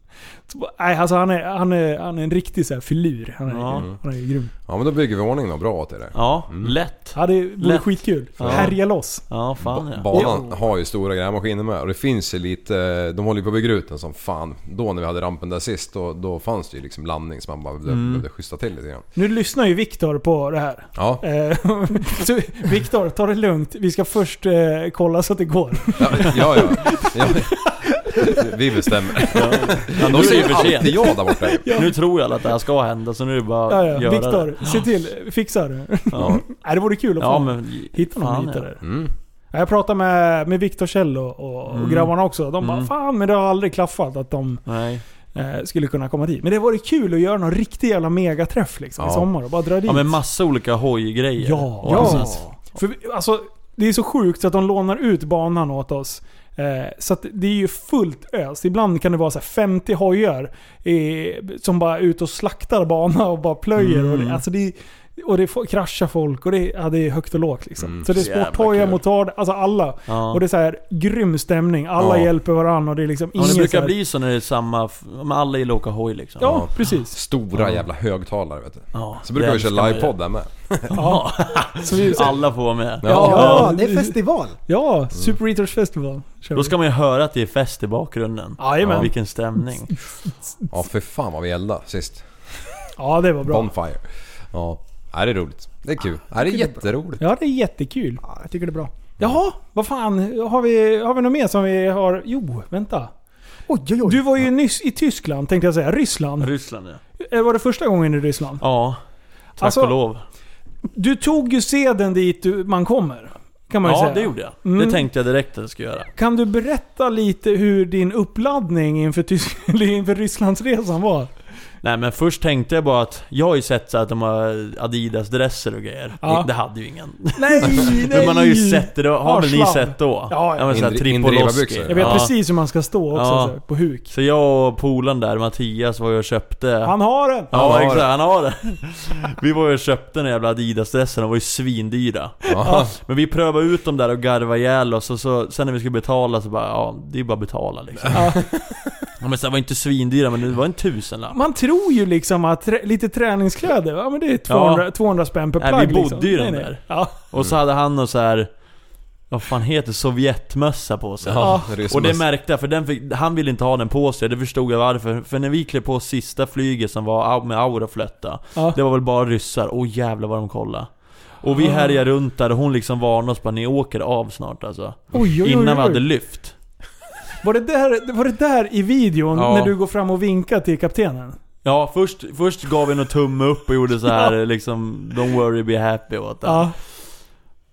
Speaker 5: Så bara, nej, alltså han är, han, är, han är en riktig så här filur. Han är,
Speaker 8: Ja.
Speaker 5: han är ju grym.
Speaker 6: Ja, men då bygger vi ordning något bra till det.
Speaker 8: Ja, lätt.
Speaker 5: Ja, det vore
Speaker 8: Lätt.
Speaker 5: skitkul.
Speaker 8: Ja.
Speaker 5: Härja loss.
Speaker 8: Ja fan ja.
Speaker 6: Banan har ju stora grävmaskiner med och det finns ju lite... De håller ju på att bygga ut den som fan. Då när vi hade rampen där sist, då, då fanns det ju liksom landning som man bara behövde,
Speaker 8: Mm.
Speaker 6: behövde schyssta till lite grann.
Speaker 5: Nu lyssnar ju Viktor på det här.
Speaker 6: Ja,
Speaker 5: Eh, så Viktor, ta det lugnt. Vi ska först eh, kolla så att det går.
Speaker 6: ja, ja. ja, ja. Vi bestämmer.
Speaker 8: ja
Speaker 6: De
Speaker 8: nu är
Speaker 6: säger
Speaker 8: det för sent.
Speaker 6: alltid ja där borta ju.
Speaker 8: Nu tror jag alla att det här ska hända så nu är det bara
Speaker 5: Ja,
Speaker 8: att
Speaker 5: ja.
Speaker 8: göra det.
Speaker 5: Viktor, se till. Fixa det.
Speaker 8: Ja.
Speaker 5: Nej, det vore kul att få
Speaker 8: ja men...
Speaker 5: hitta någon
Speaker 8: fan,
Speaker 5: hit
Speaker 8: ja.
Speaker 5: där.
Speaker 6: Mm.
Speaker 5: Ja, Jag pratade med, med Viktor Kjell och, och
Speaker 8: Mm.
Speaker 5: grabbarna också. De bara
Speaker 8: Mm.
Speaker 5: fan, men det har aldrig klaffat att de
Speaker 8: Nej.
Speaker 5: eh, skulle kunna komma dit. Men det vore kul att göra någon riktig jävla megaträff liksom, i
Speaker 6: Ja.
Speaker 5: sommar och bara dra dit.
Speaker 8: Ja men massa olika hojgrejer.
Speaker 5: Ja,
Speaker 8: Och
Speaker 5: ja.
Speaker 8: alltså-
Speaker 5: För vi, alltså, det är så sjukt så att de lånar ut banan åt oss. Eh, så att det är ju fullt ös. Ibland kan det vara så här 50 hojar eh, som bara är ute och slaktar bana och bara plöjer. Och
Speaker 8: Mm.
Speaker 5: det, alltså det, är- och det får- kraschar folk och det, ja, det är högt och lågt liksom.
Speaker 6: Mm,
Speaker 5: så det är
Speaker 8: jävla
Speaker 5: sporthojar,
Speaker 8: kul.
Speaker 5: motard, alltså alla.
Speaker 8: Ja.
Speaker 5: Och det är så här grym stämning. Alla
Speaker 6: Ja.
Speaker 5: hjälper varandra och det är liksom
Speaker 8: Ja,
Speaker 5: ingen
Speaker 8: det
Speaker 5: så
Speaker 8: brukar
Speaker 5: här,
Speaker 8: bli så när det är samma, f- men alla gillar att åka hoj liksom.
Speaker 5: Ja, precis.
Speaker 6: Stora jävla högtalare vet du.
Speaker 8: Ja,
Speaker 6: Så brukar
Speaker 8: det
Speaker 6: vi
Speaker 8: älskar
Speaker 6: köra
Speaker 8: man
Speaker 6: livepodd där med.
Speaker 8: Ja.
Speaker 5: Så vi, så,
Speaker 8: Alla får vara med.
Speaker 7: Ja,
Speaker 5: Ja.
Speaker 7: det är festival.
Speaker 5: ja, Super Eaters Festival kör
Speaker 8: Då
Speaker 5: vi.
Speaker 8: ska man ju höra att det är fest i bakgrunden.
Speaker 5: Jajamän.
Speaker 8: Vilken stämning.
Speaker 6: Ja, för fan vad vi eldade sist.
Speaker 5: Ja, det var bra.
Speaker 6: Bonfire. Ja. Nej, det är roligt. Det är kul. Nej, det är jätteroligt.
Speaker 5: Ja, det är jättekul.
Speaker 7: Ja, jag tycker det är bra.
Speaker 5: Jaha, vad fan. Har vi, har vi något mer som vi har... Jo, vänta.
Speaker 7: Oj, oj, oj.
Speaker 5: Du var ju nyss i Tyskland tänkte jag säga. Ryssland.
Speaker 8: Ryssland ja.
Speaker 5: Eh, Var det första gången i Ryssland?
Speaker 8: Ja. Tack
Speaker 5: Alltså,
Speaker 8: och lov.
Speaker 5: Du tog ju seden dit du, man kommer. Kan man ju
Speaker 8: Ja,
Speaker 5: säga.
Speaker 8: det gjorde jag.
Speaker 5: Mm.
Speaker 8: Det tänkte jag direkt att jag skulle göra.
Speaker 5: Kan du berätta lite hur din uppladdning inför, Tysk- eller inför Rysslandsresan var?
Speaker 8: Nej men först tänkte jag bara att, jag har ju sett så att de har Adidas-dresser och grejer.
Speaker 5: Ja.
Speaker 8: Det hade ju ingen.
Speaker 5: Nej, nej!
Speaker 8: Men man har ju sett det, då. har väl ni
Speaker 5: Arslav.
Speaker 8: sett då?
Speaker 5: Ja, ja.
Speaker 8: men så här
Speaker 6: Indri-
Speaker 8: Tripoloski.
Speaker 6: Indriva-byxor.
Speaker 5: Jag vet
Speaker 8: Ja.
Speaker 5: precis hur man ska stå också.
Speaker 8: Ja.
Speaker 5: Så, här, på huk.
Speaker 8: Så jag och polaren där, Mattias, var ju och köpte...
Speaker 5: Han har den!
Speaker 8: Ja,
Speaker 6: har
Speaker 8: exakt,
Speaker 6: det.
Speaker 8: han har det. Vi var ju och köpte den jävla Adidas-dressen, de var ju svindyra.
Speaker 6: Ja.
Speaker 8: Men vi prövade ut dem där och garvade ihjäl oss och så, sen när vi skulle betala så bara, ja, det är bara att betala liksom. Ja. men så det var inte svindyra men det var en tusenlapp.
Speaker 5: Man tror ju liksom att trä, lite träningskläder, ja men det är 200, 200 spänn per
Speaker 8: Nej,
Speaker 5: plagg
Speaker 8: vi bodde
Speaker 5: liksom.
Speaker 8: ju
Speaker 5: Nej,
Speaker 8: de
Speaker 5: nej.
Speaker 8: där.
Speaker 5: Ja.
Speaker 8: Och
Speaker 6: Mm.
Speaker 8: så hade han och så här. vad fan heter det? Sovjetmössa på sig.
Speaker 6: Ja, det är som
Speaker 8: Och det
Speaker 6: att-
Speaker 8: märkte jag, för den fick, han ville inte ha den på sig, det förstod jag varför. För när vi klev på sista flyget som var au- med Auraflötta,
Speaker 5: Ja.
Speaker 8: det var väl bara ryssar. Åh jävlar vad de kollade. Och
Speaker 6: Ah.
Speaker 8: vi härjade runt där och hon liksom varnade oss bara, ni åker av snart alltså.
Speaker 5: Oj, oj, oj,
Speaker 8: Innan
Speaker 5: oj.
Speaker 8: vi hade lyft.
Speaker 5: Var det, där, var det där i videon
Speaker 8: Ja.
Speaker 5: när du går fram och vinkar till kaptenen?
Speaker 8: Ja, först, först gav vi en tumme upp och gjorde så här liksom 'Don't worry, be happy' åt den.
Speaker 5: Ja.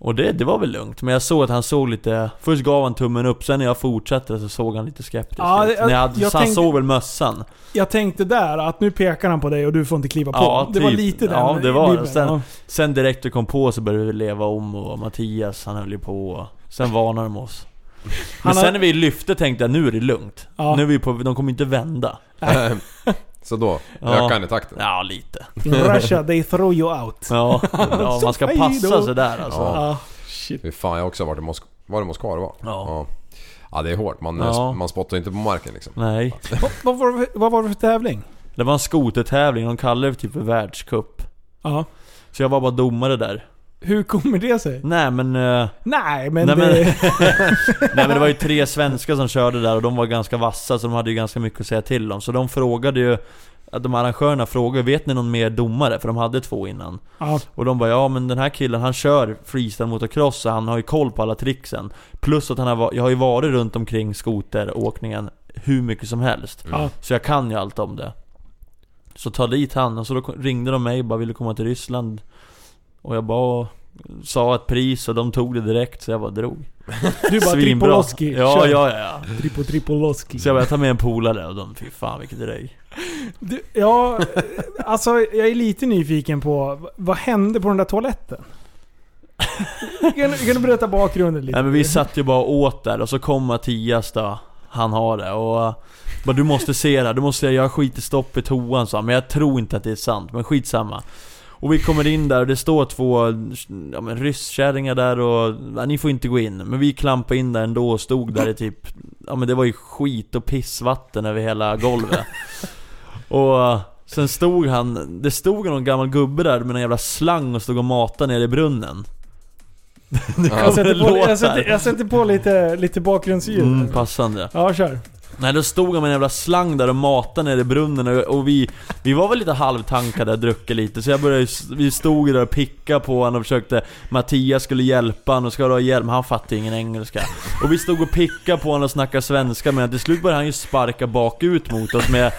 Speaker 8: Och det, det var väl lugnt, men jag såg att han såg lite... Först gav han tummen upp, sen när jag fortsatte så såg han lite skeptisk
Speaker 5: Ja,
Speaker 8: ut.
Speaker 5: det-
Speaker 8: När jag, hade-
Speaker 5: jag
Speaker 8: så han
Speaker 5: tänkte-
Speaker 8: såg väl mössan?
Speaker 5: Jag tänkte där att nu pekar han på dig och du får inte kliva på.
Speaker 8: Ja,
Speaker 5: Det var
Speaker 8: typ.
Speaker 5: lite den
Speaker 8: Ja, det var det.
Speaker 5: vibben,
Speaker 8: Sen-
Speaker 5: ja.
Speaker 8: Sen direkt du kom på så började vi leva om och Mattias han höll ju på och sen varnade de oss. Men
Speaker 5: Han har-
Speaker 8: sen när vi lyfte tänkte jag nu är det lugnt.
Speaker 5: Ja.
Speaker 8: Nu är vi på, de kommer inte vända.
Speaker 6: Så då
Speaker 8: Ja.
Speaker 6: ökar han i takten.
Speaker 8: Ja, lite.
Speaker 5: In Russia they throw you out.
Speaker 8: Ja, ja man ska
Speaker 5: hej
Speaker 8: passa
Speaker 5: då.
Speaker 8: sig där alltså.
Speaker 6: Ja.
Speaker 8: Ja.
Speaker 5: Ja.
Speaker 6: Fy fan, jag har också varit i Moskva. Var det Moskva det var? Ja. Ja, det är hårt. Man, eh,
Speaker 8: Ja.
Speaker 6: man spottar inte på marken liksom.
Speaker 8: Nej.
Speaker 5: Vad, vad, var det för- vad var det för tävling?
Speaker 8: Det var en skotertävling, de kallade det typ för världscup.
Speaker 5: Ja.
Speaker 8: Så jag var bara domare där.
Speaker 5: Hur kommer det sig?
Speaker 8: Nej men... eh,
Speaker 5: Nej men,
Speaker 8: nej, men
Speaker 5: det...
Speaker 8: nej men det var ju tre svenskar som körde där och de var ganska vassa så de hade ju ganska mycket att säga till om. Så de frågade ju... Att de arrangörerna frågade, vet ni någon mer domare? För de hade två innan.
Speaker 5: Ja.
Speaker 8: Och de bara ja men den här killen han kör freestyle motocross så han har ju koll på alla tricksen. Plus att han har, va- jag har ju varit runt omkring skoteråkningen hur mycket som helst.
Speaker 5: Ja.
Speaker 8: Så jag kan ju allt om det. Så ta dit han och så då ko- ringde de mig och bara ville komma till Ryssland. Och jag bara sa ett pris och de tog det direkt så jag bara drog.
Speaker 5: Du bara Tripoloski.
Speaker 8: Ja,
Speaker 5: kör.
Speaker 8: ja, ja, ja.
Speaker 5: Tripo Tripoloski.
Speaker 8: Så jag bara jag tar med en polare och de, fy fan vilket drej.
Speaker 5: Du, ja, eh, alltså jag är lite nyfiken på v- vad hände på den där toaletten? Kan, du- kan du berätta bakgrunden lite?
Speaker 8: Nej men vi satt ju bara och åt där och så kom Mattias då Han har det och eh, bara, du måste se det här, du måste se, jag har skitstopp i toan sa han, Men jag tror inte att det är sant, men skitsamma Och vi kommer in där och det står två ja, men rysskärringar där och ja, ni får inte gå in Men vi klampade in där ändå och stod där i typ Ja men det var ju skit och pissvatten över hela golvet Och eh, sen stod han, det stod någon gammal gubbe där med en jävla slang och stod och matade nere i brunnen Nu
Speaker 5: jag,
Speaker 8: kommer det
Speaker 5: sätter på,
Speaker 8: låt
Speaker 5: jag,
Speaker 8: här.
Speaker 5: sätter, jag sätter på lite, lite bakgrundsljud.
Speaker 8: Mm, passande.
Speaker 5: Ja, kör.
Speaker 8: Nej, då stod han med en jävla slang där och matade nere i brunnen och, och vi, vi var väl lite halvtankade och druckit lite så jag började, ju- vi stod ju där och pickade på honom och försökte Mattias skulle hjälpa honom och ska du ha hjälp? Men han fattade ingen engelska. Och vi stod och pickade på honom och snackade svenska men till slut började han ju sparka bakut mot oss med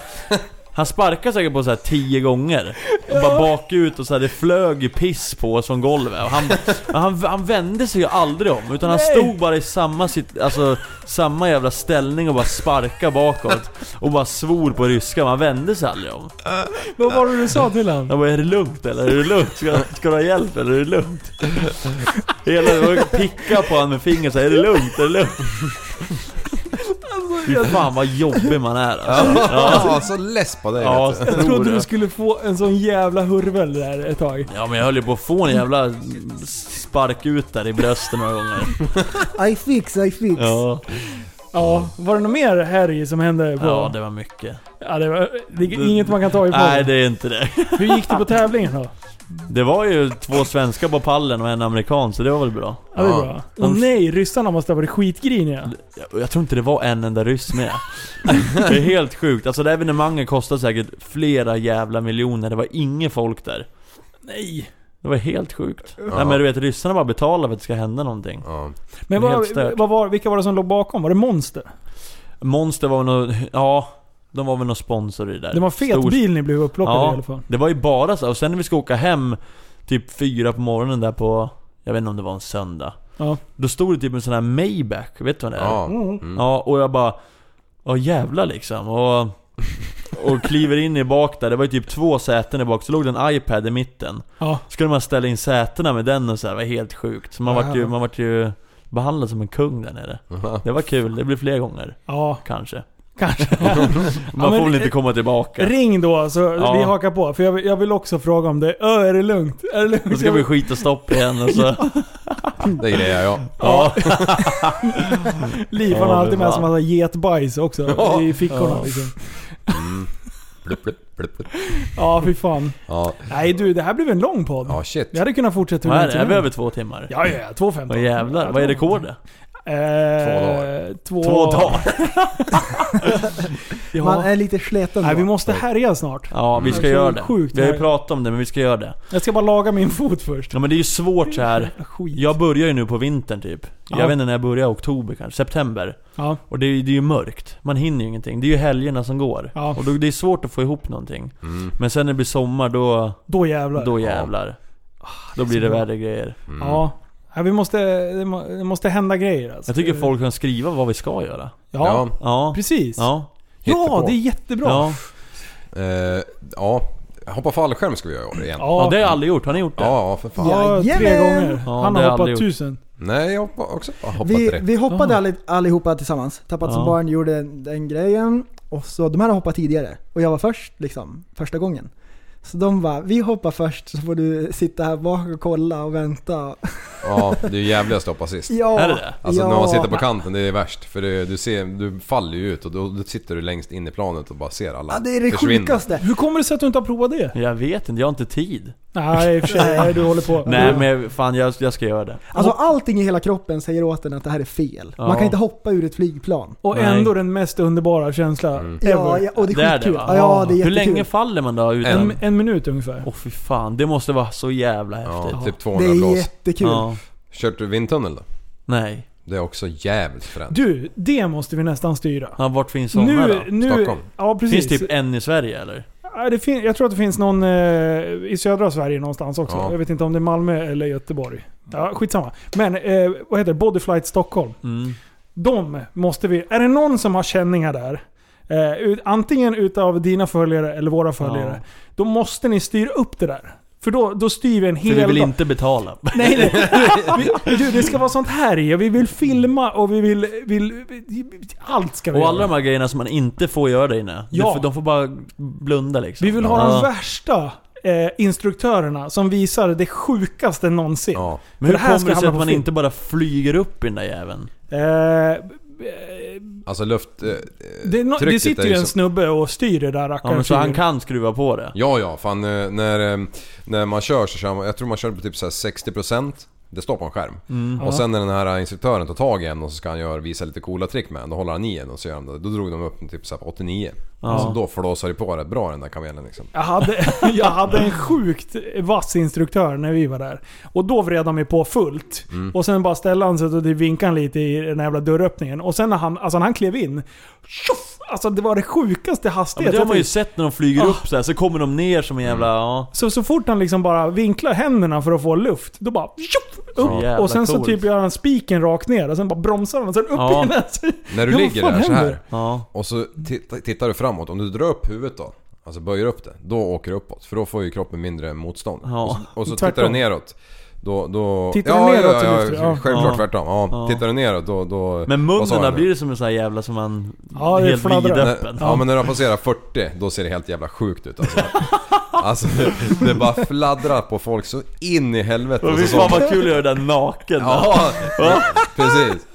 Speaker 8: han sparkade säkert på så här tio gånger och bara bakut och så här, det flög ju piss på oss från golvet och han, han, han vände sig ju aldrig om utan han stod bara i samma, sit, alltså, samma jävla ställning och bara sparkade bakåt Och bara svor på ryska, man vände sig aldrig om
Speaker 5: Vad var det du sa till honom?
Speaker 8: Jag bara, är det lugnt eller? Är det lugnt? Ska, ska du ha hjälp eller? Är det lugnt? Hela, jag picka på honom med fingret så här, är det lugnt? Är det lugnt?
Speaker 5: Alltså,
Speaker 8: Fy fan vad jobbig man är alltså.
Speaker 6: Ja, så less på dig.
Speaker 8: Ja,
Speaker 6: vet du.
Speaker 5: Jag
Speaker 8: tror
Speaker 5: trodde du
Speaker 8: det.
Speaker 5: skulle få en sån jävla hurvel där ett tag.
Speaker 8: Ja men jag höll ju på att få en jävla spark ut där i bröstet några gånger.
Speaker 7: I fix, I fix.
Speaker 8: Ja,
Speaker 5: Ja, var det något mer härj som hände? På?
Speaker 8: ja det var mycket.
Speaker 5: ja, det, var, det är inget man kan ta i på.
Speaker 8: Nej det är inte det.
Speaker 5: Hur gick det på tävlingen då?
Speaker 8: Det var ju två svenskar på pallen och en amerikan så det var väl bra.
Speaker 5: Ja, det är bra. Åh nej, ryssarna måste ha varit skitgriniga.
Speaker 8: Jag, jag tror inte det var en enda ryss med. Det är helt sjukt. Alltså det här evenemanget kostade säkert flera jävla miljoner. Det var inget folk där.
Speaker 5: Nej.
Speaker 8: Det var helt sjukt. Nej men du vet ryssarna bara betalar för att det ska hända någonting.
Speaker 6: Ja.
Speaker 5: Men
Speaker 8: Det är helt
Speaker 5: vad,
Speaker 8: stört.
Speaker 5: vad var, vilka var det som låg bakom? Var det Monster?
Speaker 8: Monster var väl nå... ja. De var väl någon sponsor i det där.
Speaker 5: Det var en fet
Speaker 8: Stor-
Speaker 5: bil ni blev upplockade i alla fall.
Speaker 8: Det var ju bara så, och sen när vi ska åka hem Typ fyra på morgonen där på Jag vet inte om det var en söndag
Speaker 5: Ja.
Speaker 8: Då stod det typ en sån här Maybach, vet du vad det är?
Speaker 6: Ja.
Speaker 8: Ja, och jag bara Ja jävlar liksom och, och kliver in i bak där, det var ju typ två säten i bak Så låg det en iPad i mitten
Speaker 5: Ja.
Speaker 8: Så skulle man ställa in sätena med den och så här, det var helt sjukt Så man vart ju, man vart ju behandlad som en kung där nere Det var kul, det blir fler gånger
Speaker 5: Ja,
Speaker 8: Kanske
Speaker 5: kanske.
Speaker 8: Man
Speaker 5: men-
Speaker 8: får väl inte komma tillbaka
Speaker 5: Ring då så
Speaker 8: Ja.
Speaker 5: vi hakar på. För jag, vill- jag vill också fråga om det. Ö, är det lugnt? Är det lugnt?
Speaker 8: Då ska vi skita stopp igen och så
Speaker 6: Det grejar jag.
Speaker 8: Ja,
Speaker 5: Liv han har
Speaker 8: Ja, det
Speaker 5: alltid med
Speaker 8: var-
Speaker 5: sig en massa getbajs också
Speaker 6: Ja.
Speaker 5: i fickorna. Ja.
Speaker 8: Ja.
Speaker 5: Liksom.
Speaker 6: Blup, blup, blup, blup.
Speaker 5: ja, fy fan.
Speaker 6: Ja,
Speaker 5: Nej du, det här blev en lång podd.
Speaker 6: ja shit.
Speaker 5: Vi hade kunnat fortsätta
Speaker 8: vad är
Speaker 5: länge
Speaker 8: det?
Speaker 5: som
Speaker 8: Är vi
Speaker 5: helst.
Speaker 8: över två timmar?
Speaker 5: Ja, ja, ja. 2.15.
Speaker 8: Vad jävlar, vad är rekordet?
Speaker 5: Eh,
Speaker 6: Två dagar.
Speaker 5: Två,
Speaker 8: Två dagar?
Speaker 5: Ja.
Speaker 7: Man är lite sleten
Speaker 5: Nej,
Speaker 7: då.
Speaker 5: vi måste härja snart.
Speaker 8: Ja, vi ska
Speaker 5: Det är så
Speaker 8: göra det.
Speaker 5: sjukt
Speaker 8: Vi har ju
Speaker 5: här.
Speaker 8: pratat om det, men vi ska göra det.
Speaker 5: Jag ska bara laga min fot först.
Speaker 8: Ja men det är ju svårt så här.
Speaker 5: Skit.
Speaker 8: Jag börjar ju nu på vintern typ.
Speaker 5: Ja.
Speaker 8: Jag vet inte när jag börjar, oktober kanske, september.
Speaker 5: Ja.
Speaker 8: Och det är, ju- det är ju mörkt. Man hinner ju ingenting. Det är ju helgerna som går.
Speaker 5: Ja.
Speaker 8: Och då, det är svårt att få ihop någonting. Men sen när det blir sommar, då,
Speaker 5: Då jävlar. Ah,
Speaker 8: då jävlar. Då blir det värre grejer.
Speaker 5: Ja. Ja, vi måste, det, må, det måste hända grejer alltså.
Speaker 8: Jag tycker folk kan skriva vad vi ska göra.
Speaker 5: Ja,
Speaker 6: Ja.
Speaker 8: Ja.
Speaker 5: precis. Ja,
Speaker 8: Ja.
Speaker 6: hitta på.
Speaker 5: det är jättebra.
Speaker 8: Ja.
Speaker 6: Eh, ja, hoppa fallskärm ska vi göra i år igen. Ja,
Speaker 8: ja, det har jag aldrig gjort. Har ni gjort det?
Speaker 6: ja för fan.
Speaker 5: Ja, tre
Speaker 7: Jajamän.
Speaker 5: gånger.
Speaker 8: Ja,
Speaker 5: Han
Speaker 8: det
Speaker 5: har
Speaker 8: har
Speaker 5: hoppat
Speaker 8: aldrig gjort.
Speaker 5: tusen.
Speaker 6: Nej, jag hoppar också jag har hoppat
Speaker 7: Vi,
Speaker 6: direkt.
Speaker 7: vi hoppade alli- allihopa tillsammans. Tappat som
Speaker 8: Ja.
Speaker 7: barn gjorde den, den grejen. Och så de här har hoppat tidigare. Och jag var först liksom, första gången. Så de var vi hoppar först så får du sitta här bak och kolla och vänta.
Speaker 6: Ja, det är ju jävligast att hoppa sist.
Speaker 7: Ja,
Speaker 8: Är det det?
Speaker 6: Alltså
Speaker 7: ja.
Speaker 6: när man sitter på kanten, det är värst. För det, du, ser, du faller ju ut och då, då sitter du längst in i planet och bara ser alla
Speaker 7: Ja, det är det
Speaker 6: försvinna.
Speaker 7: sjukaste.
Speaker 5: Hur kommer det sig att du inte har provat det?
Speaker 8: Jag vet inte, jag har inte tid.
Speaker 5: Nej, i och för sig. nej, Du håller på.
Speaker 8: Nej men fan jag, jag ska göra det.
Speaker 7: Alltså allting i hela kroppen säger åt en att det här är fel. Man
Speaker 8: Ja.
Speaker 7: kan inte hoppa ur ett flygplan.
Speaker 5: Och
Speaker 8: Nej. Mm.
Speaker 5: ändå den mest underbara känslan ever.
Speaker 7: Ja, ja, och det är
Speaker 8: Det är det,
Speaker 7: skitkul.
Speaker 8: va?
Speaker 7: ja, ja, det är
Speaker 8: Hur
Speaker 7: jättekul.
Speaker 8: länge faller man då utan...
Speaker 5: En, en minut ungefär.
Speaker 8: Åh fy fan, det måste vara så jävla häftigt.
Speaker 6: Ja, typ
Speaker 7: det
Speaker 6: 200
Speaker 7: är
Speaker 6: blås.
Speaker 7: jättekul.
Speaker 8: Ja.
Speaker 6: Kört du vindtunnel då?
Speaker 8: Nej.
Speaker 6: Det är också jävligt fränt.
Speaker 5: Du, det måste vi nästan styra.
Speaker 8: Ja, vart finns såna
Speaker 5: Nu,
Speaker 8: då?
Speaker 5: nu...
Speaker 6: Stockholm.
Speaker 5: Ja, precis.
Speaker 8: Finns typ en i Sverige eller?
Speaker 5: Ja, det fin- jag tror att det finns någon eh, i södra Sverige någonstans också.
Speaker 6: Ja.
Speaker 5: Jag vet inte om det är Malmö eller Göteborg. Ja, skitsamma. Men eh, vad heter det? Bodyflight Stockholm.
Speaker 8: Mm.
Speaker 5: De måste vi... Är det någon som har känningar där? Eh, ut, antingen utav dina följare eller våra följare.
Speaker 8: Ja.
Speaker 5: Då måste ni styra upp det där. För då, då styr vi en
Speaker 8: För
Speaker 5: hel
Speaker 8: vi vill
Speaker 5: dag.
Speaker 8: inte betala.
Speaker 5: Nej, nej. Vi, du, det ska vara sånt här i. och Vi vill filma och vi vill... vill allt ska vi
Speaker 8: Och
Speaker 5: göra.
Speaker 8: alla de här grejerna som man inte får göra där inne.
Speaker 5: Ja.
Speaker 8: Ja. De får bara blunda liksom.
Speaker 5: Vi vill ha de
Speaker 8: Ja.
Speaker 5: värsta eh, instruktörerna som visar det sjukaste någonsin.
Speaker 6: Ja.
Speaker 8: Men hur
Speaker 5: det här
Speaker 8: kommer
Speaker 5: ska
Speaker 8: det sig
Speaker 5: hamna
Speaker 8: att
Speaker 5: på
Speaker 8: man
Speaker 5: film.
Speaker 8: inte bara flyger upp i den där jäveln?
Speaker 5: Eh,
Speaker 6: Alltså luft... Eh,
Speaker 5: det, är nå- det
Speaker 6: Trycket
Speaker 5: sitter
Speaker 6: är
Speaker 5: ju
Speaker 6: ju
Speaker 5: en
Speaker 6: så-
Speaker 5: snubbe och styr det där
Speaker 8: Ja,
Speaker 5: rackaren.
Speaker 8: men så han kan skruva på det.
Speaker 6: ja, ja. Fan, eh, när, eh, när man kör så kör man... Jag tror man kör på typ så här 60%. Det står på en skärm.
Speaker 5: Mm.
Speaker 6: Och sen när den här instruktören tar tag i en och så ska han göra, visa lite coola trick med en. Då håller han i en och så gör han det. Då drog de upp den typ så här på 89. Så då flåsade det på rätt bra den där kamelen liksom.
Speaker 5: jag, hade, jag hade en sjukt vass instruktör när vi var där. Och då vred han mig på fullt. Och sen bara ställde han sig och vinkade han lite i den här jävla dörröppningen. Och sen när han, alltså när han klev in. Tjoff! Alltså det var det sjukaste
Speaker 8: Ja, men
Speaker 5: hastighet.
Speaker 8: det har
Speaker 5: jag
Speaker 8: man ju
Speaker 5: tänkt.
Speaker 8: sett när de flyger
Speaker 5: Ah. Mm.
Speaker 8: upp så här, så kommer de ner som en jävla... Ja.
Speaker 5: Så, så fort han liksom bara vinklar händerna för att få luft, då bara tjoff, upp.
Speaker 8: jävla
Speaker 5: och sen så
Speaker 8: coolt.
Speaker 5: typ gör han spiken rakt ner och sen bara bromsar han och sen upp
Speaker 8: Ja.
Speaker 5: igen. Alltså.
Speaker 6: När du
Speaker 5: Ja, vad
Speaker 6: ligger
Speaker 5: fan
Speaker 6: där så
Speaker 5: händer?
Speaker 6: här
Speaker 8: Ja.
Speaker 6: och så titta- tittar du framåt. Om du drar upp huvudet då, alltså böjer upp det, då åker det uppåt. För då får ju kroppen mindre motstånd.
Speaker 8: Ja.
Speaker 6: Och så, och så
Speaker 5: Tvärtom.
Speaker 6: tittar du neråt. Då, då...
Speaker 5: Tittar du neråt så lyfter du, ja.
Speaker 6: självklart
Speaker 8: Ja.
Speaker 6: tvärtom. Ja.
Speaker 8: Ja.
Speaker 6: Tittar du neråt då... då
Speaker 8: Men
Speaker 6: vad sa
Speaker 8: munnen där
Speaker 6: jag nu?
Speaker 8: blir det som en sån här jävla som man...
Speaker 5: Ja, det
Speaker 8: helt
Speaker 5: fladdrar.
Speaker 8: vidöppen.
Speaker 6: När, ja men när de passerar 40, då ser det helt jävla sjukt ut alltså. alltså det bara fladdrar på folk så in i helvete.
Speaker 8: Och
Speaker 6: Och
Speaker 8: fy
Speaker 6: så,
Speaker 8: fan
Speaker 6: så,
Speaker 8: vad kul att göra det där naken.
Speaker 6: ja, precis.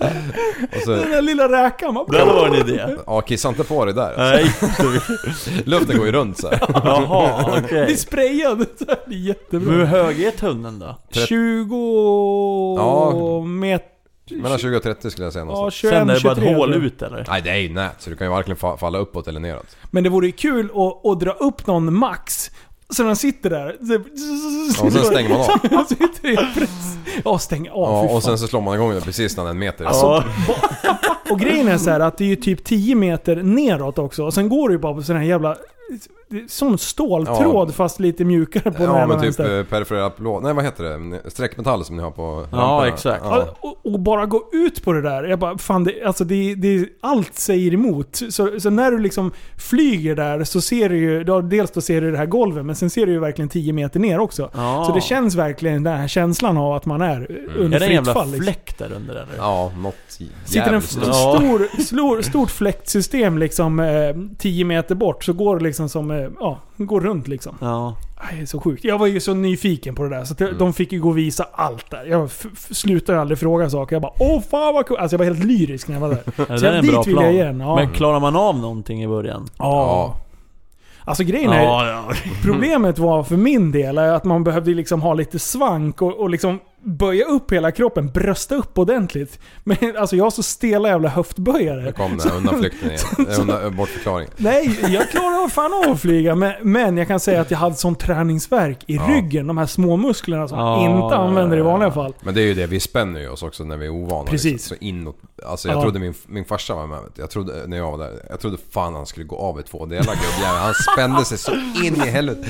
Speaker 6: Och så,
Speaker 5: Den där lilla räkan bara...
Speaker 8: Det hade varit en idé.
Speaker 6: ja kissa inte på dig där.
Speaker 8: Nej.
Speaker 6: Luften går ju runt så här.
Speaker 8: Jaha, okej.
Speaker 5: Blir sprayad. Så här, Det är jättebra.
Speaker 8: Men hur hög är tunneln då?
Speaker 5: 20
Speaker 6: Ja.
Speaker 5: meter...
Speaker 6: Mellan 20 och 30 skulle jag säga
Speaker 5: Ja,
Speaker 6: någonstans.
Speaker 5: 21,
Speaker 8: Alltså, Sen är det bara
Speaker 5: 23,
Speaker 8: ett hål
Speaker 5: tror jag.
Speaker 8: ut eller?
Speaker 6: Nej det är ju nät så du kan ju varken fa- falla uppåt eller neråt.
Speaker 5: Men det vore ju kul att, att dra upp någon max. Så när han sitter där...
Speaker 6: Ja, och sen stänger man av.
Speaker 5: Han sitter i press. Ja, stäng av. fy
Speaker 6: Ja,
Speaker 5: fan.
Speaker 6: och sen så slår man igång den precis när den är en meter.
Speaker 5: Alltså,
Speaker 8: Ja.
Speaker 5: Och grejen är så här att det är ju typ 10 meter neråt också. Och sen går det ju bara på sån här jävla... Som ståltråd fast lite mjukare på den
Speaker 6: Ja
Speaker 5: här
Speaker 6: men typ
Speaker 5: vänster.
Speaker 6: eh, perforerad plåt, nej vad heter det? Sträckmetall som ni har på
Speaker 8: Ja,
Speaker 6: lamporna.
Speaker 8: exakt.
Speaker 6: Ja.
Speaker 5: Ja, Och, och bara gå ut på det där. Jag bara, fan det, alltså det, det, allt säger emot. Så, så när du liksom flyger där så ser du ju, då, dels då ser du det här golvet, men sen ser du ju verkligen 10 meter ner också.
Speaker 8: Ja.
Speaker 5: Så det känns verkligen den här känslan av att man är under
Speaker 8: Är det en
Speaker 5: fritt
Speaker 8: jävla
Speaker 5: fall. Liksom.
Speaker 8: fläkt där under eller?
Speaker 6: Ja, något
Speaker 5: Sitter en
Speaker 6: jävligt
Speaker 5: f-
Speaker 6: stort.
Speaker 8: Ja.
Speaker 5: stor, stor, stort fläktsystem liksom eh, 10 meter bort så går det liksom som, eh, ja, går runt liksom.
Speaker 8: Ja.
Speaker 5: Aj, det är så sjukt. Jag var ju så nyfiken på det där så att
Speaker 8: Mm.
Speaker 5: de fick ju gå och visa allt där. Jag f- f- slutade aldrig fråga saker. Jag bara åh fan vad kul. Alltså jag var helt lyrisk när jag var där.
Speaker 8: Ja, Det
Speaker 5: Så
Speaker 8: där är en
Speaker 5: dit
Speaker 8: bra
Speaker 5: vill jag
Speaker 8: plan.
Speaker 5: igen, ja.
Speaker 8: Men klarar man av någonting i början?
Speaker 5: Ja.
Speaker 6: Ja.
Speaker 5: Alltså grejen är,
Speaker 8: ja.
Speaker 5: problemet var för min del är att man behövde liksom ha lite svank och, och liksom böja upp hela kroppen, brösta upp ordentligt. Men alltså jag har så stela jävla höftböjare.
Speaker 6: Där kom den här undanflykten igen. Eh, Undan, bortförklaring.
Speaker 5: Nej, jag klarar fan av att flyga. Men, men jag kan säga att jag hade sån träningsverk i
Speaker 6: Ja.
Speaker 5: ryggen. De här små musklerna som
Speaker 8: Ja,
Speaker 5: man inte
Speaker 8: ja,
Speaker 5: använder i
Speaker 8: ja,
Speaker 5: vanliga
Speaker 8: ja.
Speaker 5: fall.
Speaker 6: Men det är ju det, vi spänner ju oss också när vi är ovana.
Speaker 5: Precis.
Speaker 6: Liksom. Så inåt, alltså jag
Speaker 5: Ja.
Speaker 6: trodde min, min farsa var med vet du. jag trodde, när jag var där. Jag trodde fan han skulle gå av i två delar gubbjäveln. Han spände sig så in i helvete.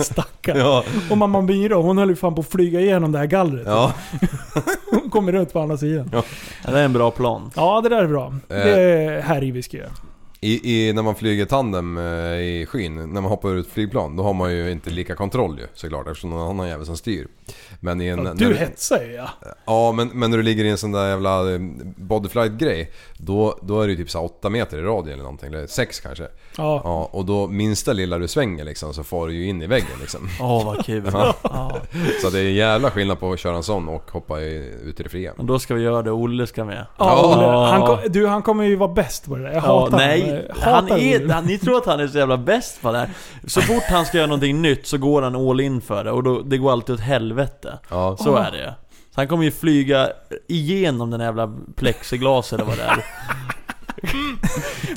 Speaker 5: Stackarn. Och mamma Myra, hon höll ju fan på att flyga igenom det här gallret.
Speaker 6: Ja.
Speaker 5: Hon kommer runt på andra sidan.
Speaker 8: Ja, Det är en bra plan.
Speaker 5: Ja, det där är
Speaker 8: Eh.
Speaker 5: bra. Det är här i vi ska göra.
Speaker 6: I, i, när man flyger tandem eh, i skyn, när man hoppar ur ett flygplan, då har man ju inte lika kontroll ju såklart eftersom någon annan jävel som styr. Men i en, när
Speaker 5: Du hetsar ju ja.
Speaker 6: Ja, men, men när du ligger i en sån där jävla eh, bodyflight-grej, då, då är det ju typ så här 8 meter i radie eller någonting, eller 6 kanske.
Speaker 5: Ja.
Speaker 6: Ja, och då minsta lilla du svänger liksom så far du ju in i väggen liksom.
Speaker 8: Åh vad kul.
Speaker 6: Så det är en jävla skillnad på att köra en sån och hoppa i, ut i det fria.
Speaker 8: Men då ska vi göra det, Olle ska med.
Speaker 5: Ja,
Speaker 6: Ja.
Speaker 5: Olle, han, kom- du, han kommer ju vara bäst på det där. Jag
Speaker 8: Ja,
Speaker 5: hatar honom.
Speaker 8: nej,
Speaker 5: Jag
Speaker 8: han
Speaker 5: hatar
Speaker 8: är,
Speaker 5: Olle.
Speaker 8: han, ni tror att han är så jävla bäst på det här. Så fort han ska göra någonting nytt så går han all in för det och då, det går alltid åt helvete.
Speaker 6: Ja.
Speaker 8: Så är det ju. Så han kommer ju flyga igenom den här jävla plexiglas eller vad det är.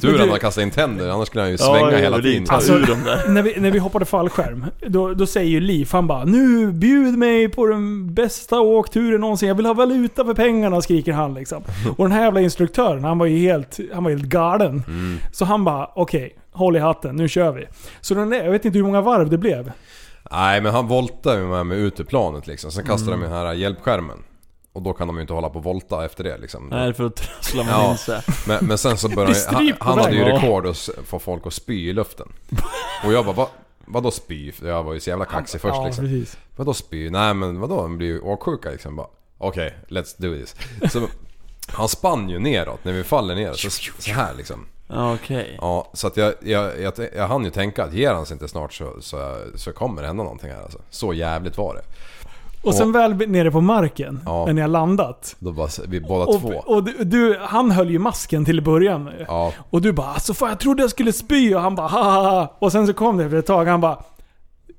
Speaker 6: Tur att han har kastat in tänder, annars skulle han ju svänga hela tiden.
Speaker 8: Alltså, ur dem där.
Speaker 5: När vi, när vi hoppade fallskärm, då, då säger ju Liv, han bara Nu bjud mig på den bästa åkturen någonsin. Jag vill ha valuta för pengarna, skriker han liksom. Och den här jävla instruktören, han var ju helt, han var helt galen. Så han bara, okej, håll i hatten, nu kör vi. Så den, där- jag vet inte hur många varv det blev.
Speaker 6: Nej men han voltar ju med, med ut ur planet liksom, sen kastar de
Speaker 5: Mm.
Speaker 6: den här hjälpskärmen. Och då kan de ju inte hålla på och volta efter det liksom.
Speaker 8: Nej, för att trassla med
Speaker 6: Ja.
Speaker 8: in sig.
Speaker 6: Men, men sen så började
Speaker 5: blir
Speaker 6: han,
Speaker 5: stryp på
Speaker 6: han hade ju
Speaker 5: vägen.
Speaker 6: rekord att s- få folk att spy i luften. Och jag bara, Va, vadå spy? För Jag var ju så jävla kaxig först
Speaker 5: ja,
Speaker 6: liksom.
Speaker 5: precis.
Speaker 6: Vadå spy? Nej men vadå, de blir ju åksjuka liksom. Bara, Okej, let's do this. Så, han spann ju neråt när vi faller ner så, så här liksom.
Speaker 8: Ja, Okej.
Speaker 6: Ja, så att jag, jag, jag, jag hann ju tänka att ger han sig inte snart så, så, så kommer det hända någonting här alltså. Så jävligt var det.
Speaker 5: Och sen väl nere på marken,
Speaker 6: Ja.
Speaker 5: när ni har landat.
Speaker 6: Då bara, s- vi båda två.
Speaker 5: Och, och du, du, han höll ju masken till i början.
Speaker 6: Ja.
Speaker 5: Och du bara alltså fan jag trodde jag skulle spy och han bara "Ha, ha ha." Och sen så kom det efter ett tag han bara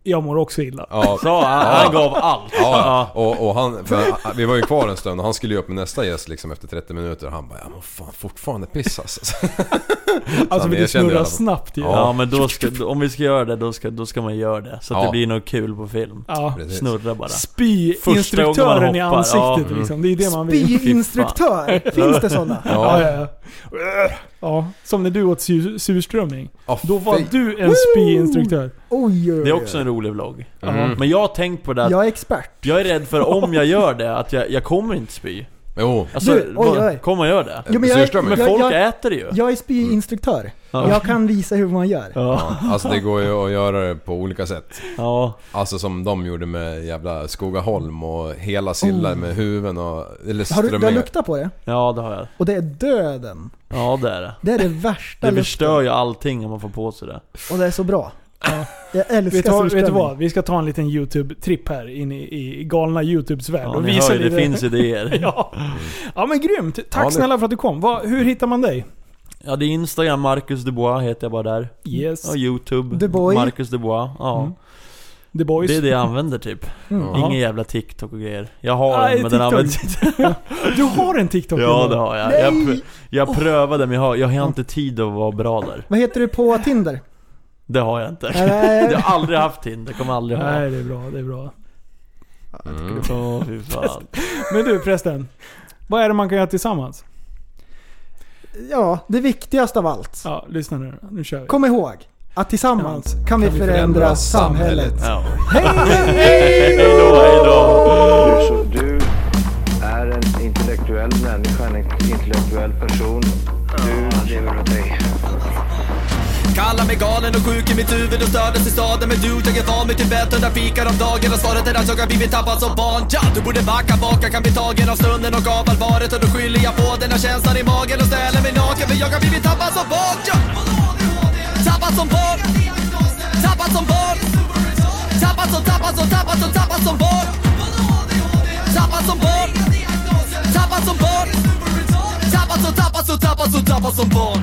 Speaker 5: Jag mår också illa.
Speaker 6: Ja,
Speaker 8: Så han, han gav allt.
Speaker 6: Ja, och, och han, för vi var ju kvar en stund och han skulle ju upp med nästa gäst liksom efter 30 minuter och han bara ja men fan fortfarande piss alltså.
Speaker 5: alltså
Speaker 6: han
Speaker 5: för det
Speaker 6: erkände i
Speaker 5: snurrar
Speaker 6: alla fall.
Speaker 5: snabbt ju.
Speaker 8: Ja, men då ska, om vi ska göra det, då ska, då ska man göra det. Så att
Speaker 6: Ja.
Speaker 8: det blir något kul på film.
Speaker 5: Ja.
Speaker 6: Precis.
Speaker 8: Snurra bara.
Speaker 5: Spy
Speaker 8: Första gången
Speaker 5: instruktören
Speaker 8: man
Speaker 5: i
Speaker 8: hoppar,
Speaker 5: ansiktet
Speaker 8: ja.
Speaker 5: liksom. Det är det man vill.
Speaker 7: Byinstruktör, finns det sådana?
Speaker 5: Ja,
Speaker 6: Ja,
Speaker 5: ja, ja. ja, som när du åt sur, surströmming.
Speaker 6: Ja,
Speaker 5: Då var
Speaker 6: fy-
Speaker 5: du en spyinstruktör.
Speaker 7: Oj, oj,
Speaker 8: Det är
Speaker 7: oj.
Speaker 8: också en rolig vlogg.
Speaker 6: Mm.
Speaker 8: Men jag har tänkt på det att
Speaker 7: Jag är expert.
Speaker 8: jag är rädd för om jag gör det, att jag, jag kommer inte spy.
Speaker 6: Jo,
Speaker 8: Alltså,
Speaker 7: Du, oj,
Speaker 8: vad-
Speaker 7: oj.
Speaker 8: kommer jag göra det?
Speaker 7: Jo, men jag,
Speaker 6: Surströmming.
Speaker 8: Men
Speaker 7: jag,
Speaker 8: folk
Speaker 7: jag,
Speaker 8: äter det ju.
Speaker 7: jag är spyinstruktör.
Speaker 8: Ja.
Speaker 7: Jag kan visa hur man gör.
Speaker 8: Ja.
Speaker 6: alltså det går ju att göra det på olika sätt.
Speaker 8: ja.
Speaker 6: Alltså som de gjorde med jävla Skogaholm och hela sillar med huvuden och... Eller
Speaker 7: Har du, du har
Speaker 6: strömmingar.
Speaker 7: luktat på det?
Speaker 8: Ja, det har jag.
Speaker 7: Och det är döden.
Speaker 8: Ja, det är det.
Speaker 7: Det är det värsta
Speaker 8: Det
Speaker 7: lukten.
Speaker 8: förstör ju allting om man får på sig det.
Speaker 7: Och det är så bra. Jag älskar
Speaker 5: Vet du, vad- vet du
Speaker 7: surströmming.
Speaker 5: vad? Vi ska ta en liten YouTube-tripp här in i, i galna YouTubes värld.
Speaker 8: Ja, ni hör ju, det finns idéer.
Speaker 5: Ja. ja men grymt. Tack
Speaker 6: Ja, det-
Speaker 5: snälla för att du kom. Vad- hur hittar man dig?
Speaker 8: Ja, det är Instagram, Marcus Dubois heter jag bara där.
Speaker 5: Yes.
Speaker 8: Och YouTube,
Speaker 7: The Boy.
Speaker 8: Marcus Dubois. Ja.
Speaker 5: Mm. The Boys.
Speaker 8: Det är det jag använder typ.
Speaker 7: Mm.
Speaker 5: Ja.
Speaker 8: Ingen jävla TikTok och grejer. Jag har
Speaker 5: Nej,
Speaker 8: den, men den
Speaker 5: TikTok.
Speaker 8: används inte.
Speaker 5: Du har en TikTok?
Speaker 8: Ja,
Speaker 5: ändå.
Speaker 8: det har jag. Jag, pr- jag prövade, men jag har, jag har inte tid att vara bra där.
Speaker 7: Vad heter du på Tinder?
Speaker 8: Det har jag inte.
Speaker 7: Eller-
Speaker 8: Jag har aldrig haft Tinder, kommer aldrig ha.
Speaker 5: Nej, det är bra. Det är bra.
Speaker 6: Mm.
Speaker 8: Åh, fy fan.
Speaker 5: Men du förresten. Vad är det man kan göra tillsammans?
Speaker 7: Ja, det viktigaste av allt.
Speaker 5: Ja, lyssna nu. Nu kör vi.
Speaker 7: Kom ihåg att tillsammans kan vi förändra samhället.
Speaker 8: Ja.
Speaker 3: Du, så du är en intellektuell människa, en intellektuell person. Du lever av dig.
Speaker 1: Kallar mig galen och sjuk i mitt huvud och stördes i staden Men du, jag är van vid Tibet och där fikar om dagen Och svaret är att jag har blivit tappad som barn ja, Du borde backa bak, jag kan bli tagen av stunden och av allvaret Och då skyller jag på den här känslan i magen och ställer mig naken För jag har blivit tappad som barn ja. Tappad som barn Tappad som barn Tappad som, tappad som, tappad som, tappad som barn Tappad som barn Tappad som barn Tappad som, tappad som, tappad som, tappad som barn